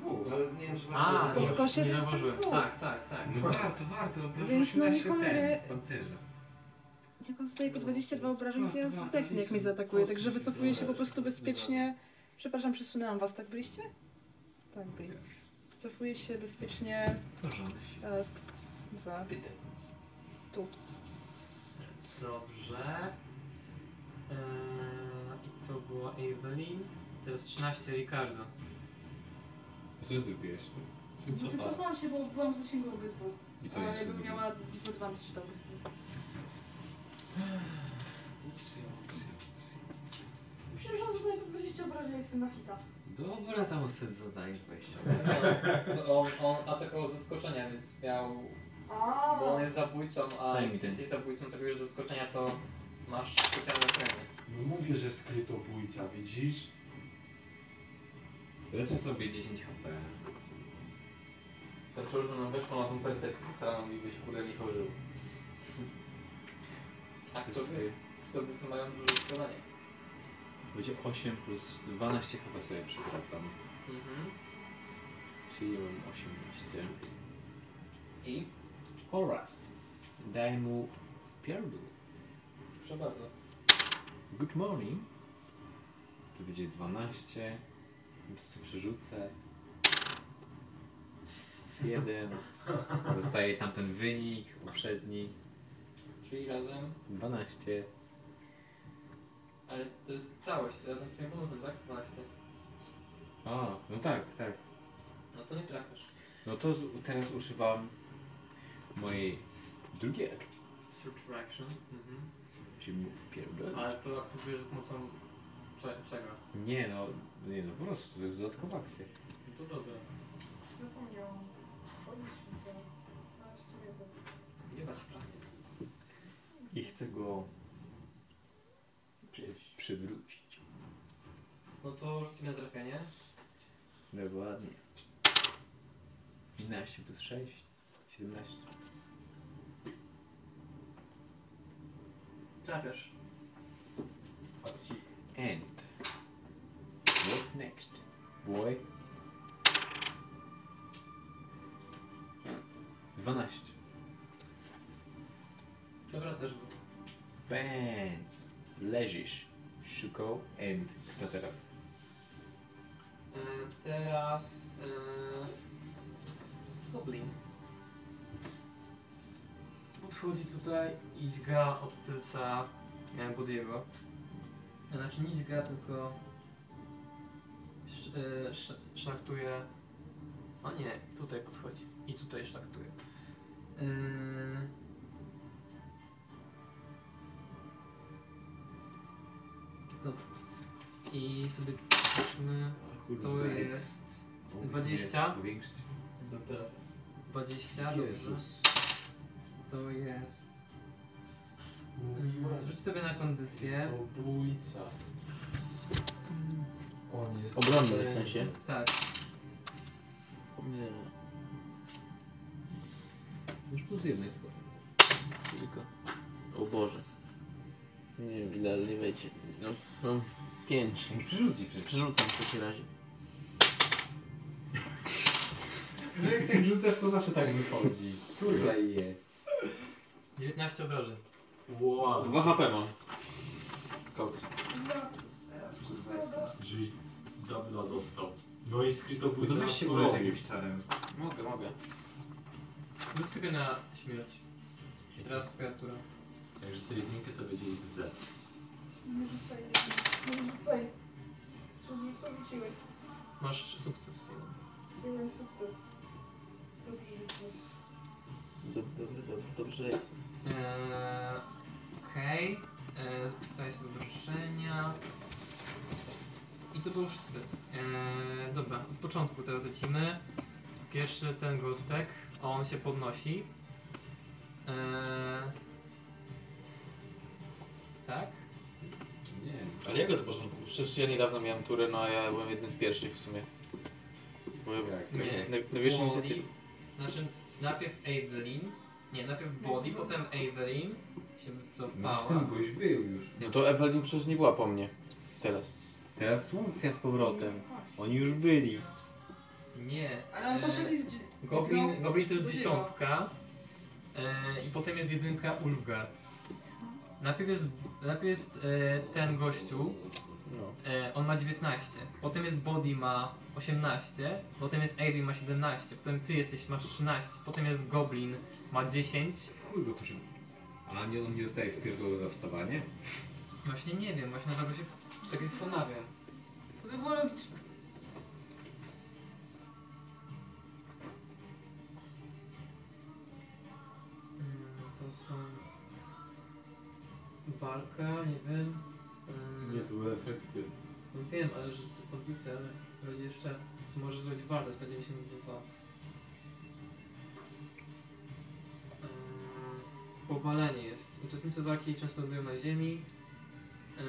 No, nie wiem, czy A, warto nie, zauważyć. nie zauważyłem. Tak, tak, tak. No warto, warto, bo już Więc no i 18 cholery- ten, pancerza. Jak on zdaje po 22 obrażeń, to ja zdechnę, jak mnie zaatakuje, także wycofuję się po prostu bezpiecznie. Przepraszam, przesunęłam was, tak byliście? Tak byli. Wycofuję się bezpiecznie. Porządek. Raz, dwa. Tu. Dobrze. Eee, I to była Evelyn. Teraz 13 Ricardo. Co zrobiłeś? Wycofałam się, bo byłam w zasięgu obydwu. I co A jeszcze jakby robisz? miała disadvantage do obydwu. Przecież on zadaje po 20 obrażeń, jestem na hita. Dobra, tam set zadaje 20. No, On, on atakował z zaskoczenia, więc miał. A. Bo on jest zabójcą, a Daj mi jak ten. jesteś zabójcą takiego już z zaskoczenia, to masz specjalne premie. No mówię, że skrytobójca, widzisz? Leczę sobie 10 HP. Tak przełożę nam weszło na tą percę z saraną i byś kurde nie chodził. A kto wie? To by są mają duże skalanie. Będzie 8 plus 12 chyba sobie przywracam. Mhm. Czyli mam 18. I oraz daj mu w pierdół. Proszę bardzo. Good morning. To będzie 12. To sobie przerzucę. 1. Zostaje tamten wynik poprzedni. Czyli razem. 12. Ale to jest całość, razem z twoim bonusem, tak? 12. A, no tak, tak. No to nie trafiasz. No to z- teraz używam mojej drugiej akcji, Subtraction. Mhm. czyli mu wpierdolę. Ale to aktywujesz za pomocą cze- czego? Nie no, nie no, po prostu, to jest dodatkowa akcja. No to dobra. Zapomniałam. Powinniśmy to. A w sumie to. Jebać prawda. I chcę go przy, przywrócić. No to rzuć sobie na trafienie. Dokładnie. 11 plus 6, 17. Trafiasz. And what next, boy? 12. Przewracasz go. Benz. Leżysz. Szuko and kto teraz? E, teraz... E, Goblin. Podchodzi tutaj i dźga od tylca e, Budiego. Znaczy nie dźga, tylko sz, e, sz, szachtuje. A nie, tutaj podchodzi. I tutaj szachtuje. Yy... Dobra. I sobie zobaczmy. To Kurwa, jest Mógłbym 20. powiększyć. Dobra. 20, dobrze. Jezus. To jest. Mm, Rzuć sobie na kondycję. Bójca. On jest... Obronny w sensie. Tak. Nie. Już plus jednej tylko. Tylko. O Boże. Nie wiem ile, ale nie wiecie. No, mam pięć. Przerzuci przecież. Przerzucam w takim razie. No jak tak rzucasz, to zawsze tak wychodzi. Kurwa i je. 19 obrażeń. Wow. 2 HP mam. Koks. Czyli dawno dostał. No i skrytobójca No weź nas się porobił. ulecz jakimś czarem. Mogę, mogę. Rzuć sobie na śmierć. I teraz twoja tura. Jak rzucę jedynkę, to będzie XD. Nie rzucaj, nie rzucaj. nie rzucaj. Co, zrzu- co rzuciłeś? Masz sukces. jeden. Jeden sukces. Dobrze rzuciłeś. Dobrze, dobrze, dobrze, dobrze jest. Eee, Okej, eee, zapisałeś sobie do ruszenia. I to było wszystko. Eee, dobra, od początku teraz lecimy. Pierwszy ten gostek, on się podnosi. Eee, tak? Nie. Ale jak do porządku? Przecież ja niedawno miałem turę, no a ja byłem jednym z pierwszych w sumie. Byłem na, na, na wierzchu Body, inicjatywy. Znaczy, najpierw Evelyn, nie, najpierw Body, potem Evelyn się No wycofała. goś był już. No to Ewelin przecież nie była po mnie. Teraz. Teraz Lucja z powrotem. Oni już byli. Nie. Ale on e, poszedł i zdzi- Goblin, zdźgnął Goblin to jest Budiego. dziesiątka. E, I potem jest jedynka Ulgar. Najpierw jest, najpierw jest e, ten gościu. No. E, on ma 19. Potem jest Body ma 18. Potem jest Avery ma 17. Potem ty jesteś masz 13. Potem jest Goblin ma 10. Chuj go proszę. A nie, on nie dostaje wpierdolu za wstawanie? Właśnie nie wiem, właśnie dlatego się tak zastanawiam. To by było logiczne. Mm, To są... Walka, nie wiem. Mm, Nie, to były efekty. No wiem, ale że to kondycja, ale będzie jeszcze... Co może zrobić walkę, 192. Mm, Eee, Powalenie jest. Uczestnicy walki często lądują na ziemi. Yy,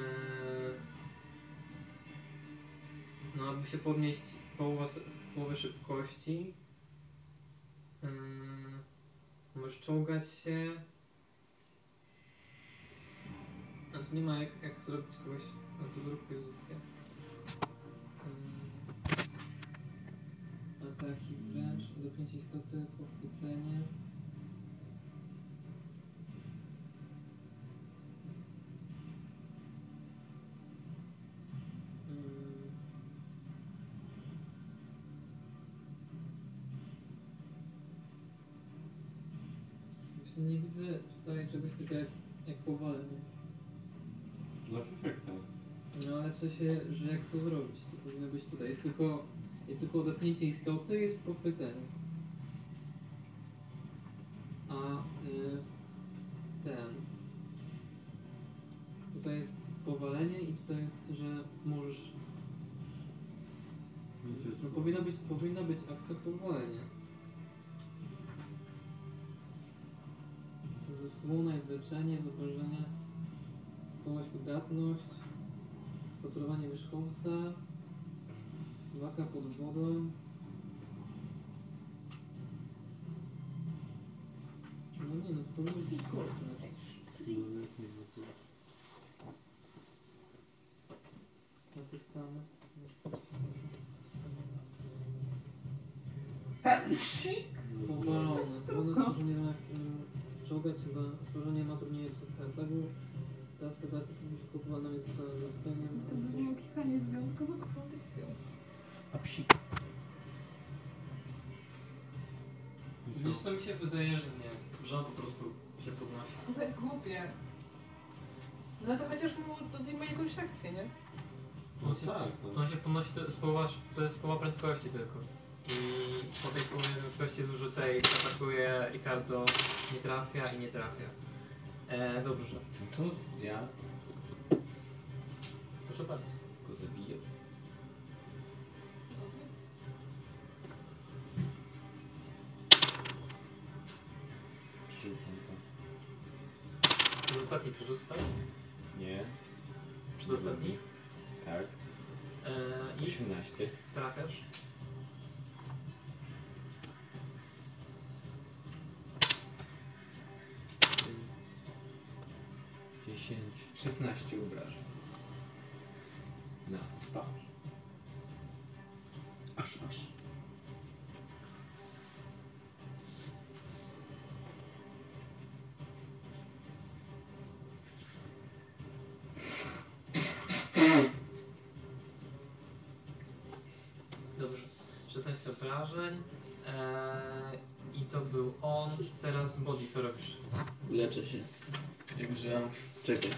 No, aby się podnieść połowa, połowę szybkości. Yy, możesz czołgać się. A tu nie ma jak, jak zrobić kogoś. No to zrób pozycję. Yy, ataki wręcz, dopięcie istoty, pochwycenie. Mm. Właśnie nie widzę tutaj czegoś takiego jak, jak powalenie. Dla efektem. No ale w sensie, że jak to zrobić? To powinno być tutaj. Jest tylko, jest tylko odepchnięcie istoty, jest pochwycenie. A y, ten. Tutaj jest powalenie i tutaj jest, że możesz. No, powinno być, powinno być akcja powalenia. Zasłona jest leczenie, zobaczenie, ponoć podatność, patrolowanie wierzchowca, waka pod wodą. No nie no, to powinno być kosmos. Na te stany. Powalone. Powalone stworzenie na którym czołgać chyba. Stworzenie ma trudniej przez ten tak, bo ta stada kupowana tak, jest za zatkaniem. To by było klikanie z wyjątkowego protekcją. A psi. Wiesz co mi się wydaje, że nie. Że on po prostu się podnosi. Ale głupie. No ale to chociaż mu dodajmy jakąś akcję, nie? On się, on się podnosi, to jest, połowa, to jest połowa prędkości tylko. I po tej połowie prędkości zużytej atakuje Ricardo, nie trafia i nie trafia. E, dobrze. Tu ja Proszę bardzo. go zabiję. Rzucam to. To jest ostatni przerzut, tak? Nie. Przedostatni? Tak. E, I 18. trafiasz. Dziesięć. 16 obrażeń. Na twarz. Aż, aż. Dobrze. 16 obrażeń. E, I to był on. Teraz Body, co robisz? Leczę się. Jak używam... Czekaj.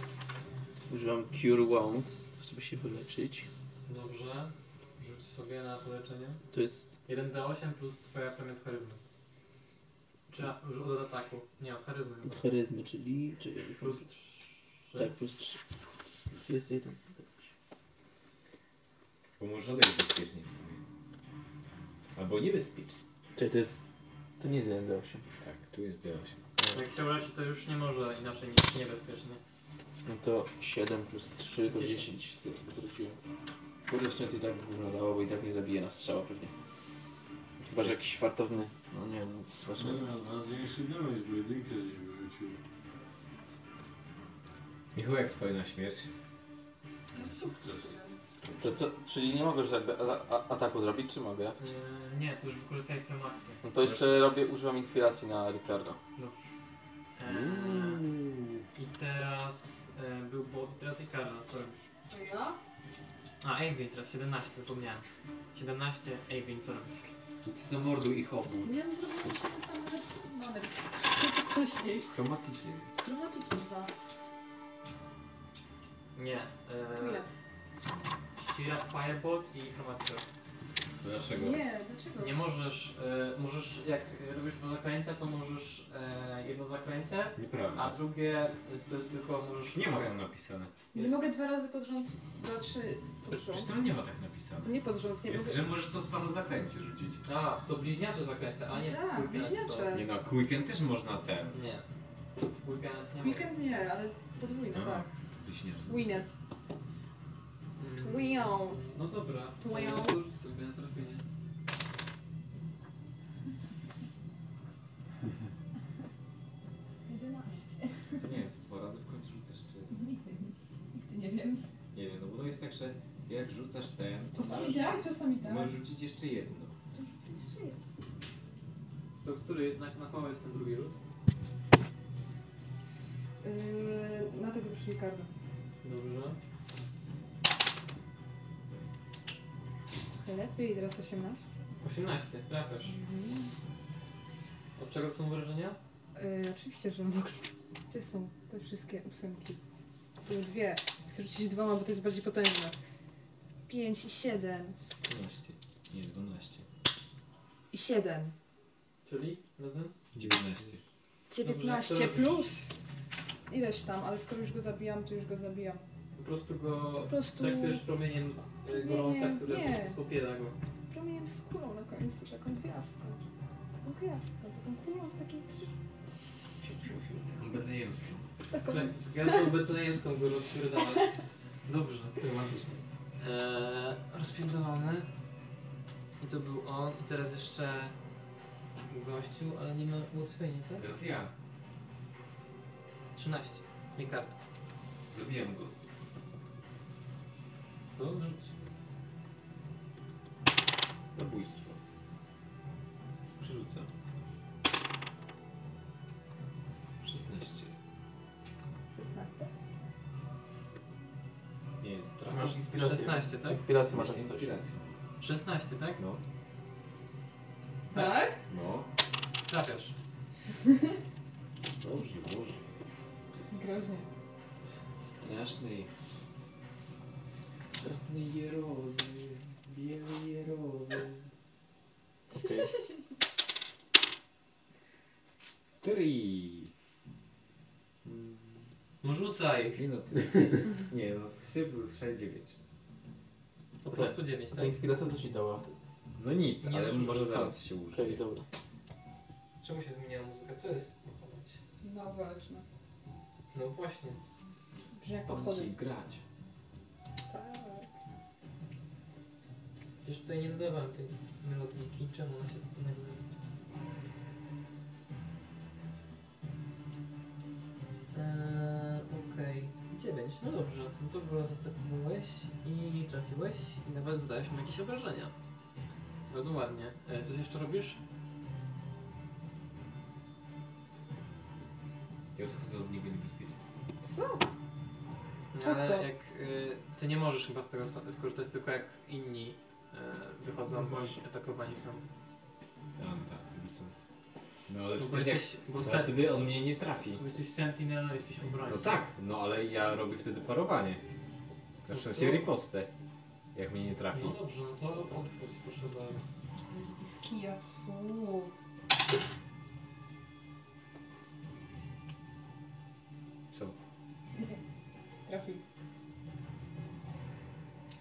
Używam Cure Wounds, żeby się wyleczyć. Dobrze. Rzuć sobie na to leczenie. To jest... 1d8 plus twoja pamięć charyzmy. Czy a- już od ataku? Nie, od charyzmy. chyba. Od charyzmy, czyli... Czy, Plus trzy. Tak, plus trzy. Jest jeden. Bo może odejść bezpiecznie w sumie. Albo niebezpiecznie. Czyli to jest... To nie jest 1D8. Tak, tu jest D8. Jak się uleci, to już nie może inaczej nic niebezpiecznie. No to 7 plus 3 to 10 z tym wróciłem. Kurde, w sumie to i tak gówno dało, bo i tak nie zabije nas strzała pewnie. Chyba, że jakiś fartowny, no nie wiem, zwłaszcza... Dobra, zwiększy damage, bo jedynkę żeś wyrzucił. Michał, jak twoje na śmierć? To co, czyli nie mogę już jakby a, a, ataku zrobić, czy mogę? Yy, nie, to już wykorzystaj swoją akcję. No to jeszcze robię, używam inspiracji na Ricardo. Dobrze. Eee, I teraz e, był bo teraz i Karla, co robisz? No. A, Eivin, teraz 17, zapomniałem. 17, Eivin, co robisz? Zamorduj ich obu. Ja bym zrobiła jeszcze te same rzeczy, ale co wcześniej. Chromatyki. Chromatyki dwa. Nie. E, Twilight. Twilight, Firebolt i Chromatica. Dlaczego? Nie, dlaczego? Nie możesz, e, możesz jak e, robisz dwa zaklęcia, to możesz e, jedno zaklęcie, Nieprawda. a drugie e, to jest tylko możesz... Nie ma tam napisane. Nie Jest- mogę dwa razy pod rząd, dwa, trzy pod Przecież rząd. tam nie ma tak napisane. Nie pod rząd, nie Jest, mogę. że możesz to samo zaklęcie rzucić. A, to bliźniacze zaklęcia, a nie Tak, Quick Dance to- bliźniacze. Nie no, Quicken też można ten. Nie. Quickens nie Weekend nie, ale podwójne, No, tak. bliźniacze. Winet. Mm. Winet. No dobra, to Wow. ja to rzuć sobie na trafienie. Nie, dwa razy w końcu rzucasz czy... Nigdy nie wiem. Nie wiem, no bo to jest tak, że jak rzucasz ten... to Czasami możesz- tak, czasami tak. Możesz rzucić jeszcze jedno. To rzucę jeszcze jedno. To który jednak na koło jest ten drugi rzut? Yy, na tego przyszli kartę. Dobrze. Trochę lepiej, teraz 18. 18, trafiasz. Mhm. Od czego są wrażenia? Yy, oczywiście, że mam z okna. Gdzie są te wszystkie ósemki? Były dwie. Chcę rzucić dwoma, bo to jest bardziej potężne. 5 i 7 12. Nie, 12. i 7. Czyli razem? 19. 19 Dobrze, to- plus ileś tam, ale skoro już go zabijam, to już go zabijam. Po prostu go Po prostu- traktujesz promieniem y, gorąca, Nie, które nie. po prostu popiela go. Promieniem z kulą na końcu, taką gwiazdką. Taką gwiazdką, taką kulą z takiej... Taką betlejemską. Taką... Kle- Gwiazdą betlejemską go rozpierdalasz. Dobrze. Dramatyczne. Eee, rozpierdolony. I to był on. I teraz jeszcze gościu, ale nie ma łotwienia, tak? Teraz ja. 13. Nie karta. Zabijam go. To rzuć. Zabójstwo. Przerzucam. 16. 16? Nie, Masz trafiasz inspirację. 16, tak? Inspirację masz inspirację. 16, tak? No. Tak? No. Trafiasz. Dobrze, dobrze. Groźnie. Straszny. Straszny Jerozym. Biały Jerozym. Okej. Three. Mm. No rzucaj. Nie no, nie no, 3 plus 6, 9. Po prostu 9, No Ta tak? inspiracja to ci dała. No nic, Nie ale zużył może tak. zaraz się użyje. Okej, dobra. Czemu się zmieniła muzyka? Co jest? Popatrzcie. No walczmy. No właśnie. Brzmi jak podchody. grać. Tak. Już tutaj nie dodawałem tej melodiki, czemu ona się tak nagle... Eee, Okej, 9. No dobrze, no to go zaatakowałeś i trafiłeś i nawet zdałeś mu jakieś obrażenia. Bardzo ładnie. E, coś jeszcze robisz? Ja odchodzę od niego niebezpieczny. Co? No, Po ale co? jak y, ty nie możesz chyba z tego sa- skorzystać, tylko jak inni y, No wychodzą, bądź atakowani są. A no tak, to bez sensu. No ale No, bo przecież jesteś- jak, bo bo sen- wtedy on mnie nie trafi. Bo jesteś sentinelem, jesteś obrońcą. No tak, no ale ja robię wtedy parowanie. Na szczęście to- ripostę, jak mnie nie trafi. No dobrze, no to otwórz, proszę bardzo. I z kija słów.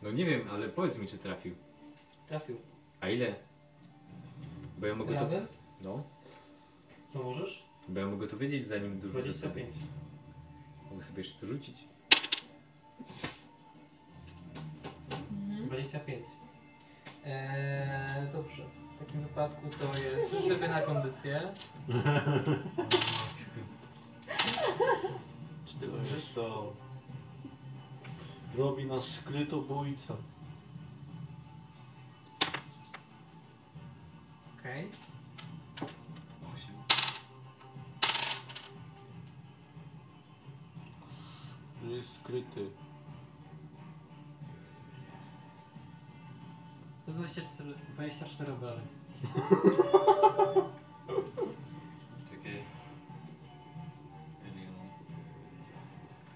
No nie wiem, ale powiedz mi, czy trafił. Trafił. A ile? Bo ja mogę Razem? to... No. Co możesz? Bo ja mogę to wiedzieć, zanim dużo... 25. Mogę sobie jeszcze rzucić. Mhm. 25. Eee, dobrze. W takim wypadku to jest rzuć sobie na kondycję. Czy ty wiesz, to robi nas skrytobójca. Okej. który jest skryty. To 24, 24 obrażeń. Czekaj.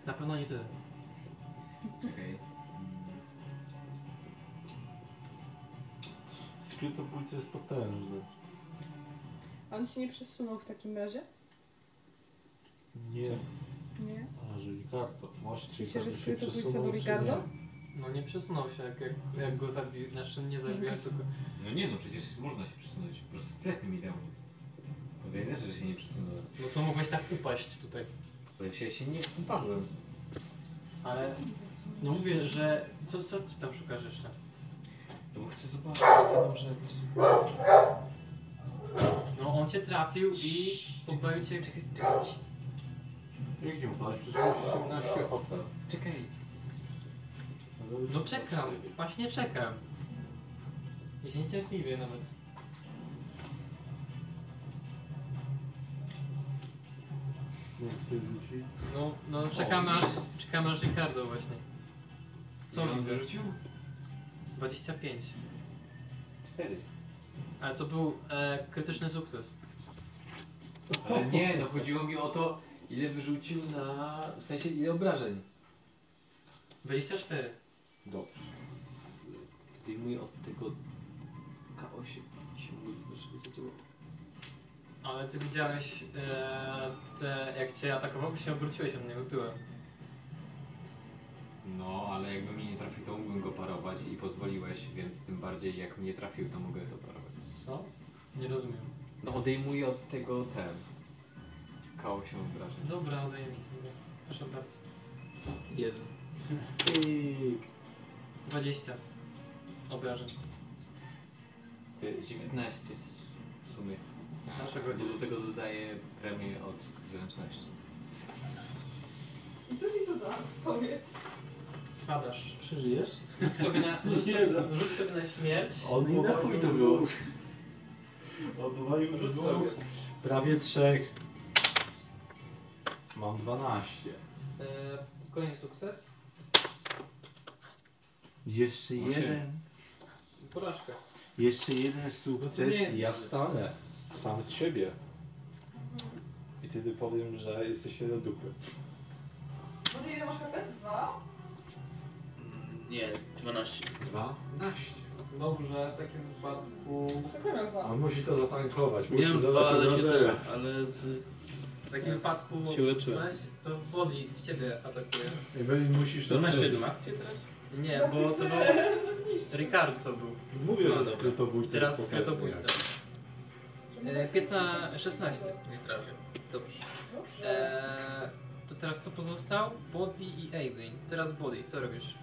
Na pewno nie tyle. no, Mm. Czekaj. Skrytobójca jest potężny. A on się nie przesunął w takim razie? Nie. Nie. A, że Ricardo. Właśnie, Myślę, Ricardo że się skrytobójca przesunął, do czy Ricardo? nie? No nie przesunął się, jak, jak, jak go zabił, znaczy nie zabił, tylko... No nie no, przecież można się przesunąć. Po prostu plecy mi dał. Podejrzewam, że się nie przesunąłem. No to mogłeś tak upaść tutaj. Ale się, się nie upadłem. Ale... No mówię, że... Co, co ty tam szukasz jeszcze? No bo chcę zobaczyć jedną rzecz. No on cię trafił i popełnił cię... Jak nie upadać? Przecież masz 17 HP. Czekaj. No czekam, właśnie czekam. Ja się niecierpliwie nawet. Nie, chcę rzucić. No, no czekam aż, czekam aż Ricardo właśnie. Co Ile on widzę? zarzucił? 25. 4. Ale to był e, krytyczny sukces. Ale nie, no chodziło mi o to, ile wyrzucił na... w sensie ile obrażeń. 24. Dobrze. Zdejmuję od tego K8 się mówi, że zadziałało. Ale ty widziałeś e, te, jak cię atakował, bo się obróciłeś od niego tyłem. No, ale jakby mnie nie trafił, to mógłbym go parować i pozwoliłeś, więc tym bardziej jak mnie trafił, to mogę to parować. Co? Nie rozumiem. No odejmuję od tego ten... K8 obrażeń. Dobra, odejmij sobie. Proszę bardzo. Jeden. 20. Obrażeń. Ty, 19 w sumie. Dlaczego? Bo do tego dodaję premię od zręczności. I co ci to da? Powiedz. Padasz. Przeżyjesz? Rzuć sobie na, rzuć sobie, rzuć sobie na śmierć. On No na chuj to było. Odwalił Rzuć sobie. Prawie trzech. Mam 12. E, kolejny sukces. Jeszcze Osiem. jeden. Porażka. Jeszcze jeden No sukces nie, i ja wstanę. Sam z siebie. I wtedy powiem, że jesteś jeden dupy. No to ile masz HP? Dwa? Mm. Nie, 12. 12. Dobrze, w takim wypadku... On musi to zatankować. Musi Miałem dwa, zadać ale się, obrażenia. ale z... W takim wypadku... Się uleczyłem. Weź, To boli z ciebie atakuje. I będziesz- musisz to To na przeżyć. 7 akcję teraz? Nie, bo to był... Ricardo to był. Mówię, że No dobra. skrytobójca I Teraz jest skrytobójca. E, 15, 16. Nie trafię. Dobrze. E, to teraz to pozostał? Body i Awin. Teraz Body, co robisz?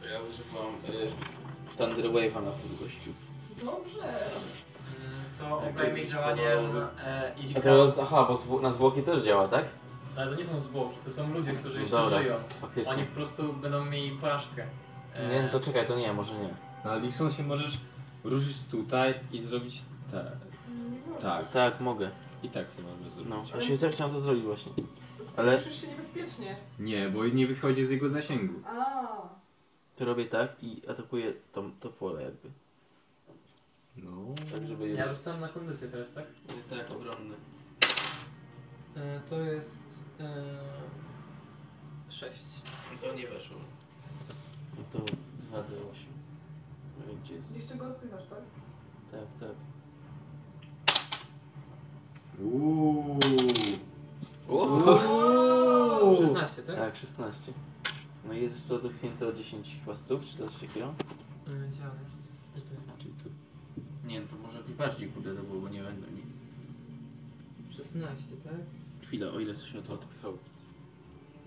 To ja używam y, Thunder Wave'a na tym gościu. Dobrze. Mm, To Jak obejmie jest działanie powolony. e, i A Ricardo. to, z- aha, bo zwło- na zwłoki też działa, tak? Ale to nie są zwłoki, to są ludzie, którzy No jeszcze dobra, żyją. faktycznie. Oni po prostu będą mieli porażkę. E, Nie, no to czekaj, to nie, może nie. No, Na Dixon się możesz ruszyć tutaj i zrobić tak. Mm, Tak. Tak, mogę. I tak sobie możesz zrobić. No, właśnie też chciałem to zrobić właśnie. Ale Czujesz się niebezpiecznie. Nie, bo nie wychodzi z jego zasięgu. A. to robię tak i atakuję to, to pole jakby. No. Tak, żeby... Ja rzucam na kondycję teraz, tak? Tak, obronny. E, to jest... E, 6. To nie weszło. No to 2D8. No i Gdzie jest? Jeszcze go odpychasz, tak? Tak, tak. Uuuu. Uuu. 16, tak? Tak, 16. No i jest jeszcze odepchnięte o 10 chyba stóp, czy teraz się chwilą? Yy, Gdzie on jest? Czy tu? Znaczy, Nie, no to może jakoś bardziej kurde to było, bo nie będę nie. 16, tak? Chwilę, o ile się to odpychało.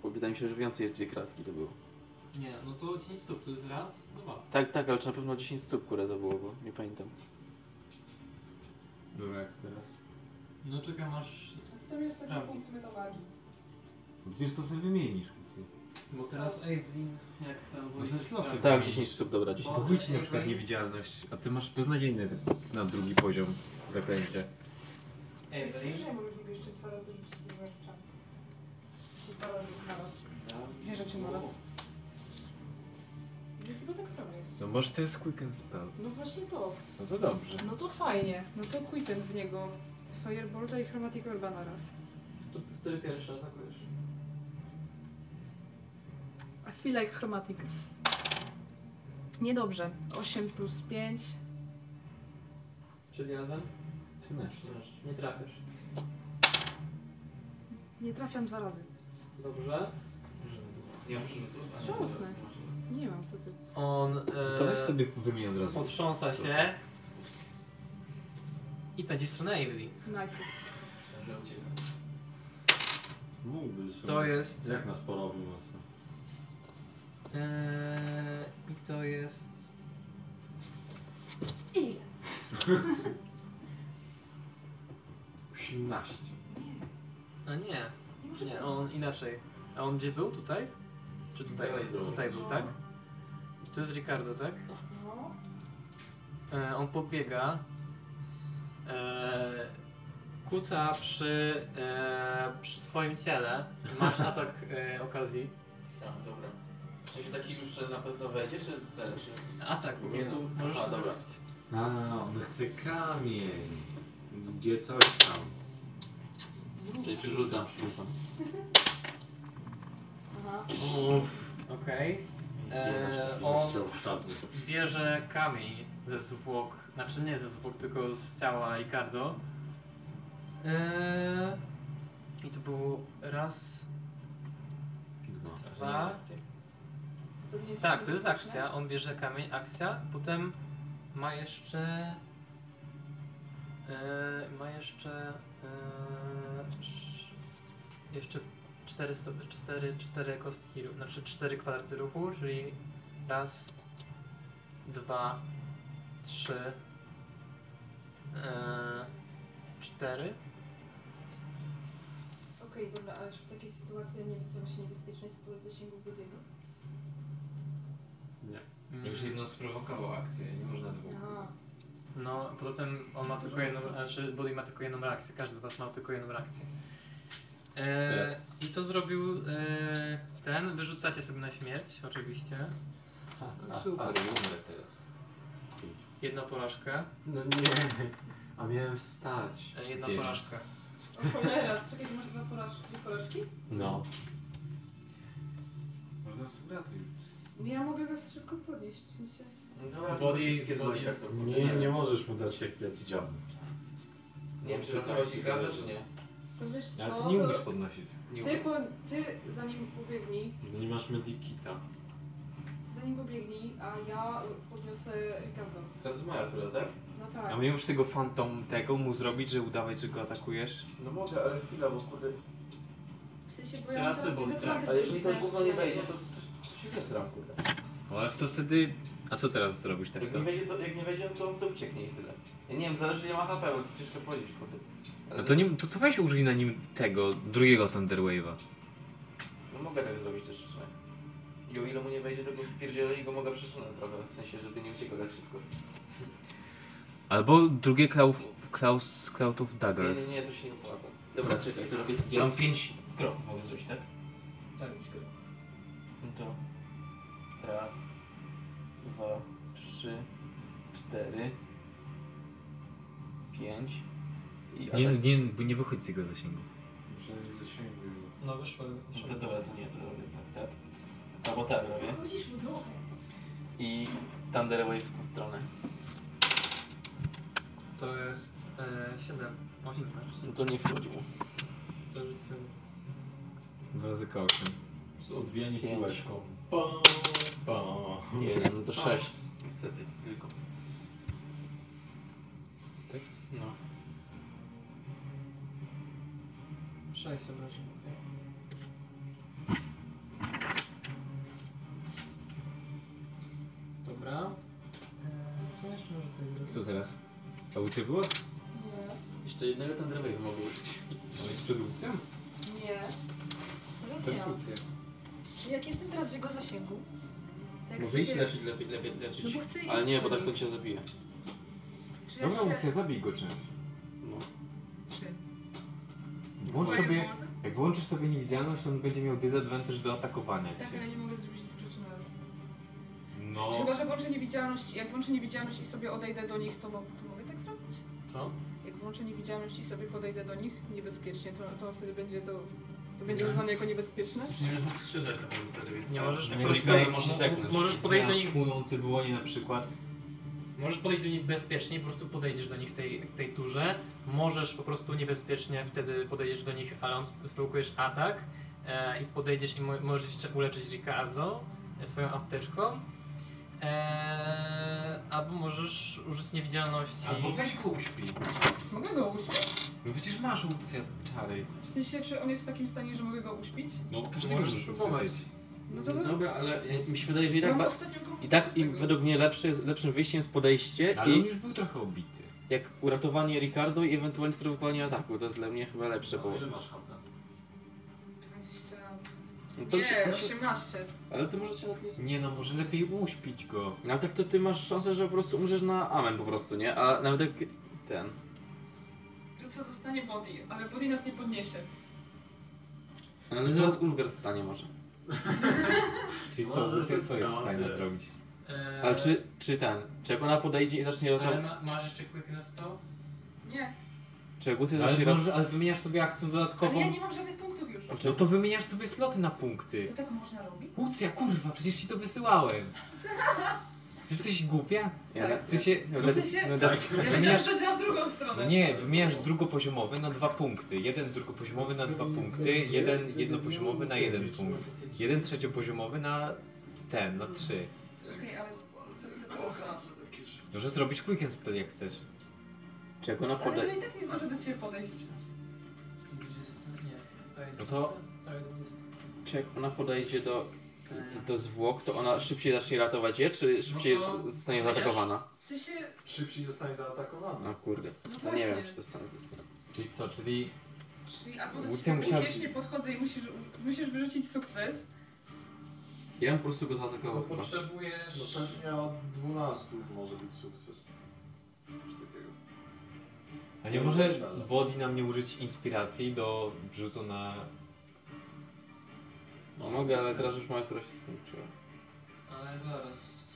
Bo wydaje mi się, że więcej jak dwie kratki to było. Nie, no to 10 stóp, to jest raz, dwa. Tak, tak, ale czy na pewno 10 stóp kurde to było, bo nie pamiętam. Dobra, jak teraz? No czekam aż... Co tam jest taki Tam. punkt metawagi? No Przecież to sobie wymienisz, kupcy. Bo teraz Evelyn, jak tam... No ze slotem. Tak, 10 stóp, dobra, 10 stóp. Zbójcie na przykład niewidzialność, a ty masz beznadziejny na drugi poziom zaklęcie. Evelyn? Ja mogę niby jeszcze dwa razy rzucić dwa rzeczami. Czy Dwa razy na raz. Dwie rzeczy na raz. Ja chyba tak zrobię. No może to jest quick and spell. No właśnie to. No to dobrze. No to fajnie. No to Quitten w niego. Firebolta i Chromatic Orba na raz. To ty pierwszy atakujesz. A chwila jak chromatik. Niedobrze. 8 plus 5. Czyli razem? 13. Nie trafisz. Nie trafiam dwa razy. Dobrze. Ja muszę... Żałosne. Nie mam co ty. On... To e, weź sobie wymień od razu. Potrząsa się. I pędzi w stronę Evelyn. Nice. Mógłbyś. To jest- Jak nas porobił mocno. Eee, I to jest. Ile? 18. A nie. Nie, on inaczej. A on gdzie był? Tutaj? Czy tutaj? Tutaj. Tutaj był, tak? To jest Ricardo, tak? No. E, on pobiega. E, kuca przy, e, przy twoim ciele. Masz atak e, okazji. A, Tak, dobra. W sensie taki już, że na pewno wejdzie, czy dalszy? Atak po Nie. no. prostu. Aha, Możesz sobie dobra. rzucić. A, on chce kamień. Gdzie coś tam. Czyli przerzucam, przerzucam. Aha. Uff. Okej. Eee, On Chciał wpadł. bierze kamień ze zwłok, znaczy nie ze zwłok, tylko z ciała Ricardo. Eee, I to było raz, dwa. To nie jest Tak, to jest akcja. On bierze kamień, akcja. Potem ma jeszcze. eee, ma jeszcze. eee, sz- jeszcze 4, 4, 4 kostki, ru- znaczy 4 kwadraty ruchu, czyli raz, dwa, trzy, eee, cztery. Okej, dobra, ale czy w takiej sytuacji ja nie widzę się niebezpiecznej z zasięgu Budygu? Nie. Już jedno sprowokował akcję, nie można dwóch. Aha. No, poza tym on ma tylko jedną, znaczy Buddy ma tylko jedną reakcję, każdy z was ma tylko jedną reakcję. E, Teraz. I to zrobił e, ten, wyrzucacie sobie na śmierć, oczywiście. A, super, umrę teraz. Jedną porażkę. No nie, a miałem wstać. E, jedną Dzień. porażkę. O cholera, czekaj, ty masz dwa porażki, dwie porażki? No. Można sobie No Ja mogę was szybko podnieść, w sensie... No, Body, body jest... Nie, nie możesz mu dać jak plecy działać. Nie wiem, czy ratować Ricardo, czy nie? To wiesz co, Ale ty nie umiesz to- podnosić. Nie Ty, umiem. po, ty zanim pobiegnij, No nie masz medikita. zanim pobiegnij, a ja podniosę Ricardo. Teraz moja która, tak? No A tak. nie możesz tego fantom tego mu zrobić, że udawać, że go atakujesz? No mogę, ale chwila, bo kurde... W sensie, bo Teraz ja ty, bo- tak. Ale jeżeli za długo nie wejdzie, to, to, to się zesram, kurde. No ale to wtedy... A co teraz zrobisz tak Jak to? nie, wejdzie, to, jak nie wejdzie, to on sobie ucieknie i tyle. Ja nie wiem, zależy ile ma HP, bo to ciężko powiedzieć, kurde. No to, nie, to, to weź użyj na nim tego, drugiego Thunder Wave'a. No mogę tak zrobić też w sumie. I o ile mu nie wejdzie, to go wpierdzielę i go mogę przesunąć trochę, w sensie, żeby nie uciekał tak szybko. Albo drugie Cloud, Klaus, Cloud of Nie, Daggers. nie, nie, to się nie opłaca. Dobra, czekaj, to robię... Ja mam pięć kroków, mogę zrobić, tak? Tak, nic No to... Raz, dwa, trzy, cztery, pięć i... Nie, nie, nie, nie wychodź z jego zasięgu. Przynajmniej zasięgu. No wyszło. No to dobra, to nie, to robię tak, tak. Albo tak robię. Chodzisz mu trochę. I Thunder Wave w tą stronę. To jest e, 7, 8 No to nie wchodzi mu. To rzuć sobie. Dwa razy kołkiem. Z odbijaniem piłeczką. Bo, bo. Jeden do no sześć. Niestety, tylko. Tak? No. 6 obrażeń, okej. Dobra. Eee, Co jeszcze może tutaj zrobić? Co teraz? Audycja była? Jeszcze jednego tendrowego mogę użyć. No jest produkcja? Nie. Teraz ja. Perkusja. Jak jestem teraz w jego zasięgu, to jak Może iść sobie- leczyć, lepiej, lepiej leczyć. No bo chcę iść Ale nie, do bo tak nich. to cię zabije. Czy Dobra, ja audycja, się... zabij go czymś. No. Włącz sobie, jak włączysz sobie niewidzialność, to on będzie miał disadvantage do atakowania Tak, cię. ale nie mogę zrobić tych rzeczy na raz. No. Chyba, że włączę niewidzialność, jak włączę niewidzialność i sobie odejdę do nich, to, mo- to mogę tak zrobić? Co? Jak włączę niewidzialność i sobie podejdę do nich niebezpiecznie, to, to wtedy będzie to, to będzie uznane jako niebezpieczne? Nie możesz strzeżać na pewno wtedy, więc Nie No możesz tak tego możesz, robić. możesz zdechnąć. Możesz podejść do nich- Płynące dłonie na przykład. Możesz podejść do nich bezpiecznie, po prostu podejdziesz do nich w tej, w tej turze. Możesz po prostu niebezpiecznie wtedy podejdziesz do nich, ale on sp- sprowokujesz atak e, i podejdziesz i mo- możesz jeszcze uleczyć Ricardo e, swoją apteczką. E, albo możesz użyć niewidzialności. E, Albo weź go uśpi. Mogę go uśpić? No przecież masz opcję czary. W sensie, czy on jest w takim stanie, że mogę go uśpić? No bo każdego Możesz możesz spróbować. usypiać. No to- Dobra, ale e, mi się wydaje, że i tak, Ja mam ba- ostatnią komórkę i tak im, według mnie lepszy jest, lepszym wyjściem jest podejście Ale i on już był trochę obity. jak uratowanie Ricardo i ewentualnie sprowokowanie ataku. To jest dla mnie chyba lepsze, bo... Ile masz HP? 20... No to nie, ci- 18. Ale to może cię nawet nie... Nie no, może lepiej uśpić go. No ale tak to ty masz szansę, że po prostu umrzesz na amen po prostu, nie? A nawet jak ten... To co zostanie Body, ale Body nas nie podniesie. Ale teraz Ulgar stanie może. Czyli co, Lucja, co jest w stanie zrobić? E, Ale czy, czy ten, czy jak ona podejdzie i zacznie ale ratować, ma, masz jeszcze quickness to? Nie, czy jak Lucja zacznie Ale, rat- może, ale wymieniasz sobie akcję ale dodatkową. ja nie mam żadnych punktów już. No to wymieniasz sobie sloty na punkty. To tak można robić? Lucja, kurwa, przecież ci to wysyłałem. Ty jesteś głupia? Ja- Ty się... No, W sensie- no, tak. Ja myślałam, że to działa w drugą stronę. Nie, wymieniasz drugopoziomowy na dwa punkty. Jeden drugopoziomowy na dwa punkty, jeden jednopoziomowy na jeden punkt. Jeden trzeciopoziomowy na ten, na trzy. Okej, ale co- to co za- Możesz zrobić quick and spell jak chcesz. Czego na Ale to i tak nie zdążę do ciebie podejść. No to- Czy jak ona podejdzie do, do, do zwłok, to ona szybciej zacznie ratować je, czy szybciej No to- z- zostanie zaatakowana? W sensie... Szybciej zostanie zaatakowana. No kurde, to nie właśnie. wiem, czy to sens jest. Czyli co, czyli... Czyli albo do Łucja ciebie musiała- uśmiesznie tak podchodzę i musisz, musisz wyrzucić sukces. Ja bym po prostu go zaatakował chyba. Potrzebujesz... No pewnie od 12 może być sukces. Coś takiego. A nie może Body na mnie użyć inspiracji do rzutu na... No mogę, ale teraz już moja, która się skończyła. Ale zaraz.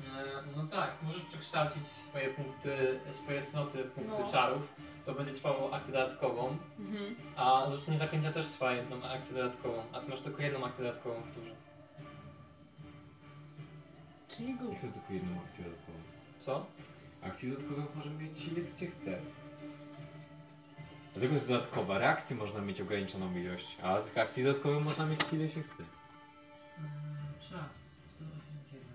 E, No tak, możesz przekształcić swoje punkty, swoje sloty w punkty No. czarów. To będzie trwało akcję dodatkową. Mhm. A zrzucenie zaklęcia też trwa jedną akcję dodatkową. A ty masz tylko jedną akcję dodatkową w turze. Czyli go... Chcę tylko jedną akcję dodatkową. Co? Akcji dodatkowych może mieć ile się chce. Dlatego jest dodatkowa. Reakcji można mieć ograniczoną ilość, a tych akcji dodatkowych można mieć ile się chce. Czas. 181.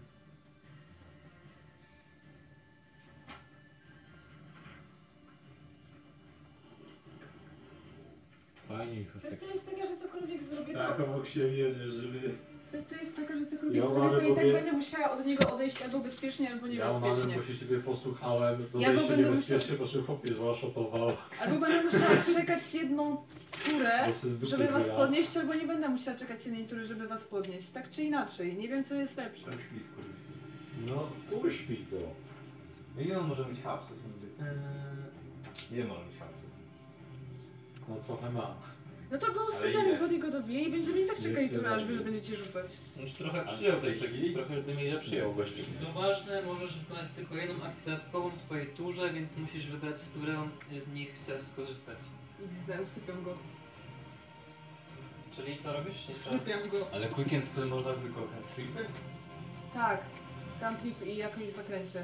Pani Kwestia jest taka, że cokolwiek zrobię, Tak, to... obok siebie żywy. Kwestia jest taka, że cokolwiek Ja zrobię, to uważam, i tak bo wie- będę musiała od niego odejść albo bezpiecznie, albo Ja uważam, niebezpiecznie. bo się ciebie posłuchałem, to Ja ja go się będę niebezpiecznie, po czym chłopie złaszotował. Albo będę musiała czekać jedną turę, Bo se z dupy żeby was wyraz. podnieść, albo nie będę musiała czekać jednej tury, żeby was podnieść. Tak czy inaczej, nie wiem co jest lepsze. Tak. No, uśpij go. Ile on może mieć hapsów nigdy? Eee, Ile może mieć hapsów? No trochę ma. No to go Ale ustawiamy, ile? bo go dobije i będziemy i tak czekali Wiecie, turę, aż dobrze. wy będziecie rzucać. Już trochę przyjął też, trochę do mnie przyjął gościu. Co ważne, możesz wykonać tylko jedną akcję dodatkową w swojej turze, więc musisz wybrać, z którą z nich chcesz skorzystać. XD, usypiam go. Czyli co robisz? Jeszcze raz. Usypiam go. Ale quick and spell można tylko cantripy? Tak, cantrip i jakoś zakręcie.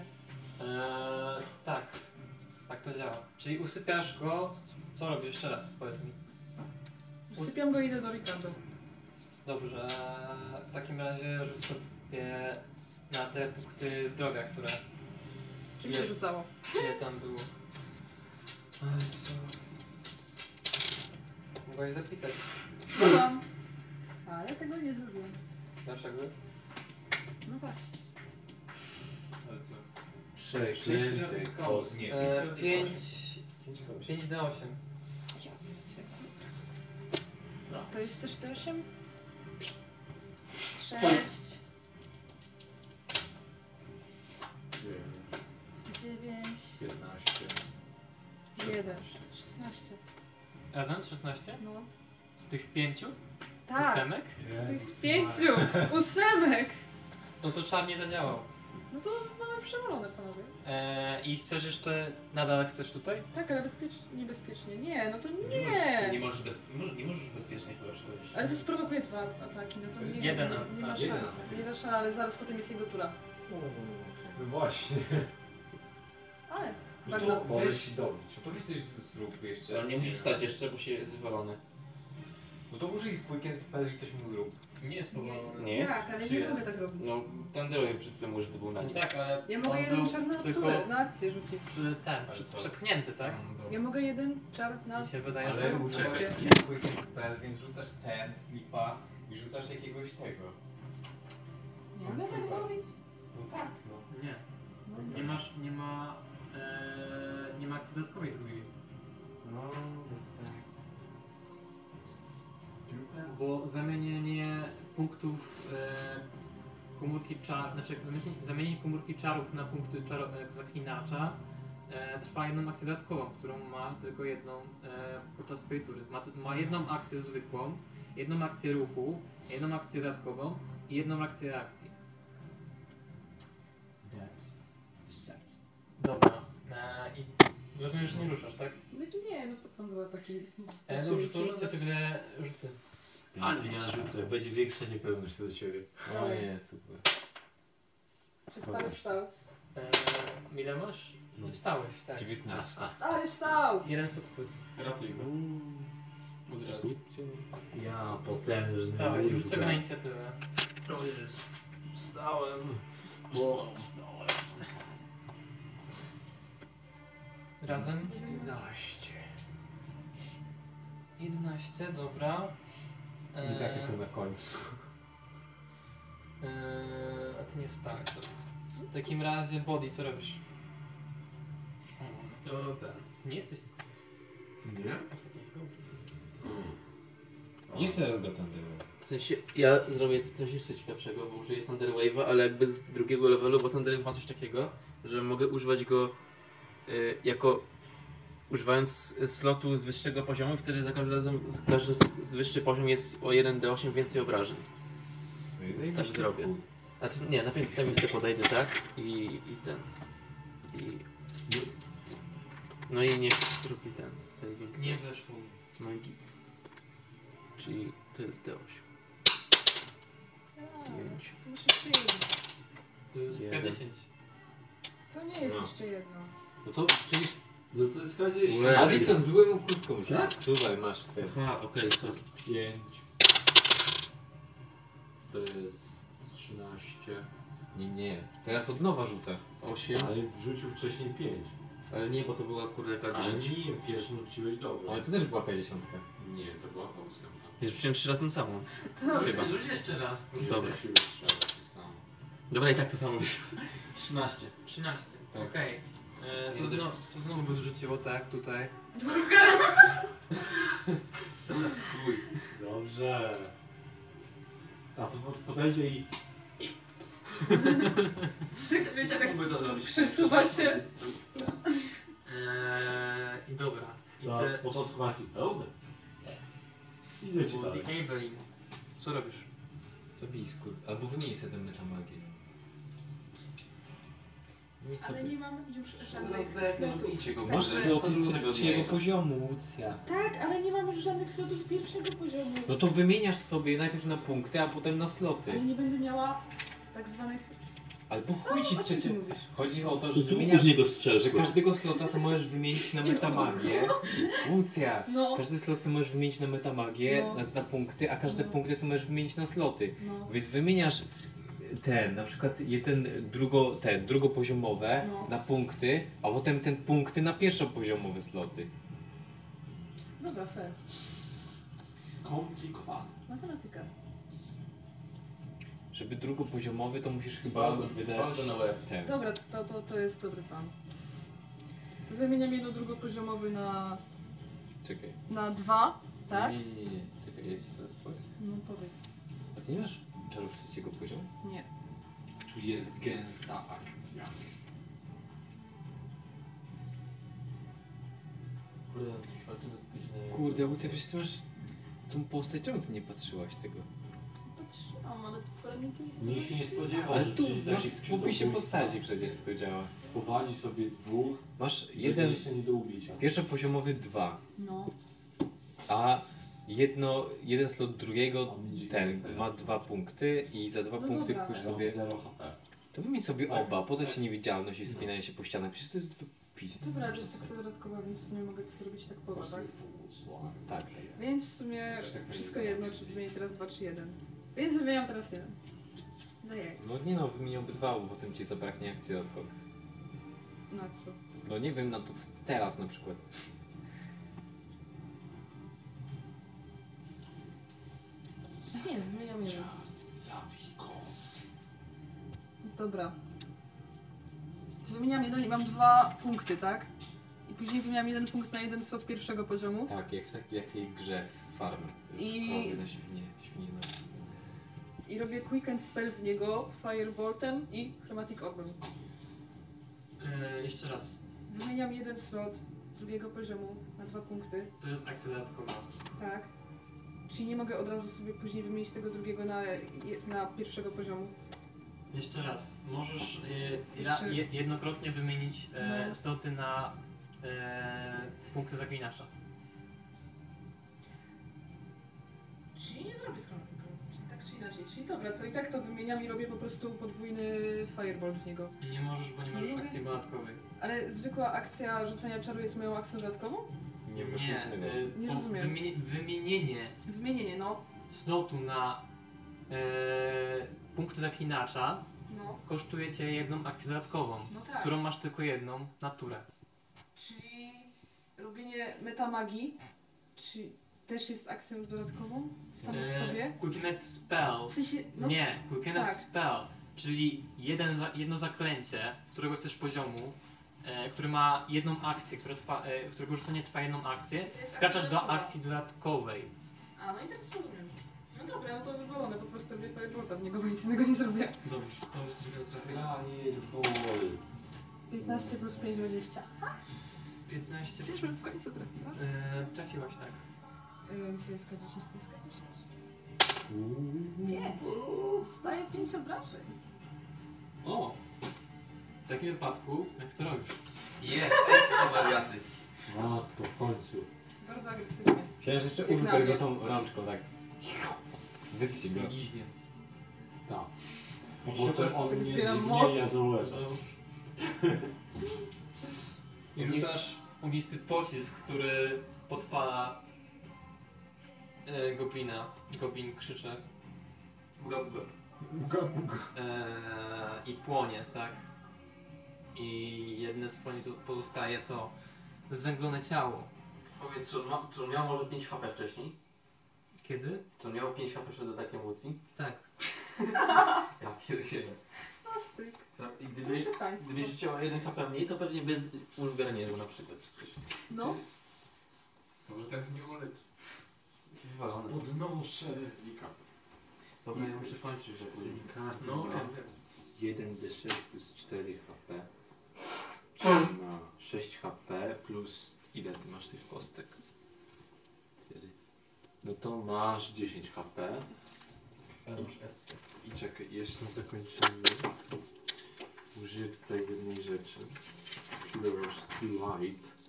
Eee, tak, tak to działa. Czyli usypiasz go. Co robisz jeszcze raz? Powiedz mi. Usypiam go i idę do Ricardo. Dobrze, Eee, w takim razie rzuć sobie na te punkty zdrowia, które... Czyli się rzucało. Ile tam było? A, co? Mogłeś zapisać. Rzucam. Ale tego nie zrobiłam. Dlaczego? No właśnie. Ale co? Przeklęty kos. Nie, pięć E, razy pięć... 5 na 8. Ja pierdzielę. To jest też te 8? 6, 9, 15. 1, 16. Razem? 16? No. Z tych pięciu? Tak. Ósemek? Z pięciu! Ósemek! No to czarnie zadziałał. No to mamy przewalone, panowie. E, I chcesz jeszcze... Nadal chcesz tutaj? Tak, ale bezpiecznie, niebezpiecznie. Nie, no to nie! E- Nie możesz, bez, mo- nie możesz bezpiecznie chyba przechodzić. Ale to sprowokuje dwa ataki, no to To jest nie, jeden nie, nie atak. ma szans. Jeden atak Nie jest. ma szans, ale zaraz potem jest jego tura. No właśnie. Ale No bardzo... to weź dobić. To weź coś zrób jeszcze. On E, nie musi wstać jeszcze, bo się jest wywalony. No to użyj Quicken Spell i coś mu zrób. Nie jest powalony. Nie jest? Tak, ale Czy nie jest? mogę tak robić. No, ten drogi przed tym już był No na nim. Tak, ale Ja mogę on jeden był czar na tylko turę, na akcję rzucić. przy- Ten, przy- przepchnięty, tak? Ja mogę jeden czar na... Mi się wydaje, na Ale turę. użyj Akcję. Quicken Spell, więc rzucasz ten, slipa i rzucasz jakiegoś tego. Mogę tak zrobić? No tak, no. tak. Nie. Nie masz, nie ma... E, nie ma akcji dodatkowej drugiej. No, bez sensu. Bo zamienienie punktów e, komórki czar, znaczy zamienienie komórki czarów na punkty czar, e, zaklinacza e, trwa jedną akcję dodatkową, którą ma tylko jedną e, podczas swojej tury. Ma, ma jedną akcję zwykłą, jedną akcję ruchu, jedną akcję dodatkową i jedną akcję reakcji. Dobra. E, I rozumiem, że nie ruszasz, tak? No to nie, no po co on no dwa ataki? E, dobrze, to rzucę sobie rzuty. Ale ja rzucę, będzie większa niepewność co do ciebie. Tak. O nie, super. Przestały wstał. E, ile masz? Nie wstałeś, tak. 19. Stary wstał! Jeden sukces. tak. Ratuj go. Od razu. Ja potężny. Wstałeś, mój rzuć sobie na wrak. inicjatywę. O Jezu, wstałem. Bo... Razem? 11. 11, dobra. I takie są na końcu. e, a ty nie wstałeś. dobra. W takim razie body, co robisz? no To ten. Nie jesteś Nie? Mm. Jeszcze raz go tandemu. W sensie, ja zrobię coś jeszcze ciekawszego, bo użyję Thunder Wave'a, ale jakby z drugiego levelu, bo Thunder Wave ma coś takiego, że mogę używać go y, jako używając slotu z wyższego poziomu, wtedy za każdym razem każdy z- z wyższy poziom jest o 1d8 więcej obrażeń. No i Więc zajebiście. też zrobię. A ty, nie, na pewno tam jeszcze podejdę, tak? I, i ten. I... No i niech zrobi ten saving. Nie weszło. No i git. Czyli to jest D8. Pięć. Muszę przyjąć. To jest Jeden. K10. To nie jest No. jeszcze jedno. No to przecież... No to jest K10. Łe. A ty jestem złym kuską, tak? Czuwaj, masz ten. Aha, okej, sorry. 5. To jest 13. Nie, nie. Teraz od nowa rzucę. 8. Ale rzucił wcześniej 5. Ale nie, bo to była kurde Ale K10. nie, pierwszy rzuciłeś dobrze. Ale to też była K10. Nie, to była ósemka. Jest rzuciłem trzy razy na samą. Chyba. Rzuć jeszcze raz. Nie Dobra. rzuciłeś trzy razy to samo. Dobra, i tak to samo wyszło. 13. 13, Tak. okej. E, To, znowu, to znowu by rzuciło tak tutaj. Twój. Dobrze. A co po- podejdzie i... Wiecie, tak Mógłby to zrobić. przesuwa się. Eee, I dobra. I Teraz po to chwaki. Dobra. Idę ci dalej. Evelyn, co robisz? Zabij skur... Albo wymień sobie ten metamagię. Ale nie mam już żadnych Idźcie go, slotów. masz Także- do trzeciego poziomu, Lucja. Tak, ale nie mam już żadnych slotów pierwszego poziomu. No to wymieniasz sobie najpierw na punkty, a potem na Ale sloty. nie będę miała tak zwanych Ale po chuj ci trzecie. Chodzi o to, że Zrób wymieniasz, z niego strzelbę. że każdego slota sobie możesz wymienić na metamagię. Łucja! No. Każdy slot sobie możesz wymienić na metamagię, No. na, na punkty, a każde punkty sobie możesz wymienić na sloty. No. Więc wymieniasz ten, na przykład jeden drugo, te, drugopoziomowe No. na punkty, a potem ten punkty na pierwszopoziomowe sloty. Dobra, fair. Skomplikowane. Matematyka. Żeby drugopoziomowy, to musisz chyba wydać waldo na łeb. ten. Dobra, to, to, to jest dobry plan. To wymieniam jedno drugopoziomowy na, Czekaj. na dwa, tak? Mhm. Nie, nie, nie, nie. Czekaj, ja ci zaraz powiem. No powiedz. A ty nie masz czarów trzeciego poziomu? Nie. Tu jest gęsta akcja. Kurde, to jest godzinę. Kurde, Łucja, przecież ty masz tą postać, czemu ty nie patrzyłaś tego? Patrzyłam, ale poradniki nie są. Nikt się nie spodziewał, Ale że tu przyjdzie taki masz w opisie skrzydłobójca. postaci przecież to działa. Powali sobie dwóch. Masz będzie jeden, jeszcze nie do ubicia. pierwszopoziomowy dwa, No. a jedno, jeden slot drugiego, ten ma dwa punkty i za dwa No punkty dobra. kupisz Ja mam sobie... zero Tak. No. HP. To wymień sobie oba, poza ci niewidzialność i wspinanie się po ścianach, przecież to jest to pizda. To zależy, jest sekcja dodatkowa, więc nie mogę to zrobić tak poza, tak? Tak. Więc w sumie tak wszystko jedno, czy wymienię teraz dwa, czy jeden. Więc wymieniam teraz jeden. No jak? No nie no, wymienię obydwa, bo potem ci zabraknie akcji dodatkowych. Na co? No nie wiem, na to teraz na przykład. Nie, wymieniam jeden. Zabij go. Dobra. To wymieniam jeden i mam dwa punkty, tak? I później wymieniam jeden punkt na jeden slot pierwszego poziomu. Tak, jak w takiej jakiej grze farmy. I- Szkody na świnie, świnie na... I robię quick and spell w niego, fireboltem i chromatic orbem. E, jeszcze raz, Wymieniam jeden slot drugiego poziomu na dwa punkty, to jest akcja dodatkowa. tak? Czyli nie mogę od razu sobie później wymienić tego drugiego na, je- na pierwszego poziomu. Jeszcze raz, możesz e, ra, je, jednokrotnie wymienić e, No. stoty na e, punkty zaklinacza. Czyli nie zrobię z chromatyką, Czyli tak czy inaczej. Czyli dobra, to i tak to wymieniam i robię po prostu podwójny firebolt w niego. Nie możesz, bo nie Nie możesz mogę? akcji dodatkowej. Ale zwykła akcja rzucania czaru jest moją akcją dodatkową? Nie, y, e, Nie po- rozumiem. Wymieni, wymienienie Wymienienie, no. slotu na e, punkty zaklinacza No. kosztuje cię jedną akcję dodatkową, No tak. którą masz tylko jedną, naturę. Czyli robienie metamagii, czy też jest akcją dodatkową samo w E, sobie? Quickenet Spell. W sensie, no- Eee, nie, Quickenet tak. Spell, czyli jeden za, jedno zaklęcie, którego chcesz poziomu, e, który ma jedną akcję, które trwa, e, którego rzucenie trwa jedną akcję, To jest skaczesz akcja do dodatkowa. akcji dodatkowej. A, no i teraz rozumiem. No dobra, no to wywalone, po prostu mnie firebolta w niego, bo nic innego nie zrobię. Dobrze, dobrze ci go trafię. A nie, powoli. 15 plus 5, 20. 15. Czyżbym w końcu trafiła? E, trafiłaś, tak. Yy, gdzie jest K10, to jest K10. Pięć! Staje 5 obrażeń. O! W takim wypadku, jak to robisz? Jest, są wariaty. Matko, w końcu. Bardzo agresywnie. Przecież jeszcze Jak na Ulfer go mnie. tą rączką tak... Wyssie go. Liźnie. Tak. I Bo super- potem on tak mnie zbieram zmienia moc. do leża. I rzucasz ognisty pocisk, który podpala e, goblina. Goblin krzycze. E, I płonie, tak? I jedne z poni pozostaje to zwęglone ciało. Powiedz, czy on, ma, czy on miał może 5 HP wcześniej? Kiedy? Czy on miał 5 HP przed atakiem Łucji? Tak. ja pierdzielę. Plastyk. No I gdyby, Proszę państwa. gdyby rzuciła o 1 HP mniej, to pewnie by z- Ulgar nie był na przykład czy coś. No. Może teraz nie ulecz. Pod nos szerewnika. Dobra, ja muszę kończyć, że później. No, ma wiem, tak. wiem. 1d6 plus 4 HP. Czyli ma 6 HP plus ile ty masz tych kostek? 4. No to masz 10 HP. I czekaj, jeszcze na zakończenie użyję tutaj jednej rzeczy. Heroes Delight.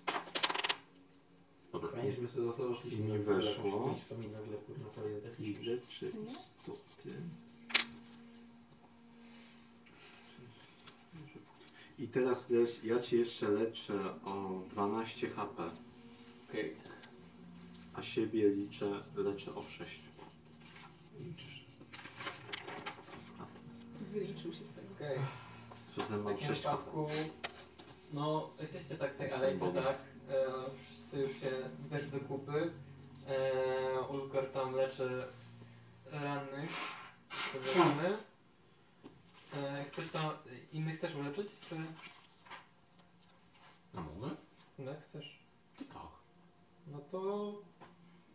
Dobra, Fajnie, że my sobie zostało i mi weszło. Mi nagle kurwa to jest I deficyt. rzeczy istoty. I teraz lecz, ja cię jeszcze leczę o 12 HP. A siebie liczę, leczę o 6. Wyliczył się z tego. Okej. Zatem W mam takim 6 HP. przypadku, no jesteście tak w tej Jestem alejce, Bogiem. tak, e, wszyscy już się dać do kupy, e, Ulgar tam leczy rannych, powiedzmy. E, chcesz tam innych też uleczyć, czy? A mogę? No, chcesz? Tak. No to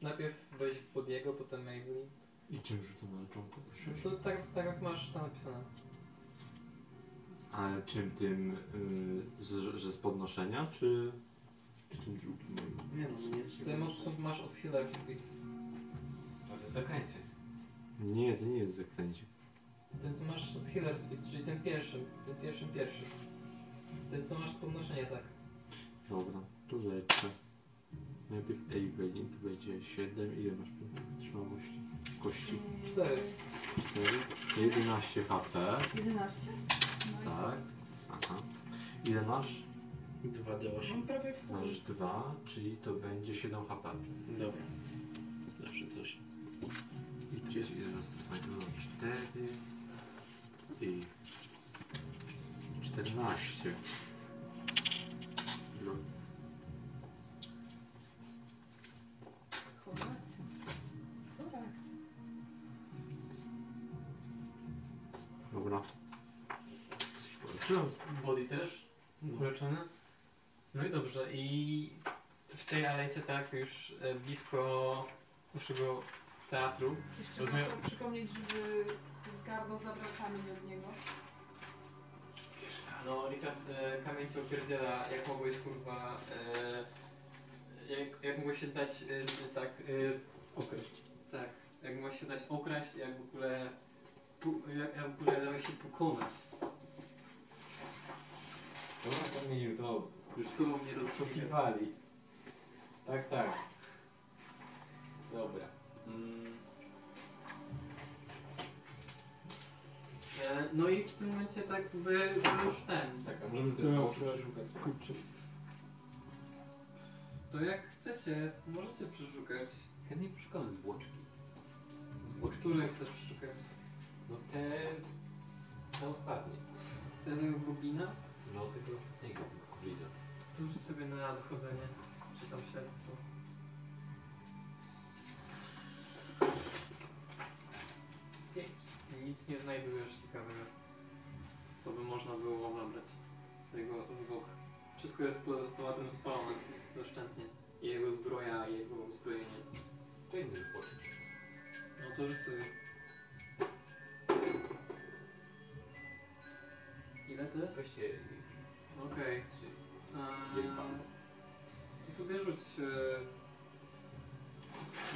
najpierw weź pod jego, potem Maybelline. I czym rzucam na leczonkę? No to tak, tak jak masz tam napisane. A czym tym, y, z, że z podnoszenia, czy, czy tym drugim? Nie no, nie jest Ty masz, masz od Healer Speed. No to jest zaklęcie. Nie, to nie jest zaklęcie. Ten co masz od Healer Speed, czyli ten pierwszy, ten pierwszym pierwszy. Ten co masz z podnoszenia, tak. Dobra, to leczę. Najpierw Evelyn, to będzie 7, ile masz wytrzymałości? Kości. Cztery. 4, 11 HP. 11? No Tak. Aha. Ile masz? Dwa dla Mam prawie w pół. Masz 2, czyli to będzie 7 HP. Dobra. Zawsze coś. I gdzie jest 4 i 14. No. Chora akcja. Chora akcja. Dobra. No, Body też uleczony. No i dobrze, i w tej alejce tak już e, blisko waszego teatru. Jeszcze Rozumiem. muszę przypomnieć, żeby gardło zabrał kamień od niego. No Richard e, kamień cię opierdziela, jak mogłeś kurwa, e, jak, jak mogłeś się dać e, z- tak... E, okraść. Tak, jak mogłeś się dać okraść, jak w ogóle, pu, jak, jak w ogóle dałeś się pokonać. Dobra, kamieniu, to już tu mnie rozszukiwali. Tak, tak. Dobra. Mm. E, no i w tym momencie tak jakby już ten. Tak, a możemy też No, boki tak. przeszukać. Kurczę. To jak chcecie, możecie przeszukać. Chętnie poszukałem zwłoczki. Zwłoczki? Które chcesz przeszukać? No te... te ostatnie. Tego goblina? No tego ostatniego goblina. To już sobie na dochodzenie, czy tam śledztwo. Nic nie znajdujesz ciekawego, co by można było zabrać z jego zwłok. Wszystko jest po, poza tym spalone doszczętnie. I Jego zbroja, i jego uzbrojenie. To inny poczuć. No to rzuć sobie. Ile to jest? Weźcie... Okej. Eee, To sobie rzuć e,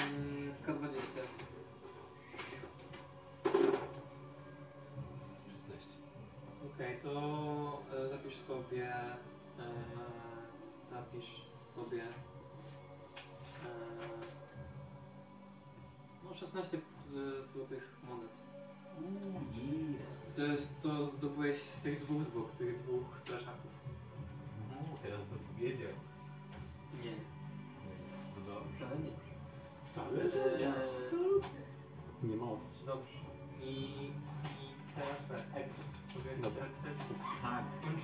eee, K20. 16. Okej, to e, zapisz sobie. eee, zapisz sobie. eee, no 16 e, złotych monet. To jest to zdobyłeś z tych dwóch zbóg, tych dwóch straszaków. No Teraz to powiedział. Nie. No dobrze. Wcale nie. Wcale, że nie. Eee, Nie ma opcji. Dobrze. I, i teraz tak, Exo. Sobie chcesz Dobra. napisać? Tak. Kończę